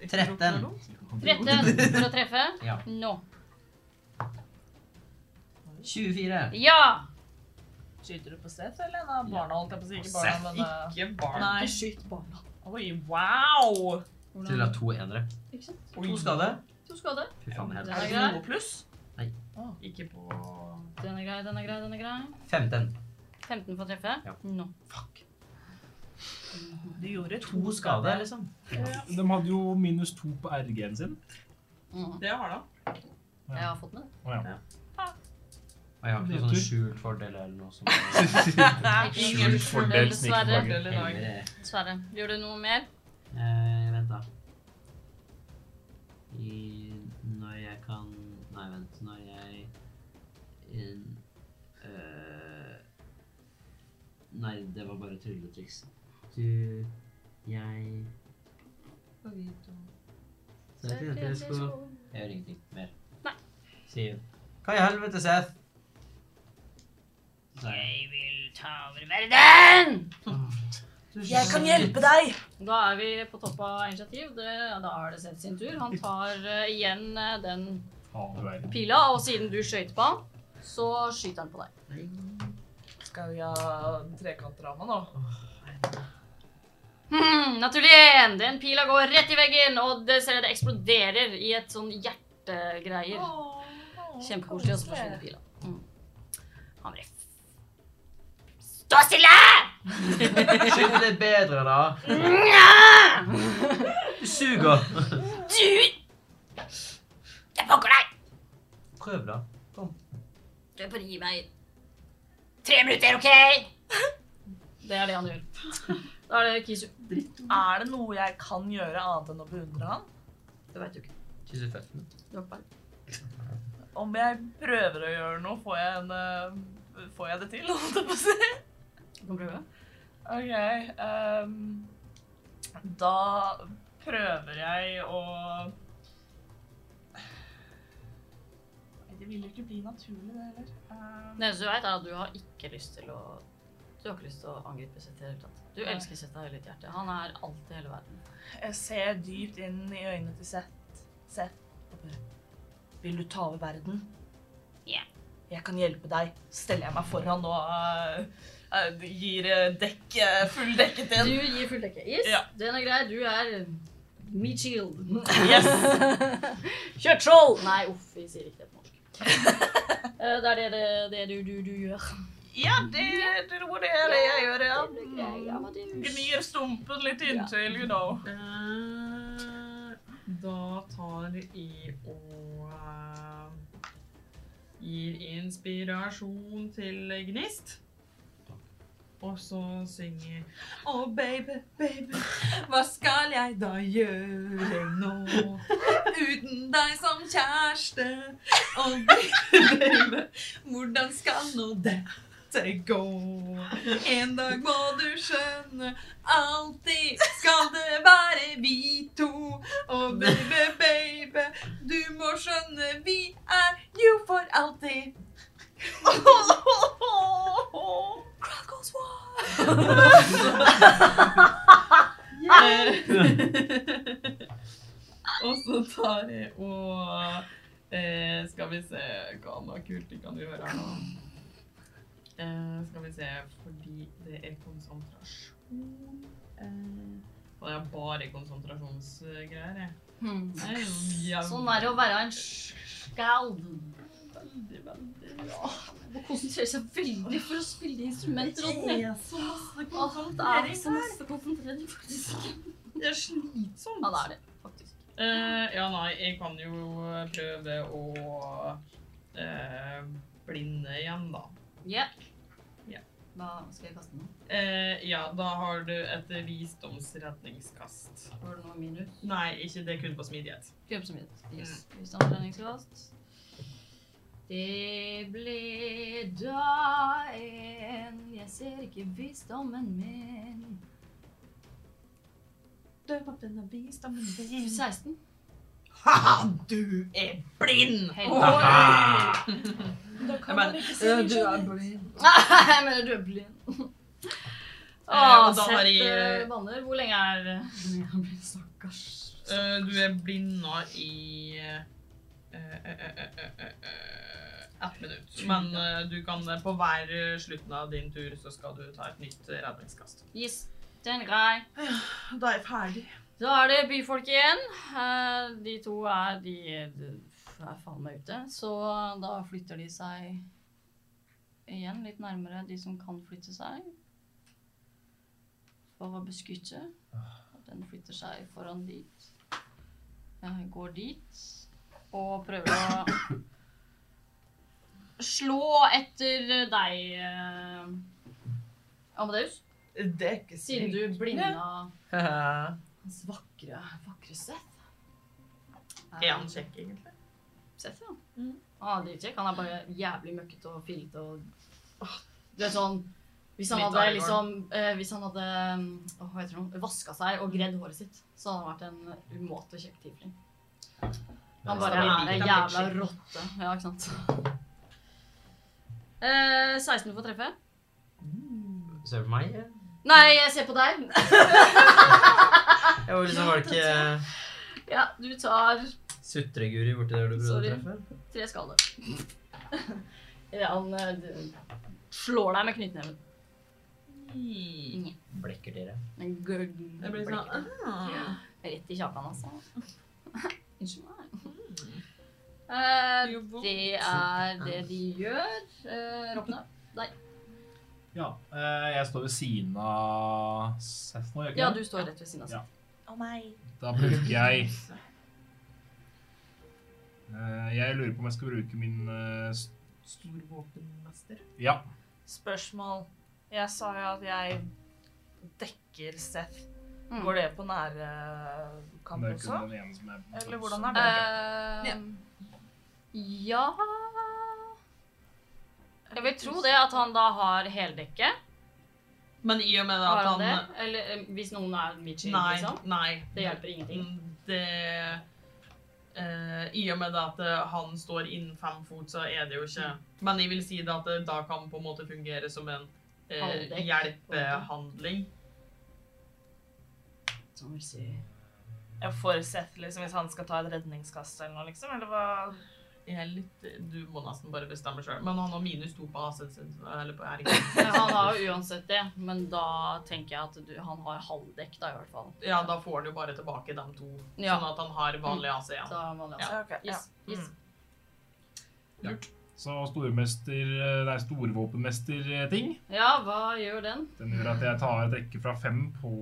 Speaker 7: Ikke tror ikke det er
Speaker 3: Tretten.
Speaker 7: dumt.
Speaker 1: 13 for å treffe.
Speaker 3: Ja.
Speaker 1: Nå.
Speaker 3: 24.
Speaker 1: Ja!
Speaker 9: Skyter du på Seth eller en av barna? Holdt jeg på å si ikke barna, men eh,
Speaker 7: Ikke barn.
Speaker 9: Nei.
Speaker 1: Ikke skyt barna.
Speaker 9: Oi, wow!
Speaker 3: Til å ha to enere.
Speaker 1: Ikke sant?
Speaker 3: To skade.
Speaker 1: To skade.
Speaker 3: Fy faen,
Speaker 1: Den
Speaker 3: helt
Speaker 1: er
Speaker 9: Er det
Speaker 1: grei.
Speaker 9: noe pluss?
Speaker 7: Ikke på
Speaker 1: Den er grei, den er grei, den er grei.
Speaker 3: 15.
Speaker 1: 15 for å treffe.
Speaker 3: Ja.
Speaker 1: Nå.
Speaker 9: Du gjorde
Speaker 3: To skade, liksom.
Speaker 5: De hadde jo minus to på RG-en sin.
Speaker 1: Mm.
Speaker 7: Det har da.
Speaker 1: Jeg har fått med det.
Speaker 3: Og jeg har ikke noen sånn skjult fordel eller noe som
Speaker 1: Ingen
Speaker 5: Skjult fordel,
Speaker 1: dessverre.
Speaker 5: sniker
Speaker 7: Eller dag.
Speaker 3: Heller,
Speaker 1: Dessverre. Gjør du noe mer?
Speaker 6: Eh, vent, da. I, når jeg kan Nei, vent. Når jeg in, eh, Nei, det var bare trylletriks. Du Jeg Så jeg tenkte jeg skulle Jeg gjør ingenting mer.
Speaker 1: Nei.
Speaker 6: Sier hun. Hva i helvete, Seth? Så er jeg-
Speaker 1: Jeg vil ta over verden!
Speaker 9: Jeg kan hjelpe deg!
Speaker 1: Da er vi på topp av initiativ. Det, da er det Seth sin tur. Han tar eh, igjen eh, den
Speaker 5: Faen, du verden.
Speaker 1: pila, og siden du skøyt på han, så skyter han på deg.
Speaker 9: Skal vi ha trekantramme nå?
Speaker 1: Hmm, naturlig én! Den pila går rett i veggen, og det ser jeg det eksploderer i et sånn hjertegreier. Kjempekoselig. Og så forsvinner pila. Mm. Han blir Stå stille!
Speaker 3: Skyld litt bedre, da. Du suger.
Speaker 1: Du! Jeg pokker deg!
Speaker 3: Prøv, da.
Speaker 1: Du bare gi meg tre minutter, OK? Det er det han gjør. Da er det Kisu.
Speaker 9: Er det noe jeg kan gjøre annet enn å beundre han?
Speaker 1: Det veit du ikke.
Speaker 3: Kysse føttene.
Speaker 1: Du har ikke peiling.
Speaker 9: Om jeg prøver å gjøre noe, får jeg, en, eh, får jeg det til, holdt jeg på å si?
Speaker 1: Du kan prøve.
Speaker 9: Ok, ehm, da prøver jeg å Nei, Det vil jo ikke bli naturlig, det heller. Ehm,
Speaker 1: Det eneste du vet, er at du har ikke lyst til å Du har ikke lyst til å angripe Seth i det hele tatt. Du elsker Seth av hele ditt hjerte. Han er alt i hele verden.
Speaker 9: Jeg ser dypt inn i øynene til Seth. Seth. og bare, Vil du ta over verden?
Speaker 4: Ja.
Speaker 9: Jeg kan hjelpe deg. Steller jeg meg foran og eh, eh, gir eh, dekk, eh, full dekket
Speaker 1: Du
Speaker 9: inn.
Speaker 1: gir fullt dekke. Yes,
Speaker 9: Ja.
Speaker 1: den er grei. Du er meat shield.
Speaker 9: Yes!
Speaker 1: Kjøttskjold! Nei, uff, vi sier ikke det på norsk. Eh, det er det, det, det du, du, du gjør.
Speaker 9: Ja, det, det er det er det jeg gjør, ja.
Speaker 1: Det blir grei, ja, hva du-
Speaker 9: Gnir stumpen litt inntil, you know.
Speaker 7: Eh, Da tar i og eh, gir inspirasjon til Gnist. Og så synger Å, baby, baby, hva skal jeg da gjøre nå? Uten deg som kjæreste. Å, baby, baby, hvordan skal nå dette gå? En dag må du skjønne Alltid skal det være vi to. Og baby, baby, du må skjønne vi er jo for alltid. Crowd goes wild. og så tar jeg og eh, Skal vi se hva annet kult vi kan gjøre her nå. Eh, skal vi se, fordi det er konsentrasjon. eh, Og det er bare konsentrasjonsgreier, jeg.
Speaker 1: Hmm.
Speaker 7: Det er jo jævlig,
Speaker 1: Sånn er det å være en skald.
Speaker 7: veldig, veldig bra.
Speaker 1: Må konsentrere seg veldig for å spille instrumenter. Og det
Speaker 7: er så masse
Speaker 1: Alt er så masse konsentrering, faktisk.
Speaker 7: Det er slitsomt.
Speaker 1: Ja, det er det, faktisk.
Speaker 7: Eh, ja, nei, jeg kan jo prøve å eh, blinde igjen, da.
Speaker 1: Ja.
Speaker 7: Ja.
Speaker 1: Da skal jeg kaste noe.
Speaker 7: Eh, ja, da har du et visdomsredningskast.
Speaker 1: Var det noe minus?
Speaker 7: Nei, ikke det kun på smidighet.
Speaker 1: Grep som gitt. Yes. Visdomsredningskast. Det ble da en Jeg ser ikke visdommen min.
Speaker 7: Døv opp denne visdommen
Speaker 1: 16.
Speaker 7: Ha-ha, du er blind!
Speaker 1: Helvete.
Speaker 5: Ah!
Speaker 7: Jeg mener,
Speaker 3: Du er blind.
Speaker 1: Jeg mener du er blind.
Speaker 7: Eh,
Speaker 1: Å,
Speaker 7: og da har
Speaker 1: sett
Speaker 7: jeg-
Speaker 1: eh, banner. Hvor lenge er det? Stakkars.
Speaker 7: Eh, du er blind nå i eh, eh, eh, eh, eh, eh, ett minutt. Men eh, du kan eh, på hver eh, slutten av din tur så skal du ta et nytt eh, redningskast.
Speaker 1: Yes, den er grei.
Speaker 7: Da er jeg ferdig.
Speaker 1: Da er det byfolk igjen. Eh, De to er De de er faen meg ute. Så da flytter de seg igjen litt nærmere de som kan flytte seg. For å beskytte. Og Den flytter seg foran dit. Eh, Går dit og prøver å slå etter deg, eh, Amadeus.
Speaker 7: Det er ikke
Speaker 1: Siden du blinda hans vakre, vakre Seth.
Speaker 7: Er han kjekk, egentlig?
Speaker 1: Seth, ja. Ah, det er ikke. Han er bare jævlig møkkete og fillete og Du er sånn Hvis han
Speaker 7: Litt
Speaker 1: hadde
Speaker 7: Aragorn.
Speaker 1: liksom eh, Hvis han hadde oh, hva heter det, nå? vaska seg og gredd håret sitt, så hadde han vært en umåtelig kjekk tiefling. Han bare
Speaker 7: han
Speaker 1: er
Speaker 7: liker
Speaker 1: en
Speaker 7: han litt
Speaker 1: jævla
Speaker 7: skikkelig.
Speaker 1: rotte. Ja, ikke sant. Eh, 16 får treffe.
Speaker 3: Ser du på meg?
Speaker 1: Nei, jeg ser på deg.
Speaker 3: Jeg var liksom var det
Speaker 6: eh,
Speaker 3: ikke
Speaker 1: Ja, du tar
Speaker 3: sutreguri borti der du prøvde å
Speaker 1: Sorry.
Speaker 3: treffe?
Speaker 1: Tre skader. Ja, han eh, d- slår deg med knyttneven.
Speaker 3: Blekker dere.
Speaker 1: En gørn-
Speaker 7: Jeg blir sånn ah.
Speaker 1: Rett i kjakan, altså. Unnskyld meg. Eh,
Speaker 7: Det
Speaker 1: det
Speaker 7: gjør
Speaker 1: er det de gjør. Uh, Ropne.
Speaker 5: Ja, eh, jeg står ved siden av Seth nå, gjør
Speaker 1: Ja,
Speaker 5: jeg
Speaker 1: du står rett ved siden altså. av.
Speaker 5: Ja.
Speaker 1: Seth.
Speaker 9: Å nei.
Speaker 5: Da bruker jeg Eh, Jeg lurer på om jeg skal bruke min eh, s-
Speaker 7: Storvåpenmester.
Speaker 5: Ja.
Speaker 9: Spørsmål. Jeg sa jo at jeg dekker Seth.
Speaker 1: Mm.
Speaker 9: Går det på nære eh, kamp
Speaker 5: Det er
Speaker 9: også?
Speaker 5: kun den ene som er
Speaker 9: Eller hvordan er det?
Speaker 1: Eh, ja Jeg vil tro det at han da har heldekke.
Speaker 7: Men i og med
Speaker 1: Har
Speaker 7: at
Speaker 1: han
Speaker 7: han
Speaker 1: det? Eller eh, hvis noen er midtskill,
Speaker 7: Nei.
Speaker 1: liksom.
Speaker 7: nei.
Speaker 1: Det hjelper ingenting.
Speaker 7: Mm, Det eh, I og med det at eh, han
Speaker 1: Mm.
Speaker 7: eh, står innen fem fot, så er det jo ikke Men jeg vil si det at det da kan på en måte fungere som en eh,
Speaker 1: Halvdekk.
Speaker 7: hjelpehandling.
Speaker 1: Som vil si
Speaker 9: Jeg får sett liksom hvis han skal ta et redningskast eller noe, liksom. Eller hva
Speaker 7: Jeg er litt, eh, du må nesten bare bestemme sjøl. Men han har minus to på AC. Eller på RG.
Speaker 1: Han har jo uansett det, men da tenker jeg at du, han har halvdekk, da, i hvert fall.
Speaker 7: Ja, da får han jo bare tilbake de to.
Speaker 1: Ja. Mm.
Speaker 7: Sånn at han har vanlig AC igjen.
Speaker 1: Da er man altså.
Speaker 9: Ja, ok, ja. Mm.
Speaker 1: Yes, yes.
Speaker 5: Så stormester, eh, nei, storvåpenmester-ting.
Speaker 1: Ja, hva gjør den?
Speaker 5: Den gjør at jeg tar et dekke fra fem på,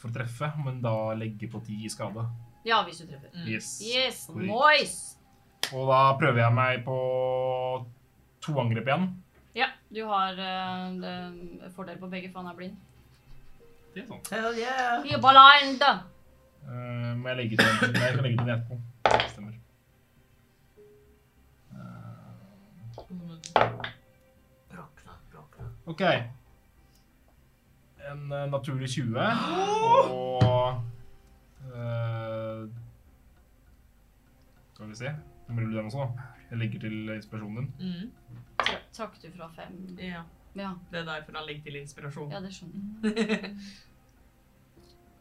Speaker 5: for å treffe, men da legger på ti i skade.
Speaker 1: Ja, hvis du treffer.
Speaker 7: Mm.
Speaker 5: Yes.
Speaker 1: Yes,
Speaker 5: Korrekt.
Speaker 1: nice!
Speaker 5: Og da prøver jeg meg på to angrep igjen.
Speaker 1: Ja, du har eh, det- fordel på begge, for han er blind.
Speaker 5: Det er sånn.
Speaker 3: Hell yeah!
Speaker 1: You're blind!
Speaker 5: Eh, må jeg legge til den? Nei, jeg kan legge til den etterpå. Det Stemmer. Eh, OK. En eh, naturlig 20 og eh, Skal vi se. Nå må du den også. da. Jeg legger til inspirasjonen din.
Speaker 7: Mm.
Speaker 1: Tra- Trakk du fra fem?
Speaker 7: Ja.
Speaker 1: Ja,
Speaker 7: Det er derfor han legger til inspirasjon.
Speaker 1: ja det skjønner jeg.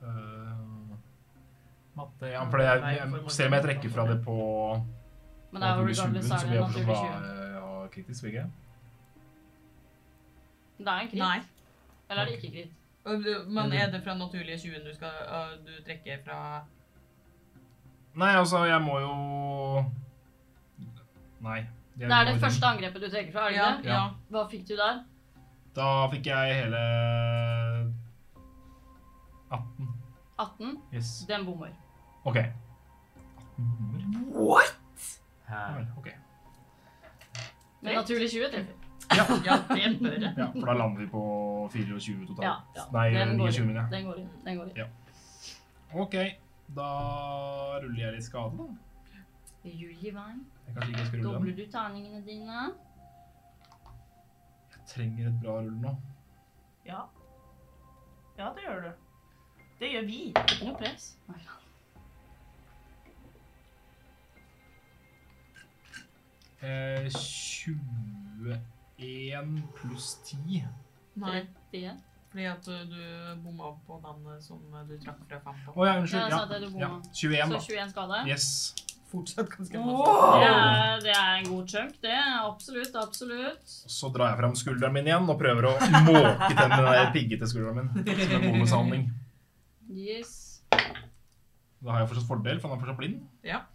Speaker 5: Eh, matte Ja, for det er, jeg ser om jeg trekker fra det på
Speaker 1: Men det er jo
Speaker 5: naturlig 20,
Speaker 1: regardless,
Speaker 5: så
Speaker 1: er
Speaker 5: vil
Speaker 1: det
Speaker 5: jeg
Speaker 1: naturlig
Speaker 5: fortsatt være
Speaker 1: 20.
Speaker 5: ja, kritisk, vil jeg ikke?
Speaker 1: Det er en krit,
Speaker 7: Nei.
Speaker 1: eller er det ikke krit?
Speaker 7: Og du- Men
Speaker 9: Mm.
Speaker 7: er det fra naturlige 20 du skal øh, du trekker fra
Speaker 5: Nei, altså, jeg må jo Nei. jeg
Speaker 1: Det er det
Speaker 5: må jo-
Speaker 1: første angrepet du trekker fra, er det
Speaker 7: Ja.
Speaker 1: ikke det?
Speaker 5: Ja.
Speaker 7: ja.
Speaker 1: Hva fikk du der?
Speaker 5: Da fikk jeg hele 18.
Speaker 1: 18?
Speaker 5: Yes.
Speaker 1: Den bommer.
Speaker 5: OK.
Speaker 3: Her.
Speaker 5: Ok.
Speaker 1: Men naturlig 20 treffer.
Speaker 7: ja, det bør jeg.
Speaker 5: Ja, for da lander vi på 24 totalt.
Speaker 1: Ja, ja.
Speaker 5: Nei,
Speaker 1: Den går
Speaker 5: 29,
Speaker 1: inn.
Speaker 5: mener jeg.
Speaker 1: Den går inn. Den går inn.
Speaker 5: OK, da ruller jeg litt skade, da.
Speaker 1: Julivein.
Speaker 5: Jeg kan ikke skru den.
Speaker 1: Dobler du terningene dine?
Speaker 5: Jeg trenger et bra rull nå.
Speaker 9: Ja, det gjør du. Det gjør vi.
Speaker 1: Ikke noe press. Nei.
Speaker 5: Eh, 21 pluss 10.
Speaker 7: Nei,
Speaker 1: 31.
Speaker 7: fordi at øh, du bomma på den øh, som øh, du trakk fra fem
Speaker 5: Å
Speaker 7: på.
Speaker 5: ja,
Speaker 1: Ja,
Speaker 5: unnskyld.
Speaker 1: jeg
Speaker 5: Ja.
Speaker 1: sa det du
Speaker 5: ja.
Speaker 1: bomma.
Speaker 5: 21,
Speaker 1: Så
Speaker 5: da.
Speaker 1: 21 skade.
Speaker 5: Yes.
Speaker 7: Fortsatt ganske
Speaker 1: Det
Speaker 7: masse.
Speaker 1: er, det er en god chunk, det. Absolutt, absolutt.
Speaker 5: Så drar jeg fram skulderen min igjen og prøver å måke til med den der piggete skulderen min. Som en bonushandling.
Speaker 1: Yes.
Speaker 5: Da har jeg fortsatt fordel, for han er fortsatt blind.
Speaker 1: Jepp.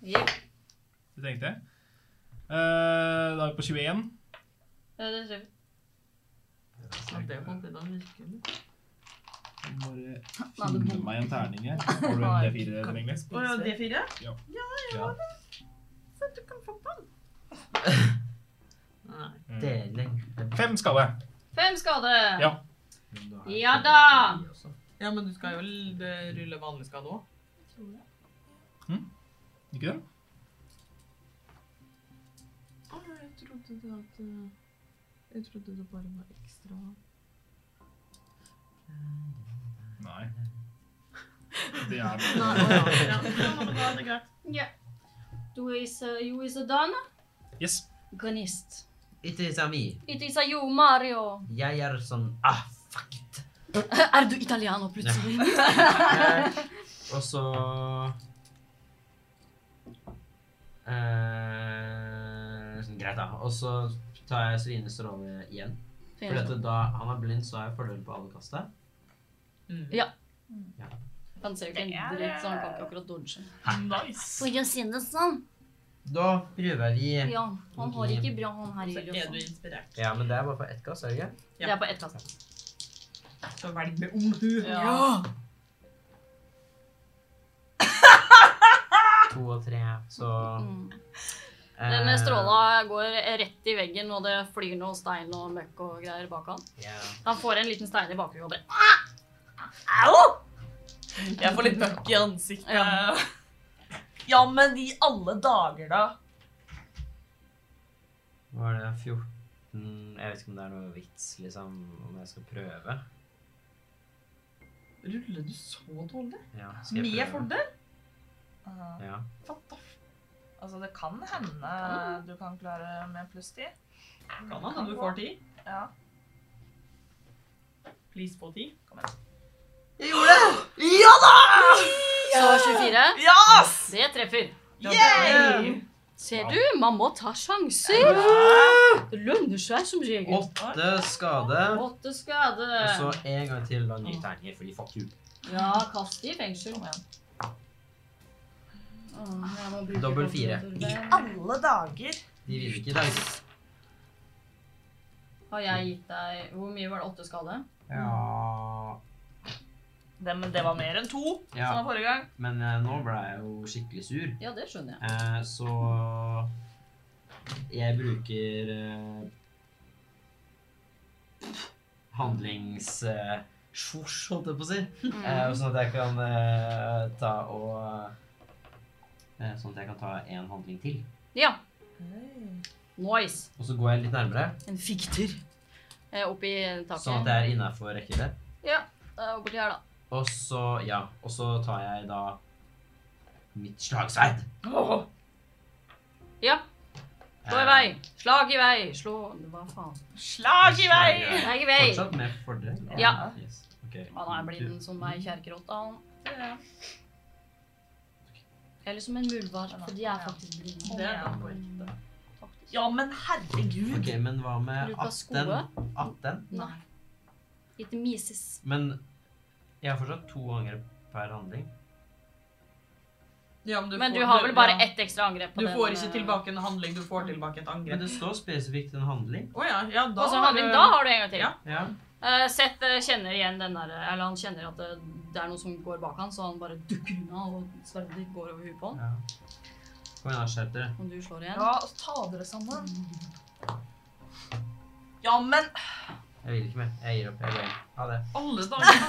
Speaker 5: Det tenkte jeg. Eh, da er vi på 21.
Speaker 1: Ja, Det treffer.
Speaker 7: Ja, sånn det var det den virker.
Speaker 15: Jeg må Bare
Speaker 1: Nei, det
Speaker 15: finne
Speaker 1: bom-
Speaker 15: meg en terning her.
Speaker 5: Har du en D4 tilgjengelig?
Speaker 7: Å ja, D4?
Speaker 3: Ja.
Speaker 7: Nei.
Speaker 5: Mm.
Speaker 3: Deling.
Speaker 5: Fem skade.
Speaker 1: Fem skade.
Speaker 5: Ja.
Speaker 1: Ja da!
Speaker 7: Ja, men du skal jo l- det rulle vanlig skade òg.
Speaker 5: Ikke det?
Speaker 7: Å, jeg trodde det at Jeg trodde det bare var ekstra
Speaker 5: Nei. Det er
Speaker 7: ja. ja, det er greit.
Speaker 1: Ja. Du is, uh, you is a done.
Speaker 5: Yes.
Speaker 1: Gonist.
Speaker 6: It is a me.
Speaker 1: It is a you, Mario.
Speaker 6: Jeg er sånn Ah, fuck it!
Speaker 1: Er du italiano plutselig?
Speaker 6: Eh, og så eh, sånn, Greit, da. Og så tar jeg Svines rolle igjen. For
Speaker 1: Fint.
Speaker 6: dette, da han er blind, så har jeg fordel på alle kasta.
Speaker 7: Mm.
Speaker 1: Ja. Han ser jo ikke en dritt, så han kan ikke akkurat dodge.
Speaker 9: Nice.
Speaker 1: For å si det sånn.
Speaker 6: Da prøver vi
Speaker 1: Ja, han har ikke bra han her i
Speaker 7: Så er du
Speaker 1: Lillefond.
Speaker 7: inspirert.
Speaker 6: Ja, men det er bare for ett kast, er det ikke?
Speaker 1: Det er på ett kast.
Speaker 7: Så velg med omhu.
Speaker 6: To og tre, så
Speaker 1: Mm.
Speaker 6: eh,
Speaker 1: Den stråla går rett i veggen, og det flyr noe stein og møkk og greier bak han.
Speaker 6: Ja.
Speaker 1: Han får en liten stein i bakhodet. og bare-
Speaker 9: Jeg får litt møkk i ansiktet.
Speaker 1: Ja.
Speaker 9: Ja. men i alle dager, da.
Speaker 6: Var det 14 Jeg vet ikke om det er noe vits, liksom, om jeg skal prøve.
Speaker 7: Ruller du så dårlig?
Speaker 6: Ja, skal jeg
Speaker 7: Med
Speaker 6: prøve?
Speaker 7: fordel?
Speaker 9: Uh,
Speaker 6: Ja.
Speaker 9: altså, det kan hende du kan klare med pluss 10.
Speaker 7: Kan han, du får ti.
Speaker 9: Ja.
Speaker 7: Please på ti.
Speaker 2: Jeg gjorde det!
Speaker 7: Ja da!
Speaker 1: Så 24.
Speaker 2: Yes!
Speaker 1: Det treffer.
Speaker 2: Yay!
Speaker 1: Ser du? Man må ta sjanser. Det lønner seg som regel.
Speaker 3: Åtte skade.
Speaker 1: Åtte skade.
Speaker 3: Og så en gang til da nye terninger, fordi fuck you.
Speaker 1: Ja, kast i fengsel. Åh, jeg må bruke
Speaker 3: Dobbel fire.
Speaker 1: kontrollturven.
Speaker 9: Alle dager.
Speaker 3: De vil ikke det.
Speaker 1: Har jeg gitt deg Hvor mye var det? Åtte skade?
Speaker 3: Ja,
Speaker 9: Det, men det var mer enn to.
Speaker 3: ja.
Speaker 9: som var forrige gang.
Speaker 3: Men eh, nå ble jeg jo skikkelig sur.
Speaker 1: Ja, det skjønner jeg.
Speaker 3: Eh, så jeg bruker eh, handlings... Eh, Svosj, holdt jeg på å si.
Speaker 1: Mm.
Speaker 3: Eh, sånn at jeg kan eh, ta og eh, Sånn at jeg kan ta én handling til.
Speaker 1: Ja. Nice.
Speaker 3: Og så går jeg litt nærmere,
Speaker 1: En fikter. Eh, Oppi taket.
Speaker 3: sånn at jeg er innafor rekkevidde.
Speaker 1: Ja, det er borti her, da.
Speaker 3: Og så, ja, og så tar jeg da mitt slagsverd.
Speaker 1: Ja. Slå i vei. Slag i vei. Slå Hva faen?
Speaker 3: Eh,
Speaker 2: Slag i vei!
Speaker 1: Slag i vei.
Speaker 3: Fortsatt med fordel?
Speaker 1: Ja.
Speaker 3: Yes. ok.
Speaker 1: Han er blitt en sånn meg kjerkerotta, han. Eller som liksom en muldvarp, for de er faktisk blinde.
Speaker 2: Det er
Speaker 9: Ja, men herregud.
Speaker 3: Ok, men hva med
Speaker 1: Lukas
Speaker 3: 18?
Speaker 1: Skoe?
Speaker 3: 18?
Speaker 1: Nei. Lite mises.
Speaker 3: Men jeg har fortsatt to angrep per handling.
Speaker 7: Ja, du
Speaker 1: Men
Speaker 7: får-
Speaker 1: du har vel bare
Speaker 7: ja.
Speaker 1: ett ekstra angrep på
Speaker 7: Du
Speaker 1: den?
Speaker 7: får ikke
Speaker 1: eh,
Speaker 7: tilbake en handling, du får tilbake et
Speaker 3: Men
Speaker 7: angrep.
Speaker 3: det står spesifikt en handling.
Speaker 7: Å ja, ja, da
Speaker 1: Altså,
Speaker 7: har
Speaker 1: handling,
Speaker 7: du-
Speaker 1: da har du en gang til.
Speaker 7: Ja.
Speaker 3: Ja.
Speaker 1: Eh, Seth eh, kjenner igjen den der eh, Eller han kjenner at det, det er noen som går bak han, så han bare dukker unna, og sverdet ditt går over huet på han.
Speaker 3: ja. Kom igjen, da, skjerp dere.
Speaker 1: Om du slår igjen.
Speaker 2: Ja, og så ta dere sammen.
Speaker 9: Ja, men
Speaker 3: Jeg vil ikke mer. Jeg gir opp. Jeg går hjem. Ha det.
Speaker 7: Alle dager.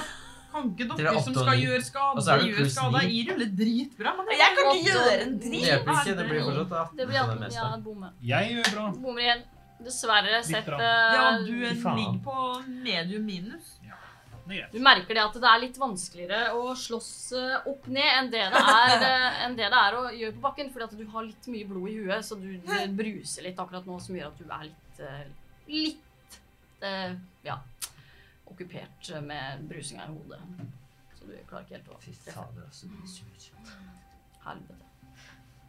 Speaker 7: Kan ikke
Speaker 3: Dere er
Speaker 7: dere som
Speaker 3: åtte og
Speaker 7: skal
Speaker 3: ni.
Speaker 7: gjøre skade,
Speaker 3: Og så er det
Speaker 7: gjøre
Speaker 3: pluss
Speaker 7: skade.
Speaker 3: ni.
Speaker 7: Jeg ruller dritbra, men det
Speaker 9: jeg kan ikke gjøre en
Speaker 3: Det
Speaker 9: dritt.
Speaker 3: hjelper ikke. Det blir fortsatt 18
Speaker 1: Det blir
Speaker 3: på det
Speaker 1: alltid ja,
Speaker 3: meste.
Speaker 1: bomme.
Speaker 5: Jeg gjør bra.
Speaker 1: Bommer igjen. Dessverre, Seth
Speaker 5: bra.
Speaker 1: eh,
Speaker 7: Ja, du er-
Speaker 5: Fy faen.
Speaker 7: ligger på medium minus.
Speaker 1: Du merker det at det er litt vanskeligere å slåss eh, opp ned enn det det er, eh, enn det det er å gjøre på bakken, fordi at du har litt mye blod i huet, så du det bruser litt akkurat nå, som gjør at du er litt eh, litt eh, ja, okkupert med brusinga i hodet. Så du klarer ikke helt å
Speaker 3: Fy
Speaker 1: treffe.
Speaker 3: fader, altså. du blir sur.
Speaker 1: Helvete.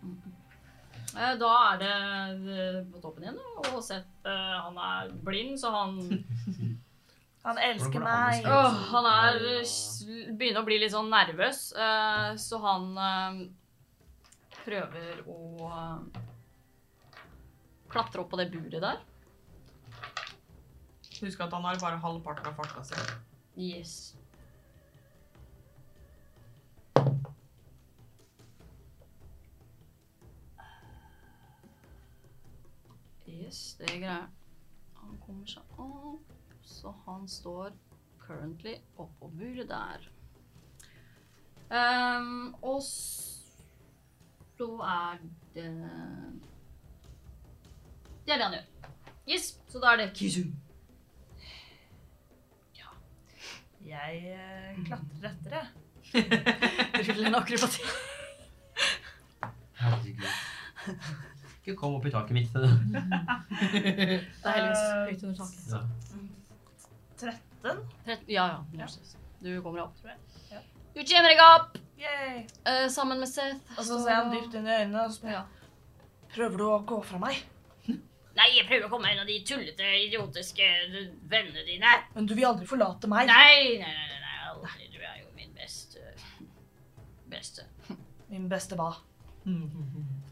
Speaker 1: Mm. Eh, Da er det eh, på toppen igjen, da, og Seth eh, han er blind, så han
Speaker 9: Han
Speaker 3: Hvordan går
Speaker 9: elsker
Speaker 3: det an å
Speaker 9: meg.
Speaker 3: skrive
Speaker 1: Åh,
Speaker 3: sånn?
Speaker 1: han er
Speaker 3: Nei, ja.
Speaker 1: begynner å bli litt sånn nervøs, eh, så han eh, prøver å eh, klatre opp på det buret der.
Speaker 7: Husk at han har bare halvparten av farta si.
Speaker 1: Yes. Yes, det er greier. Han kommer seg opp, så han står currently oppå buret der. Ehm, og så er det Det er det han gjør. Yes, så da er det Kizu.
Speaker 9: Jeg eh, klatrer etter, jeg.
Speaker 1: Rull en akrobati.
Speaker 3: Herregud. Ikke kom opp i taket mitt.
Speaker 1: Det er heldigvis høyt under taket.
Speaker 3: Ja.
Speaker 9: 13.
Speaker 1: Trett- Ja, ja. nå ses. Du kommer deg opp, tror
Speaker 9: Ja.
Speaker 1: jeg. Du kommer deg opp
Speaker 9: Yay.
Speaker 1: eh, sammen med Seth.
Speaker 9: Og så ser jeg han dypt inn i øynene og så spør jeg, Prøver du å gå fra meg?
Speaker 4: Nei, jeg prøver å komme meg unna de tullete, idiotiske eh, vennene dine.
Speaker 9: Men du vil aldri forlate meg.
Speaker 4: Nei, nei, nei, nei, nei, aldri. Du er jo min beste Beste.
Speaker 9: Min beste hva?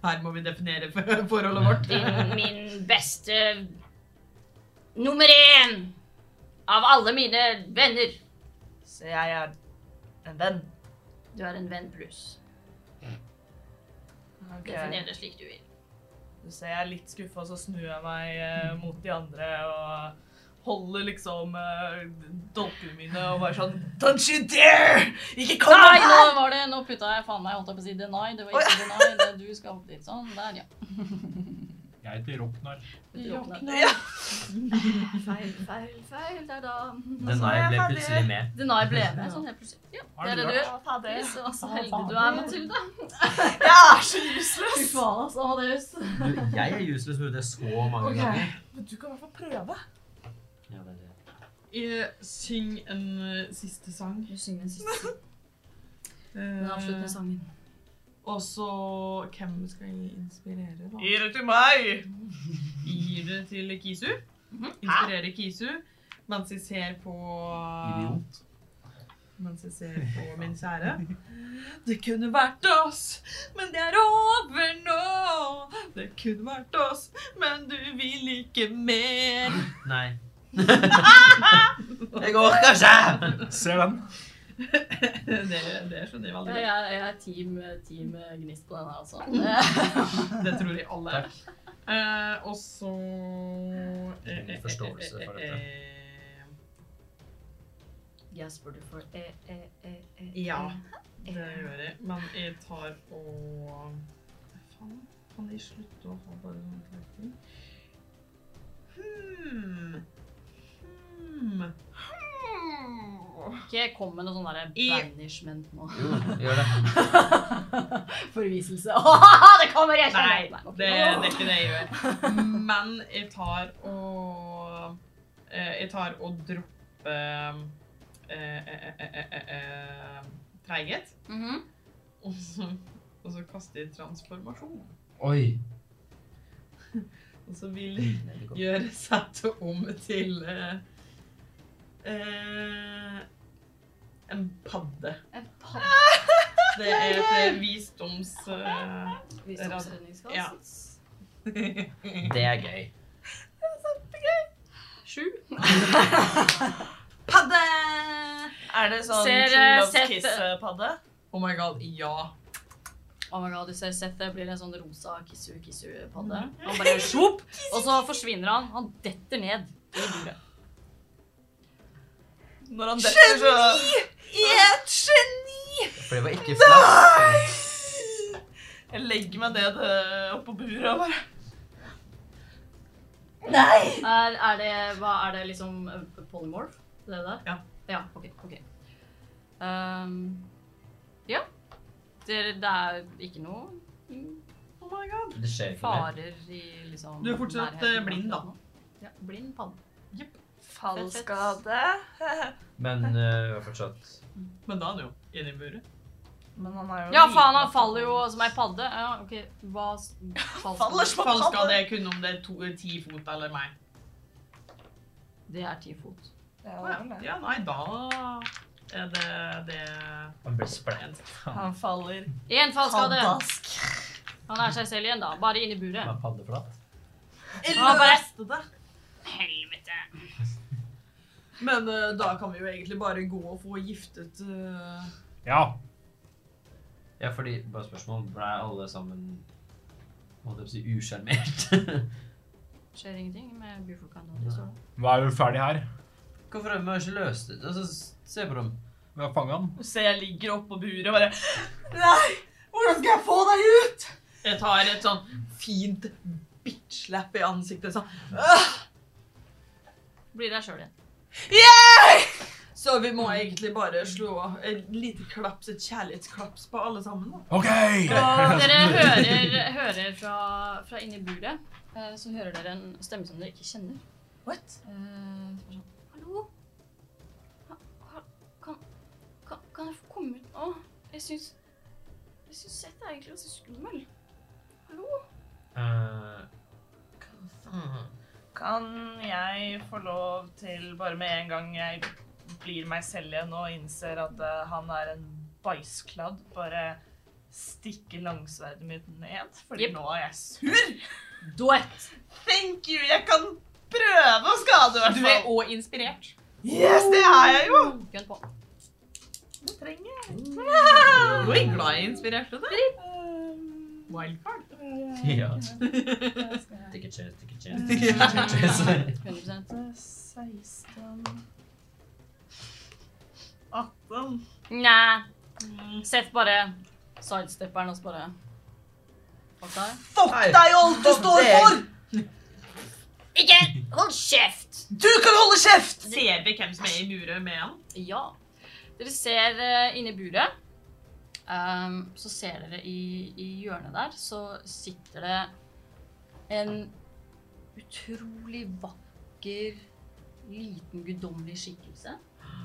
Speaker 7: Her må vi definere for- forholdet vårt.
Speaker 4: Din, min beste Nummer én av alle mine venner.
Speaker 9: Så jeg er en venn.
Speaker 4: Du er en venn pluss. Definer det slik du vil.
Speaker 9: Så jeg er litt skuffa, og så snur jeg meg
Speaker 7: Mm.
Speaker 9: eh, mot de andre og holder liksom eh, dolkene mine og bare sånn Don't you dare! Ikke kom
Speaker 1: Nei,
Speaker 9: her!
Speaker 1: nå var det Nå putta jeg faen meg holdt jeg på å si deny. Det var ikke deny. Det du skal opp dit sånn. Der, ja.
Speaker 5: Jeg heter Roknar.
Speaker 1: Råkne. Feil, feil, feil. Det er da
Speaker 3: Den her ble plutselig med.
Speaker 1: Deny ble med sånn helt plutselig. Ja, det er det du gjør.
Speaker 9: Å, fader.
Speaker 1: Yes, altså, heldig du er, Mathilde.
Speaker 9: Jeg er så useless!
Speaker 1: Fy faen, altså. Amadeus.
Speaker 3: Du, jeg er useless, men det er så mange ganger.
Speaker 9: Men du kan i hvert fall prøve.
Speaker 3: Ja, det er det.
Speaker 7: Jeg Eh, syng en eh, siste sang.
Speaker 1: Du synger den siste den avsluttende
Speaker 7: Eh,
Speaker 1: sangen.
Speaker 7: og så Hvem skal jeg inspirere, da?
Speaker 2: Gi det til meg!
Speaker 7: Gir det til Kisu.
Speaker 9: Mhm.
Speaker 7: Inspirerer Kisu. Mens jeg ser på
Speaker 15: Idiot.
Speaker 7: Mens jeg ser på min kjære. Det kunne vært oss, men det er over nå. Det kunne vært oss, men du vil ikke mer.
Speaker 3: Nei. Jeg går kanskje!
Speaker 5: Ser den.
Speaker 7: Det, det skjønner
Speaker 1: Jeg,
Speaker 7: jeg veldig godt.
Speaker 1: jeg, jeg er team, team Gnist på den her, altså.
Speaker 7: Det tror jeg alle er. Eh, og så eh,
Speaker 3: Ingen forståelse for dette.
Speaker 7: eh,
Speaker 1: Yes, spør du for eh, eh, eh, eh.
Speaker 7: Ja, det gjør jeg. Men jeg tar og Faen, kan jeg slutte å ha bare sånn knekking? Hmm. Hmm. Hmm.
Speaker 1: Ikke kom med noe sånn der
Speaker 7: I-
Speaker 1: banishment nå.
Speaker 3: Jo, gjør det.
Speaker 1: Forviselse. Åh, det kommer! Jeg
Speaker 7: Nei,
Speaker 1: kjenner
Speaker 7: det, det er ikke det jeg gjør. Men jeg tar og eh, Jeg tar og dropper eh, eh, eh, eh, eh, eh, treighet.
Speaker 1: Mhm.
Speaker 7: Og så, og så kaster jeg transformasjon.
Speaker 6: Oi.
Speaker 7: Og så vil jeg gjøre settet om til eh, eh, en padde.
Speaker 1: En papp-
Speaker 7: Det er et visdoms... eh,
Speaker 1: visdomsredningskast.
Speaker 7: Ja.
Speaker 3: Det er gøy.
Speaker 1: Sju.
Speaker 9: Padde! Er det sånn
Speaker 1: Ser, eh,
Speaker 9: True Loves
Speaker 1: sett-
Speaker 9: Kiss-padde?
Speaker 7: oh my god, ja.
Speaker 1: Oh my god, du ser Seth det blir en sånn rosa kissu-kissu-padde.
Speaker 7: Mm.
Speaker 1: Han bare svopp, og så forsvinner han. Han detter ned. i bordet.
Speaker 9: Når han detter, så
Speaker 3: For det var ikke flaut.
Speaker 9: Jeg legger meg ned eh, oppå buret og bare
Speaker 1: Er, er, det, hva, er det liksom eh, polymorph? Det der?
Speaker 7: Ja.
Speaker 1: Ja, ok. ok. Ehm, ja. Det, det er ikke noe
Speaker 7: Oh my god.
Speaker 3: Det skjer ikke mer.
Speaker 1: farer i liksom
Speaker 7: Du er fortsatt,
Speaker 1: nærheten
Speaker 7: eh, blind, da.
Speaker 1: Ja, blind padde.
Speaker 9: Fallskade.
Speaker 3: Men eh, vi har fortsatt
Speaker 7: Men da er han jo inne i buret.
Speaker 9: Men han er jo
Speaker 1: Ja,
Speaker 9: liten,
Speaker 1: faen, han
Speaker 9: da.
Speaker 1: faller jo som ei padde. Ja, ok, hva s-
Speaker 9: Faller som
Speaker 7: Fall skal
Speaker 9: padde.
Speaker 7: det kun om det er to, ti fot eller meg.
Speaker 1: Det er ti fot.
Speaker 9: Ja, det
Speaker 7: Ja,
Speaker 9: er vel det.
Speaker 7: ja, nei, da er det, det
Speaker 3: Han ble splænt.
Speaker 7: en
Speaker 9: Han faller
Speaker 1: Én fallskade.
Speaker 9: paddask.
Speaker 1: Han er seg selv igjen, da. Bare inn i buret.
Speaker 3: Han er paddeflat.
Speaker 1: Han bare
Speaker 4: Helvete.
Speaker 7: Men eh, da kan vi jo egentlig bare gå og få giftet eh,
Speaker 5: Ja.
Speaker 3: Ja, fordi, bare spørsmål, ble alle sammen holdt jeg på å si usjarmert?
Speaker 1: skjer ingenting med byfolkene. da, de står der.
Speaker 5: Nå er vi ferdig her.
Speaker 3: Hvorfor har vi ikke løst det? Altså, s- se på dem.
Speaker 5: Vi har fanget han.
Speaker 9: Så jeg ligger oppå buret og bare Nei! Hvordan skal jeg få deg ut?
Speaker 7: Jeg tar et sånn fint bitch-slap i ansiktet. Sånn.
Speaker 1: Blir deg sjøl igjen.
Speaker 7: Så vi må egentlig bare slå et lite klaps, et kjærlighetsklaps på alle sammen. Da.
Speaker 5: OK!
Speaker 1: Og dere hører, hører fra, fra inni buret, eh, så hører dere en stemme som dere ikke kjenner.
Speaker 9: What?
Speaker 1: Eh, som er sånn, Hallo? Ha- ha- Kan, kan, kan jeg få komme ut nå? Jeg syns Jeg syns Seth er egentlig ganske skummel. Hallo?
Speaker 3: Eh,
Speaker 9: Kan jeg få lov til, bare med en gang jeg blir meg selv igjen og innser at eh, han er en bæsjkladd, bare stikke langsverdet mitt ned? Fordi
Speaker 1: Jepp.
Speaker 9: nå er jeg sur.
Speaker 1: Duett.
Speaker 9: Thank you! Jeg kan prøve å skade, i
Speaker 7: Du
Speaker 9: hvert
Speaker 7: er
Speaker 9: fall.
Speaker 7: òg inspirert.
Speaker 9: Yes, det er jeg jo!
Speaker 1: Gønn på.
Speaker 9: Det trenger jeg.
Speaker 7: Du er glad i inspirerte, det. Wildcard.
Speaker 3: ja. Take a chance, take a chance, take a chance.
Speaker 1: 100
Speaker 9: 16 18
Speaker 1: Nei. mm, Sett bare sidestepperen og så bare Fuck deg.
Speaker 9: Fuck deg og alt du står for!
Speaker 4: Ikke hold kjeft!
Speaker 9: Du kan holde kjeft!
Speaker 7: Ser vi hvem som er i buret med han?
Speaker 1: Ja. Dere ser eh, inni buret. ehm, så ser dere i, i hjørnet der, så sitter det en utrolig vakker liten guddommelig skikkelse.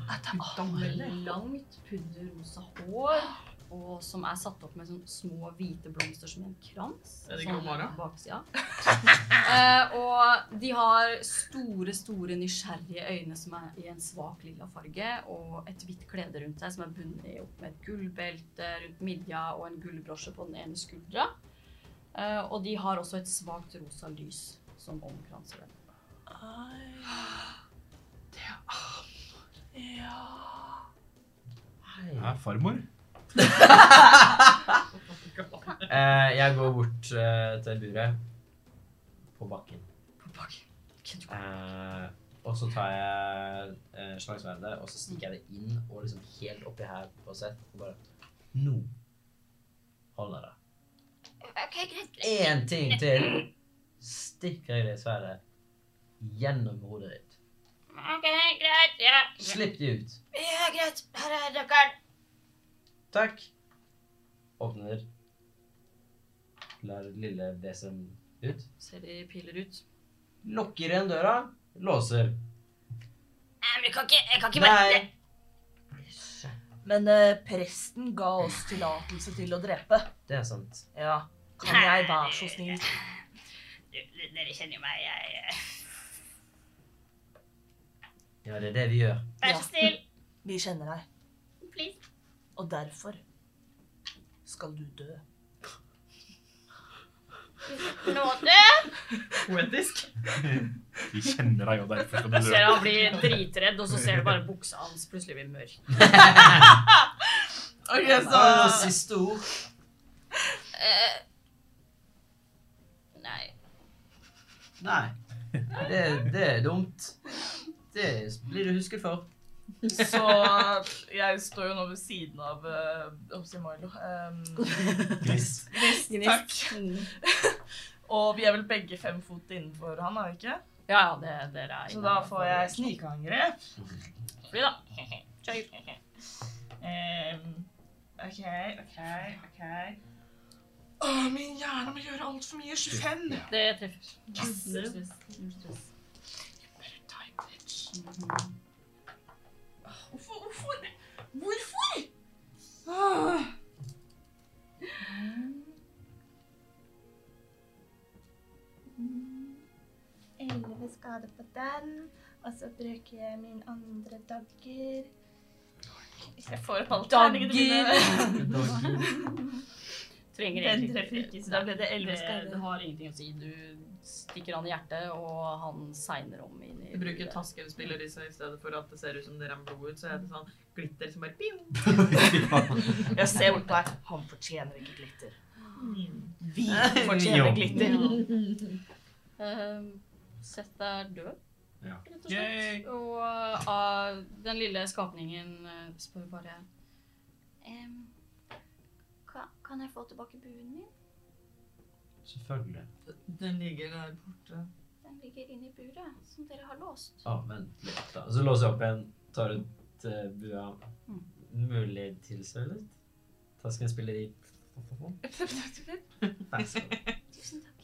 Speaker 7: Ah, Guddommelig.
Speaker 1: Med langt, pudderrosa hår, og som er satt opp med sånn små hvite blomster som en krans.
Speaker 7: Er det
Speaker 1: sånn
Speaker 7: Gromara?
Speaker 1: på baksida. Eh, og de har store, store nysgjerrige øyne som er i en svak lilla farge, og et hvitt klede rundt seg som er bundet opp med et gullbelte rundt midja og en gullbrosje på den ene skuldra. Eh, og de har også et svakt rosa lys som omkranser dem.
Speaker 5: Det er farmor.
Speaker 3: Eh, jeg går bort eh, til buret på bakken. Eh, og så tar jeg eh, slagsverdet, og så stikker jeg det inn og liksom helt oppi her på sett. Og bare Nå holder det.
Speaker 4: Ok, greit, greit.
Speaker 3: Én ting til, stikker jeg det sverdet gjennom hodet ditt.
Speaker 4: Ok, greit. Ja,
Speaker 3: Slipp det ut.
Speaker 4: ja greit. Her er nøkkelen.
Speaker 3: Takk. Åpner. Lar lille Vesem ut.
Speaker 1: Ser de piler ut.
Speaker 3: Lukker igjen døra. Låser.
Speaker 4: Nei, men jeg kan ikke, jeg kan ikke
Speaker 3: Nei.
Speaker 9: Men eh, presten ga oss tillatelse til å drepe.
Speaker 3: Det er sant.
Speaker 9: Ja. Kan jeg være så snill?
Speaker 4: Du, du- dere kjenner jo meg. Jeg eh,
Speaker 3: Ja, det er det vi gjør.
Speaker 4: Vær
Speaker 9: Ja.
Speaker 4: så snill.
Speaker 9: Vi kjenner deg,
Speaker 4: Please.
Speaker 9: og derfor skal du dø.
Speaker 4: Nåde.
Speaker 7: Poetisk.
Speaker 5: Vi kjenner deg jo derfor skal du
Speaker 1: Ser
Speaker 5: dø.
Speaker 1: han blir dritredd, og så ser du bare buksa hans plutselig blir mørk.
Speaker 7: Ok, så
Speaker 3: Ah, siste ord.
Speaker 4: Eh, Nei.
Speaker 3: Nei. Det, det er dumt. Det blir du husket for.
Speaker 9: Så
Speaker 2: Jeg står jo nå ved siden av eh, Oppsi Milo. ehm,
Speaker 5: Gnist.
Speaker 2: takk. Og vi er vel begge fem fot innenfor han, er vi ikke?
Speaker 1: Ja, ja, det, dere er
Speaker 2: Så da får jeg snikangrep.
Speaker 1: Fly, da.
Speaker 2: Ehm, OK, OK, OK. Åh, min hjerne må gjøre altfor mye. 25.
Speaker 1: Det treffer.
Speaker 2: Yes.
Speaker 1: Null stress, null stress.
Speaker 2: Ah, Hvorfor? Hvorfor? Hvorfor? Ah.
Speaker 16: elleve skade på den. Og så bruker jeg min andre dagger.
Speaker 2: Jeg får opp alle terningene mine.
Speaker 1: Trenger
Speaker 2: Den
Speaker 1: egentlig
Speaker 2: treffer ikke, så da ble det 11
Speaker 1: Det, det
Speaker 2: skader.
Speaker 1: har ingenting å si. Du stikker han i hjertet, og han segner om inn i
Speaker 7: jeg bruker
Speaker 1: huet.
Speaker 7: taskenspiller i seg i stedet for at det ser ut som det renner blod ut, så er det sånn glitter som bare ping.
Speaker 9: jeg ser bort på deg. Han fortjener ikke glitter. Vi
Speaker 3: Jo.
Speaker 9: fortjener glitter.
Speaker 1: Ehm, Seth er død,
Speaker 5: Ja.
Speaker 1: rett og slett. Og eh, av den lille skapningen eh, spør bare
Speaker 4: Em, ka- kan jeg få tilbake buen min?
Speaker 3: Selvfølgelig.
Speaker 7: Den ligger der borte.
Speaker 4: Den ligger inne i buret, som dere har låst.
Speaker 3: Å, vent litt, da. Så låser jeg opp igjen. Tar ut eh, bua. Mulig tilsvølet. Tasken spiller i Vær så god.
Speaker 4: Tusen takk.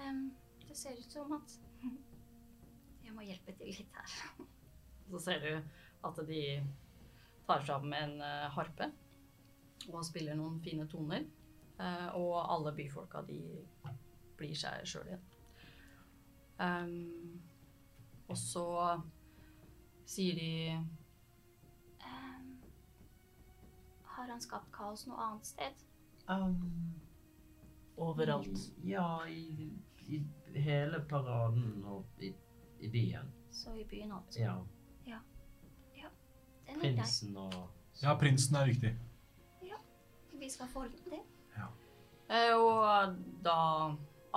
Speaker 4: Em, det ser ut som at jeg må hjelpe til litt her.
Speaker 1: Så ser du at de tar fram en eh, harpe og spiller noen fine toner. Eh, og alle byfolka, de blir seg sjøl igjen. Ehm, og så sier de
Speaker 4: Em, har han skapt kaos noe annet sted?
Speaker 3: Um,
Speaker 9: Overalt.
Speaker 3: Ja, i, i hele paraden og i, i byen.
Speaker 4: Så i byen også.
Speaker 3: Ja.
Speaker 4: Den er grei.
Speaker 3: Prinsen og
Speaker 5: Ja, prinsen er viktig.
Speaker 4: Vi skal forholde det.
Speaker 1: eh, Og da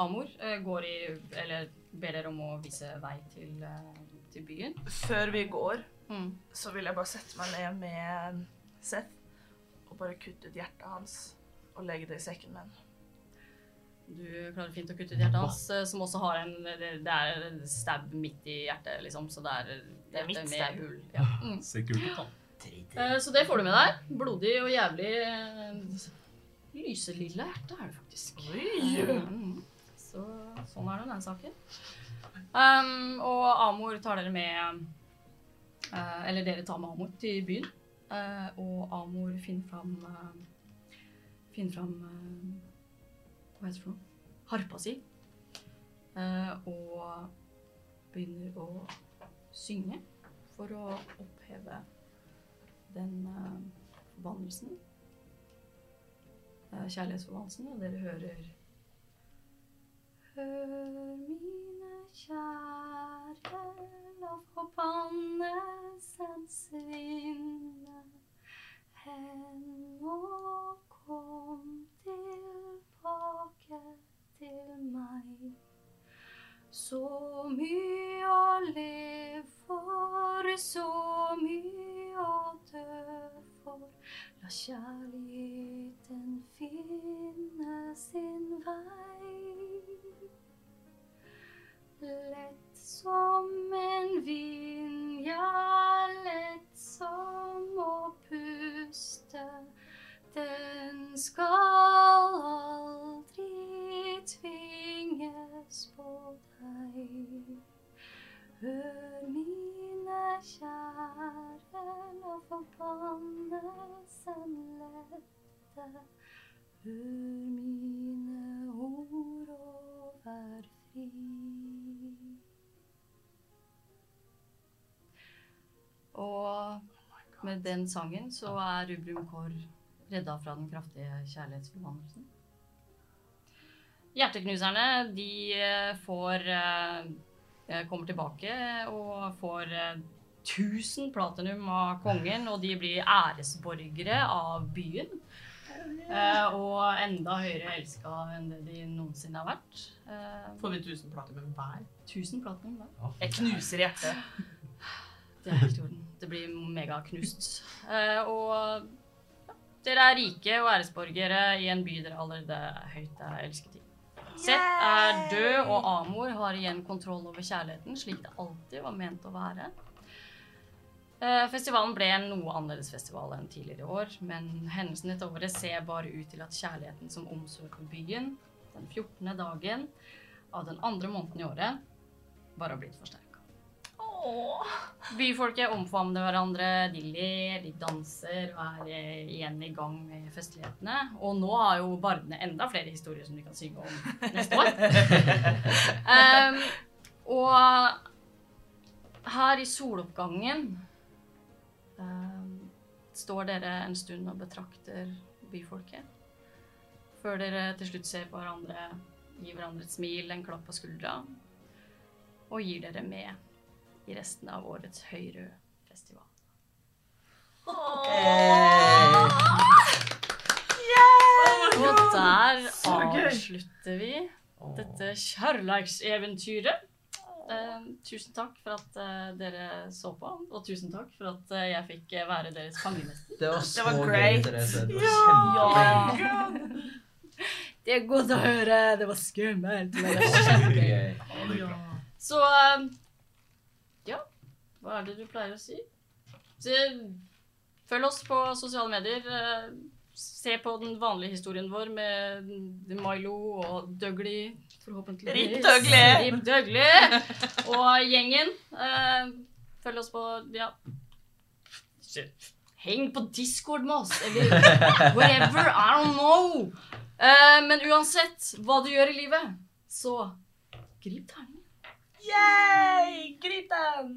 Speaker 1: Amor eh, går i Eller ber dere om å vise vei til, eh, til byen.
Speaker 2: Før vi går,
Speaker 1: Mm.
Speaker 2: så vil jeg bare sette meg ned med Seth og bare kutte ut hjertet hans og legge det i sekken min.
Speaker 1: Du klarer fint å kutte ut hjertet hans, eh, som også har en Det det er en stab midt i hjertet, liksom, så det er,
Speaker 9: Det er mitt
Speaker 1: hjertet
Speaker 9: stab. Mm.
Speaker 1: med hull. Ja.
Speaker 5: Ser kult ut, da.
Speaker 1: Eh, Så det får du med deg. Blodig og jævlig eh, lyselilla hjerte er det faktisk. Mm. Så Sånn er det med den saken. Ehm, og Amor tar dere med eh, Eller dere tar med Amor til byen. Eh, og Amor finner fram eh, Finner fram eh, Hva heter det for noe? Harpa si. Eh, og begynner å synge for å oppheve den eh, forbannelsen. Eh, kjærlighetsforbannelsen, og dere hører Hør mine kjære, la forbannelsen svinne. Hen og kom tilbake til meg. Så mye å leve for, så mye å dø for. La kjærligheten finne sin vei. Lett som en vind, ja, lett som å puste. Den skal aldri tvinges på deg. Hør mine kjære, la forbannelsen lette. Hør mine ord og vær fri. Og med den sangen så er Rubrum Kår redda fra den kraftige kjærlighetsforvandlelsen. Hjerteknuserne, de eh, får eh, eh, kommer tilbake og får eh, 1000 platinum av kongen, og de blir æresborgere av byen. Eh, og enda høyere elska enn det de noensinne har vært. Eh,
Speaker 7: Får vi 1000 platinum hver?
Speaker 1: 1000 platinum da.
Speaker 9: Jeg knuser hjertet.
Speaker 1: Det er helt i orden. Det blir megaknust. Eh, og ja, dere er rike og æresborgere i en by dere allerede er høyt er elsket i. Seth er død, og Amor har igjen kontroll over kjærligheten, slik det alltid var ment å være. Eh, Festivalen ble en noe annerledes festival enn tidligere år, men hendelsen dette året ser bare ut til at kjærligheten som omsøker byen den 14. dagen av den andre måneden i året, bare har blitt forsterka. Byfolket omfavner hverandre, de ler, de danser og er eh, igjen i gang med festlighetene. Og nå har jo bardene enda flere historier som de kan synge om neste år. Ehm, og her i soloppgangen ehm, står dere en stund og betrakter byfolket. Før dere til slutt ser på hverandre, gir hverandre et smil, en klapp på skuldra, og gir dere med i resten av årets Høyrød festival. Og der avslutter vi dette kjærleikseventyret. Eh, tusen takk for at eh, dere så på, og tusen takk for at eh, jeg fikk eh, være deres fangemester.
Speaker 3: Det var så
Speaker 9: var
Speaker 3: gøy,
Speaker 9: great.
Speaker 3: Therese. Det
Speaker 2: Oh
Speaker 3: var kjempegøy.
Speaker 1: Det er godt å høre. Det var skummelt. men det var
Speaker 3: Kjempegøy.
Speaker 1: Så eh, ja, hva er det du pleier å si? Så, følg oss på sosiale medier. eh, Se på den vanlige historien vår med Milo og Dougley, forhåpentligvis.
Speaker 9: Rip Dougley!
Speaker 1: Rip Dougley! Og gjengen. eh, Følg oss på ja. Heng på Discord med oss, eller whatever. I don't know. Eh, Men uansett hva du gjør i livet, så grip terningen.
Speaker 9: Yay! Grip den!